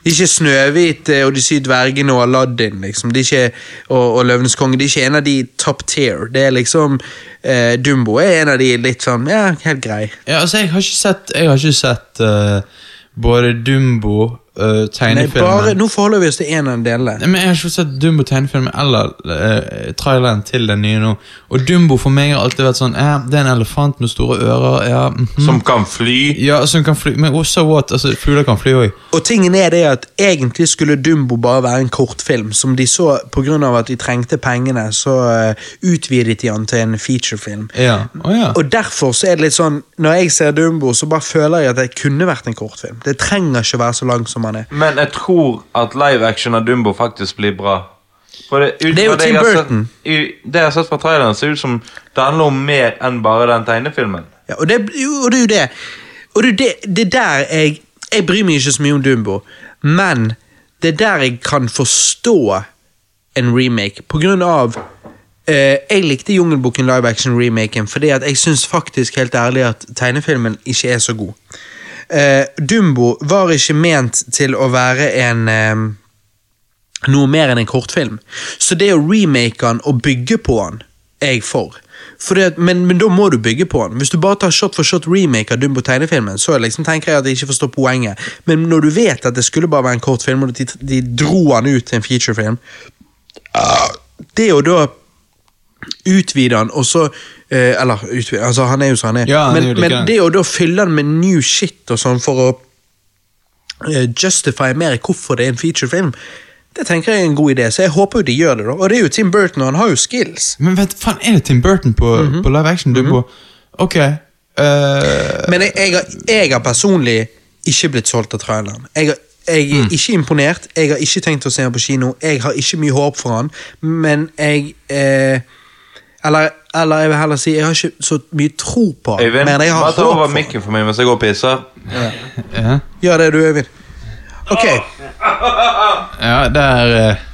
[SPEAKER 1] Det er ikke 'Snøhvit' eh, og 'De syv dvergene' og 'Aladdin' liksom. det er ikke, og, og 'Løvenes konge'. Det er ikke en av de top tier. Det er liksom eh, Dumbo er en av de litt sånn Ja, helt grei.
[SPEAKER 2] Ja, altså, jeg har ikke sett, jeg har ikke sett eh, både Dumbo, eh,
[SPEAKER 1] Nei, bare,
[SPEAKER 2] tegnefilmen
[SPEAKER 1] nå forholder vi oss til én av delene.
[SPEAKER 2] Nei, men Jeg har ikke sett Dumbo tegnefilmen eller eh, traileren til den nye nå. Og Dumbo for meg har alltid vært sånn eh, Det er en elefant med store ører. Ja,
[SPEAKER 1] Mm.
[SPEAKER 2] mhm.
[SPEAKER 3] Som kan fly.
[SPEAKER 2] ja som kan fly. Men også what? Altså, Fugler kan fly òg.
[SPEAKER 1] Og tingen er det at egentlig skulle Dumbo bare være en kortfilm, som de så pga. at de trengte pengene, så eh, utvidet de den til en featurefilm.
[SPEAKER 2] Ja. Å, ja.
[SPEAKER 1] Og derfor så er det litt sånn, Når jeg ser Dumbo, så bare føler jeg at det kunne vært en kortfilm. Det trenger ikke være så lang som han er.
[SPEAKER 3] Men jeg tror at live action av Dumbo faktisk blir bra. For det, ut
[SPEAKER 1] Det er jo
[SPEAKER 3] fra
[SPEAKER 1] Tim
[SPEAKER 3] jeg har sett-
[SPEAKER 1] Burton.
[SPEAKER 3] i- Det jeg har sett fra traileren, ser ut som det handler om mer enn bare den tegnefilmen.
[SPEAKER 1] Ja, og, det, jo, og det er jo det. Og det, er jo det, det der jeg Jeg bryr meg ikke så mye om Dumbo, men det er der jeg kan forstå en remake, på grunn av eh, jeg likte Jungelboken live action-remaken fordi at jeg syns faktisk helt ærlig at tegnefilmen ikke er så god. Eh, Dumbo var ikke ment til å være en eh, noe mer enn en kortfilm. Så det å remake han og bygge på han, er jeg for. Fordi at, men, men da må du bygge på han. Hvis du bare tar shot for shot remake av Dumbo tegnefilmen, så liksom tenker jeg at jeg ikke forstår poenget. Men når du vet at det skulle bare være en kortfilm, og de, de dro han ut til en featurefilm ah, Det å da utvide han, og så eh, Eller utvide, altså han er jo som han er.
[SPEAKER 2] Ja, han er
[SPEAKER 1] men,
[SPEAKER 2] jo like
[SPEAKER 1] men
[SPEAKER 2] han.
[SPEAKER 1] det å da fylle han med new shit og sånn for å eh, justify mer hvorfor det er en featurefilm. Det tenker jeg er en god idé, så jeg håper jo de gjør det. da. Og det er jo Tim Burton, og han har jo skills.
[SPEAKER 2] Men vent, faen, er det Tim Burton på,
[SPEAKER 1] Mhm.
[SPEAKER 2] på live action? Dumbo? Ok. eh,
[SPEAKER 1] Men jeg, jeg, har, jeg har personlig ikke blitt solgt av traileren. Jeg, har- jeg er ikke imponert, jeg har ikke tenkt å se han på kino, jeg har ikke mye håp for han, men jeg eh, eller, eller jeg vil heller si, jeg har ikke så mye tro på han,
[SPEAKER 3] Øyvind,
[SPEAKER 1] men jeg har
[SPEAKER 3] bare
[SPEAKER 1] håp
[SPEAKER 3] ta over
[SPEAKER 1] for han.
[SPEAKER 3] mikken for meg mens jeg går og pisser.
[SPEAKER 2] ja.
[SPEAKER 1] Gjør det du, Øyvind. Ok,
[SPEAKER 2] ja, der eh,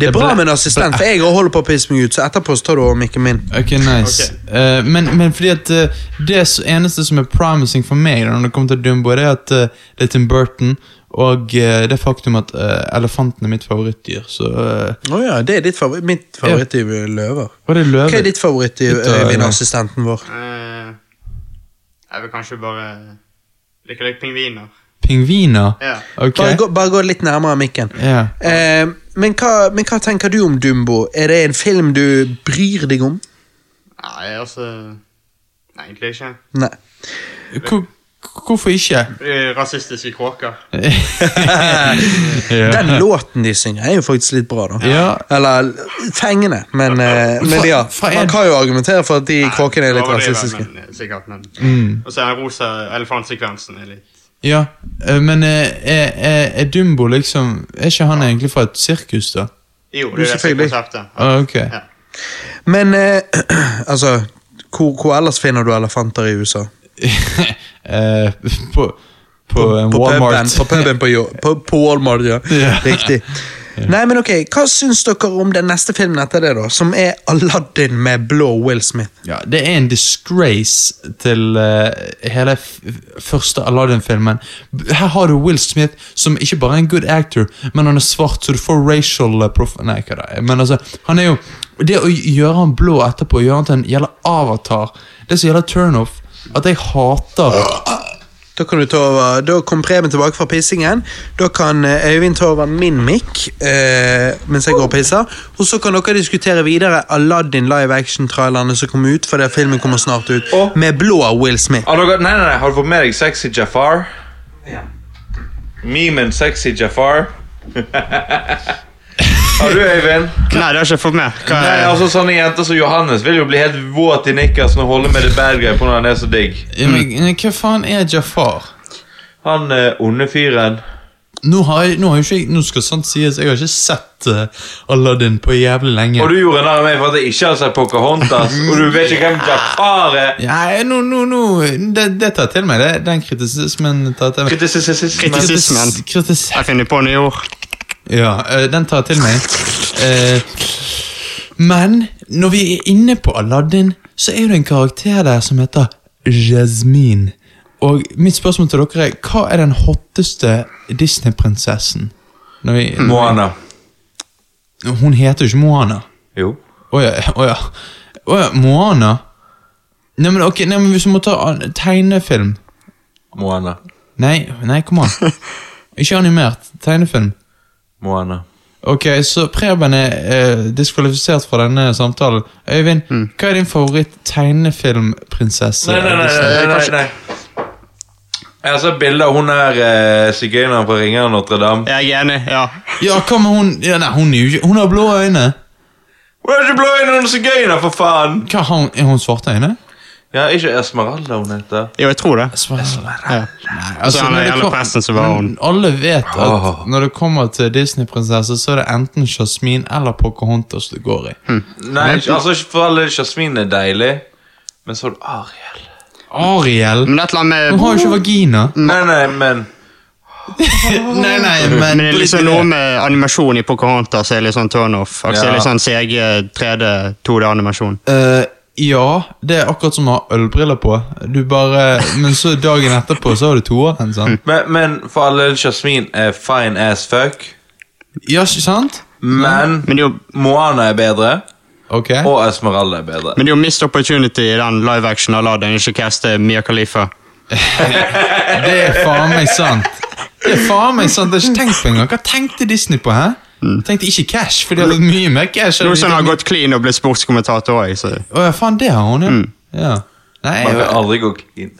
[SPEAKER 1] det er bra
[SPEAKER 2] ble-
[SPEAKER 1] med en assistent, for jeg holder på å pisse meg ut, så etterpå så tar du over mikken min.
[SPEAKER 2] Ok, nice. Eh, men, men fordi at eh, det s- eneste som er promising for meg da, når det kommer til Dumbo, det er at eh, det er Tim Burton, og eh, det faktum at eh, elefanten er mitt favorittdyr. Så eh,
[SPEAKER 1] Å ja, det er ditt favoritt. Mitt favorittdyr er løver.
[SPEAKER 2] Var det løve?
[SPEAKER 1] Hva er ditt eh, favorittdyr,
[SPEAKER 2] Ditt, øh,
[SPEAKER 1] Øyvind, assistenten vår?
[SPEAKER 4] Eh, jeg vil kanskje bare like litt pingviner.
[SPEAKER 2] Pingviner?
[SPEAKER 4] Ja.
[SPEAKER 2] Ok.
[SPEAKER 1] Bare, gå, bare gå litt nærmere mikken.
[SPEAKER 2] Ja.
[SPEAKER 1] Eh, men, hva, men hva tenker du om Dumbo? Er det en film du bryr deg om?
[SPEAKER 4] Nei, altså Nei, egentlig ikke.
[SPEAKER 1] Nei.
[SPEAKER 2] Hvor- Hvorfor ikke?
[SPEAKER 4] Det er Rasistiske kråker.
[SPEAKER 2] Ja.
[SPEAKER 1] Den låten de synger, er jo faktisk litt bra, da.
[SPEAKER 2] Ja.
[SPEAKER 1] Eller fengende, men, eh, men ja.
[SPEAKER 2] fra en-
[SPEAKER 1] Man kan jo argumentere for at de kråkene er litt
[SPEAKER 4] Overdriver,
[SPEAKER 1] rasistiske.
[SPEAKER 4] men, eh, Sikkert, men Og så er den rosa elefantsekvensen er litt
[SPEAKER 2] ja. eh, Men eh, er, er, er Dumbo liksom Er ikke han egentlig fra et sirkus, da?
[SPEAKER 4] Jo, det er det som er
[SPEAKER 1] Selvfølgelig.
[SPEAKER 4] konseptet.
[SPEAKER 2] Ah, ok.
[SPEAKER 4] Ja.
[SPEAKER 1] Men eh, altså hvor, hvor ellers finner du elefanter i USA?
[SPEAKER 2] Eh, på på,
[SPEAKER 1] På
[SPEAKER 2] eh,
[SPEAKER 1] puben
[SPEAKER 2] Walmart.
[SPEAKER 1] på, puben på, jo- på, på Walmart, ja.
[SPEAKER 2] Ja.
[SPEAKER 1] Riktig. Nei, men ok, Hva syns dere om den neste filmen etter det, da? Som er Aladdin med blå Will Smith.
[SPEAKER 2] Ja, det er en disgrace til eh, hele f første Aladdin-filmen. B- Her har du Will Smith, som ikke bare er en good actor, men han er svart, så du får racial eh, prof... Nei, hva det er. Men altså, han er jo Det å gjøre han blå etterpå, gjøre han til en gjelder avatar, det som gjelder turnoff, at jeg hater
[SPEAKER 1] Da kan du ta over, da kom Preben tilbake fra pissingen. Da kan eh, Øyvind ta over min mic eh, mens jeg går og pisser. Og så kan dere diskutere videre Aladdin live action-trailerne som kommer ut. For det filmen kommer snart ut
[SPEAKER 3] Og-
[SPEAKER 1] Med blå Will Smith.
[SPEAKER 3] Har, dere, nei, nei, nei, har du fått med deg Sexy Jafar? Memen Sexy Jafar. har du, Øyvind?
[SPEAKER 4] Nei, det har jeg ikke fått med. Hva
[SPEAKER 3] Nei,
[SPEAKER 4] er
[SPEAKER 3] altså Sånne jenter som Johannes vil jo bli helt våt i nikkersen og holde med the bad guy på når han er så digg.
[SPEAKER 2] Ja, men, eh, Hva faen er Jafar?
[SPEAKER 3] Han eh, onde fyren.
[SPEAKER 2] Nå har jeg, nå har jeg ikke, jeg- nå skal sant sies, jeg har ikke sett eh, Aladdin på jævlig lenge.
[SPEAKER 3] Og du gjorde narr av meg for at jeg ikke har sett Pocahontas, og du vet ikke hvem Jafar er.
[SPEAKER 2] Nei, nå, nå, nå det, det tar til meg, det, den kritisismen tar til meg.
[SPEAKER 3] Kritisisisismen.
[SPEAKER 4] Kritis- kritisismen.
[SPEAKER 2] Kritis
[SPEAKER 4] Jeg finner på nye ord.
[SPEAKER 2] ja, eh, den tar til meg. Eh, men når vi er inne på Aladdin, så er det en karakter der som heter Jasmine. Og mitt spørsmål til dere er, hva er den hotteste Disney-prinsessen? Når vi-
[SPEAKER 3] Moana.
[SPEAKER 2] Hun heter jo ikke Moana.
[SPEAKER 3] Jo.
[SPEAKER 2] Åja, åja. Åja, Moana? Nei, men ok, nei, men hvis du må ta an- tegnefilm.
[SPEAKER 3] Moana.
[SPEAKER 2] Nei, nei, kom an. Ikke animert. Tegnefilm.
[SPEAKER 3] Moana.
[SPEAKER 2] Ok, så Preben er eh, diskvalifisert fra denne samtalen. Øyvind,
[SPEAKER 4] Mm.
[SPEAKER 2] hva er din favoritt-tegnefilmprinsesse?
[SPEAKER 3] Nei, nei, nei. nei, nei, nei. Jeg så et bilde av hun her eh, sigøyneren fra Ringeren Notre-Dame.
[SPEAKER 4] Jeg er enig, ja.
[SPEAKER 2] Ja, hva med hun ja, Nei, hun, er jo ikke- hun har blå øyne.
[SPEAKER 3] Hun er ikke blå øyne, hun er sigøyner, for faen!
[SPEAKER 2] Hva, har hun, Er hun svarte øyne?
[SPEAKER 3] Ja, ikke Esmeralda hun heter.
[SPEAKER 4] Jo, jeg tror det.
[SPEAKER 2] Svarta.
[SPEAKER 4] Ja.
[SPEAKER 2] Nei, altså,
[SPEAKER 4] Så han
[SPEAKER 2] når
[SPEAKER 4] er
[SPEAKER 2] det
[SPEAKER 4] jævlig
[SPEAKER 2] kom-
[SPEAKER 4] pressen, så var hun-
[SPEAKER 2] Men Alle vet at
[SPEAKER 3] Åh.
[SPEAKER 2] når det kommer til Disney-prinsesse, så er det enten Jasmine eller Pocahontas det går i.
[SPEAKER 3] Nei, ikke- altså ikke for alle Jasmin er deilig, men så er det Ariel.
[SPEAKER 2] Ariel!
[SPEAKER 4] Men det er et eller annet
[SPEAKER 2] Hun
[SPEAKER 4] med
[SPEAKER 2] har jo ikke vagina.
[SPEAKER 3] Nei, nei, men
[SPEAKER 2] nei, nei, men,
[SPEAKER 4] men det er liksom
[SPEAKER 2] drit i
[SPEAKER 4] noe
[SPEAKER 2] det.
[SPEAKER 4] med animasjon i Pocahontas er litt sånn turn-off. Altså, det er
[SPEAKER 3] Ja.
[SPEAKER 4] Litt sånn CG 3D 2D-animasjon.
[SPEAKER 2] Eh, ja, det er akkurat som å ha ølbriller på. Du bare, men så dagen etterpå så har du toåren, sant?
[SPEAKER 3] Men, men for alle Jasmin er fine as fuck.
[SPEAKER 2] Ja, ikke sant?
[SPEAKER 3] Men
[SPEAKER 4] Mm. Men det er jo
[SPEAKER 3] Moana er bedre,
[SPEAKER 2] Ok.
[SPEAKER 3] og Esmeralda er bedre.
[SPEAKER 4] men det er jo missed opportunity i den live action Aladdin ikke caste Mia Khalifa.
[SPEAKER 2] Det er faen meg sant. Det er faen meg sant, det har jeg ikke tenkt på engang. Hva tenkte Disney på, hæ?
[SPEAKER 4] Mm.
[SPEAKER 2] Tenkte ikke cash, for de hadde mye mer cash.
[SPEAKER 4] Noe som har gått clean og blitt sportskommentator òg. Så.
[SPEAKER 2] Å ja, faen, det har hun, ja.
[SPEAKER 4] Mm.
[SPEAKER 2] ja. Nei,
[SPEAKER 3] Man kan
[SPEAKER 2] ja,
[SPEAKER 3] aldri gå clean.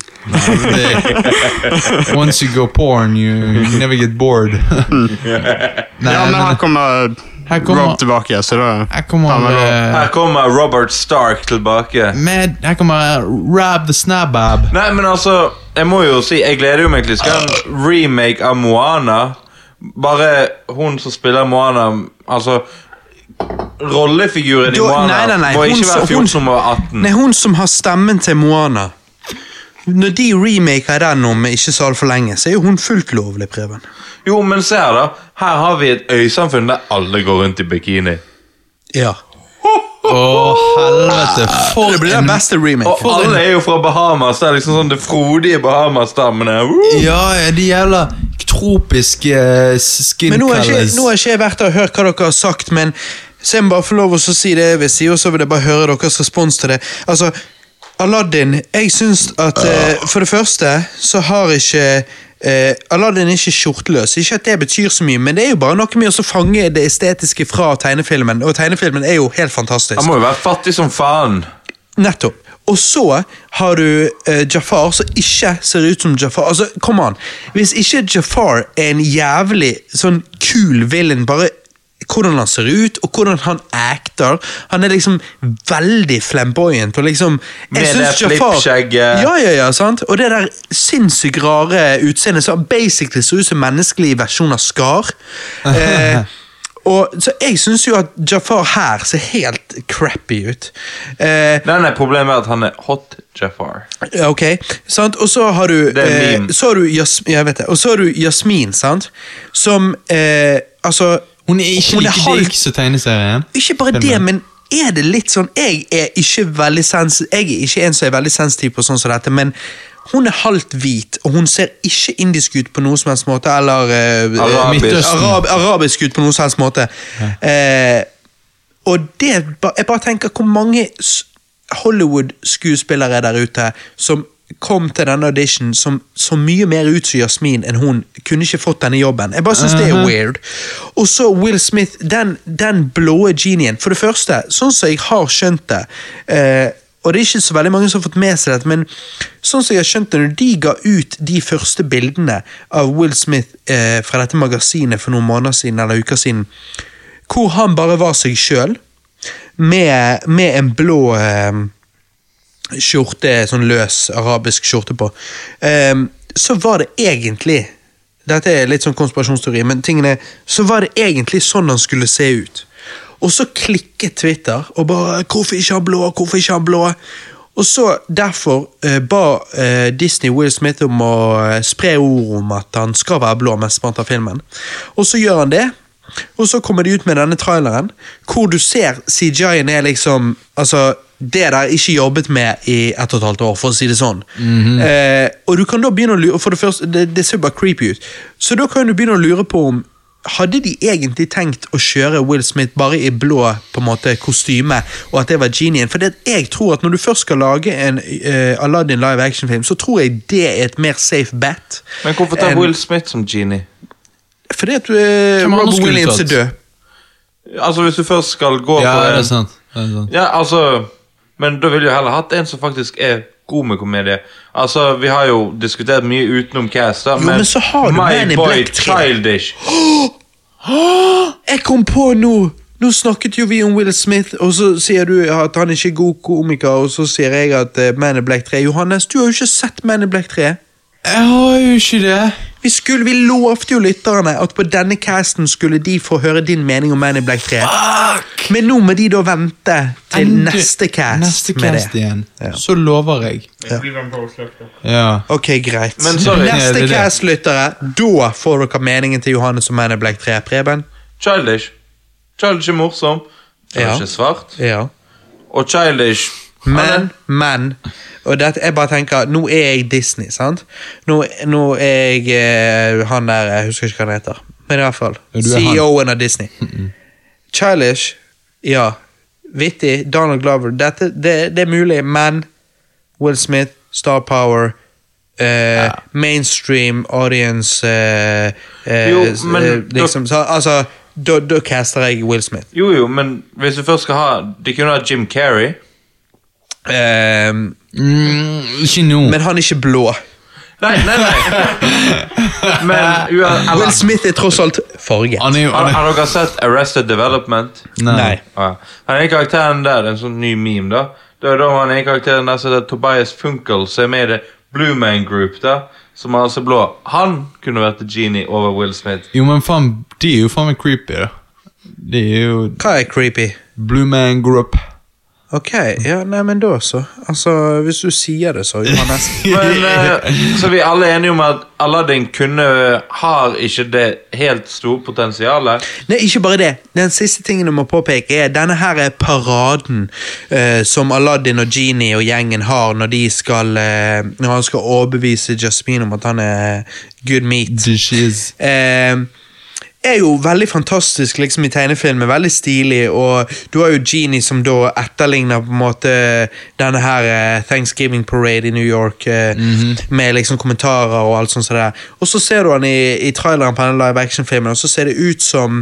[SPEAKER 2] det- Once you go porn, you, you never get bored. Nei,
[SPEAKER 4] Mm. Ja, men her
[SPEAKER 2] men
[SPEAKER 4] kommer,
[SPEAKER 2] Her kommer-
[SPEAKER 4] Rob tilbake, så da
[SPEAKER 2] her kommer
[SPEAKER 4] Ja, men da-
[SPEAKER 2] eh,
[SPEAKER 3] Her kommer Robert Stark tilbake.
[SPEAKER 2] med, Her kommer eh, Rab the Snabab.
[SPEAKER 3] Nei, men altså, jeg må jo si, jeg gleder jo meg til skal en remake av Moana. Bare hun som spiller Moana, altså Rollefiguren i
[SPEAKER 1] Da-
[SPEAKER 3] Moana
[SPEAKER 1] nei, nei, nei,
[SPEAKER 3] må
[SPEAKER 1] hun
[SPEAKER 3] ikke
[SPEAKER 1] som-
[SPEAKER 3] være
[SPEAKER 1] hun-
[SPEAKER 3] 14 og 18.
[SPEAKER 1] Nei, hun som har stemmen til Moana. Når de remaker den om ikke så altfor lenge, så er jo hun fullt lovlig, Preben.
[SPEAKER 3] Jo, men se her, da. Her har vi et øysamfunn der alle går rundt i bikini.
[SPEAKER 1] Ja.
[SPEAKER 2] Å, helvete. For
[SPEAKER 1] Det blir den
[SPEAKER 2] en-
[SPEAKER 1] beste remaken.
[SPEAKER 3] Og alle er jo fra Bahamas. Det er liksom sånn det frodige Bahamas-stammene. Woo!
[SPEAKER 2] Ja, ja, de jævla tropiske eh, skin
[SPEAKER 1] Men nå har ikke,
[SPEAKER 2] colors.
[SPEAKER 1] nå har ikke jeg vært der og hørt hva dere har sagt, men så jeg må bare få lov å så si det jeg vil si, og så vil jeg bare høre deres respons til det. Altså, Aladdin, jeg syns at eh, For det første så har ikke eh, Aladdin er ikke skjorteløs. Ikke at det betyr så mye, men det er jo bare noe med å så fange det estetiske fra tegnefilmen, og tegnefilmen er jo helt fantastisk.
[SPEAKER 3] Han må jo være fattig som faen.
[SPEAKER 1] Nettopp. Og så har du eh, Jafar som ikke ser ut som Jafar. Altså, kom an. Hvis ikke Jafar er en jævlig sånn kul villain, bare hvordan han ser ut, og hvordan han acter. Han er liksom veldig flamboyant, og liksom
[SPEAKER 3] Med
[SPEAKER 1] syns
[SPEAKER 3] det flippskjegget.
[SPEAKER 1] Ja, ja, ja, sant? Og det der sinnssykt rare utseendet som basically ser ut som menneskelig versjon av Skar. Eh, og, så jeg syns jo at Jafar her ser helt crappy ut. Eh,
[SPEAKER 3] Nei, nei, Problemet er at han er hot Jafar.
[SPEAKER 1] ja, Ok, sant? Og så har du,
[SPEAKER 3] Det er en
[SPEAKER 1] eh,
[SPEAKER 3] meme.
[SPEAKER 1] så har du Jas jeg vet det. Og så har du Jasmin, sant? Som eh, Altså,
[SPEAKER 2] Hun er ikke
[SPEAKER 1] Hun er
[SPEAKER 2] like
[SPEAKER 1] halv-
[SPEAKER 2] lik som tegneserien.
[SPEAKER 1] ikke bare det, men er det litt sånn Jeg er ikke veldig sens Jeg er ikke en som er veldig sensitiv på sånn som dette, men hun er halvt hvit, og hun ser ikke indisk ut på noen som helst måte, eller eh,
[SPEAKER 3] Arabisk.
[SPEAKER 2] Midtøsten.
[SPEAKER 1] Arab arabisk ut på noen som helst måte. Eh, og det er ba- Jeg bare tenker hvor mange s- Hollywood-skuespillere der ute som kom til denne audition som så mye mer ut som Jasmin enn hun. Kunne ikke fått denne jobben. Jeg bare syns det er weird. Og så Will Smith, den, den blå genien. For det første, sånn som jeg har skjønt det eh, og det er ikke så veldig mange som har fått med seg dette, men sånn som jeg har skjønt det, når de ga ut de første bildene av Will Smith eh, fra dette magasinet for noen måneder siden, eller uker siden, hvor han bare var seg sjøl, med, med en blå eh, skjorte, sånn løs arabisk skjorte på, ehm, så var det egentlig Dette er litt sånn konspirasjonsteori, men tingene Så var det egentlig sånn han skulle se ut. Og så klikket Twitter og bare 'Hvorfor ikke han blå? Hvorfor ikke han blå?' Og så derfor eh, ba eh, Disney Will Smith om å eh, spre ord om at han skal være blå mesteparten av filmen. Og så gjør han det. Og så kommer de ut med denne traileren, hvor du ser CGI-en er liksom Altså, det der er ikke jobbet med i ett og et halvt år, for å si det sånn.
[SPEAKER 2] Mhm.
[SPEAKER 1] eh, og du kan da begynne å lure For det første, det, det ser bare creepy ut. Så da kan du begynne å lure på om Hadde de egentlig tenkt å kjøre Will Smith bare i blå på en måte kostyme, og at det var genien? For det at jeg tror at når du først skal lage en eh, Aladdin live action-film, så tror jeg det er et mer safe bet.
[SPEAKER 3] Men hvorfor tar
[SPEAKER 1] enn-
[SPEAKER 3] Will Smith som genie?
[SPEAKER 1] Fordi at uh,
[SPEAKER 2] Hvem andre
[SPEAKER 1] Robin
[SPEAKER 2] skulle
[SPEAKER 1] Williams er
[SPEAKER 2] tatt?
[SPEAKER 1] død.
[SPEAKER 3] Altså, hvis du først skal gå
[SPEAKER 2] Ja,
[SPEAKER 3] for
[SPEAKER 2] det
[SPEAKER 3] en-
[SPEAKER 2] er sant. Det er sant.
[SPEAKER 3] Ja, altså Men da ville jeg heller hatt en som faktisk er god med komedie. Altså, Vi har jo diskutert mye utenom cast, da,
[SPEAKER 1] men så har du Man
[SPEAKER 3] My
[SPEAKER 1] in
[SPEAKER 3] Boy
[SPEAKER 1] Black 3.
[SPEAKER 3] Childish
[SPEAKER 1] Jeg kom på nå! Nå snakket jo vi om Will Smith, og så sier du at han ikke er god komiker, og så sier jeg at eh, Man in Black 3 Johannes, du har jo ikke sett Man in Black 3.
[SPEAKER 2] Jeg har jo ikke det.
[SPEAKER 1] Vi, skulle, vi lovte jo lytterne at på denne casten skulle de få høre din mening om Man in Black 3. Men nå må de da vente til
[SPEAKER 2] Endelig-
[SPEAKER 1] neste cast
[SPEAKER 2] Neste
[SPEAKER 1] med
[SPEAKER 2] cast
[SPEAKER 1] det.
[SPEAKER 2] igjen.
[SPEAKER 1] Ja.
[SPEAKER 2] Så lover jeg. Ja.
[SPEAKER 1] Ok, greit.
[SPEAKER 3] Men sorry.
[SPEAKER 2] Ja,
[SPEAKER 1] neste
[SPEAKER 2] det er det.
[SPEAKER 1] cast-lyttere, da får dere meningen til Johannes om Man in Black 3. Preben?
[SPEAKER 3] Childish. Childish er morsom. Childish
[SPEAKER 1] Ja.
[SPEAKER 3] er svart.
[SPEAKER 1] Ja.
[SPEAKER 3] Og Childish han er-
[SPEAKER 1] Men, men og dette, Jeg bare tenker, nå er jeg Disney, sant? Nå, nå er jeg eh, han der Jeg husker ikke hva han heter. Men i hvert fall.
[SPEAKER 2] Ja, du er han. Mm,
[SPEAKER 1] CEO-en av Disney. Childish, ja. Vittig. Donald Glover. Dette, det, det er mulig, men Will Smith, Star Power eh, Mainstream audience eh, eh,
[SPEAKER 3] Jo,
[SPEAKER 1] s-
[SPEAKER 3] men
[SPEAKER 1] eh,
[SPEAKER 3] da-
[SPEAKER 1] liksom, så, Altså, da da caster jeg Will Smith.
[SPEAKER 3] Jo, jo, men hvis du først skal ha De kunne ha Jim Carrey.
[SPEAKER 1] Eh,
[SPEAKER 2] Mm, ikke nå.
[SPEAKER 1] men han er ikke blå.
[SPEAKER 3] Nei, nei, nei. Men ua- eller,
[SPEAKER 1] Will Smith er tross alt farge.
[SPEAKER 2] Han er jo
[SPEAKER 3] har,
[SPEAKER 2] han er,
[SPEAKER 3] har dere sett Arrested Development?
[SPEAKER 1] Ah, Nei.
[SPEAKER 3] Ja. Han er karakteren der, en sånn ny meme, da. Det er da han er karakteren der som heter Tobias Funkel, som er med i det Blue Man Group, da. Som er altså blå. Han kunne vært the genie over Will Smith.
[SPEAKER 2] Jo, men faen, de er jo faen meg creepy, da. De er jo
[SPEAKER 1] Hva er creepy?
[SPEAKER 2] Blue Man Group.
[SPEAKER 1] Ok, ja, nei, men da så. Altså, hvis du sier det, så, Johannes.
[SPEAKER 3] Men, eh, så vi er alle enige om at Aladdin kunne har ikke det helt store potensialet.
[SPEAKER 1] Nei, ikke bare det. Den siste tingen du må påpeke, er denne her er paraden eh, som Aladdin og Genie og gjengen har når de skal eh, Når han skal overbevise Jasmine om at han er good meat.
[SPEAKER 2] Dishes.
[SPEAKER 1] eh, er jo veldig fantastisk liksom, i tegnefilmen. Veldig stilig. Og du har jo Genie som da etterligner på en måte denne her eh, Thanksgiving Parade i New York eh, med liksom kommentarer og alt sånt. som det er. Og så ser du han i, i traileren på denne live action-filmen, og så ser det ut som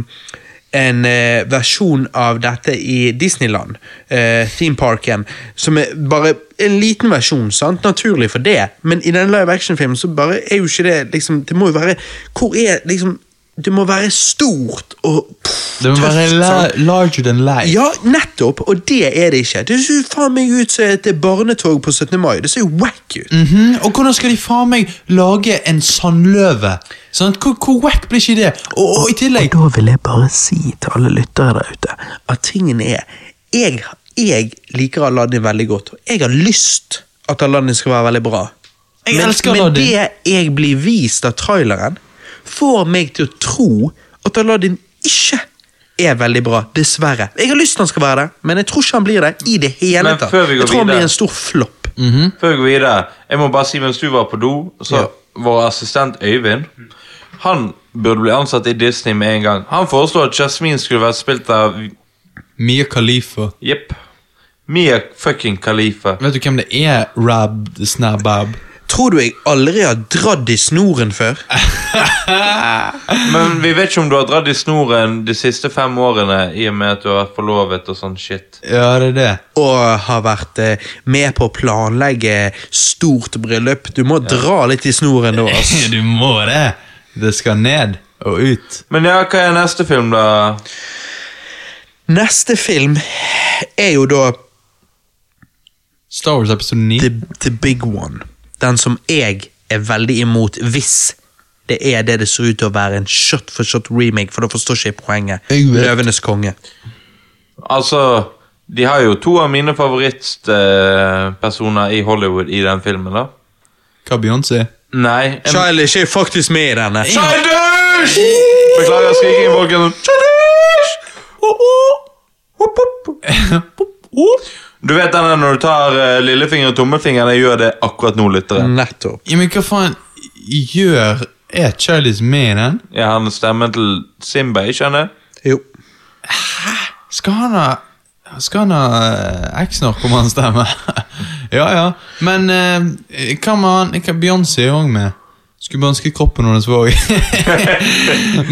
[SPEAKER 1] en eh, versjon av dette i Disneyland, eh, theme parken, som er bare en liten versjon, sant? naturlig for det, men i denne live action-filmen så bare er jo ikke det liksom, Det må jo være Hvor er liksom Det må være stort og pff,
[SPEAKER 2] Det må være
[SPEAKER 1] tøft,
[SPEAKER 2] la
[SPEAKER 1] sant?
[SPEAKER 2] larger than life.
[SPEAKER 1] Ja, nettopp, og det er det ikke. Det ser faen meg ut som et barnetog på 17. mai. Det ser jo wack ut.
[SPEAKER 2] Mhm, Og hvordan skal de faen meg lage en sandløve? Sant? Hvor, hvor wack blir ikke det? Og, og i tillegg
[SPEAKER 1] Og da vil jeg bare si til alle lyttere der ute at tingen er Jeg, jeg liker Aladdin veldig godt, og jeg har lyst at Aladdin skal være veldig bra.
[SPEAKER 2] Jeg
[SPEAKER 1] men,
[SPEAKER 2] elsker
[SPEAKER 1] men
[SPEAKER 2] Aladdin.
[SPEAKER 1] det jeg blir vist av traileren, får meg til å tro at Aladdin ikke er veldig bra, dessverre. Jeg har lyst til han skal være det, men jeg tror ikke han blir det i det hele
[SPEAKER 3] Men
[SPEAKER 1] tatt.
[SPEAKER 3] før vi går
[SPEAKER 1] Jeg tror han
[SPEAKER 3] videre-
[SPEAKER 1] blir en stor flopp.
[SPEAKER 3] Før vi går videre, jeg må bare si mens du var på do, så
[SPEAKER 1] Ja.
[SPEAKER 3] vår assistent Øyvind Han burde bli ansatt i Disney med en gang. Han foreslo at Jasmine skulle vært spilt av
[SPEAKER 2] Mia Khalifa.
[SPEAKER 3] Jepp. Mia fucking Khalifa.
[SPEAKER 2] Vet du hvem det er, Rab Snabab?
[SPEAKER 1] Tror du jeg aldri har dratt i snoren før?
[SPEAKER 3] Men vi vet ikke om du har dratt i snoren de siste fem årene i og med at du har vært forlovet og sånn shit.
[SPEAKER 2] Ja, det er det.
[SPEAKER 1] og har vært eh, med på å planlegge stort bryllup. Du må dra litt i snoren da, ass.
[SPEAKER 2] Du må det. Det skal ned og ut.
[SPEAKER 3] Men ja, hva er neste film, da?
[SPEAKER 1] Neste film er jo da
[SPEAKER 2] Star Wars episode 9.
[SPEAKER 1] The, the Big One. Den som jeg er veldig imot hvis det er det det ser ut til å være en shot for shot remake, for da forstår ikke jeg poenget.
[SPEAKER 2] Jeg vet.
[SPEAKER 1] Løvenes konge.
[SPEAKER 3] Altså De har jo to av mine favorittpersoner i Hollywood i den filmen, da.
[SPEAKER 2] Hva Beyoncé?
[SPEAKER 3] Nei. en-
[SPEAKER 1] Childish er faktisk med i denne.
[SPEAKER 3] Childish! Beklager skrikingen, folkens. Childish! Du vet den der når du tar eh,
[SPEAKER 1] Mm.
[SPEAKER 3] lillefinger og tommelfinger? Jeg gjør det akkurat nå, lyttere.
[SPEAKER 1] Nettopp.
[SPEAKER 2] Ja, men hva faen gjør Er Charlies med i den?
[SPEAKER 3] Er han stemmen til Simba, ikke han det?
[SPEAKER 1] Jo.
[SPEAKER 2] Skal han ha skal han ha eh, eks-narkomanstemme? ja, ja. Men eh, hva med han hva- Beyoncé er òg med. Skulle ønske kroppen hennes var òg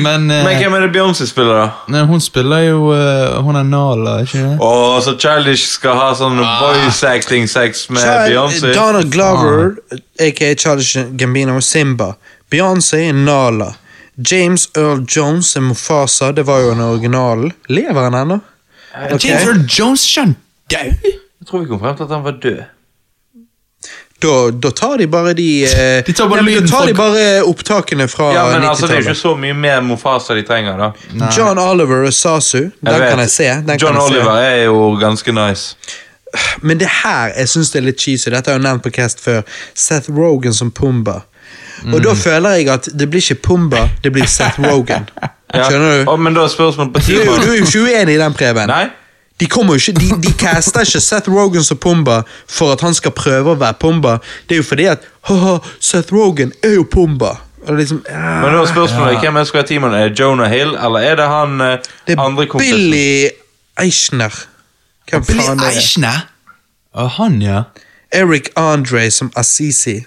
[SPEAKER 2] Men, eh,
[SPEAKER 3] Men hvem er det Beyoncé spiller, da?
[SPEAKER 2] nei, hun spiller jo eh, Hun er Nala, ikke det?
[SPEAKER 3] Åh, så Childish skal ha sånn
[SPEAKER 1] Ah.
[SPEAKER 3] voice acting-sex med Beyoncé?
[SPEAKER 1] Donna Glover,
[SPEAKER 2] Ah.
[SPEAKER 1] aka Charles Gambino, Simba. Beyoncé, Nala. James Earl Jones er Mufasa, det var jo den originalen. Lever han ennå? Ok.
[SPEAKER 2] James Earl Jones, ikke han død?
[SPEAKER 3] Jeg tror vi kom frem til at han var død.
[SPEAKER 1] Da, da tar de bare de, eh,
[SPEAKER 2] De tar bare
[SPEAKER 1] nei, men
[SPEAKER 2] lyden
[SPEAKER 1] Da tar de
[SPEAKER 2] fra-
[SPEAKER 1] bare opptakene fra
[SPEAKER 3] Ja, men altså, Det er jo
[SPEAKER 1] 90-tallet.
[SPEAKER 3] ikke så mye mer Mofasa de trenger, da.
[SPEAKER 1] John Oliver og Sasu, den
[SPEAKER 3] vet.
[SPEAKER 1] kan jeg se. Den
[SPEAKER 3] John
[SPEAKER 1] kan jeg
[SPEAKER 3] Oliver er jo ganske nice.
[SPEAKER 1] Se. Men det her jeg synes det er litt cheesy. Dette har jeg nevnt på Cast før. Seth Rogan som Pumba. Og
[SPEAKER 2] Mm.
[SPEAKER 1] da føler jeg at det blir ikke Pumba, det blir Seth Rogan.
[SPEAKER 3] Ja.
[SPEAKER 1] Skjønner du?
[SPEAKER 3] Å, men da er spørsmålet på
[SPEAKER 1] Du, er jo- du
[SPEAKER 3] timen.
[SPEAKER 1] er jo ikke uenig i den, Preben.
[SPEAKER 3] Nei?
[SPEAKER 1] De, kommer jo ikke, de, de caster ikke Seth Rogan som Pumba for at han skal prøve å være Pumba. Det er jo fordi at haha, Seth Rogan er jo Pumba. Og det er liksom, ja.
[SPEAKER 3] Men da er spørsmålet hvem er det som er timen. Er det Jonah Hill, eller er det han eh,
[SPEAKER 1] Det er
[SPEAKER 3] andre kompisen?
[SPEAKER 1] Billy Eichner. Hvem faen det er?
[SPEAKER 2] Eichner? Å, han, ja.
[SPEAKER 1] Eric Andre som Assisi.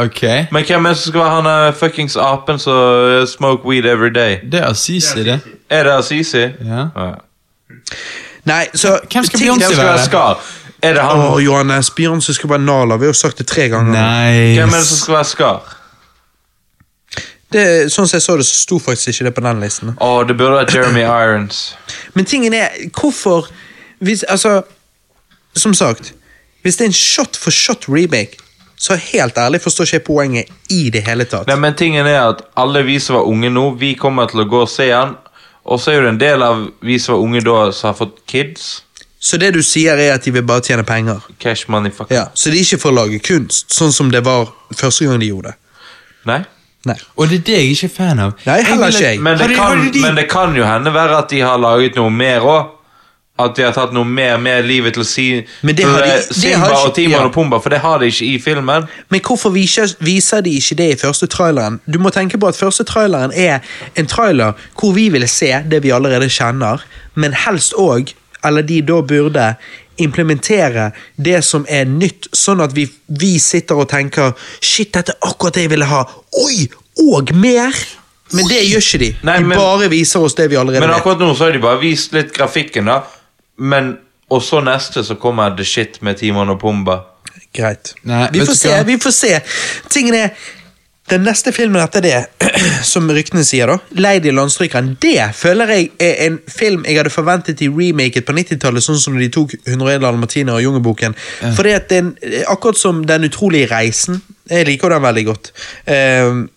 [SPEAKER 2] Ok.
[SPEAKER 3] Men hvem er det som skal være han eh, fuckings apen som eh, smoke weed every day?
[SPEAKER 2] Det er Assisi, det.
[SPEAKER 3] Er det Azizi?
[SPEAKER 2] Ja.
[SPEAKER 1] Nei, så
[SPEAKER 2] Hvem skal
[SPEAKER 1] ting-
[SPEAKER 2] Beyoncé
[SPEAKER 3] Hvem skal være Skar? Er det han
[SPEAKER 1] Åh, Johannes. Beyoncé skal være Nala. Vi har jo sagt det tre ganger.
[SPEAKER 3] Hvem er det som
[SPEAKER 2] Nice.
[SPEAKER 3] skal være Skar?
[SPEAKER 1] Det, sånn som jeg så det, så sto faktisk ikke det på den listen.
[SPEAKER 3] Å, det burde være Jeremy Irons.
[SPEAKER 1] Men tingen er, hvorfor hvis, Altså, som sagt Hvis det er en shot for shot remake, så helt ærlig forstår ikke jeg poenget i det hele tatt.
[SPEAKER 3] Nei, men tingen er at alle vi som var unge nå, vi kommer til å gå og se han. Og så er jo det en del av vi som var unge da, som har fått kids.
[SPEAKER 1] Så det du sier, er at de vil bare tjene penger?
[SPEAKER 3] Cash money, fuck.
[SPEAKER 1] Ja, Så de er ikke for å lage kunst, sånn som det var første gang de gjorde det?
[SPEAKER 3] Nei?
[SPEAKER 1] Nei.
[SPEAKER 2] Og det er det jeg ikke er fan av.
[SPEAKER 1] Nei, heller
[SPEAKER 2] vil at-
[SPEAKER 1] ikke jeg.
[SPEAKER 3] Men det,
[SPEAKER 2] Har de-
[SPEAKER 3] kan,
[SPEAKER 2] har de-
[SPEAKER 3] men det kan jo hende være at de har laget noe mer òg. At de har tatt noe mer med livet til, si,
[SPEAKER 1] Men det
[SPEAKER 3] til
[SPEAKER 1] har de-
[SPEAKER 3] eh,
[SPEAKER 1] det
[SPEAKER 3] Simba
[SPEAKER 1] har ikke-
[SPEAKER 3] og Timon
[SPEAKER 1] ja.
[SPEAKER 3] og Pumba, for det har de ikke i filmen.
[SPEAKER 1] Men hvorfor viser, viser de ikke det i første traileren? Du må tenke på at første traileren er en trailer hvor vi vil se det vi allerede kjenner, men helst òg, eller de da burde, implementere det som er nytt, sånn at vi, vi sitter og tenker Shit, dette er akkurat det jeg ville ha. Oi! Og mer! Men det gjør ikke de.
[SPEAKER 3] Nei,
[SPEAKER 1] de
[SPEAKER 3] men-
[SPEAKER 1] bare viser oss det vi allerede
[SPEAKER 3] Men
[SPEAKER 1] vet.
[SPEAKER 3] akkurat nå så har de bare vist litt grafikken, da. Men, og så neste så kommer The Shit med Timon og Pumba.
[SPEAKER 1] Greit.
[SPEAKER 2] Nei,
[SPEAKER 1] vi
[SPEAKER 2] vet
[SPEAKER 1] får
[SPEAKER 2] du
[SPEAKER 1] se,
[SPEAKER 2] hva?
[SPEAKER 1] vi får se. Tingen er den neste filmen etter det, som ryktene sier, da, 'Lady Landstrykeren', det føler jeg er en film jeg hadde forventet i remaket på 90-tallet, sånn som når de tok '101 dalmatiner' og 'Jungelboken'. For det at den, akkurat som 'Den utrolige reisen', jeg liker den veldig godt. Ehm,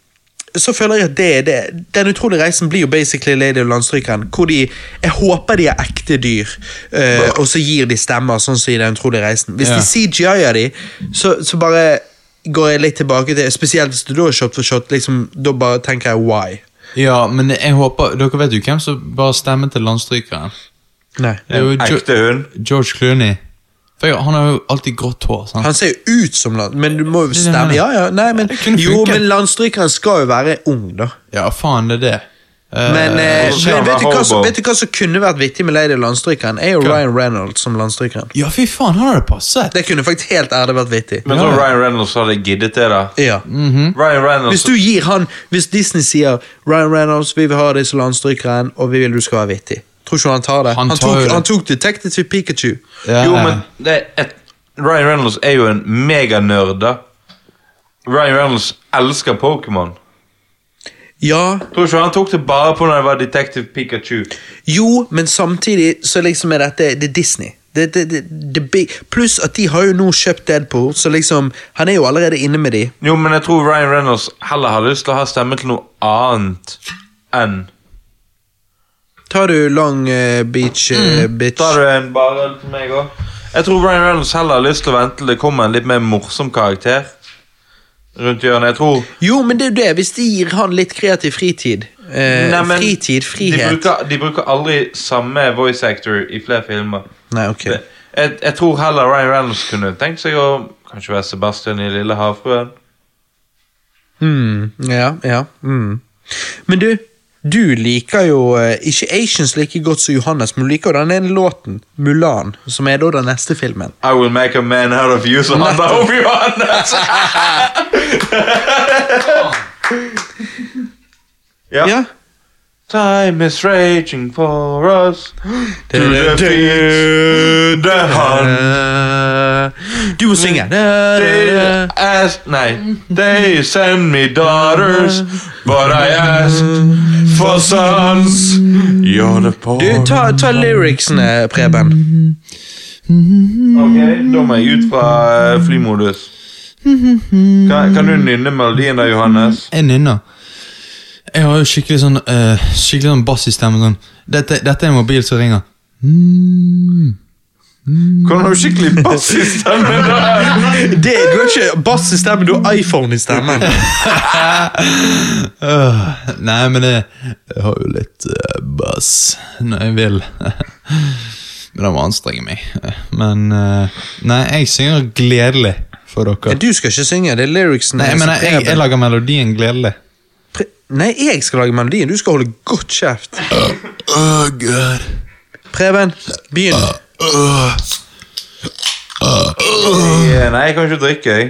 [SPEAKER 1] så føler jeg at det er det. Den utrolige reisen blir jo basically Lady og Landstrykeren. Hvor de, jeg håper de er ekte dyr, eh, og så gir de stemmer, sånn som i Den utrolige reisen. Hvis
[SPEAKER 2] Ja.
[SPEAKER 1] de CGI-er de, så, så bare går jeg litt tilbake til Spesielt hvis det da er shot for shot, liksom, da bare tenker jeg why.
[SPEAKER 2] Ja, men jeg håper Dere vet jo hvem som bare stemmer til landstrykeren.
[SPEAKER 1] Nei.
[SPEAKER 2] Det er jo
[SPEAKER 3] En
[SPEAKER 2] Jo-
[SPEAKER 3] ekte hund.
[SPEAKER 2] George Clooney. For jeg, han har jo alltid grått hår. sant?
[SPEAKER 1] Han ser jo ut som land... Men du må jo
[SPEAKER 2] er det jeg
[SPEAKER 1] stemme.
[SPEAKER 2] mener.
[SPEAKER 1] Ja, ja. Nei, men,
[SPEAKER 2] Det kunne
[SPEAKER 1] jo,
[SPEAKER 2] funket.
[SPEAKER 1] men landstrykeren skal jo være ung, da.
[SPEAKER 2] Ja, faen, det er det. Eh,
[SPEAKER 1] Men, eh,
[SPEAKER 3] og så skal
[SPEAKER 1] men
[SPEAKER 3] han
[SPEAKER 1] vet,
[SPEAKER 3] være
[SPEAKER 1] du hva som,
[SPEAKER 3] hobo.
[SPEAKER 1] vet du hva som kunne vært vittig med Lady og Landstrykeren? Er jo
[SPEAKER 2] Hva?
[SPEAKER 1] Ryan Reynolds som landstrykeren.
[SPEAKER 2] ja, fy faen, han hadde passet!
[SPEAKER 1] Det kunne faktisk helt ærlig vært vittig.
[SPEAKER 3] Men
[SPEAKER 2] Ja. Mm.
[SPEAKER 3] så Ryan Reynolds hadde giddet det, da.
[SPEAKER 1] Ja.
[SPEAKER 3] Ryan Reynolds
[SPEAKER 1] Hvis du gir han Hvis Disney sier Ryan Reynolds, vi vil ha deg som landstrykeren, og vi vil du skal være vittig. Tror ikke du han tar det.
[SPEAKER 2] Han
[SPEAKER 1] Han,
[SPEAKER 2] tar jo
[SPEAKER 1] tok,
[SPEAKER 2] det.
[SPEAKER 1] han tok Detective Pikachu.
[SPEAKER 2] Ja.
[SPEAKER 3] Jo, men det er et, Ryan Reynolds er jo en meganerd, da. Ryan Reynolds elsker Pokémon.
[SPEAKER 1] Ja,
[SPEAKER 3] Tror ikke han tok det bare på når det var Detective Pikachu.
[SPEAKER 1] jo, men samtidig så liksom er dette Det er Disney. Det, det, det, det, big- pluss at de har jo nå kjøpt Deadpool, så liksom Han er jo allerede inne med de.
[SPEAKER 3] Jo, men jeg tror Ryan Reynolds heller har lyst til å ha stemme til noe annet enn
[SPEAKER 1] Tar du Long eh, Beach eh, Bitch
[SPEAKER 3] Tar du en bare til meg òg? Jeg tror Ryan Reynolds heller har lyst til å vente til det kommer en litt mer morsom karakter rundt hjørnet. Jeg tror
[SPEAKER 1] Jo, men det er jo det. Hvis de gir han litt kreativ fritid. Eh,
[SPEAKER 3] Nei, men
[SPEAKER 1] fritid,
[SPEAKER 3] De
[SPEAKER 1] frihet.
[SPEAKER 3] bruker, de bruker aldri samme voice actor i flere filmer.
[SPEAKER 1] Nei, ok.
[SPEAKER 3] Det- Jeg, jeg tror heller Ryan Reynolds kunne tenkt seg å kanskje være Sebastian i Lille havfruen.
[SPEAKER 1] Mm, ja, ja. Mm. Men du, du liker jo eh, ikke Asians like godt som Johannes, men du liker jo den ene låten, Mulan, som er da den neste filmen.
[SPEAKER 3] I will make a man out of you, som handler om Johannes. ja.
[SPEAKER 1] Ja.
[SPEAKER 3] Time is raging for us to
[SPEAKER 1] Du-
[SPEAKER 3] defeat the Hun.
[SPEAKER 1] Eh, Du må synge.
[SPEAKER 3] They asked, nei, they send me daughters, but I asked for sons. You're the poor
[SPEAKER 1] Du, ta, ta lyricsene, Preben.
[SPEAKER 3] Ok, da må jeg ut fra eh, flymodus. Kan, kan du nynne melodien der, Johannes?
[SPEAKER 2] Jeg nynner. Jeg har jo skikkelig sånn eh, Skikkelig sånn bass i stemmen. Sånn. Dette, dette er en mobil som ringer. Mm.
[SPEAKER 3] Kan du ha skikkelig bass i stemmen der?
[SPEAKER 1] Det, du har ikke bass i stemmen, du har iPhone i stemmen.
[SPEAKER 2] Øh, nei, men jeg, jeg har jo litt eh, bass når jeg vil. men jeg må anstrenge meg. Men eh, Nei, jeg synger gledelig for dere.
[SPEAKER 1] Du skal ikke synge, det er lyricsene.
[SPEAKER 2] Nei, jeg
[SPEAKER 1] som
[SPEAKER 2] mener, jeg,
[SPEAKER 1] Preben-
[SPEAKER 2] jeg lager melodien gledelig.
[SPEAKER 1] Pre- Nei, jeg skal lage melodien, du skal holde godt kjeft.
[SPEAKER 2] Oh, God.
[SPEAKER 1] Preben, begynn.
[SPEAKER 3] Ja, Eh, Nei, jeg kan ikke drikke, jeg.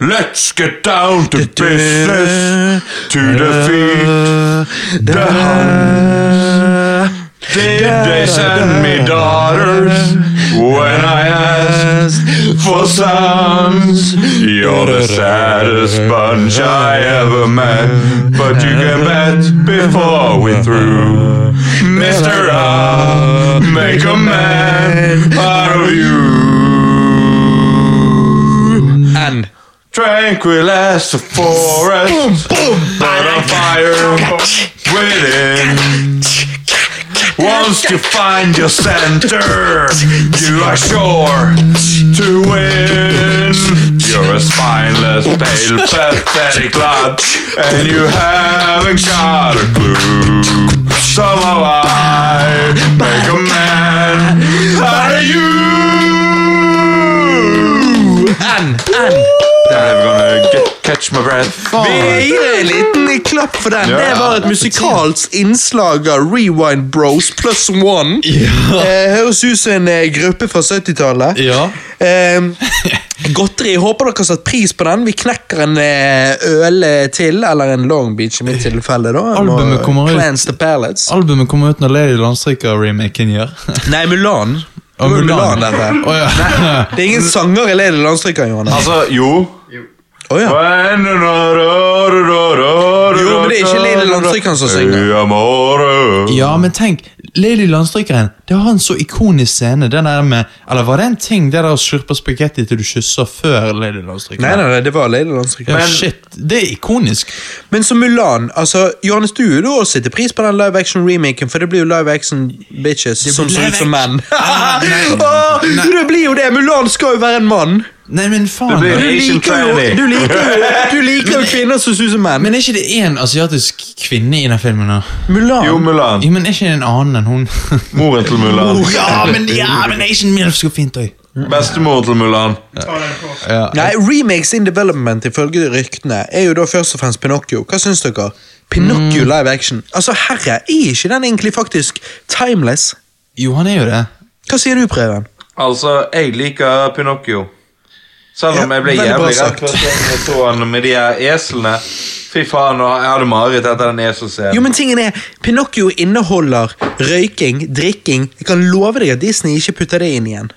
[SPEAKER 3] Let's get down to business To defeat the Huns Did they send me daughters When I asked for sons You're the saddest bunch I ever met But you can bet before we're through Mr. I'll make a man out of you
[SPEAKER 1] N.
[SPEAKER 3] Tranquil as the forest, but a fire within. Once you find your center, you are sure to win. You're a spineless, pale, pathetic lad, and you haven't got a clue. Somehow I make a man out of you.
[SPEAKER 1] N. N.
[SPEAKER 3] I'm never gonna get, catch my breath.
[SPEAKER 1] Vi gir en liten klapp for den. Det var et musikalsk innslag av Rewind Bros pluss one. Eh, høres ut som en eh, gruppe fra 70-tallet.
[SPEAKER 2] Ja.
[SPEAKER 1] Eh, godteri. Håper dere har satt pris på den. Vi knekker en eh, øl eh, til, eller en Long Beach i mitt tilfelle. da Jeg må
[SPEAKER 2] Albumet kommer ut.
[SPEAKER 1] Cleanse the palates.
[SPEAKER 2] Albumet kommer ut når Lady Landstryker-remaken gjør.
[SPEAKER 1] Nei, Mulan. Det var Mulan, dette.
[SPEAKER 2] Å, ja.
[SPEAKER 1] Det er ingen sanger i Lady Landstryker, Johannes.
[SPEAKER 3] Altså, jo.
[SPEAKER 1] Å ja. Jo, men det er ikke Lille Landstrykeren som synger.
[SPEAKER 3] Ja, more.
[SPEAKER 2] ja, men tenk. Lady Landstrykeren det har en så ikonisk scene. Den der med, eller Var det en ting det der å slurpe spagetti til du kysser før Lady Landstrykeren?
[SPEAKER 1] Nei, nei, nei, det var Lady Landstryker.
[SPEAKER 2] Ja,
[SPEAKER 3] Men-
[SPEAKER 2] shit, det er ikonisk.
[SPEAKER 1] Men som Mulan, altså, Johannes, du vil jo også sette pris på den live action-remaken, for det blir jo live action bitches som ser
[SPEAKER 2] live
[SPEAKER 1] ut som menn.
[SPEAKER 2] Ah, nei.
[SPEAKER 1] Åh, det blir jo det! Mulan skal jo være en mann!
[SPEAKER 2] Nei, men faen.
[SPEAKER 3] Det
[SPEAKER 1] Du
[SPEAKER 3] blir-
[SPEAKER 2] da.
[SPEAKER 3] Asian
[SPEAKER 1] liker jo,
[SPEAKER 3] tranny.
[SPEAKER 1] du liker jo, du liker jo kvinner som ser ut som menn.
[SPEAKER 2] Men er ikke det én asiatisk kvinne i den filmen? da?
[SPEAKER 1] Mulan
[SPEAKER 3] Jo, Mulan.
[SPEAKER 2] Jo, men er ikke det en annen enn hun?
[SPEAKER 3] Moren til Mulan.
[SPEAKER 1] Oh,
[SPEAKER 2] ja, men, ja, men Asian MILF skal fint òg.
[SPEAKER 3] Bestemoren til Mulan.
[SPEAKER 1] Nei, remakes in development ifølge ryktene er jo da først og fremst Pinocchio. Hva syns dere? Pinocchio live action. Altså, herre, er ikke den egentlig faktisk timeless?
[SPEAKER 2] Jo, han er jo det.
[SPEAKER 1] Hva sier du, Preben?
[SPEAKER 3] Altså, jeg liker Pinocchio. Selv om
[SPEAKER 1] Ja,
[SPEAKER 3] jeg ble
[SPEAKER 1] veldig bra
[SPEAKER 3] jævlig redd
[SPEAKER 1] sagt.
[SPEAKER 3] første gang jeg så han med de her eslene. Fy faen, og jeg hadde mareritt etter den eselscenen.
[SPEAKER 1] Jo, men tingen er, Pinocchio inneholder røyking, drikking. Jeg kan love deg at Disney ikke putter det inn igjen.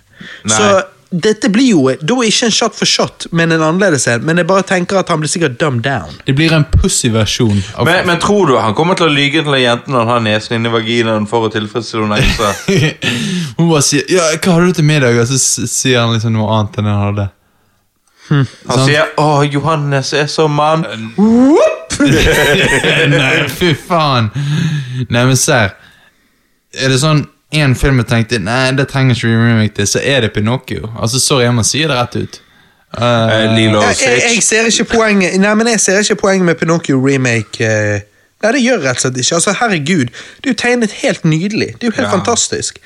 [SPEAKER 3] Nei.
[SPEAKER 1] Så dette blir jo da ikke en shot for shot, men en annerledes en. Men jeg bare tenker at han blir sikkert dumbed down.
[SPEAKER 2] Det blir en pussy-versjon. av-
[SPEAKER 3] Men, men tror du han kommer til å lyge til jentene når han har nesen inni vaginaen for å tilfredsstille henne ekstra?
[SPEAKER 2] Hun bare sier ja, 'Hva har du til middag?' Og så s- sier han liksom noe annet enn han hadde.
[SPEAKER 3] Han
[SPEAKER 2] Sant.
[SPEAKER 3] sier 'Å, Johannes er så mann'.
[SPEAKER 2] Nei, Eh, fy faen. Nei, men ser. Er det sånn én film jeg tenkte Nei, det trenger ikke vi remake til, så er det Pinocchio. Altså, Sorry, jeg må si det rett ut. Eh,
[SPEAKER 3] Eh, Lilo og
[SPEAKER 1] Jeg, jeg, jeg
[SPEAKER 3] Sitch.
[SPEAKER 1] ser ikke poenget Nei, men jeg ser ikke poenget med Pinocchio remake. eh. Nei, det gjør jeg rett og slett ikke. Altså, Herregud, det er jo tegnet helt nydelig. Det er jo helt fantastisk.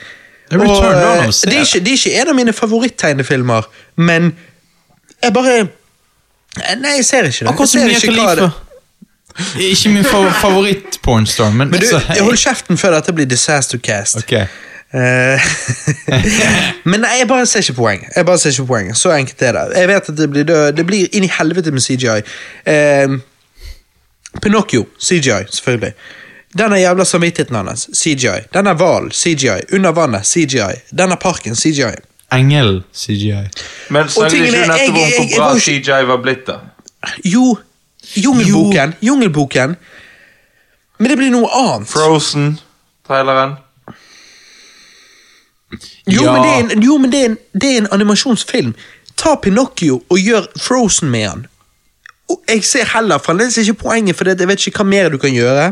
[SPEAKER 2] Jeg blir
[SPEAKER 1] Og,
[SPEAKER 2] turned on
[SPEAKER 1] eh,
[SPEAKER 2] av å se
[SPEAKER 1] det, er ikke, det er ikke en av mine favoritttegnefilmer, men jeg bare Eh, Nei, jeg ser ikke det.
[SPEAKER 2] Akkurat som
[SPEAKER 1] jeg
[SPEAKER 2] Mia
[SPEAKER 1] ser ikke hva
[SPEAKER 2] Khalifa.
[SPEAKER 1] det
[SPEAKER 2] Ikke min fa favoritt-pornstar, men,
[SPEAKER 1] Men du,
[SPEAKER 2] altså, hei.
[SPEAKER 1] hold kjeften før dette blir disaster cast.
[SPEAKER 2] Ok.
[SPEAKER 1] Eh, Men nei, jeg bare ser ikke poeng. Jeg bare ser ikke poeng. Så enkelt er det. Jeg vet at det blir, død. det blir inn i helvete med CGI. Eh, Pinocchio, CGI, selvfølgelig. Denne jævla samvittigheten hans, CGI. Denne hvalen, CGI. Under vannet, CGI. Denne parken, CGI.
[SPEAKER 2] Engel CGI.
[SPEAKER 3] Men snakket
[SPEAKER 1] tingen
[SPEAKER 3] ikke
[SPEAKER 1] er,
[SPEAKER 3] du
[SPEAKER 1] jeg-
[SPEAKER 3] nettopp om
[SPEAKER 1] jeg-
[SPEAKER 3] hvor
[SPEAKER 1] jeg
[SPEAKER 3] bra
[SPEAKER 1] var jo ikke-
[SPEAKER 3] CGI var blitt, da?
[SPEAKER 1] Jo, Jungelboken. Jungelboken. Men det blir noe annet.
[SPEAKER 3] Frozen-traileren.
[SPEAKER 1] Jo,
[SPEAKER 2] Ja.
[SPEAKER 1] men, det er en, jo, men det, er en, det er en animasjonsfilm. Ta Pinocchio og gjør Frozen med han. Og jeg ser heller fremdeles ikke poenget, for det, jeg vet ikke hva mer du kan gjøre.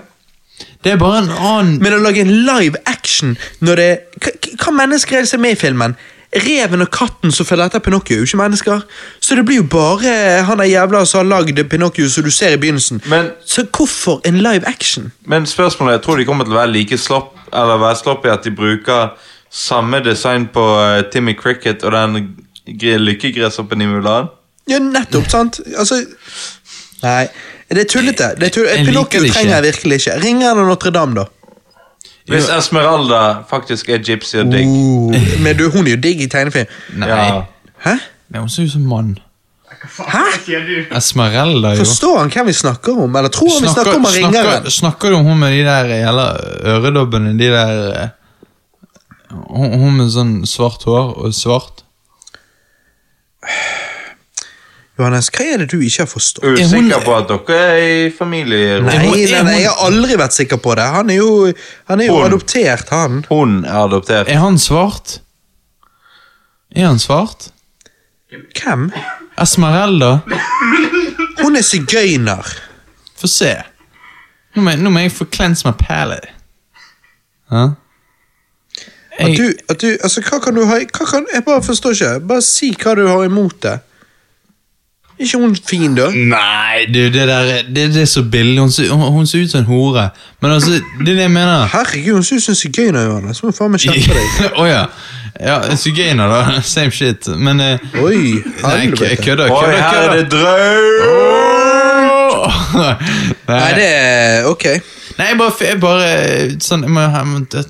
[SPEAKER 2] Det er bare en annen
[SPEAKER 1] Men å lage en live action når det Hva, hva mennesker er det som er med i filmen? Reven og katten som følger etter Pinocchio, er jo ikke mennesker. Så det blir jo bare han der jævla som har lagd Pinocchio som du ser i begynnelsen.
[SPEAKER 3] Men-
[SPEAKER 1] så hvorfor en live action?
[SPEAKER 3] Men spørsmålet er, jeg tror de kommer til å være like slopp, eller være sloppy at de bruker samme design på eh, Timmy Cricket og den gre- lykkegresshoppen i Mulan.
[SPEAKER 1] Ja, nettopp, sant? Altså Nei, det er tullete. Det er tullete.
[SPEAKER 2] Jeg liker
[SPEAKER 1] Pinocchio
[SPEAKER 2] det ikke.
[SPEAKER 1] trenger jeg virkelig ikke. Ringer han av Notre-Dame, da?
[SPEAKER 3] Hvis Esmeralda faktisk er gypsy og digg.
[SPEAKER 1] Oh, men du, hun er jo digg i tegnefilm.
[SPEAKER 2] Nei.
[SPEAKER 3] Ja.
[SPEAKER 1] Hæ?
[SPEAKER 2] Men hun ser ut som mann.
[SPEAKER 1] Hæ?
[SPEAKER 2] Esmeralda, jo.
[SPEAKER 1] Forstår han hvem vi snakker om? Eller tror han vi snakker om han
[SPEAKER 2] snakker,
[SPEAKER 1] ringeren?
[SPEAKER 2] snakker du om hun med de der eh, jævla øredobbene? De der eh, Hun hun med sånn svart hår og svart?
[SPEAKER 1] Johannes, hva er det du ikke har forstått?
[SPEAKER 2] Er hun-
[SPEAKER 3] Usikker på at dere er i familie.
[SPEAKER 1] Nei,
[SPEAKER 2] Er hun-
[SPEAKER 1] nei,
[SPEAKER 2] er
[SPEAKER 1] nei,
[SPEAKER 2] hun-
[SPEAKER 1] jeg har aldri vært sikker på det. Han er jo, han er jo
[SPEAKER 3] Hun.
[SPEAKER 1] adoptert, han.
[SPEAKER 3] Hun er adoptert.
[SPEAKER 2] Er han svart? Er han svart?
[SPEAKER 1] Hvem?
[SPEAKER 2] Esmeralda?
[SPEAKER 1] Hun er sigøyner.
[SPEAKER 2] Få se. Nå må, jeg- nå må jeg få cleanse my palate. Hæ?
[SPEAKER 1] At
[SPEAKER 2] Jeg,
[SPEAKER 1] du, at du, altså, hva kan du ha hva kan, Jeg bare forstår ikke. Bare si hva du har imot det. Er ikke hun fin, da?
[SPEAKER 2] nei, du, det der det, det er så billig. Hun, ser- hun, hun ser ut som en hore. Men altså, det er det jeg mener.
[SPEAKER 1] Herregud, hun synes hun er sigøyner, Johannes. Hun må faen meg kjempe deg.
[SPEAKER 2] Å ja. Ja, Sigøyner, da. Same shit. Men eh,
[SPEAKER 1] Oi,
[SPEAKER 2] Nei, jeg kø- jeg
[SPEAKER 1] helvete.
[SPEAKER 2] kødder.
[SPEAKER 3] Oi,
[SPEAKER 2] kødder,
[SPEAKER 3] her er
[SPEAKER 2] kødder.
[SPEAKER 3] det drøm!
[SPEAKER 1] Nei,
[SPEAKER 2] Nei,
[SPEAKER 1] det er ok.
[SPEAKER 2] nei, jeg bare, jeg bare sånn, jeg må, jeg må,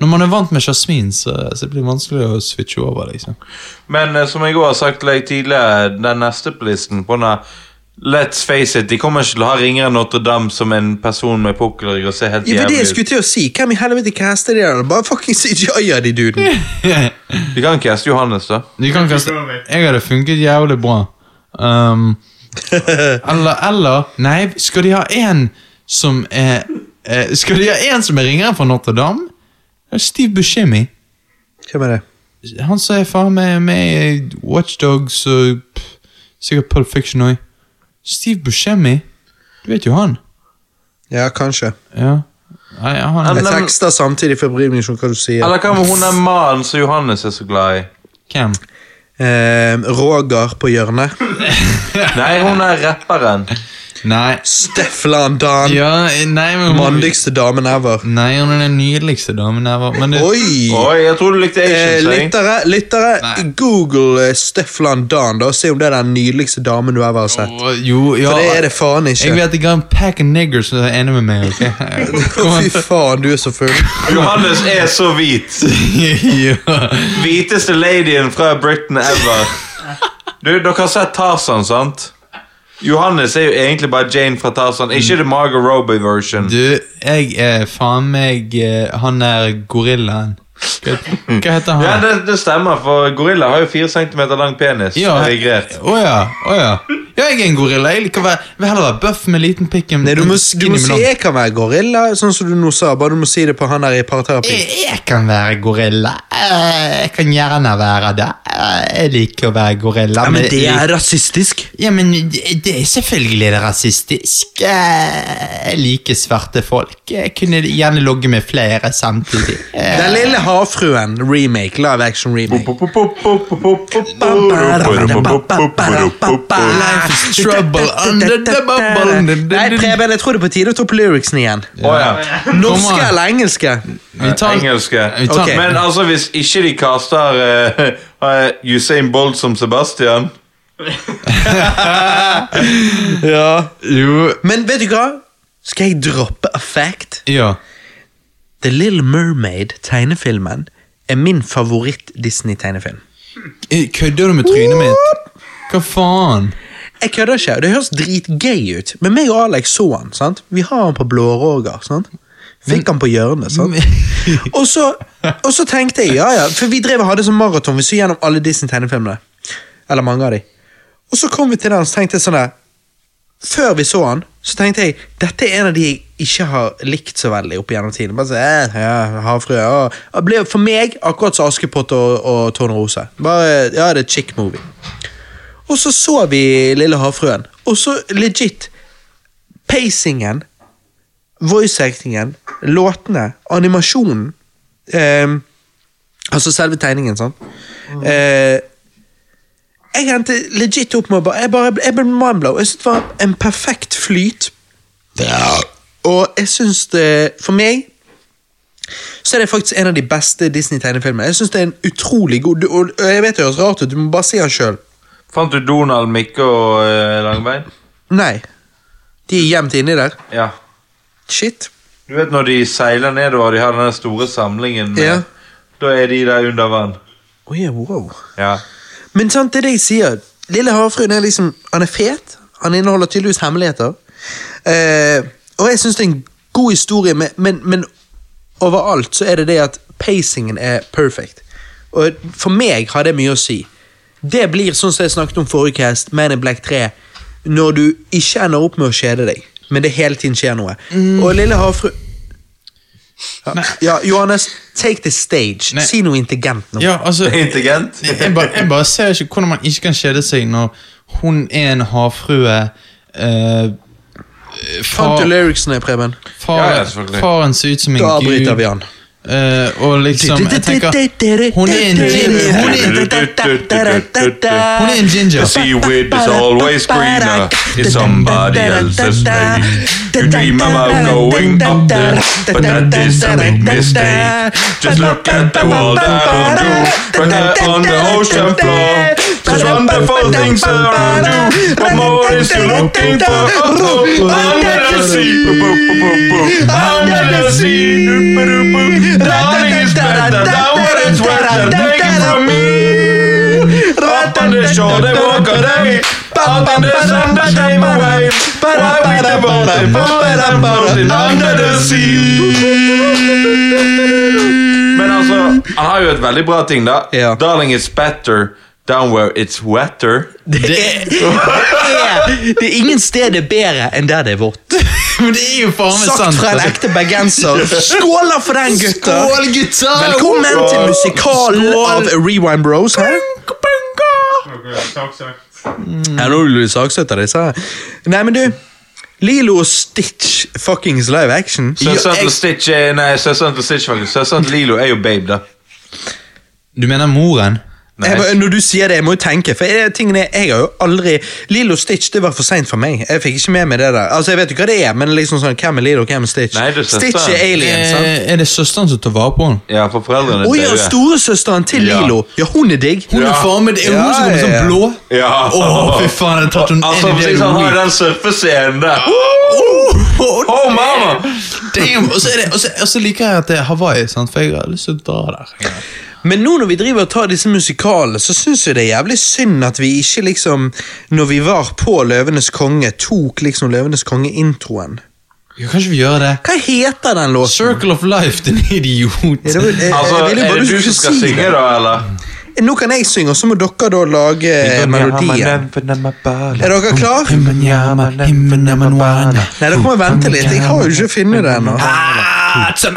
[SPEAKER 2] Når man er vant med Jasmin, så, så blir det vanskelig å switche over. liksom
[SPEAKER 3] Men eh, som jeg også har sagt til deg tidligere, den neste på listen på denne Let's face it, de kommer ikke til å ha Ringeren Notre-Dame som en person med pukkelrygg og se helt
[SPEAKER 1] Ja, for det jeg
[SPEAKER 3] jævlig
[SPEAKER 1] skulle
[SPEAKER 3] ut.
[SPEAKER 1] til å si. Hvem i helvete caster det der? Bare fucking CGI-er de duden.
[SPEAKER 3] De kan ikke gjeste Johannes, da.
[SPEAKER 2] De kan kaste Jeg hadde funket jævlig bra. Um, eller, eller Nei, skal de ha én som er eh, Skal de ha én som er ringeren fra Notre Dame? Steve Buscemi.
[SPEAKER 1] Hvem er det?
[SPEAKER 2] Han som er faen meg med i Watchdogs og pff, sikkert Pulp Fiction òg. Steve Buscemi. Du vet jo han.
[SPEAKER 1] Ja, kanskje.
[SPEAKER 2] Ja. Nei, han
[SPEAKER 1] Jeg tekster samtidig for å bry meg ikke om hva du sier.
[SPEAKER 3] Eller hva med hun der mannen som Johannes er så glad i?
[SPEAKER 2] Hvem?
[SPEAKER 1] Eh, Roger på hjørnet.
[SPEAKER 3] Nei, hun er rapperen.
[SPEAKER 2] Nei.
[SPEAKER 1] Stefflan Dan.
[SPEAKER 2] Ja, nei, men
[SPEAKER 1] Mandigste damen ever.
[SPEAKER 2] Nei, hun er den nydeligste damen ever. Men det,
[SPEAKER 1] Oi!
[SPEAKER 3] Oi, jeg tror du likte
[SPEAKER 1] Eh,
[SPEAKER 3] Asian Sing.
[SPEAKER 1] lyttere, lyttere
[SPEAKER 2] Nei.
[SPEAKER 1] google eh, Stefflan Dan da, og se om det er den nydeligste damen du ever har sett.
[SPEAKER 2] Å, jo, ja.
[SPEAKER 1] For det er det faen
[SPEAKER 2] Jeg
[SPEAKER 1] ikke.
[SPEAKER 2] vet ikke om pack of niggers som er enig med meg. ok?
[SPEAKER 1] Fy faen, du er så full.
[SPEAKER 3] Johannes er så hvit.
[SPEAKER 2] ja.
[SPEAKER 3] Hviteste ladyen fra Britain ever. Du, dere har sett Tarzan, sant? Johannes er jo egentlig bare Jane fra Tarzan, ikke the Margot Robbie-version.
[SPEAKER 2] Du, jeg er faen meg eh, han der gorillaen. Hva hva heter han?
[SPEAKER 3] Ja, det, det stemmer, for gorilla har jo 4 cm lang penis.
[SPEAKER 2] Ja.
[SPEAKER 3] Erigert.
[SPEAKER 2] Å ja. å ja. Ja, jeg er en gorilla. Jeg liker å være, vil heller være bøff med liten pikk enn
[SPEAKER 1] Nei, du må, du
[SPEAKER 2] skinny
[SPEAKER 1] må
[SPEAKER 2] med
[SPEAKER 1] si
[SPEAKER 2] lang.
[SPEAKER 1] jeg kan være gorilla, sånn som du nå sa. Bare du må si det på han der i parterapi.
[SPEAKER 2] Jeg, jeg kan være gorilla. Eh, Jeg kan gjerne være det. Eh, Jeg liker å være gorilla.
[SPEAKER 1] Ja, men
[SPEAKER 2] jeg
[SPEAKER 1] det
[SPEAKER 2] lik-
[SPEAKER 1] er rasistisk.
[SPEAKER 2] ja, men det det er selvfølgelig det rasistisk. Eh, Jeg liker svarte folk. Jeg kunne gjerne logge med flere samtidig. Eh,
[SPEAKER 1] Den lille havfruen remake. Live action remake.
[SPEAKER 2] Life is trouble under the bubble.
[SPEAKER 1] Nei, Preben, jeg tror det er på tide å ta opp lyricsen igjen.
[SPEAKER 3] Å ja.
[SPEAKER 1] Norske
[SPEAKER 2] Kom an.
[SPEAKER 1] eller engelske?
[SPEAKER 2] Vi tar-
[SPEAKER 1] Eh,
[SPEAKER 3] Engelske.
[SPEAKER 2] Vi tar-
[SPEAKER 1] Ok.
[SPEAKER 3] Men altså, hvis ikke de kaster eh, eh, Usain Bolt som Sebastian
[SPEAKER 4] Ja.
[SPEAKER 2] Jo
[SPEAKER 1] Men vet du hva? Skal jeg droppe Effect?
[SPEAKER 2] Ja.
[SPEAKER 1] The Little Mermaid, tegnefilmen, er min favoritt-Disney-tegnefilm.
[SPEAKER 2] Eh, Kødder du med trynet mitt? Hva faen?
[SPEAKER 1] Jeg kødder ikke, og det høres dritgøy ut, men meg og Alex så han, sant? Vi har han på blåroger, sant? Fikk han på hjørnet, sant? Og så, og så tenkte jeg, ja ja, for vi drev og hadde sånn maraton, vi så gjennom alle Disney-tegnefilmene. Eller mange av de. Og så kom vi til den, og så tenkte jeg sånn der, før vi så han, så tenkte jeg dette er en av de jeg ikke har likt så veldig opp gjennom tiden. Bare så, eh, ja, havfrø, ja. Det ble for meg akkurat som Askepott og, og Tårnrose. Bare, ja, det er chick movie. Og så så vi Lille havfrøen, og så legit Pacingen, voice-actingen, låtene, animasjonen ehm, Altså selve tegningen, sånn. Eh, jeg endte legit opp med å bare Jeg, bare, jeg ble mindblow. Jeg synes det var en perfekt flyt. Og jeg syns det For meg så er det faktisk en av de beste Disney-tegnefilmene. Jeg synes det er en utrolig god du- Og og jeg vet det høres rart ut, du må bare si den sjøl.
[SPEAKER 3] Fant du Donald, Mikke og eh, Langbein?
[SPEAKER 1] Nei. De er gjemt inni der.
[SPEAKER 3] Ja.
[SPEAKER 1] Shit.
[SPEAKER 3] Du vet når de seiler nedover, de har den der store samlingen med,
[SPEAKER 1] Ja.
[SPEAKER 3] Da er de der under vann.
[SPEAKER 1] Oh, yeah, wow.
[SPEAKER 3] Ja.
[SPEAKER 1] Men sant, det er det jeg sier. Lille havfruen er liksom Han er fet. Han inneholder tydeligvis hemmeligheter. Eh, og jeg syns det er en god historie, men, men, men overalt så er det det at pacingen er perfect. Og for meg har det mye å si. Det blir sånn som jeg snakket om forrige cast, Man in Black 3, når du ikke ender opp med å kjede deg, men det hele tiden skjer noe.
[SPEAKER 2] Mm.
[SPEAKER 1] Og Lille havfru... Ja, ja, Johannes, take the stage.
[SPEAKER 2] Nei.
[SPEAKER 1] Si noe intelligent nå.
[SPEAKER 2] Ja, altså Jeg,
[SPEAKER 3] Intelligent.
[SPEAKER 2] jeg, bare, jeg bare ser ikke hvordan man ikke kan kjede seg når hun er en havfrue eh,
[SPEAKER 1] Fant
[SPEAKER 2] far,
[SPEAKER 1] du lyricsene, Preben?
[SPEAKER 2] far,
[SPEAKER 3] Ja, ja, selvfølgelig.
[SPEAKER 2] Faren ser ut som en
[SPEAKER 1] Da
[SPEAKER 2] gud.
[SPEAKER 1] avbryter vi han.
[SPEAKER 2] Eh, og liksom Jeg tenker Hun er en ginger. Hun er en Hun er en ginger.
[SPEAKER 1] Altså,
[SPEAKER 3] The seaweed is always greener in somebody else's lane. You dream about going up there, but that is a big mistake. Just look at the world around you, right there on the ocean floor. There's wonderful things around you. What more is you looking for? Oh, oh, under the sea, Boop, boop, boop, boop, boop. under the sea. Doop, doop, doop. Darling is better than what it's worth. So Take it from me. Up on the shore they walk away. Out in the sun they came away. Why we the boat they fall and I'm floating under the sea. Men altså, han har jo et veldig bra ting, da.
[SPEAKER 1] Ja.
[SPEAKER 3] Darling is better down where it's wetter.
[SPEAKER 1] Det er, det er ingen sted det er bedre enn der det er vått.
[SPEAKER 2] Men det er jo faen meg
[SPEAKER 1] Sagt
[SPEAKER 2] sant.
[SPEAKER 1] fra en
[SPEAKER 2] altså.
[SPEAKER 1] ekte bergenser. Skåler for den, gutter!
[SPEAKER 2] Skål, gutter!
[SPEAKER 1] Velkommen til musikalen
[SPEAKER 2] Skål!
[SPEAKER 1] av Rewind Bros. her. Ja, nå vil du saksøke disse her. Nei, men du. Lilo og Stitch fuckings live action.
[SPEAKER 3] Søsteren til Stitch er, Nei, søsteren til Stitch, faktisk. Søsteren til Lilo er jo babe, da.
[SPEAKER 2] Du mener moren?
[SPEAKER 3] Nei.
[SPEAKER 1] Jeg, må- når du sier det, jeg må jo tenke. For jeg, tingene, er- jeg har jo aldri Lilo Stitch det var for seint for meg. Jeg fikk ikke med meg det der. Altså, Jeg vet jo hva det er, men liksom sånn, hvem er Lilo, hvem er Stitch?
[SPEAKER 3] Nei, du ser
[SPEAKER 1] Stitch er
[SPEAKER 3] sånn.
[SPEAKER 1] alien, sant?
[SPEAKER 2] Eh, er det søsteren som tar vare på henne?
[SPEAKER 3] Ja, for foreldrene
[SPEAKER 1] Å ja,
[SPEAKER 3] døde.
[SPEAKER 1] storesøsteren til
[SPEAKER 3] Ja.
[SPEAKER 1] Lilo. Ja, hun er digg.
[SPEAKER 2] Hun er
[SPEAKER 3] Ja.
[SPEAKER 2] faen meg det er hun som
[SPEAKER 1] Ja,
[SPEAKER 2] kommer
[SPEAKER 1] ja, ja.
[SPEAKER 2] sånn blå.
[SPEAKER 3] Ja.
[SPEAKER 2] Å, fy faen, jeg har tatt henne
[SPEAKER 3] Altså,
[SPEAKER 2] inn i
[SPEAKER 3] for
[SPEAKER 2] det
[SPEAKER 3] han har
[SPEAKER 2] rommet.
[SPEAKER 3] jo den surfescenen der.
[SPEAKER 2] Oh,
[SPEAKER 3] Oh, mama!
[SPEAKER 1] Eh,
[SPEAKER 2] damn! Og så er det- og så- og så liker jeg at det er Hawaii, sant? for jeg har lyst til å dra der.
[SPEAKER 1] Men nå når vi driver og tar disse musikalene, så syns jeg det er jævlig synd at vi ikke liksom Når vi var på Løvenes konge, tok liksom Løvenes konge-introen.
[SPEAKER 2] Ja, Kan ikke vi gjøre det?
[SPEAKER 1] Hva heter den låten?
[SPEAKER 2] Circle of life, din idiot.
[SPEAKER 1] Ja, det var- eh, jeg- jeg
[SPEAKER 3] Altså,
[SPEAKER 1] ville jo
[SPEAKER 3] er
[SPEAKER 1] bare
[SPEAKER 3] det
[SPEAKER 1] du
[SPEAKER 3] du som
[SPEAKER 1] skulle
[SPEAKER 3] skal
[SPEAKER 1] si det.
[SPEAKER 3] synge, da, eller?
[SPEAKER 1] Nå kan jeg synge, og så må dere da lage eh, melodien. Er dere klar? Nei, dere må vente litt. Jeg har jo ikke funnet det ennå.
[SPEAKER 3] Ah,
[SPEAKER 1] Ja,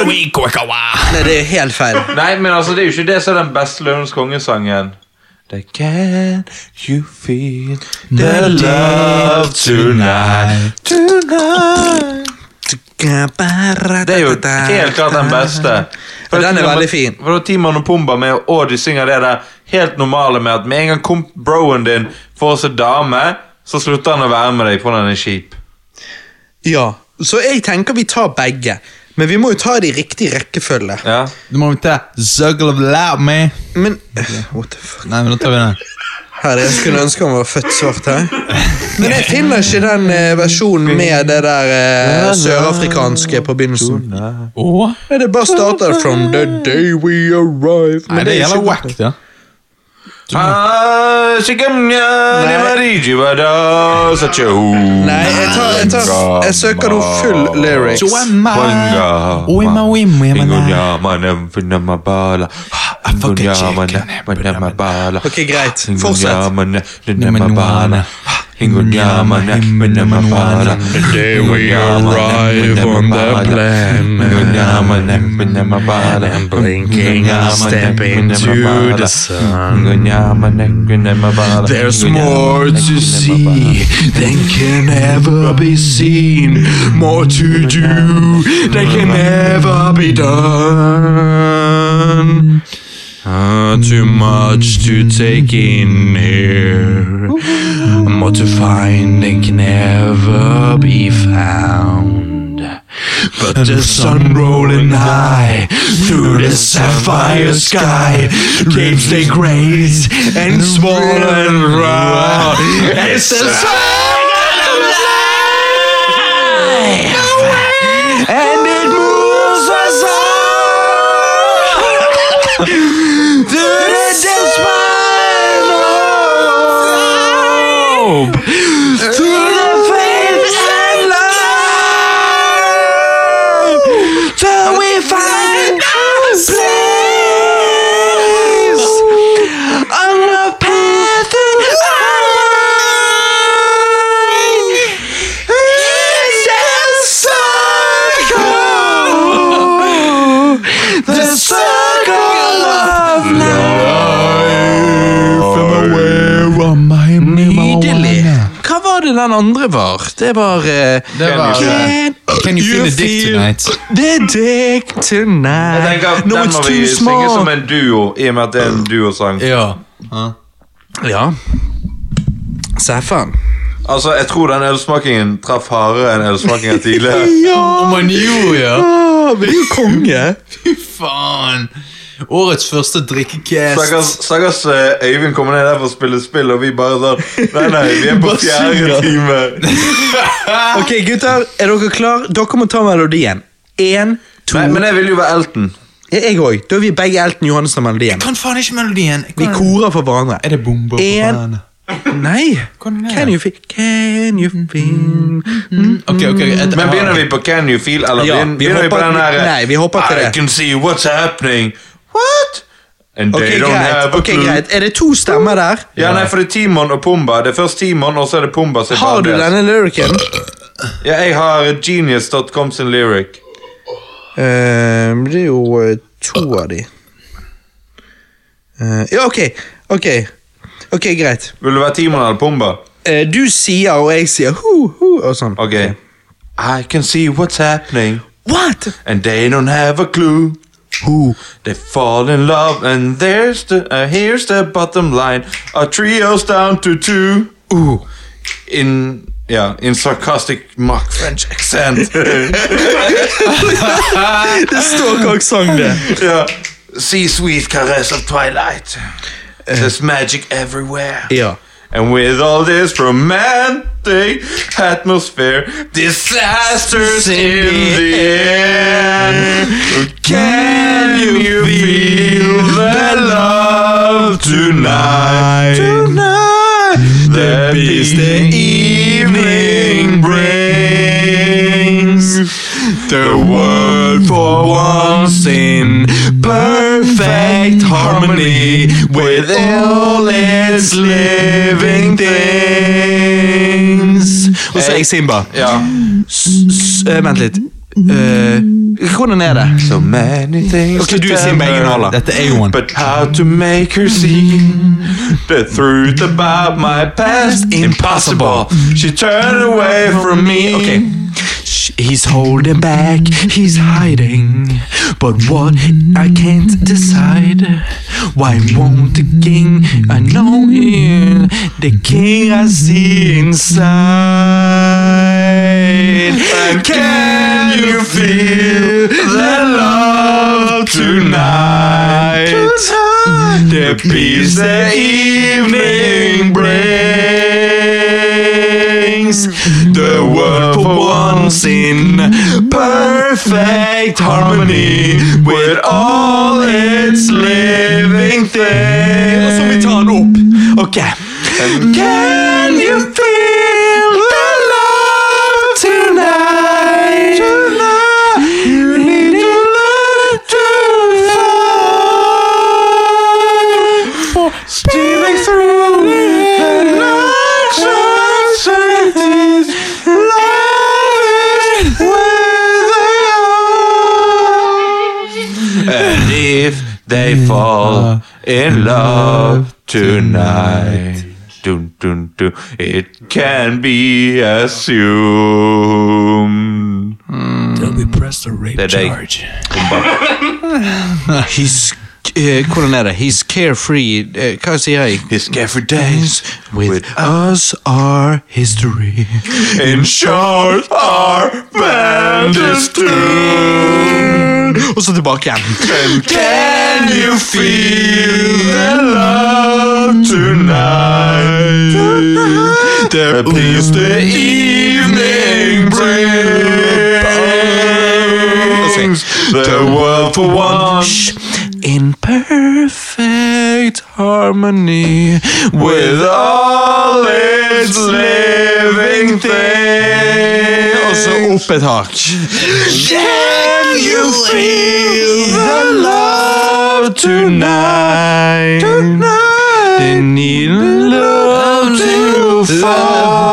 [SPEAKER 1] du- Nei, det er helt feil.
[SPEAKER 3] Nei, men altså, det er jo ikke det som er den beste Løvens konge-sangen. They can you feel the love tonight, tonight.
[SPEAKER 1] Det
[SPEAKER 3] Det er jo helt klart den beste.
[SPEAKER 1] Ja, den er veldig fin.
[SPEAKER 3] For da Timon og Pumba med, og de synger det der helt normale med at med en gang kom broen din får seg dame, så slutter han å være med deg på den er kjip.
[SPEAKER 1] Ja, så jeg tenker vi tar begge. Men vi må jo ta det i riktig rekkefølge.
[SPEAKER 3] Ja.
[SPEAKER 2] Du må vi ta Circle of life, man.
[SPEAKER 1] Men What the fuck?
[SPEAKER 2] Nei, men da tar vi den.
[SPEAKER 1] Herre, jeg skulle ønske han var født svart her. Men jeg finner ikke den eh, versjonen med det der eh, sørafrikanske på begynnelsen.
[SPEAKER 2] Åh,
[SPEAKER 1] Nei, det bare starter from the day we arrive.
[SPEAKER 2] nei, det
[SPEAKER 1] er
[SPEAKER 2] gjelder
[SPEAKER 1] ikke-
[SPEAKER 2] wack, det.
[SPEAKER 3] Ah, shikamnya,
[SPEAKER 1] Nei.
[SPEAKER 3] nimarijibada, sachahu.
[SPEAKER 1] Nei, jeg, tar, jeg, tar, jeg søker nå full lyrics.
[SPEAKER 2] Joemma,
[SPEAKER 3] Wanga,
[SPEAKER 2] oima, oima, oima,
[SPEAKER 3] Ingunya, manem, finamabala. Ingunya,
[SPEAKER 2] fucking
[SPEAKER 3] manem,
[SPEAKER 2] chicken,
[SPEAKER 3] finamabala.
[SPEAKER 1] Ok, greit.
[SPEAKER 3] Ingunya,
[SPEAKER 1] Fortsett.
[SPEAKER 3] manem, finamabala. Ingunya, manem, finamabala.
[SPEAKER 1] day we
[SPEAKER 3] Ingunya, manem,
[SPEAKER 1] arrive on the
[SPEAKER 3] finamabala.
[SPEAKER 1] planet.
[SPEAKER 3] Ingunya, manem, finamabala.
[SPEAKER 1] And blinking,
[SPEAKER 3] Ingunya, manem,
[SPEAKER 1] step into
[SPEAKER 3] finamabala.
[SPEAKER 1] the sun.
[SPEAKER 3] Ingunya, manem, finamabala.
[SPEAKER 1] There's
[SPEAKER 3] Ingunya,
[SPEAKER 1] more
[SPEAKER 3] manem,
[SPEAKER 1] to
[SPEAKER 3] finamabala.
[SPEAKER 1] see than can ever be seen. More to do than can ever be done. Ah, too much to take in here. More to find than can ever be found. But the sun rolling high through the sapphire sky, dreams they graze and swallow and roar. It's the sun of life, and it moves us on to the despite of to the faith and love till we find our place on the path of life. It's a circle, the circle of life. Nydelig. Hva var det den andre var? Det var eh,
[SPEAKER 2] Det var
[SPEAKER 1] Can
[SPEAKER 2] Can you feel the dick
[SPEAKER 1] feel
[SPEAKER 2] tonight?
[SPEAKER 1] The dick tonight.
[SPEAKER 3] Jeg tenker at
[SPEAKER 1] No,
[SPEAKER 3] den
[SPEAKER 1] it's
[SPEAKER 3] må
[SPEAKER 1] too
[SPEAKER 3] vi synge
[SPEAKER 1] small.
[SPEAKER 3] som en duo, i og med at det er en duosang.
[SPEAKER 2] Ja.
[SPEAKER 1] Ja. Seffan.
[SPEAKER 3] Altså, jeg tror den ølsmakingen traff hardere enn ølsmakingen tidligere.
[SPEAKER 2] Om man gjorde, ja.
[SPEAKER 1] Ah, vi er jo konge.
[SPEAKER 2] Fy faen. Årets første
[SPEAKER 3] Stakkars
[SPEAKER 2] drikkecast.
[SPEAKER 3] stakkars, eh, Øyvind kommer ned der for å spille spill, og vi bare sånn Nei, nei, vi er på
[SPEAKER 1] Bare synger.
[SPEAKER 3] fjerde time.
[SPEAKER 1] Ok, gutter. Er dere klar? Dere må ta melodien. Én, to
[SPEAKER 3] Nei, men jeg vil jo være Elton.
[SPEAKER 1] Jeg òg. Da er vi begge Elton Johannessen og melodien.
[SPEAKER 2] Kan faen ikke melodien. Jeg
[SPEAKER 1] Vi
[SPEAKER 2] kan-
[SPEAKER 1] korer for hverandre.
[SPEAKER 2] Er det bomber på
[SPEAKER 1] En-
[SPEAKER 2] banen?
[SPEAKER 1] Nei.
[SPEAKER 2] Hvordan er det?
[SPEAKER 1] Can you feel Can you feel
[SPEAKER 2] Ok, ok. et-
[SPEAKER 3] Men begynner vi på Can You Feel, eller
[SPEAKER 1] Ja,
[SPEAKER 3] begynner,
[SPEAKER 1] vi
[SPEAKER 3] begynner vi på
[SPEAKER 1] hopper-
[SPEAKER 3] den her
[SPEAKER 1] nei, vi hopper til
[SPEAKER 3] I
[SPEAKER 1] det.
[SPEAKER 3] can see what's happening. What? And
[SPEAKER 1] Ok,
[SPEAKER 3] they don't
[SPEAKER 1] greit.
[SPEAKER 3] have a
[SPEAKER 1] ok,
[SPEAKER 3] clue.
[SPEAKER 1] greit. Er det to stemmer der?
[SPEAKER 3] Ja, nei, for det er Timon og Pumba. Det er først Timon, og så er det Pumba. sitt
[SPEAKER 1] Har du
[SPEAKER 3] bandel.
[SPEAKER 1] denne lyricen?
[SPEAKER 3] Ja, jeg har genius.com sin lyric.
[SPEAKER 1] Ehm, det er jo eh, to av de. Eh, ja, ok. Ok, Ok, greit.
[SPEAKER 3] Vil du være Timon eller Pumba?
[SPEAKER 1] Eh, du sier, og jeg sier hu, hu, og sånn.
[SPEAKER 3] Ok. I can see what's happening,
[SPEAKER 1] What?
[SPEAKER 3] and they don't have a clue.
[SPEAKER 1] Hu.
[SPEAKER 3] They fall in love, and there's the, uh, here's the bottom line. Our trio's down to two.
[SPEAKER 1] Uh.
[SPEAKER 3] In, yeah, in sarcastic mock French accent.
[SPEAKER 1] Det står hva jeg sang, det.
[SPEAKER 3] yeah. See sweet caress of twilight. There's magic everywhere.
[SPEAKER 1] Ja.
[SPEAKER 3] And with all this romantic atmosphere, disasters in the air. Can you feel the love tonight? Tonight, the peace the evening brings. The world for once in perfect harmony with all its living things.
[SPEAKER 1] Og så er jeg Simba.
[SPEAKER 3] Ja.
[SPEAKER 1] S eh, vent litt. Eh, hvordan er det?
[SPEAKER 3] So many things
[SPEAKER 1] Ok, du
[SPEAKER 3] to
[SPEAKER 1] er Simba
[SPEAKER 3] tell her,
[SPEAKER 1] Egenhalla.
[SPEAKER 2] Dette er jo en
[SPEAKER 3] But how to make her see the truth about my past? Impossible. She turned away from me.
[SPEAKER 1] Okay. Sh- He's holding back, he's hiding. But what I can't decide. Why won't the king I know him? The king I see inside.
[SPEAKER 3] Can you feel the love tonight?
[SPEAKER 1] The
[SPEAKER 3] the peace the evening brings. The world for once in perfect harmony with all its living
[SPEAKER 5] Og så vi
[SPEAKER 3] things.
[SPEAKER 5] tar den opp. Ok.
[SPEAKER 3] Can you feel the love tonight? You need to learn to fight for stealing through and not just this. Love is where they are. And if they fall in love tonight. Dun, dun, dun. It can be assumed. Det er deg.
[SPEAKER 1] He's, eh, hvordan er det? He's carefree eh, Hva sier jeg?
[SPEAKER 3] His every days
[SPEAKER 1] With
[SPEAKER 3] with
[SPEAKER 1] us are history.
[SPEAKER 3] in short are fantasy.
[SPEAKER 1] Og så tilbake igjen.
[SPEAKER 3] Can you feel the love tonight? The peace the evening brings. The world for one.
[SPEAKER 1] In perfect harmony.
[SPEAKER 3] with all its living things.
[SPEAKER 1] Og så opp et hakk.
[SPEAKER 3] Can you feel the love tonight? Tonight. They need love to find.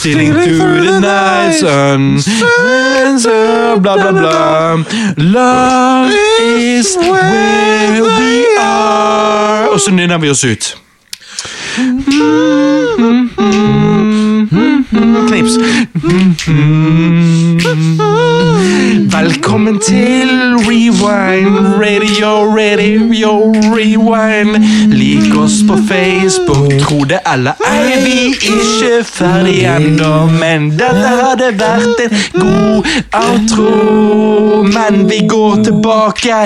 [SPEAKER 1] Stealing through the night sun. Suns of Bla, bla, bla. Love is where we are. Og så nynner vi oss ut. Knips. Velkommen til Rewind Radio, radio, rewind. Lik oss på Facebook, tro det eller ei. Vi ikke ferdig ennå, men dette hadde vært en god outro. Men vi går tilbake.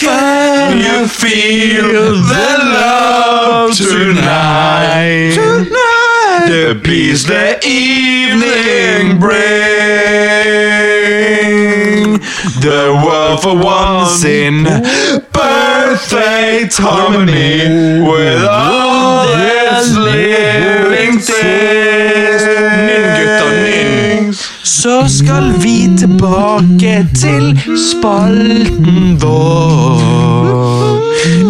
[SPEAKER 1] Can you feel the love
[SPEAKER 3] tonight?
[SPEAKER 1] Tonight.
[SPEAKER 3] The peace the evening bring. The world for once in perfect harmony with all its living things.
[SPEAKER 1] Så skal vi tilbake til spalten vår.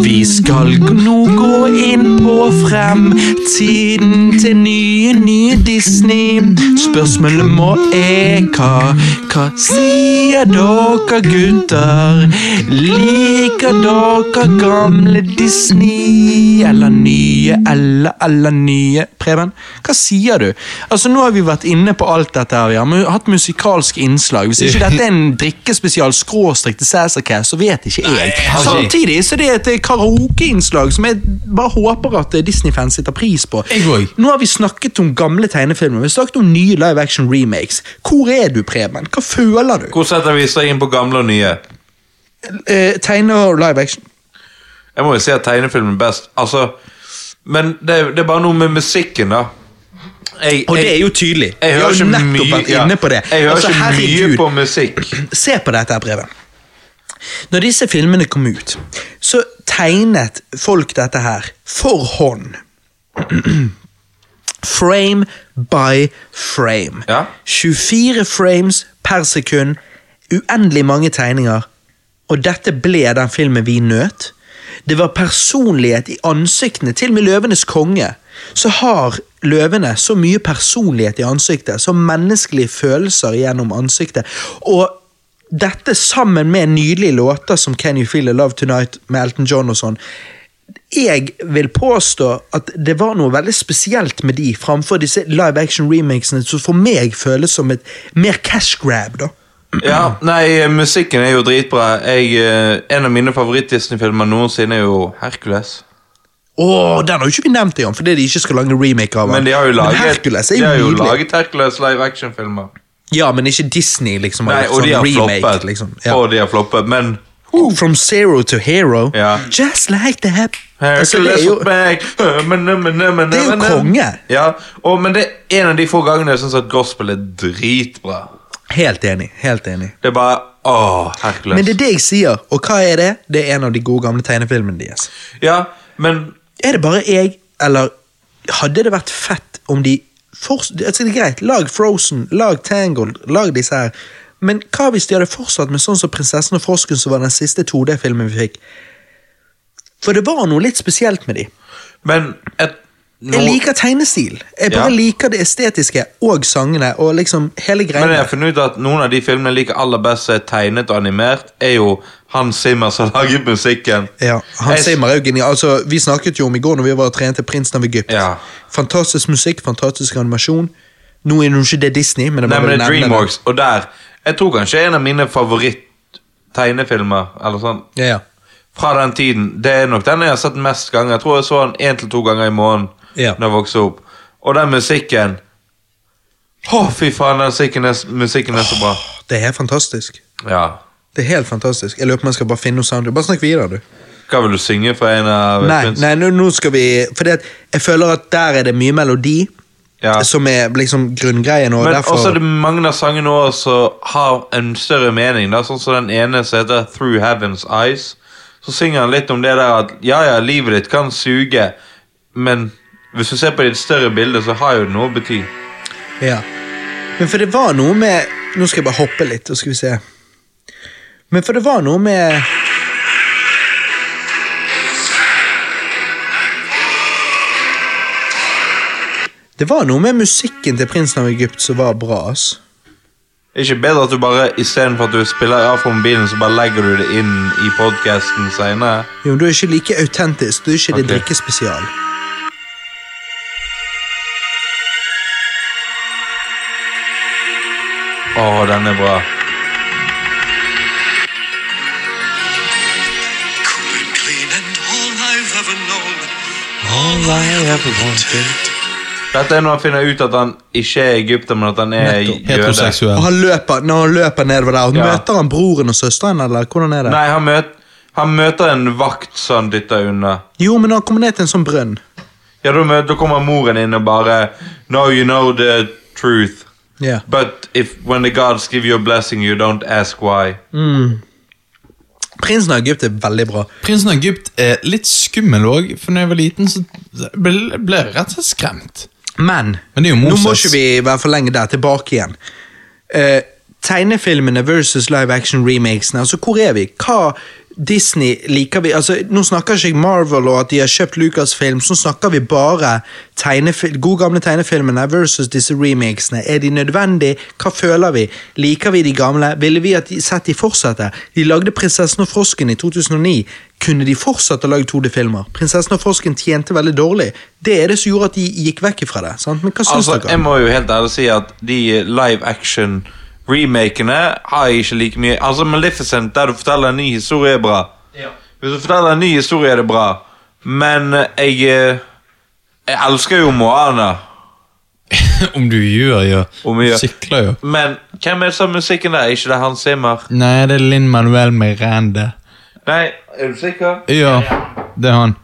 [SPEAKER 1] Vi skal g- nå gå inn på fremtiden til nye, nye Disney. Spørsmålet må er hva Hva sier dere gutter? Liker dere gamle Disney? Eller nye, eller, eller nye? Preben, hva sier du? Altså, Nå har vi vært inne på alt dette. her, Vi har mu- hatt musikalske innslag. Hvis ikke dette er en drikkespesial skråstrek til Cæsar Cass, så vet ikke jeg. Samtidig så det er det et eh, karaokeinnslag som jeg bare håper at eh, Disney-fans setter pris på.
[SPEAKER 2] Jeg òg.
[SPEAKER 1] Nå har vi snakket om gamle tegnefilmer, vi har snakket om nye live action remakes. Hvor er du, Preben? Hva føler du?
[SPEAKER 3] Hvor setter vi seg inn på gamle og nye?
[SPEAKER 1] Eh, tegner og live action?
[SPEAKER 3] Jeg må jo si at tegnefilmen er best. Altså, men det, det er bare noe med musikken, da. Jeg,
[SPEAKER 1] Og
[SPEAKER 3] jeg-
[SPEAKER 1] det er jo tydelig.
[SPEAKER 3] jeg
[SPEAKER 1] vi
[SPEAKER 3] hører
[SPEAKER 1] har jo
[SPEAKER 3] ikke
[SPEAKER 1] nettopp
[SPEAKER 3] mye-
[SPEAKER 1] vært
[SPEAKER 3] ja.
[SPEAKER 1] inne på det.
[SPEAKER 3] Jeg hører
[SPEAKER 1] Altså,
[SPEAKER 3] ikke mye
[SPEAKER 1] herregud.
[SPEAKER 3] på musikk.
[SPEAKER 1] Se på dette her, Preben. Når disse filmene kom ut, så tegnet folk dette her for hånd. Frame by frame.
[SPEAKER 3] Ja.
[SPEAKER 1] 24 frames per sekund, uendelig mange tegninger. Og dette ble den filmen vi nøt. Det var personlighet i ansiktene, til og med Løvenes konge. Så har løvene så mye personlighet i ansiktet, så menneskelige følelser gjennom ansiktet. Og dette sammen med nydelige låter som Can You Feel The Love Tonight med Elton John og sånn, jeg vil påstå at det var noe veldig spesielt med de, framfor disse live action remakesene, som for meg føles som et mer cash grab, da.
[SPEAKER 3] Ja, nei, musikken er jo dritbra. Jeg, eh, en av mine favoritt-Disney-filmer noensinne er jo Hercules.
[SPEAKER 1] Åh, den har jo ikke vi nevnt igjen, fordi de ikke skal lage en remake av den.
[SPEAKER 3] Men de har jo laget
[SPEAKER 1] Hercules er
[SPEAKER 3] de
[SPEAKER 1] jo
[SPEAKER 3] har jo
[SPEAKER 1] nydelig.
[SPEAKER 3] laget Hercules live action-filmer.
[SPEAKER 1] Ja, men ikke Disney, liksom. har
[SPEAKER 3] Nei,
[SPEAKER 1] gjort
[SPEAKER 3] og de
[SPEAKER 1] sånn
[SPEAKER 3] har
[SPEAKER 1] remake,
[SPEAKER 3] floppet.
[SPEAKER 1] Liksom. Ja.
[SPEAKER 3] Og de har floppet, men
[SPEAKER 1] From zero to hero.
[SPEAKER 3] Ja.
[SPEAKER 1] Just like that. Altså, det, er
[SPEAKER 3] Hercules
[SPEAKER 1] jo,
[SPEAKER 3] was back.
[SPEAKER 1] det er jo konge.
[SPEAKER 3] Ja, og, men det er en av de få gangene jeg syns at gospel er dritbra.
[SPEAKER 1] Helt enig. helt enig.
[SPEAKER 3] Det er bare Åh, Hercules.
[SPEAKER 1] Men det er det jeg sier, og hva er det? Det er en av de gode gamle tegnefilmene deres.
[SPEAKER 3] Ja, men
[SPEAKER 1] Er det bare jeg, eller hadde det vært fett om de for, altså det er greit, Lag Frozen, lag Tangled, lag disse her. Men hva hvis de hadde fortsatt med sånn som Prinsessen og frosken, som var den siste 2D-filmen vi fikk? For det var noe litt spesielt med de.
[SPEAKER 3] Men et, nå,
[SPEAKER 1] Jeg liker tegnestil. Jeg bare
[SPEAKER 3] Ja.
[SPEAKER 1] liker det estetiske og sangene og liksom hele greia.
[SPEAKER 3] Men jeg har funnet ut at noen av de filmene jeg liker aller best som er tegnet og animert, er jo Hans Zimmer som har laget musikken.
[SPEAKER 1] Ja, han
[SPEAKER 3] Jeg-
[SPEAKER 1] sier meg jo genial. Altså, vi snakket jo om i går når vi var og trente Prinsen av Egypt.
[SPEAKER 3] Ja.
[SPEAKER 1] Fantastisk musikk, fantastisk animasjon. Nå er det jo ikke det Disney, men det
[SPEAKER 3] Nei,
[SPEAKER 1] var vel
[SPEAKER 3] men det er
[SPEAKER 1] nevne det.
[SPEAKER 3] Dreamworks, og der Jeg tror kanskje en av mine favoritt-tegnefilmer eller sånn,
[SPEAKER 1] Ja, ja.
[SPEAKER 3] fra den tiden Det er nok den jeg har sett mest ganger. Jeg tror jeg så den én til to ganger i måneden
[SPEAKER 1] Ja.
[SPEAKER 3] Når jeg vokste opp. Og den musikken Å, fy faen, den musikken er, musikken er så bra.
[SPEAKER 1] Det er fantastisk.
[SPEAKER 3] Ja.
[SPEAKER 1] Det er helt fantastisk. Jeg lurer på om jeg skal bare finne noe soundtrack. Bare snakk videre, du.
[SPEAKER 3] Hva vil du synge for en av
[SPEAKER 1] Nei,
[SPEAKER 3] Prince?
[SPEAKER 1] nei, nå, nå skal vi Fordi at jeg føler at der er det mye melodi,
[SPEAKER 3] Ja.
[SPEAKER 1] som er liksom grunngreien, og
[SPEAKER 3] Men
[SPEAKER 1] derfor
[SPEAKER 3] også er det mange av sangene også som har en større mening. Da. Sånn som den ene som heter 'Through Heaven's Eyes'. Så synger han litt om det der at ja, ja, livet ditt kan suge, men hvis du ser på ditt større bilde, så har jo det noe å bety.
[SPEAKER 1] Ja. Men for det var noe med Nå skal jeg bare hoppe litt, og skal vi se. Men for det var noe med Det var noe med musikken til prinsen av Egypt som var bra. ass.
[SPEAKER 3] Ikke bedre at du bare istedenfor at du spiller av fra mobilen, så bare legger du det inn i podkasten seinere?
[SPEAKER 1] Jo, men Du er ikke like autentisk. Du er ikke det
[SPEAKER 3] Ok.
[SPEAKER 1] drikkespesial.
[SPEAKER 3] Å, den er bra.
[SPEAKER 6] cool and clean and all I've ever known. All I ever wanted.
[SPEAKER 3] Dette er når han finner ut at han ikke er egypter, men at han er jøde.
[SPEAKER 2] Heteroseksuell.
[SPEAKER 1] Og han løper, når han løper nedover der, og
[SPEAKER 3] Ja.
[SPEAKER 1] møter han broren og søsteren, eller hvordan er det?
[SPEAKER 3] Nei, han, møt, han møter en vakt som han dytter unna.
[SPEAKER 1] Jo, men han kommer ned til en sånn brønn.
[SPEAKER 3] Ja, da, mø- da kommer moren inn og bare No, you know the truth.
[SPEAKER 1] Ja.
[SPEAKER 3] But if when the gods give you a blessing, you don't ask why.
[SPEAKER 1] Prinsen av Egypt er veldig bra.
[SPEAKER 2] Prinsen av Egypt er litt skummel òg, for når jeg var liten, så ble ble jeg rett og slett skremt.
[SPEAKER 1] Men,
[SPEAKER 2] Men det er jo
[SPEAKER 1] nå må
[SPEAKER 2] Moses.
[SPEAKER 1] ikke vi være for lenge der, tilbake igjen. Eh, tegnefilmene versus live action remakesene, altså hvor er vi? Hva Disney liker vi? Altså, nå snakker ikke jeg Marvel og at de har kjøpt Lucasfilm, så snakker vi bare tegnefil gode gamle tegnefilmene versus disse remakesene. Er de nødvendige? Hva føler vi? Liker vi de gamle? Ville vi at de, sett de fortsette? De lagde Prinsessen og frosken i 2009. Kunne de fortsatt å lage 2D-filmer? Prinsessen og frosken tjente veldig dårlig. Det er det som gjorde at de gikk vekk fra det. sant? Men hva syns
[SPEAKER 3] Altså,
[SPEAKER 1] dere?
[SPEAKER 3] Jeg må jo helt ærlig si at de live action remakene har jeg ikke like mye Altså Maleficent, der du forteller en ny historie, er bra. Hvis du forteller en ny historie, er det bra. Men eh, jeg eh, Jeg elsker jo Moana.
[SPEAKER 2] Om du gjør, ja.
[SPEAKER 3] Om jeg gjør.
[SPEAKER 2] Sikler, ja.
[SPEAKER 3] Men hvem er det som har musikken der? Er ikke det Hans Zimmer?
[SPEAKER 2] Nei, det er Linn Manuel Miranda.
[SPEAKER 3] Nei, er du sikker?
[SPEAKER 2] Ja, det er han.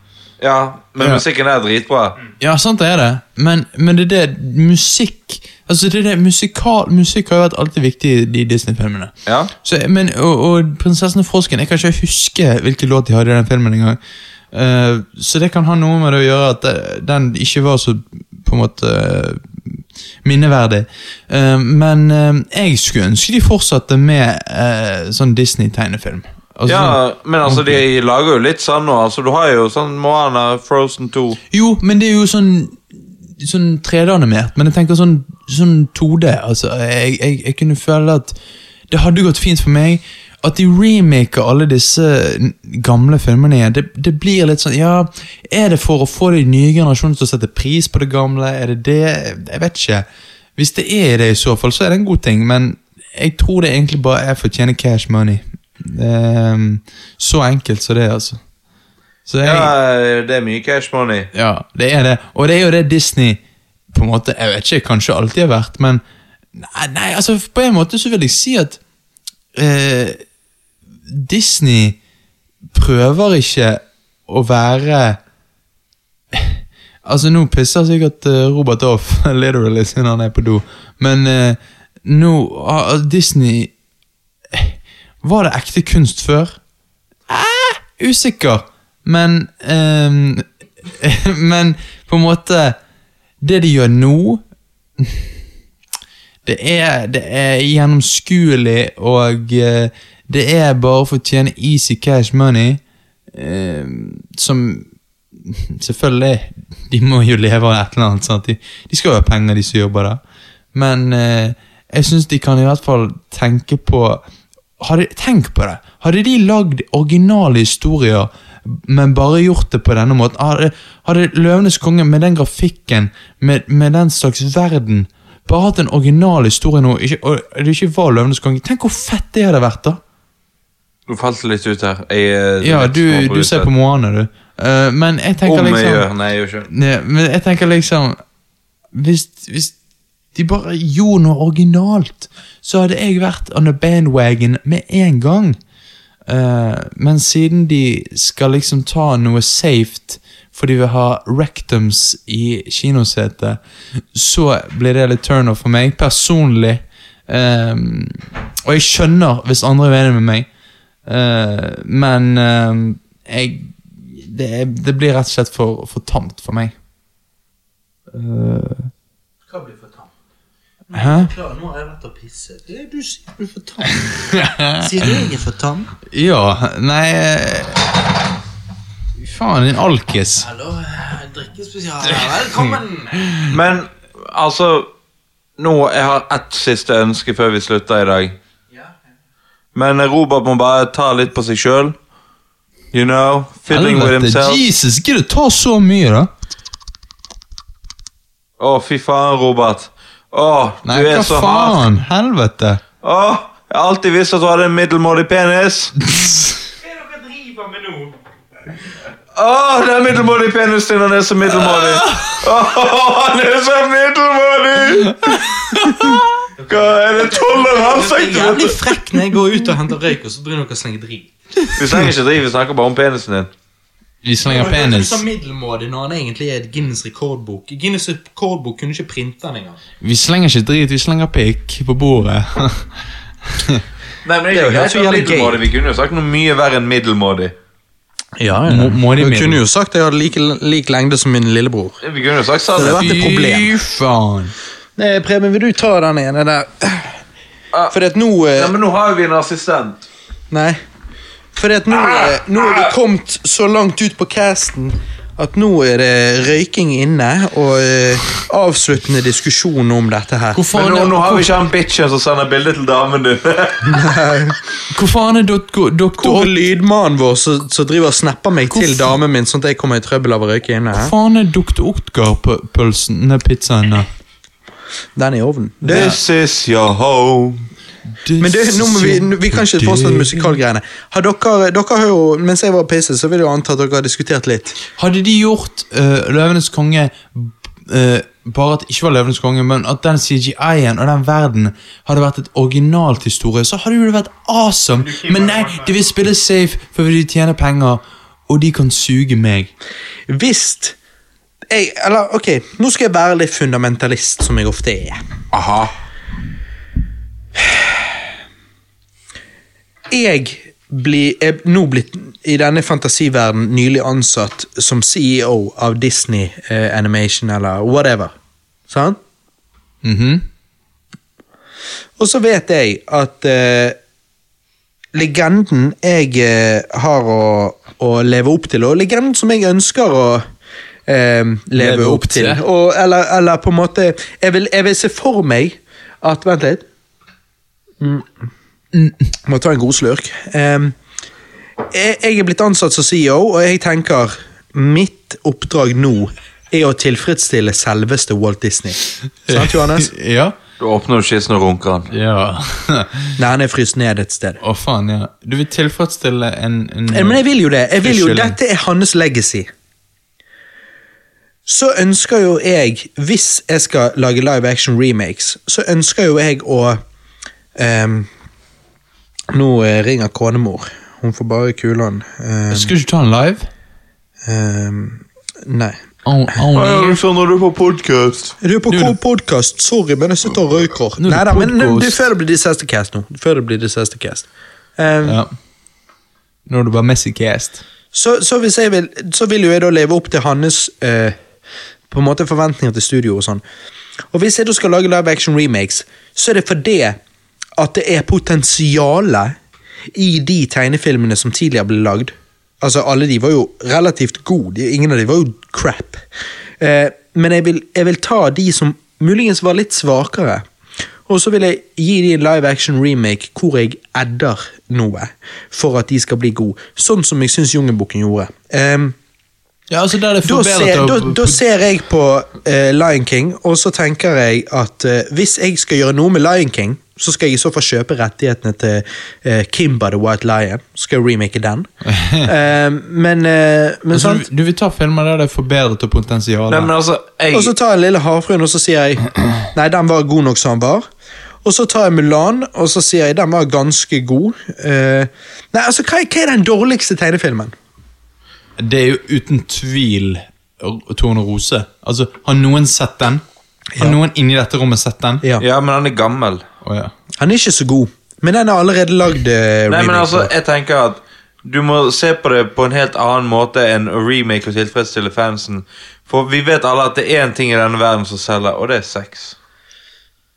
[SPEAKER 3] Ja, men
[SPEAKER 2] Ja.
[SPEAKER 3] musikken er dritbra.
[SPEAKER 2] Ja, sant det er det, men, men det er det musikk Altså det er det musikal Musikk har jo vært alltid viktig i de Disney-filmene.
[SPEAKER 3] Ja.
[SPEAKER 2] Så, men, og, og 'Prinsessen og frosken' Jeg kan ikke huske hvilken låt de hadde i den filmen engang. Eh, så det kan ha noe med det å gjøre at eh, den ikke var så på en måte eh, minneverdig. Eh, men eh, jeg skulle ønske de fortsatte med eh, sånn Disney-tegnefilm. Altså,
[SPEAKER 3] Ja, men altså, de lager jo litt sånn nå. Altså, du har jo sånn Moana, Frozen 2
[SPEAKER 2] Jo, men det er jo sånn Sånn 3D-animert, men jeg tenker sånn, sånn 2D. Altså, jeg, jeg, jeg kunne føle at det hadde gått fint for meg. At de remaker alle disse n- gamle filmene igjen. Det, det blir litt sånn Ja, er det for å få de nye generasjonene til å sette pris på det gamle? Er det det? Jeg vet ikke. Hvis det er det, i så fall, så er det en god ting, men jeg tror det egentlig bare er for å tjene cash money. Ehm, så enkelt som det, er, altså. Så jeg,
[SPEAKER 3] Ja, det er mye cash money.
[SPEAKER 2] ja, det er det. Og det er jo det Disney på en måte, jeg vet ikke, kanskje alltid har vært, men nei, nei, altså på en måte så vil jeg si at eh, Disney prøver ikke å være Altså, nå pisser sikkert eh, Robert off, literally, siden han er på do, men eh, nå har Disney eh, Var det ekte kunst før? Eh, usikker, men ehm, Men på en måte Det de gjør nå det er, det er gjennomskuelig, og eh, det er bare for å tjene easy cash money, eh, som Selvfølgelig, de må jo leve av et eller annet. Sant? De, de skal jo ha penger, de som jobber der. Men eh, jeg syns de kan i hvert fall tenke på hadde, Tenk på det! Hadde de lagd originale historier, men bare gjort det på denne måten Hadde, hadde Løvenes konge, med den grafikken, med, med den slags verden bare hatt en original historie nå, ikke, og det ikke var Løvenes konge. Tenk hvor fett det hadde vært, da!
[SPEAKER 3] Du falt litt ut her. Jeg, eh,
[SPEAKER 2] Ja,
[SPEAKER 3] vet som
[SPEAKER 2] du,
[SPEAKER 3] har
[SPEAKER 2] du ser på Moana, du. Eh, men jeg tenker
[SPEAKER 3] Om eh, jeg
[SPEAKER 2] liksom
[SPEAKER 3] gjør Nei, jeg gjør ikke
[SPEAKER 2] Nei, men jeg tenker liksom hvis, hvis de bare gjorde noe originalt, så hadde jeg vært on the bandwagon med en gang. Eh, men siden de skal liksom ta noe safe fordi vi har rectums i kinosetet, så blir det litt turnoff for meg personlig. Eh, og jeg skjønner hvis andre er uenige med meg, Eh, men eh, jeg det, det blir rett og slett for, for tamt for meg.
[SPEAKER 1] Hva blir for tamt?
[SPEAKER 2] Hæ?
[SPEAKER 1] Klar, nå har jeg vært og pisset. Det er Du sier du er for tam. Sier du jeg er for tam?
[SPEAKER 2] Ja, nei eh, Fy faen, en alkis.
[SPEAKER 1] Hallo, eh, drikkespesial. Velkommen!
[SPEAKER 3] Men altså Nå, jeg har ett siste ønske før vi slutter i dag. Men eh, Robert må bare ta litt på seg sjøl. You know? Fiddling with
[SPEAKER 2] Helvete,
[SPEAKER 3] himself. Å,
[SPEAKER 2] Jesus, gidder du ta så mye, da?
[SPEAKER 3] fy faen, Robert. Å,
[SPEAKER 2] Nei,
[SPEAKER 3] du
[SPEAKER 2] hva
[SPEAKER 3] er så hard.
[SPEAKER 2] faen? Helvete.
[SPEAKER 3] Å, jeg har alltid visst at du hadde en middelmådig penis. Å, den middelmådige penisen din, han er så middelmådig. Åh, han er så middelmådig! Hva er det toleranse?
[SPEAKER 1] Jeg er jævlig frekk når jeg går ut og henter røyk, og så begynner dere å slenge drit.
[SPEAKER 3] Vi snakker ikke driv, vi snakker bare om penisen din.
[SPEAKER 2] Vi slenger penis.
[SPEAKER 1] Du sa middelmådig når han egentlig er et Guinness rekordbok. Guinness rekordbok kunne ikke printe den engang.
[SPEAKER 2] Vi slenger ikke drit, vi slenger pikk på bordet.
[SPEAKER 3] Nei, men
[SPEAKER 1] Det er jo helt så jævlig
[SPEAKER 3] middelmådig. Vi kunne jo sagt noe mye verre enn middelmådig.
[SPEAKER 1] Ja,
[SPEAKER 2] ja. Må- må de
[SPEAKER 1] Du
[SPEAKER 2] middel-
[SPEAKER 1] kunne jo sagt at jeg hadde like, like lengde som min lillebror.
[SPEAKER 3] Vi kunne jo sagt sånn
[SPEAKER 1] Det
[SPEAKER 3] sannhet.
[SPEAKER 1] var- vært et problem.
[SPEAKER 2] faen.
[SPEAKER 1] Nei, Preben, vil du ta den ene der?
[SPEAKER 3] Ah.
[SPEAKER 1] Fordi at nå eh,
[SPEAKER 3] Nei, men nå har jo vi en assistent.
[SPEAKER 1] Nei. Fordi at nå,
[SPEAKER 3] Ah.
[SPEAKER 1] eh, nå er vi kommet så langt ut på casten at nå er det røyking inne og eh, avsluttende diskusjon om dette her.
[SPEAKER 2] Hvor
[SPEAKER 3] Men
[SPEAKER 2] faen
[SPEAKER 3] nå,
[SPEAKER 2] er,
[SPEAKER 3] nå har vi ikke han bitchen som sender bilde til damen din.
[SPEAKER 2] hvor faen er doktor,
[SPEAKER 1] Hvor er
[SPEAKER 2] doktor,
[SPEAKER 1] lydmannen vår som som driver og snapper meg til damen min, sånn at jeg kommer i trøbbel av å røyke inne?
[SPEAKER 2] hvor
[SPEAKER 1] Her.
[SPEAKER 2] faen er doktor Oktgar-pølsen? Nei, pizzaen, da.
[SPEAKER 1] Den er i ovnen.
[SPEAKER 3] This is your home.
[SPEAKER 1] Men det, nå må vi, nå- vi kan ikke fortsette musikalgreiene. Har dere, dere har jo, Mens jeg var og pisset, så vil jeg jo anta at dere har diskutert litt.
[SPEAKER 2] Hadde de gjort eh, Løvenes konge eh, Bare at det ikke var Løvenes konge, men at den CGI-en og den verden hadde vært et originalt historie, så hadde jo det vært awesome. Men nei, de vil spille safe for de tjener penger, og de kan suge meg.
[SPEAKER 1] Hvis jeg, eller, ok, Nå skal jeg være litt fundamentalist, som jeg ofte er.
[SPEAKER 3] Aha.
[SPEAKER 1] Jeg blir, er nå blitt i denne fantasiverden nylig ansatt som CEO av Disney eh, Animation eller whatever. Sant?
[SPEAKER 2] Mhm.
[SPEAKER 1] Og så vet jeg at eh, legenden jeg eh, har å, å leve opp til, og legenden som jeg ønsker å eh, leve,
[SPEAKER 2] Leve opp
[SPEAKER 1] opp til,
[SPEAKER 2] til.
[SPEAKER 1] og, eller, eller på en måte jeg vil, jeg vil se for meg at Vent litt. Mm. Må ta en god slurk. Em, jeg, jeg er blitt ansatt som CEO, og jeg tenker mitt oppdrag nå er å tilfredsstille selveste Walt Disney. Sant, Johannes?
[SPEAKER 2] ja.
[SPEAKER 3] Du åpner jo skissen og runker han.
[SPEAKER 2] Ja.
[SPEAKER 1] Nei, han er fryst ned et sted.
[SPEAKER 2] Å, faen, ja. Du vil tilfredsstille en, en
[SPEAKER 1] Ja, Eh, Men jeg vil jo det. Jeg vil jo,
[SPEAKER 2] Unnskyld.
[SPEAKER 1] dette er hans legacy. Så ønsker jo jeg, hvis jeg skal lage live action remakes, så ønsker jo jeg å ehm, Nå eh, ringer konemor. Hun får bare kulene. Eh,
[SPEAKER 2] Skal du ikke ta den live?
[SPEAKER 1] eh, nei.
[SPEAKER 2] Au, au, nei.
[SPEAKER 3] du når du er på podkast?
[SPEAKER 1] Du er på K-podkast, sorry, men jeg sitter og røyker.
[SPEAKER 2] Nå er det
[SPEAKER 1] Nei da, men
[SPEAKER 2] podcast.
[SPEAKER 1] du, før det blir disaster cast nå. Før det blir disaster cast. Eh,
[SPEAKER 2] Ja. Nå er det bare Messi Cast.
[SPEAKER 1] Så, så, hvis jeg vil, så vil jo jeg da leve opp til hans eh, på en måte forventninger til studio og sånn. Og hvis jeg da skal lage live action remakes, så er det fordi at det er potensiale i de tegnefilmene som tidligere ble lagd. Altså, alle de var jo relativt gode. De- Ingen av de var jo crap. Eh, men jeg vil, jeg vil ta de som muligens var litt svakere. Og så vil jeg gi de en live action remake hvor jeg edder noe for at de skal bli gode. Sånn som jeg syns Jungelbukken gjorde. Ehm,
[SPEAKER 2] Ja, altså der er det
[SPEAKER 1] da, ser,
[SPEAKER 2] forbedret
[SPEAKER 1] da,
[SPEAKER 2] av-
[SPEAKER 1] da ser jeg på eh, Lion King, og så tenker jeg at eh, hvis jeg skal gjøre noe med Lion King, så skal jeg i så fall kjøpe rettighetene til eh, Kimba the White Lion. Så skal jeg remake den. Ehm, men eh, men
[SPEAKER 2] Altså,
[SPEAKER 1] sant?
[SPEAKER 2] du, du vil ta filmer der det er forbedret og potensial.
[SPEAKER 3] Nei, men altså,
[SPEAKER 1] Og så
[SPEAKER 3] jeg
[SPEAKER 1] tar jeg Lille havfruen og så sier jeg Nei, den var god nok som den var. Og så tar jeg Mulan og så sier jeg den var ganske god. Eh, nei, altså, hva, er- hva er den dårligste tegnefilmen?
[SPEAKER 2] Det er jo uten tvil R- Torn og Rose. Altså, har noen sett den? Har
[SPEAKER 1] Ja.
[SPEAKER 2] noen inni dette rommet sett den?
[SPEAKER 1] Ja.
[SPEAKER 3] Ja, men han er gammel.
[SPEAKER 2] Å, ja.
[SPEAKER 1] Han er ikke så god, men den er allerede lagd. eh,
[SPEAKER 3] Nei, men
[SPEAKER 1] remake
[SPEAKER 3] altså,
[SPEAKER 1] på.
[SPEAKER 3] jeg tenker at du må se på det på en helt annen måte enn å remake og tilfredsstille fansen. For vi vet alle at det er én ting i denne verden som selger, og det er sex.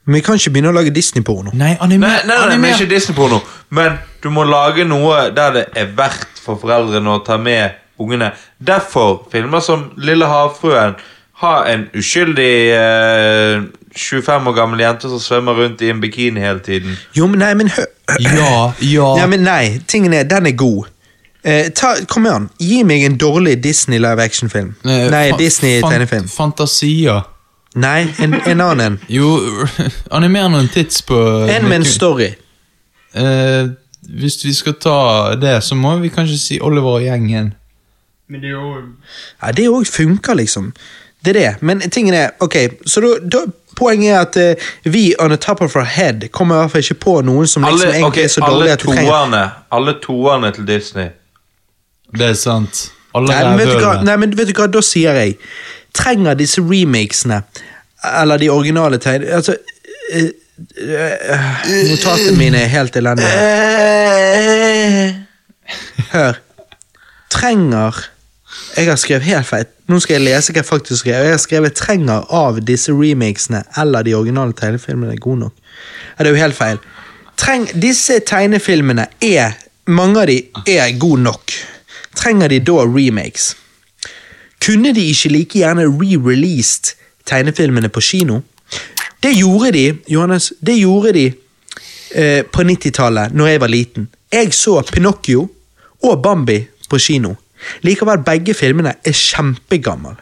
[SPEAKER 1] Men vi kan ikke begynne å lage Disney-porno.
[SPEAKER 2] Nei, animer,
[SPEAKER 3] Nei, nei, nei, men
[SPEAKER 2] animer.
[SPEAKER 3] ikke Disney-porno, men du må lage noe der det er verdt for foreldrene å ta med ungene. Derfor filmer som Lille havfruen har en uskyldig eh, 25 år gammel jente som svømmer rundt i en bikini hele tiden.
[SPEAKER 1] Jo, men nei, men hø
[SPEAKER 2] Ja, ja.
[SPEAKER 1] Ja, men nei, tingen er, den er god. Eh, ta, kom igjen, gi meg en dårlig Disney live action-film.
[SPEAKER 2] Eh,
[SPEAKER 1] Nei,
[SPEAKER 2] fa-
[SPEAKER 1] Disney
[SPEAKER 2] fan-
[SPEAKER 1] tegnefilm.
[SPEAKER 2] Fantasia.
[SPEAKER 1] Nei, en, en annen en.
[SPEAKER 2] Jo, animer noen tits på
[SPEAKER 1] En med en story.
[SPEAKER 2] Eh, Hvis vi skal ta det, så må vi kanskje si Oliver og gjengen.
[SPEAKER 4] Men det er jo
[SPEAKER 1] Ja, det òg funker, liksom. Det er det. Men tingen er, ok, så da, da Poenget er at eh, vi on the top of our head kommer i hvert fall ikke på noen som liksom
[SPEAKER 3] Alle,
[SPEAKER 1] egentlig
[SPEAKER 3] ok,
[SPEAKER 1] er så dårlig
[SPEAKER 3] alle
[SPEAKER 1] at du trenger
[SPEAKER 3] toerne Alle toerne til Disney.
[SPEAKER 2] Det er sant. Alle
[SPEAKER 1] nei, men vet du hva,
[SPEAKER 2] rævhølene.
[SPEAKER 1] nei, men vet du hva, da sier jeg Trenger disse remakesene, eller de originale tegn... Altså eh, eh, Notatene mine er helt elendige. Hør. Trenger Jeg har skrevet helt feil. Nå skal jeg lese hva jeg faktisk skrev. Jeg har skrevet 'trenger av disse remakesene eller de originale tegnefilmene er gode nok'. Ja, det er jo helt feil. Treng, disse tegnefilmene er Mange av de er gode nok. Trenger de da remakes? Kunne de ikke like gjerne re-released tegnefilmene på kino? Det gjorde de, Johannes. Det gjorde de eh, på 90-tallet, når jeg var liten. Jeg så Pinocchio og Bambi på kino. Likevel, begge filmene er kjempegamle.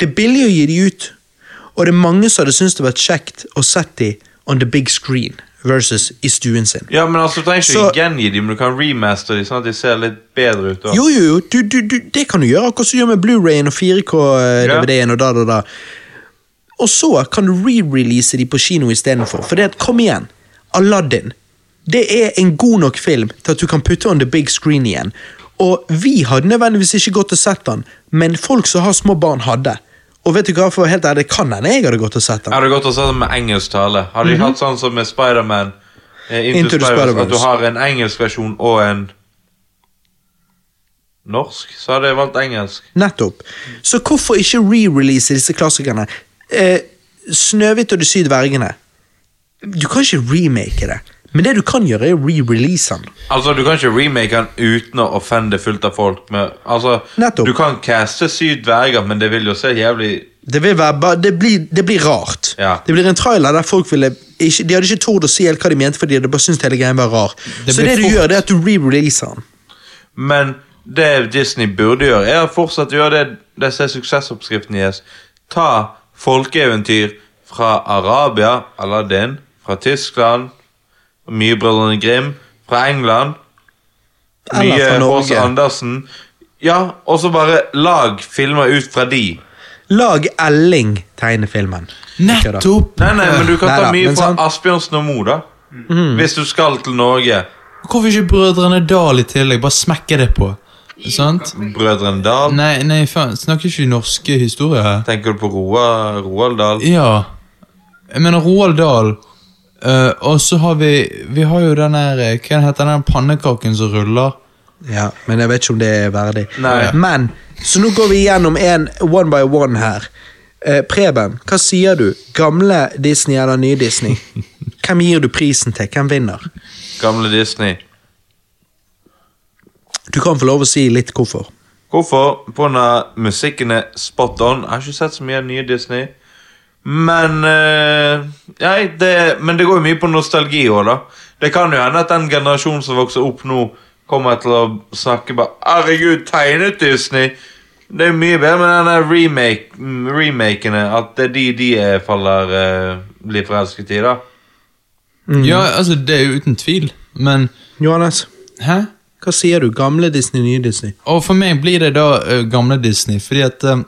[SPEAKER 1] Det er billig å gi de ut, og det er mange som hadde syntes det vært kjekt å sett de on the big screen versus i stuen sin.
[SPEAKER 3] Ja, men altså, Du trenger ikke
[SPEAKER 1] Så-
[SPEAKER 3] gjengi dem, men du kan remaster dem, sånn at de ser litt bedre ut. da.
[SPEAKER 1] Jo, jo, jo, du, du, du, det kan du gjøre, akkurat som du gjør med Blu-rayen og 4K-DVD-en og da, da, da. Og så kan du re-release de på kino istedenfor. For det at, kom igjen, Aladdin. Det er en god nok film til at du kan putte on the big screen igjen. Og vi hadde nødvendigvis ikke gått og sett den, men folk som har små barn, hadde. Og vet du hva, for å være helt ærlig, kan hende jeg hadde gått og sett den.
[SPEAKER 3] Hadde det gått å se det med engelsk tale? Hadde de hatt sånn som med Spiderman? Eh, Into,
[SPEAKER 1] Mhm. Into the
[SPEAKER 3] Spider-Verse,
[SPEAKER 1] Spider-Verse.
[SPEAKER 3] at du har en engelsk versjon og en norsk? Så hadde jeg valgt engelsk.
[SPEAKER 1] Nettopp. Så hvorfor ikke re-release disse klassikerne? Eh, Snøhvit og de syv dvergene. Du kan ikke remake det, men det du kan gjøre, er å re-release den.
[SPEAKER 3] Altså, Du kan ikke remake den uten å offende fullt av folk. Med, altså,
[SPEAKER 1] Nettopp.
[SPEAKER 3] Du kan caste syv dverger, men det vil jo se jævlig
[SPEAKER 1] Det, vil være ba det, blir, det blir rart.
[SPEAKER 3] Ja.
[SPEAKER 1] Det blir en trailer der folk ville ikke, De hadde ikke tort å si helt hva de mente, for de hadde bare syntes hele greien var rar.
[SPEAKER 2] Det
[SPEAKER 1] Så
[SPEAKER 2] blir
[SPEAKER 1] det du
[SPEAKER 2] fort-
[SPEAKER 1] gjør, det er at du re-releaser den.
[SPEAKER 3] Men det Disney burde gjøre, er å fortsatt gjøre det det som er suksessoppskriften deres. Ta folkeeventyr fra Arabia, Aladdin, fra Tyskland, mye Brødrene Grim, fra England,
[SPEAKER 1] Eller
[SPEAKER 3] mye
[SPEAKER 1] fra
[SPEAKER 3] H.C.
[SPEAKER 1] Norge.
[SPEAKER 2] sånn-
[SPEAKER 3] Andersen. Ja, og så bare lag filmer ut fra de.
[SPEAKER 1] Lag Elling tegnefilmen. Ikke da.
[SPEAKER 2] Nettopp!
[SPEAKER 3] Nei, nei, men du kan
[SPEAKER 1] Nei
[SPEAKER 3] ta
[SPEAKER 1] da,
[SPEAKER 3] mye
[SPEAKER 1] men Mm.
[SPEAKER 3] fra
[SPEAKER 1] sant.
[SPEAKER 3] Asbjørnsen og Mo, da. Hvis du skal til Norge.
[SPEAKER 2] Hvorfor ikke Brødrene Dal i tillegg? Bare smekke det på. Sant?
[SPEAKER 3] Brødrene Dal.
[SPEAKER 2] Nei, nei, faen, snakker ikke vi norske historier her?
[SPEAKER 3] Tenker du på Roa, Roald Dahl?
[SPEAKER 2] Ja. Jeg mener Roald Dahl. eh, og så har vi Vi har jo den der eh, Hva heter den der pannekaken som ruller?
[SPEAKER 1] Ja, men jeg vet ikke om det er verdig.
[SPEAKER 3] Nei.
[SPEAKER 1] Men, så nå går vi gjennom en one by one her. Eh, Preben, hva sier du? Gamle Disney eller nye Disney? Hvem gir du prisen til? Hvem vinner?
[SPEAKER 3] Gamle Disney.
[SPEAKER 1] Du kan få lov å si litt hvorfor.
[SPEAKER 3] Hvorfor? Pga. musikken er spot on. Jeg har ikke sett så mye av nye Disney. Men eh, nei, det, Men det går jo mye på nostalgi òg, da. Det kan jo hende at den generasjonen som vokser opp nå, kommer til å snakke bare 'Herregud, tegnet Disney!' Det er mye bedre med den der remake, mm, remakene. At det er de de eh, faller eh, blir forelsket i, da.
[SPEAKER 1] Mm.
[SPEAKER 2] Ja, altså, det er jo uten tvil, men
[SPEAKER 1] Johannes,
[SPEAKER 2] Hæ?
[SPEAKER 1] hva sier du? Gamle Disney, nye Disney?
[SPEAKER 2] Og for meg blir det da eh, gamle Disney, fordi at eh,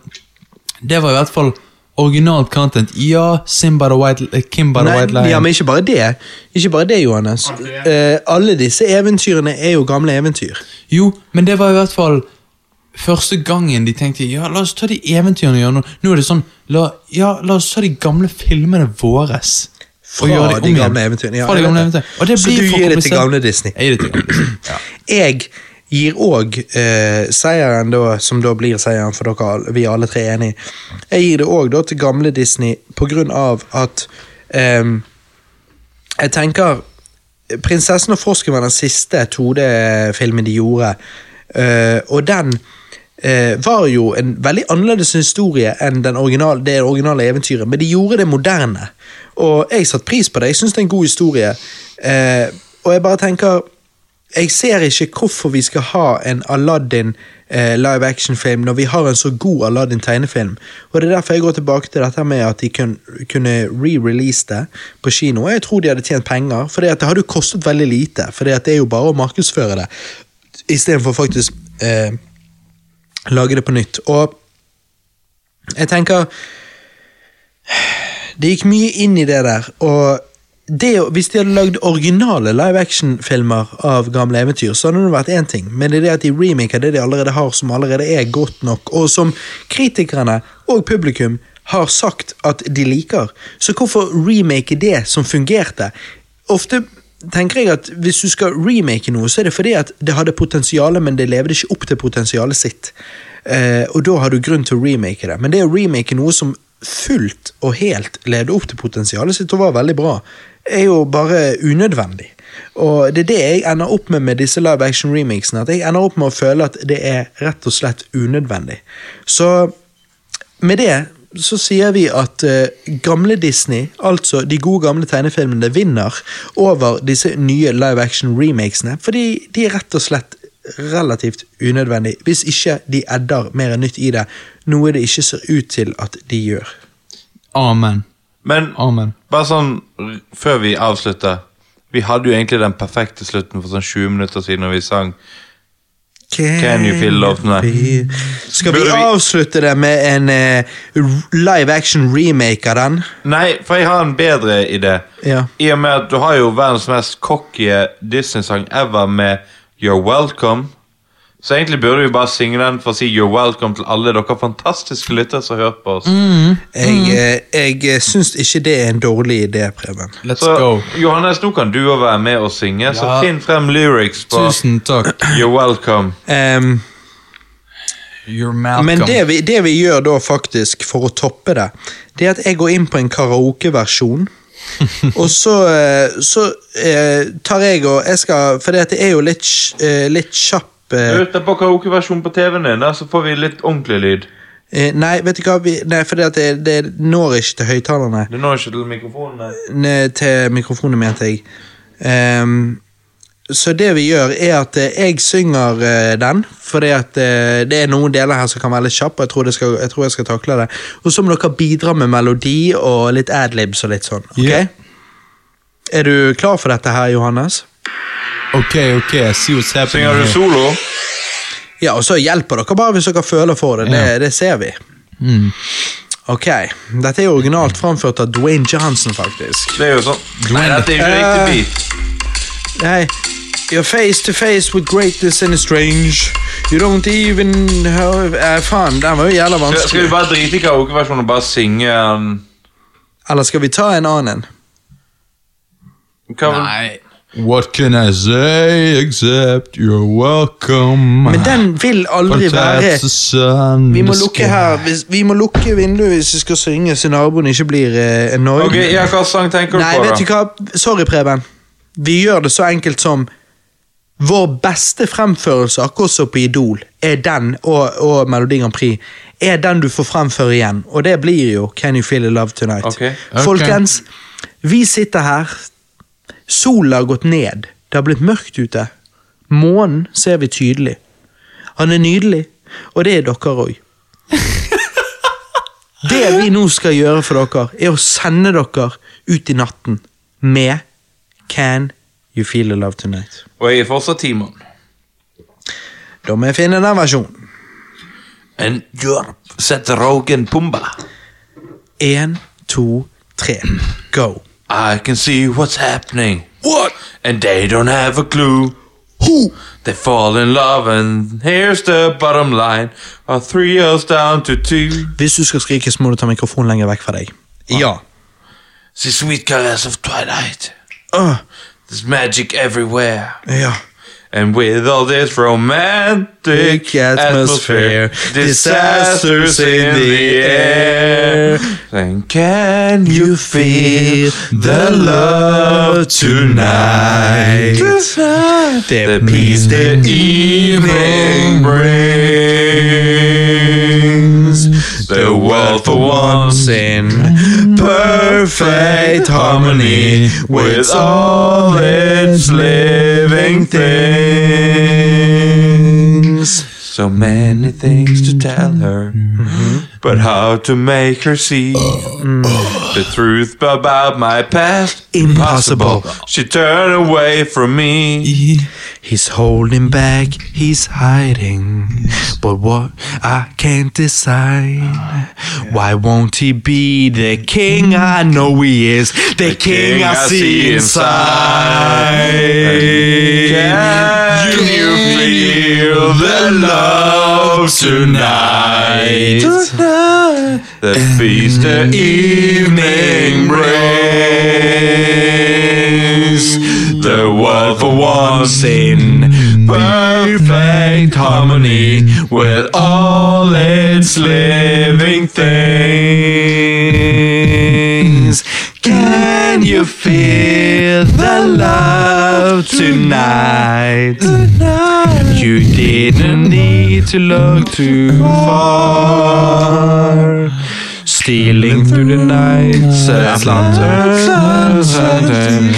[SPEAKER 2] Det var i hvert fall originalt content. Ja, Simba the White eh, Kimba the White Lion.
[SPEAKER 1] ja, men ikke bare det. Ikke bare det, Johannes. Eh, alle disse eventyrene er jo gamle eventyr.
[SPEAKER 2] Jo, men det var i hvert fall første gangen de tenkte ja, la oss ta de eventyrene og gjøre noe. Nå er det sånn la, ja, la oss ta de gamle filmene våres.
[SPEAKER 1] Fra de
[SPEAKER 2] gjøre om igjen.
[SPEAKER 1] gamle eventyrene, ja,
[SPEAKER 2] Fra de
[SPEAKER 1] jeg
[SPEAKER 2] gamle
[SPEAKER 1] vet det.
[SPEAKER 2] eventyrene. Og det
[SPEAKER 1] Så
[SPEAKER 2] blir
[SPEAKER 1] du
[SPEAKER 2] for
[SPEAKER 1] gir det til
[SPEAKER 2] komplisert.
[SPEAKER 1] gamle Disney?
[SPEAKER 2] Jeg gir det til gamle Disney. Ja.
[SPEAKER 1] Jeg gir òg eh, seieren, da, som da blir seieren for dere alle, vi er alle tre enige Jeg gir det òg til gamle Disney på grunn av at ehm, Jeg tenker Prinsessen og frosken var den siste 2D-filmen de gjorde, eh, og den eh, var jo en veldig annerledes historie enn den originale, det originale eventyret, men de gjorde det moderne. Og jeg satte pris på det. Jeg syns det er en god historie. eh, og jeg bare tenker jeg ser ikke hvorfor vi skal ha en Aladdin eh, live action-film når vi har en så god Aladdin tegnefilm. Og Det er derfor jeg går tilbake til dette med at de kun, kunne re-release det på kino. Og Jeg tror de hadde tjent penger, for det hadde jo kostet veldig lite. For det er jo bare å markedsføre det istedenfor faktisk eh, lage det på nytt. Og jeg tenker det gikk mye inn i det der, og det, å- hvis de hadde lagd originale live action-filmer av gamle eventyr, så hadde det vært én ting, men det er det at de remaker det de allerede har, som allerede er godt nok, og som kritikerne og publikum har sagt at de liker, så hvorfor remake det som fungerte? Ofte tenker jeg at hvis du skal remake noe, så er det fordi at det hadde potensial, men det levde ikke opp til potensialet sitt. Eh, og da har du grunn til å remake det. Men det å remake noe som fullt og helt levde opp til potensialet sitt og var veldig bra, er jo bare unødvendig. Og det er det jeg ender opp med med disse live action remakesene. At jeg ender opp med å føle at det er rett og slett unødvendig. Så med det så sier vi at eh, gamle Disney, altså de gode gamle tegnefilmene, vinner over disse nye live action remakesene, fordi de er rett og slett relativt unødvendige, hvis ikke de edder mer nytt i det, noe det ikke ser ut til at de gjør.
[SPEAKER 2] Amen.
[SPEAKER 3] Men
[SPEAKER 2] Amen.
[SPEAKER 3] bare sånn r- før vi avslutter Vi hadde jo egentlig den perfekte slutten for sånn 20 minutter siden når vi sang. Can you feel love tonight?
[SPEAKER 1] Skal vi
[SPEAKER 3] Burde vi-
[SPEAKER 1] avslutte det med en eh, r- live action remake av den?
[SPEAKER 3] Nei, for jeg har en bedre idé.
[SPEAKER 1] Ja.
[SPEAKER 3] I og med at du har jo verdens mest cocky Disney-sang ever med You're Welcome. Så egentlig burde vi bare synge den for å si You're Welcome til alle dere fantastiske lyttere som har hørt på oss.
[SPEAKER 2] Mm.
[SPEAKER 1] Jeg,
[SPEAKER 3] Mm.
[SPEAKER 1] eh, jeg syns ikke det er en dårlig idé, Preben.
[SPEAKER 2] Let's
[SPEAKER 3] Så
[SPEAKER 2] go.
[SPEAKER 3] Johannes, nå kan du òg være med og synge, så
[SPEAKER 2] Ja.
[SPEAKER 3] finn frem lyrics på
[SPEAKER 2] Tusen takk.
[SPEAKER 3] You're Welcome.
[SPEAKER 1] Em,
[SPEAKER 2] You're welcome.
[SPEAKER 1] Men det vi, det vi gjør da faktisk for å toppe det, det er at jeg går inn på en karaokeversjon. og så, eh, så eh, tar jeg og jeg skal, For det at det er jo litt, kj- eh, litt kjapp eh,
[SPEAKER 3] Ut på karaokeversjonen på TV-en din, da, så får vi litt ordentlig lyd.
[SPEAKER 1] eh, Nei, vet du hva? Vi, nei, for det, at det, det når ikke til høyttalerne.
[SPEAKER 3] Det når ikke til mikrofonen. nei.
[SPEAKER 1] Ne, Til mikrofonen, mente jeg. Ehm, så det vi gjør, er at eh, jeg synger eh, den, fordi at eh, det er noen deler her som kan være litt kjappe, og jeg tror, det skal, jeg tror jeg skal takle det. Og så må dere bidra med melodi og litt adlibs og litt sånn. ok?
[SPEAKER 2] Ja.
[SPEAKER 1] Er du klar for dette her, Johannes?
[SPEAKER 2] Ok, ok, I see what's happening.
[SPEAKER 3] Synger du
[SPEAKER 2] here.
[SPEAKER 3] solo?
[SPEAKER 1] Ja, og så hjelper dere bare hvis dere føler for det. Det,
[SPEAKER 2] Ja. Mm.
[SPEAKER 1] det ser vi. Ok. Dette er jo originalt framført av Dwayne Johansen, faktisk.
[SPEAKER 3] Det er jo sånn Nei, dette er jo ikke
[SPEAKER 1] Eh.
[SPEAKER 3] riktig beat.
[SPEAKER 1] Nei, You're face to face with greatness and strange. You don't even have eh, Faen, den var jo jævla
[SPEAKER 3] Skal, skal vi
[SPEAKER 1] vanskelig.
[SPEAKER 3] bare drite i karaokeversjonen og bare synge den?
[SPEAKER 1] Eller skal vi ta en annen en?
[SPEAKER 3] Hva,
[SPEAKER 2] Nei. What can I say except you're welcome?
[SPEAKER 1] Men den vil aldri være Vi må lukke her hvis, Vi må lukke vinduet hvis vi skal synge, så naboen ikke blir eh, annoyed.
[SPEAKER 3] Ok, ja, hva sang tenker du
[SPEAKER 1] Nei,
[SPEAKER 3] på,
[SPEAKER 1] vet du
[SPEAKER 3] da?
[SPEAKER 1] hva? Sorry, Preben. Vi gjør det så enkelt som Vår beste fremførelse, akkurat som på Idol, er den, og, og Melodi Grand Prix, er den du får fremføre igjen. Og det blir jo Can You Feel the Love Tonight.
[SPEAKER 3] Ok,
[SPEAKER 2] ok.
[SPEAKER 1] Folkens, vi sitter her. Sola har gått ned. Det har blitt mørkt ute. Månen ser vi tydelig. Han er nydelig, og det er dere òg. Det vi nå skal gjøre for dere, er å sende dere ut i natten med Can You Feel the Love Tonight.
[SPEAKER 3] Og jeg er fortsatt Timon.
[SPEAKER 1] Da må jeg finne den versjonen.
[SPEAKER 3] En jorp setter rogen pumba.
[SPEAKER 1] Én, to, tre, go.
[SPEAKER 3] I can see what's happening. What? And they don't have a clue. Who? They fall in love, and here's the bottom line. Our three us down to two.
[SPEAKER 1] Hvis du skal skrike, så må du ta mikrofonen lenger vekk fra deg. Ja.
[SPEAKER 3] The sweet caress of twilight.
[SPEAKER 1] Åh,
[SPEAKER 3] There's magic everywhere.
[SPEAKER 1] ja.
[SPEAKER 3] And with all this romantic
[SPEAKER 1] Thick atmosphere,
[SPEAKER 3] atmosphere, disasters in the air. Then can you feel the love tonight? The peace the evening brings. The world for once in perfect harmony with all its living things. So many things to tell her, but how to make her see the truth about my past?
[SPEAKER 1] Impossible.
[SPEAKER 3] She turned away from me.
[SPEAKER 1] He's holding back, he's hiding. But what I can't decide.
[SPEAKER 3] Ah,
[SPEAKER 1] Why won't he be the king
[SPEAKER 3] Hmm.
[SPEAKER 1] I know he is? The, king, I see inside.
[SPEAKER 3] Can you feel the love tonight? The feast the evening brings. The world for once in perfect harmony with all its living things. Can you feel the love tonight? You didn't need to look too far. Stealing through the night, says lantern.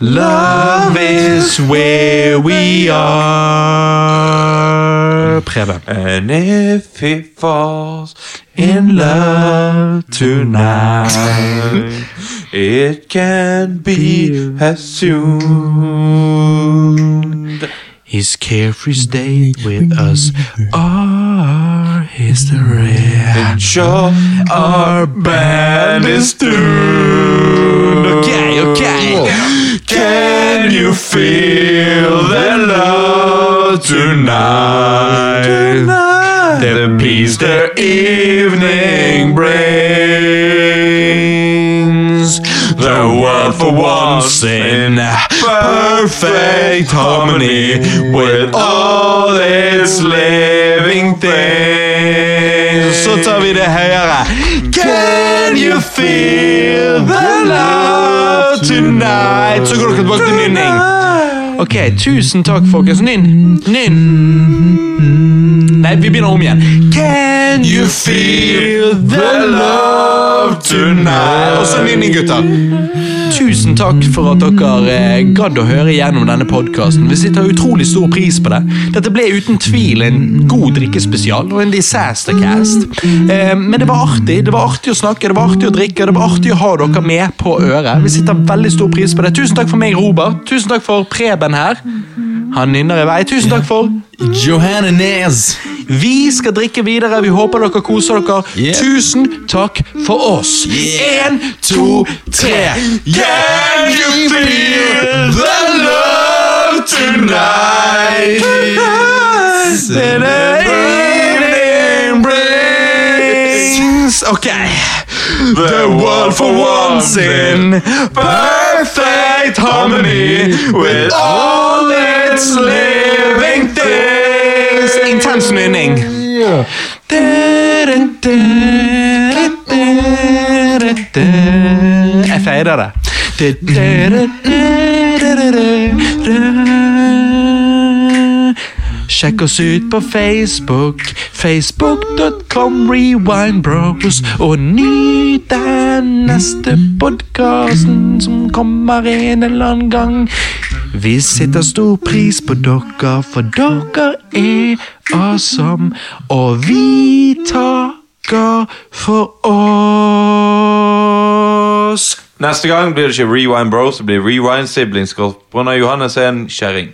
[SPEAKER 3] Love is where we are.
[SPEAKER 1] Preben.
[SPEAKER 3] And if he falls in love tonight, it can be assumed.
[SPEAKER 1] His carefree stay with us are history.
[SPEAKER 3] And sure, our band is doomed. Okay, okay. Can you feel the love tonight? The peace the evening brings. The world for once in perfect harmony with all its living things. Så tar vi det høyere. Can you feel the love tonight? Så går dere tilbake til nynning.
[SPEAKER 1] Ok, tusen takk, folkens. Nynn. Nynn. Nei, vi begynner om igjen. Can you
[SPEAKER 3] Feel the love tonight. Og så nynning, gutter.
[SPEAKER 1] Tusen takk for at dere eh, gadd å høre gjennom denne podkasten. Vi sitter utrolig stor pris på det. Dette ble uten tvil en god drikkespesial og en disastercast. Eh, men det var artig. Det var artig å snakke, det var artig å drikke, og det var artig å ha dere med på øret. Vi sitter veldig stor pris på det. Tusen takk for meg, Robert. Tusen takk for Preben her. Han nynner i vei. Tusen takk for
[SPEAKER 2] Johanne Nes!
[SPEAKER 1] Vi skal drikke videre. Vi håper dere koser dere.
[SPEAKER 2] Yeah.
[SPEAKER 1] Tusen takk for oss. Én, to, tre.
[SPEAKER 3] Can you feel the love tonight?
[SPEAKER 1] Tonight is an evening
[SPEAKER 3] Brings. Ok. The world for once in perfect harmony with all its living things. Intens nynning. Jeg feirer det. Sjekk oss ut på Facebook, facebook.com rewindbros, og nyt den neste podkasten som kommer en eller annen gang. Vi setter stor pris på dere, for dere er awesome, og vi takker for oss.
[SPEAKER 7] Neste gang blir det ikke Rewind Bros, det blir Rewind Siblings. På grunn av Johannes er en kjerring.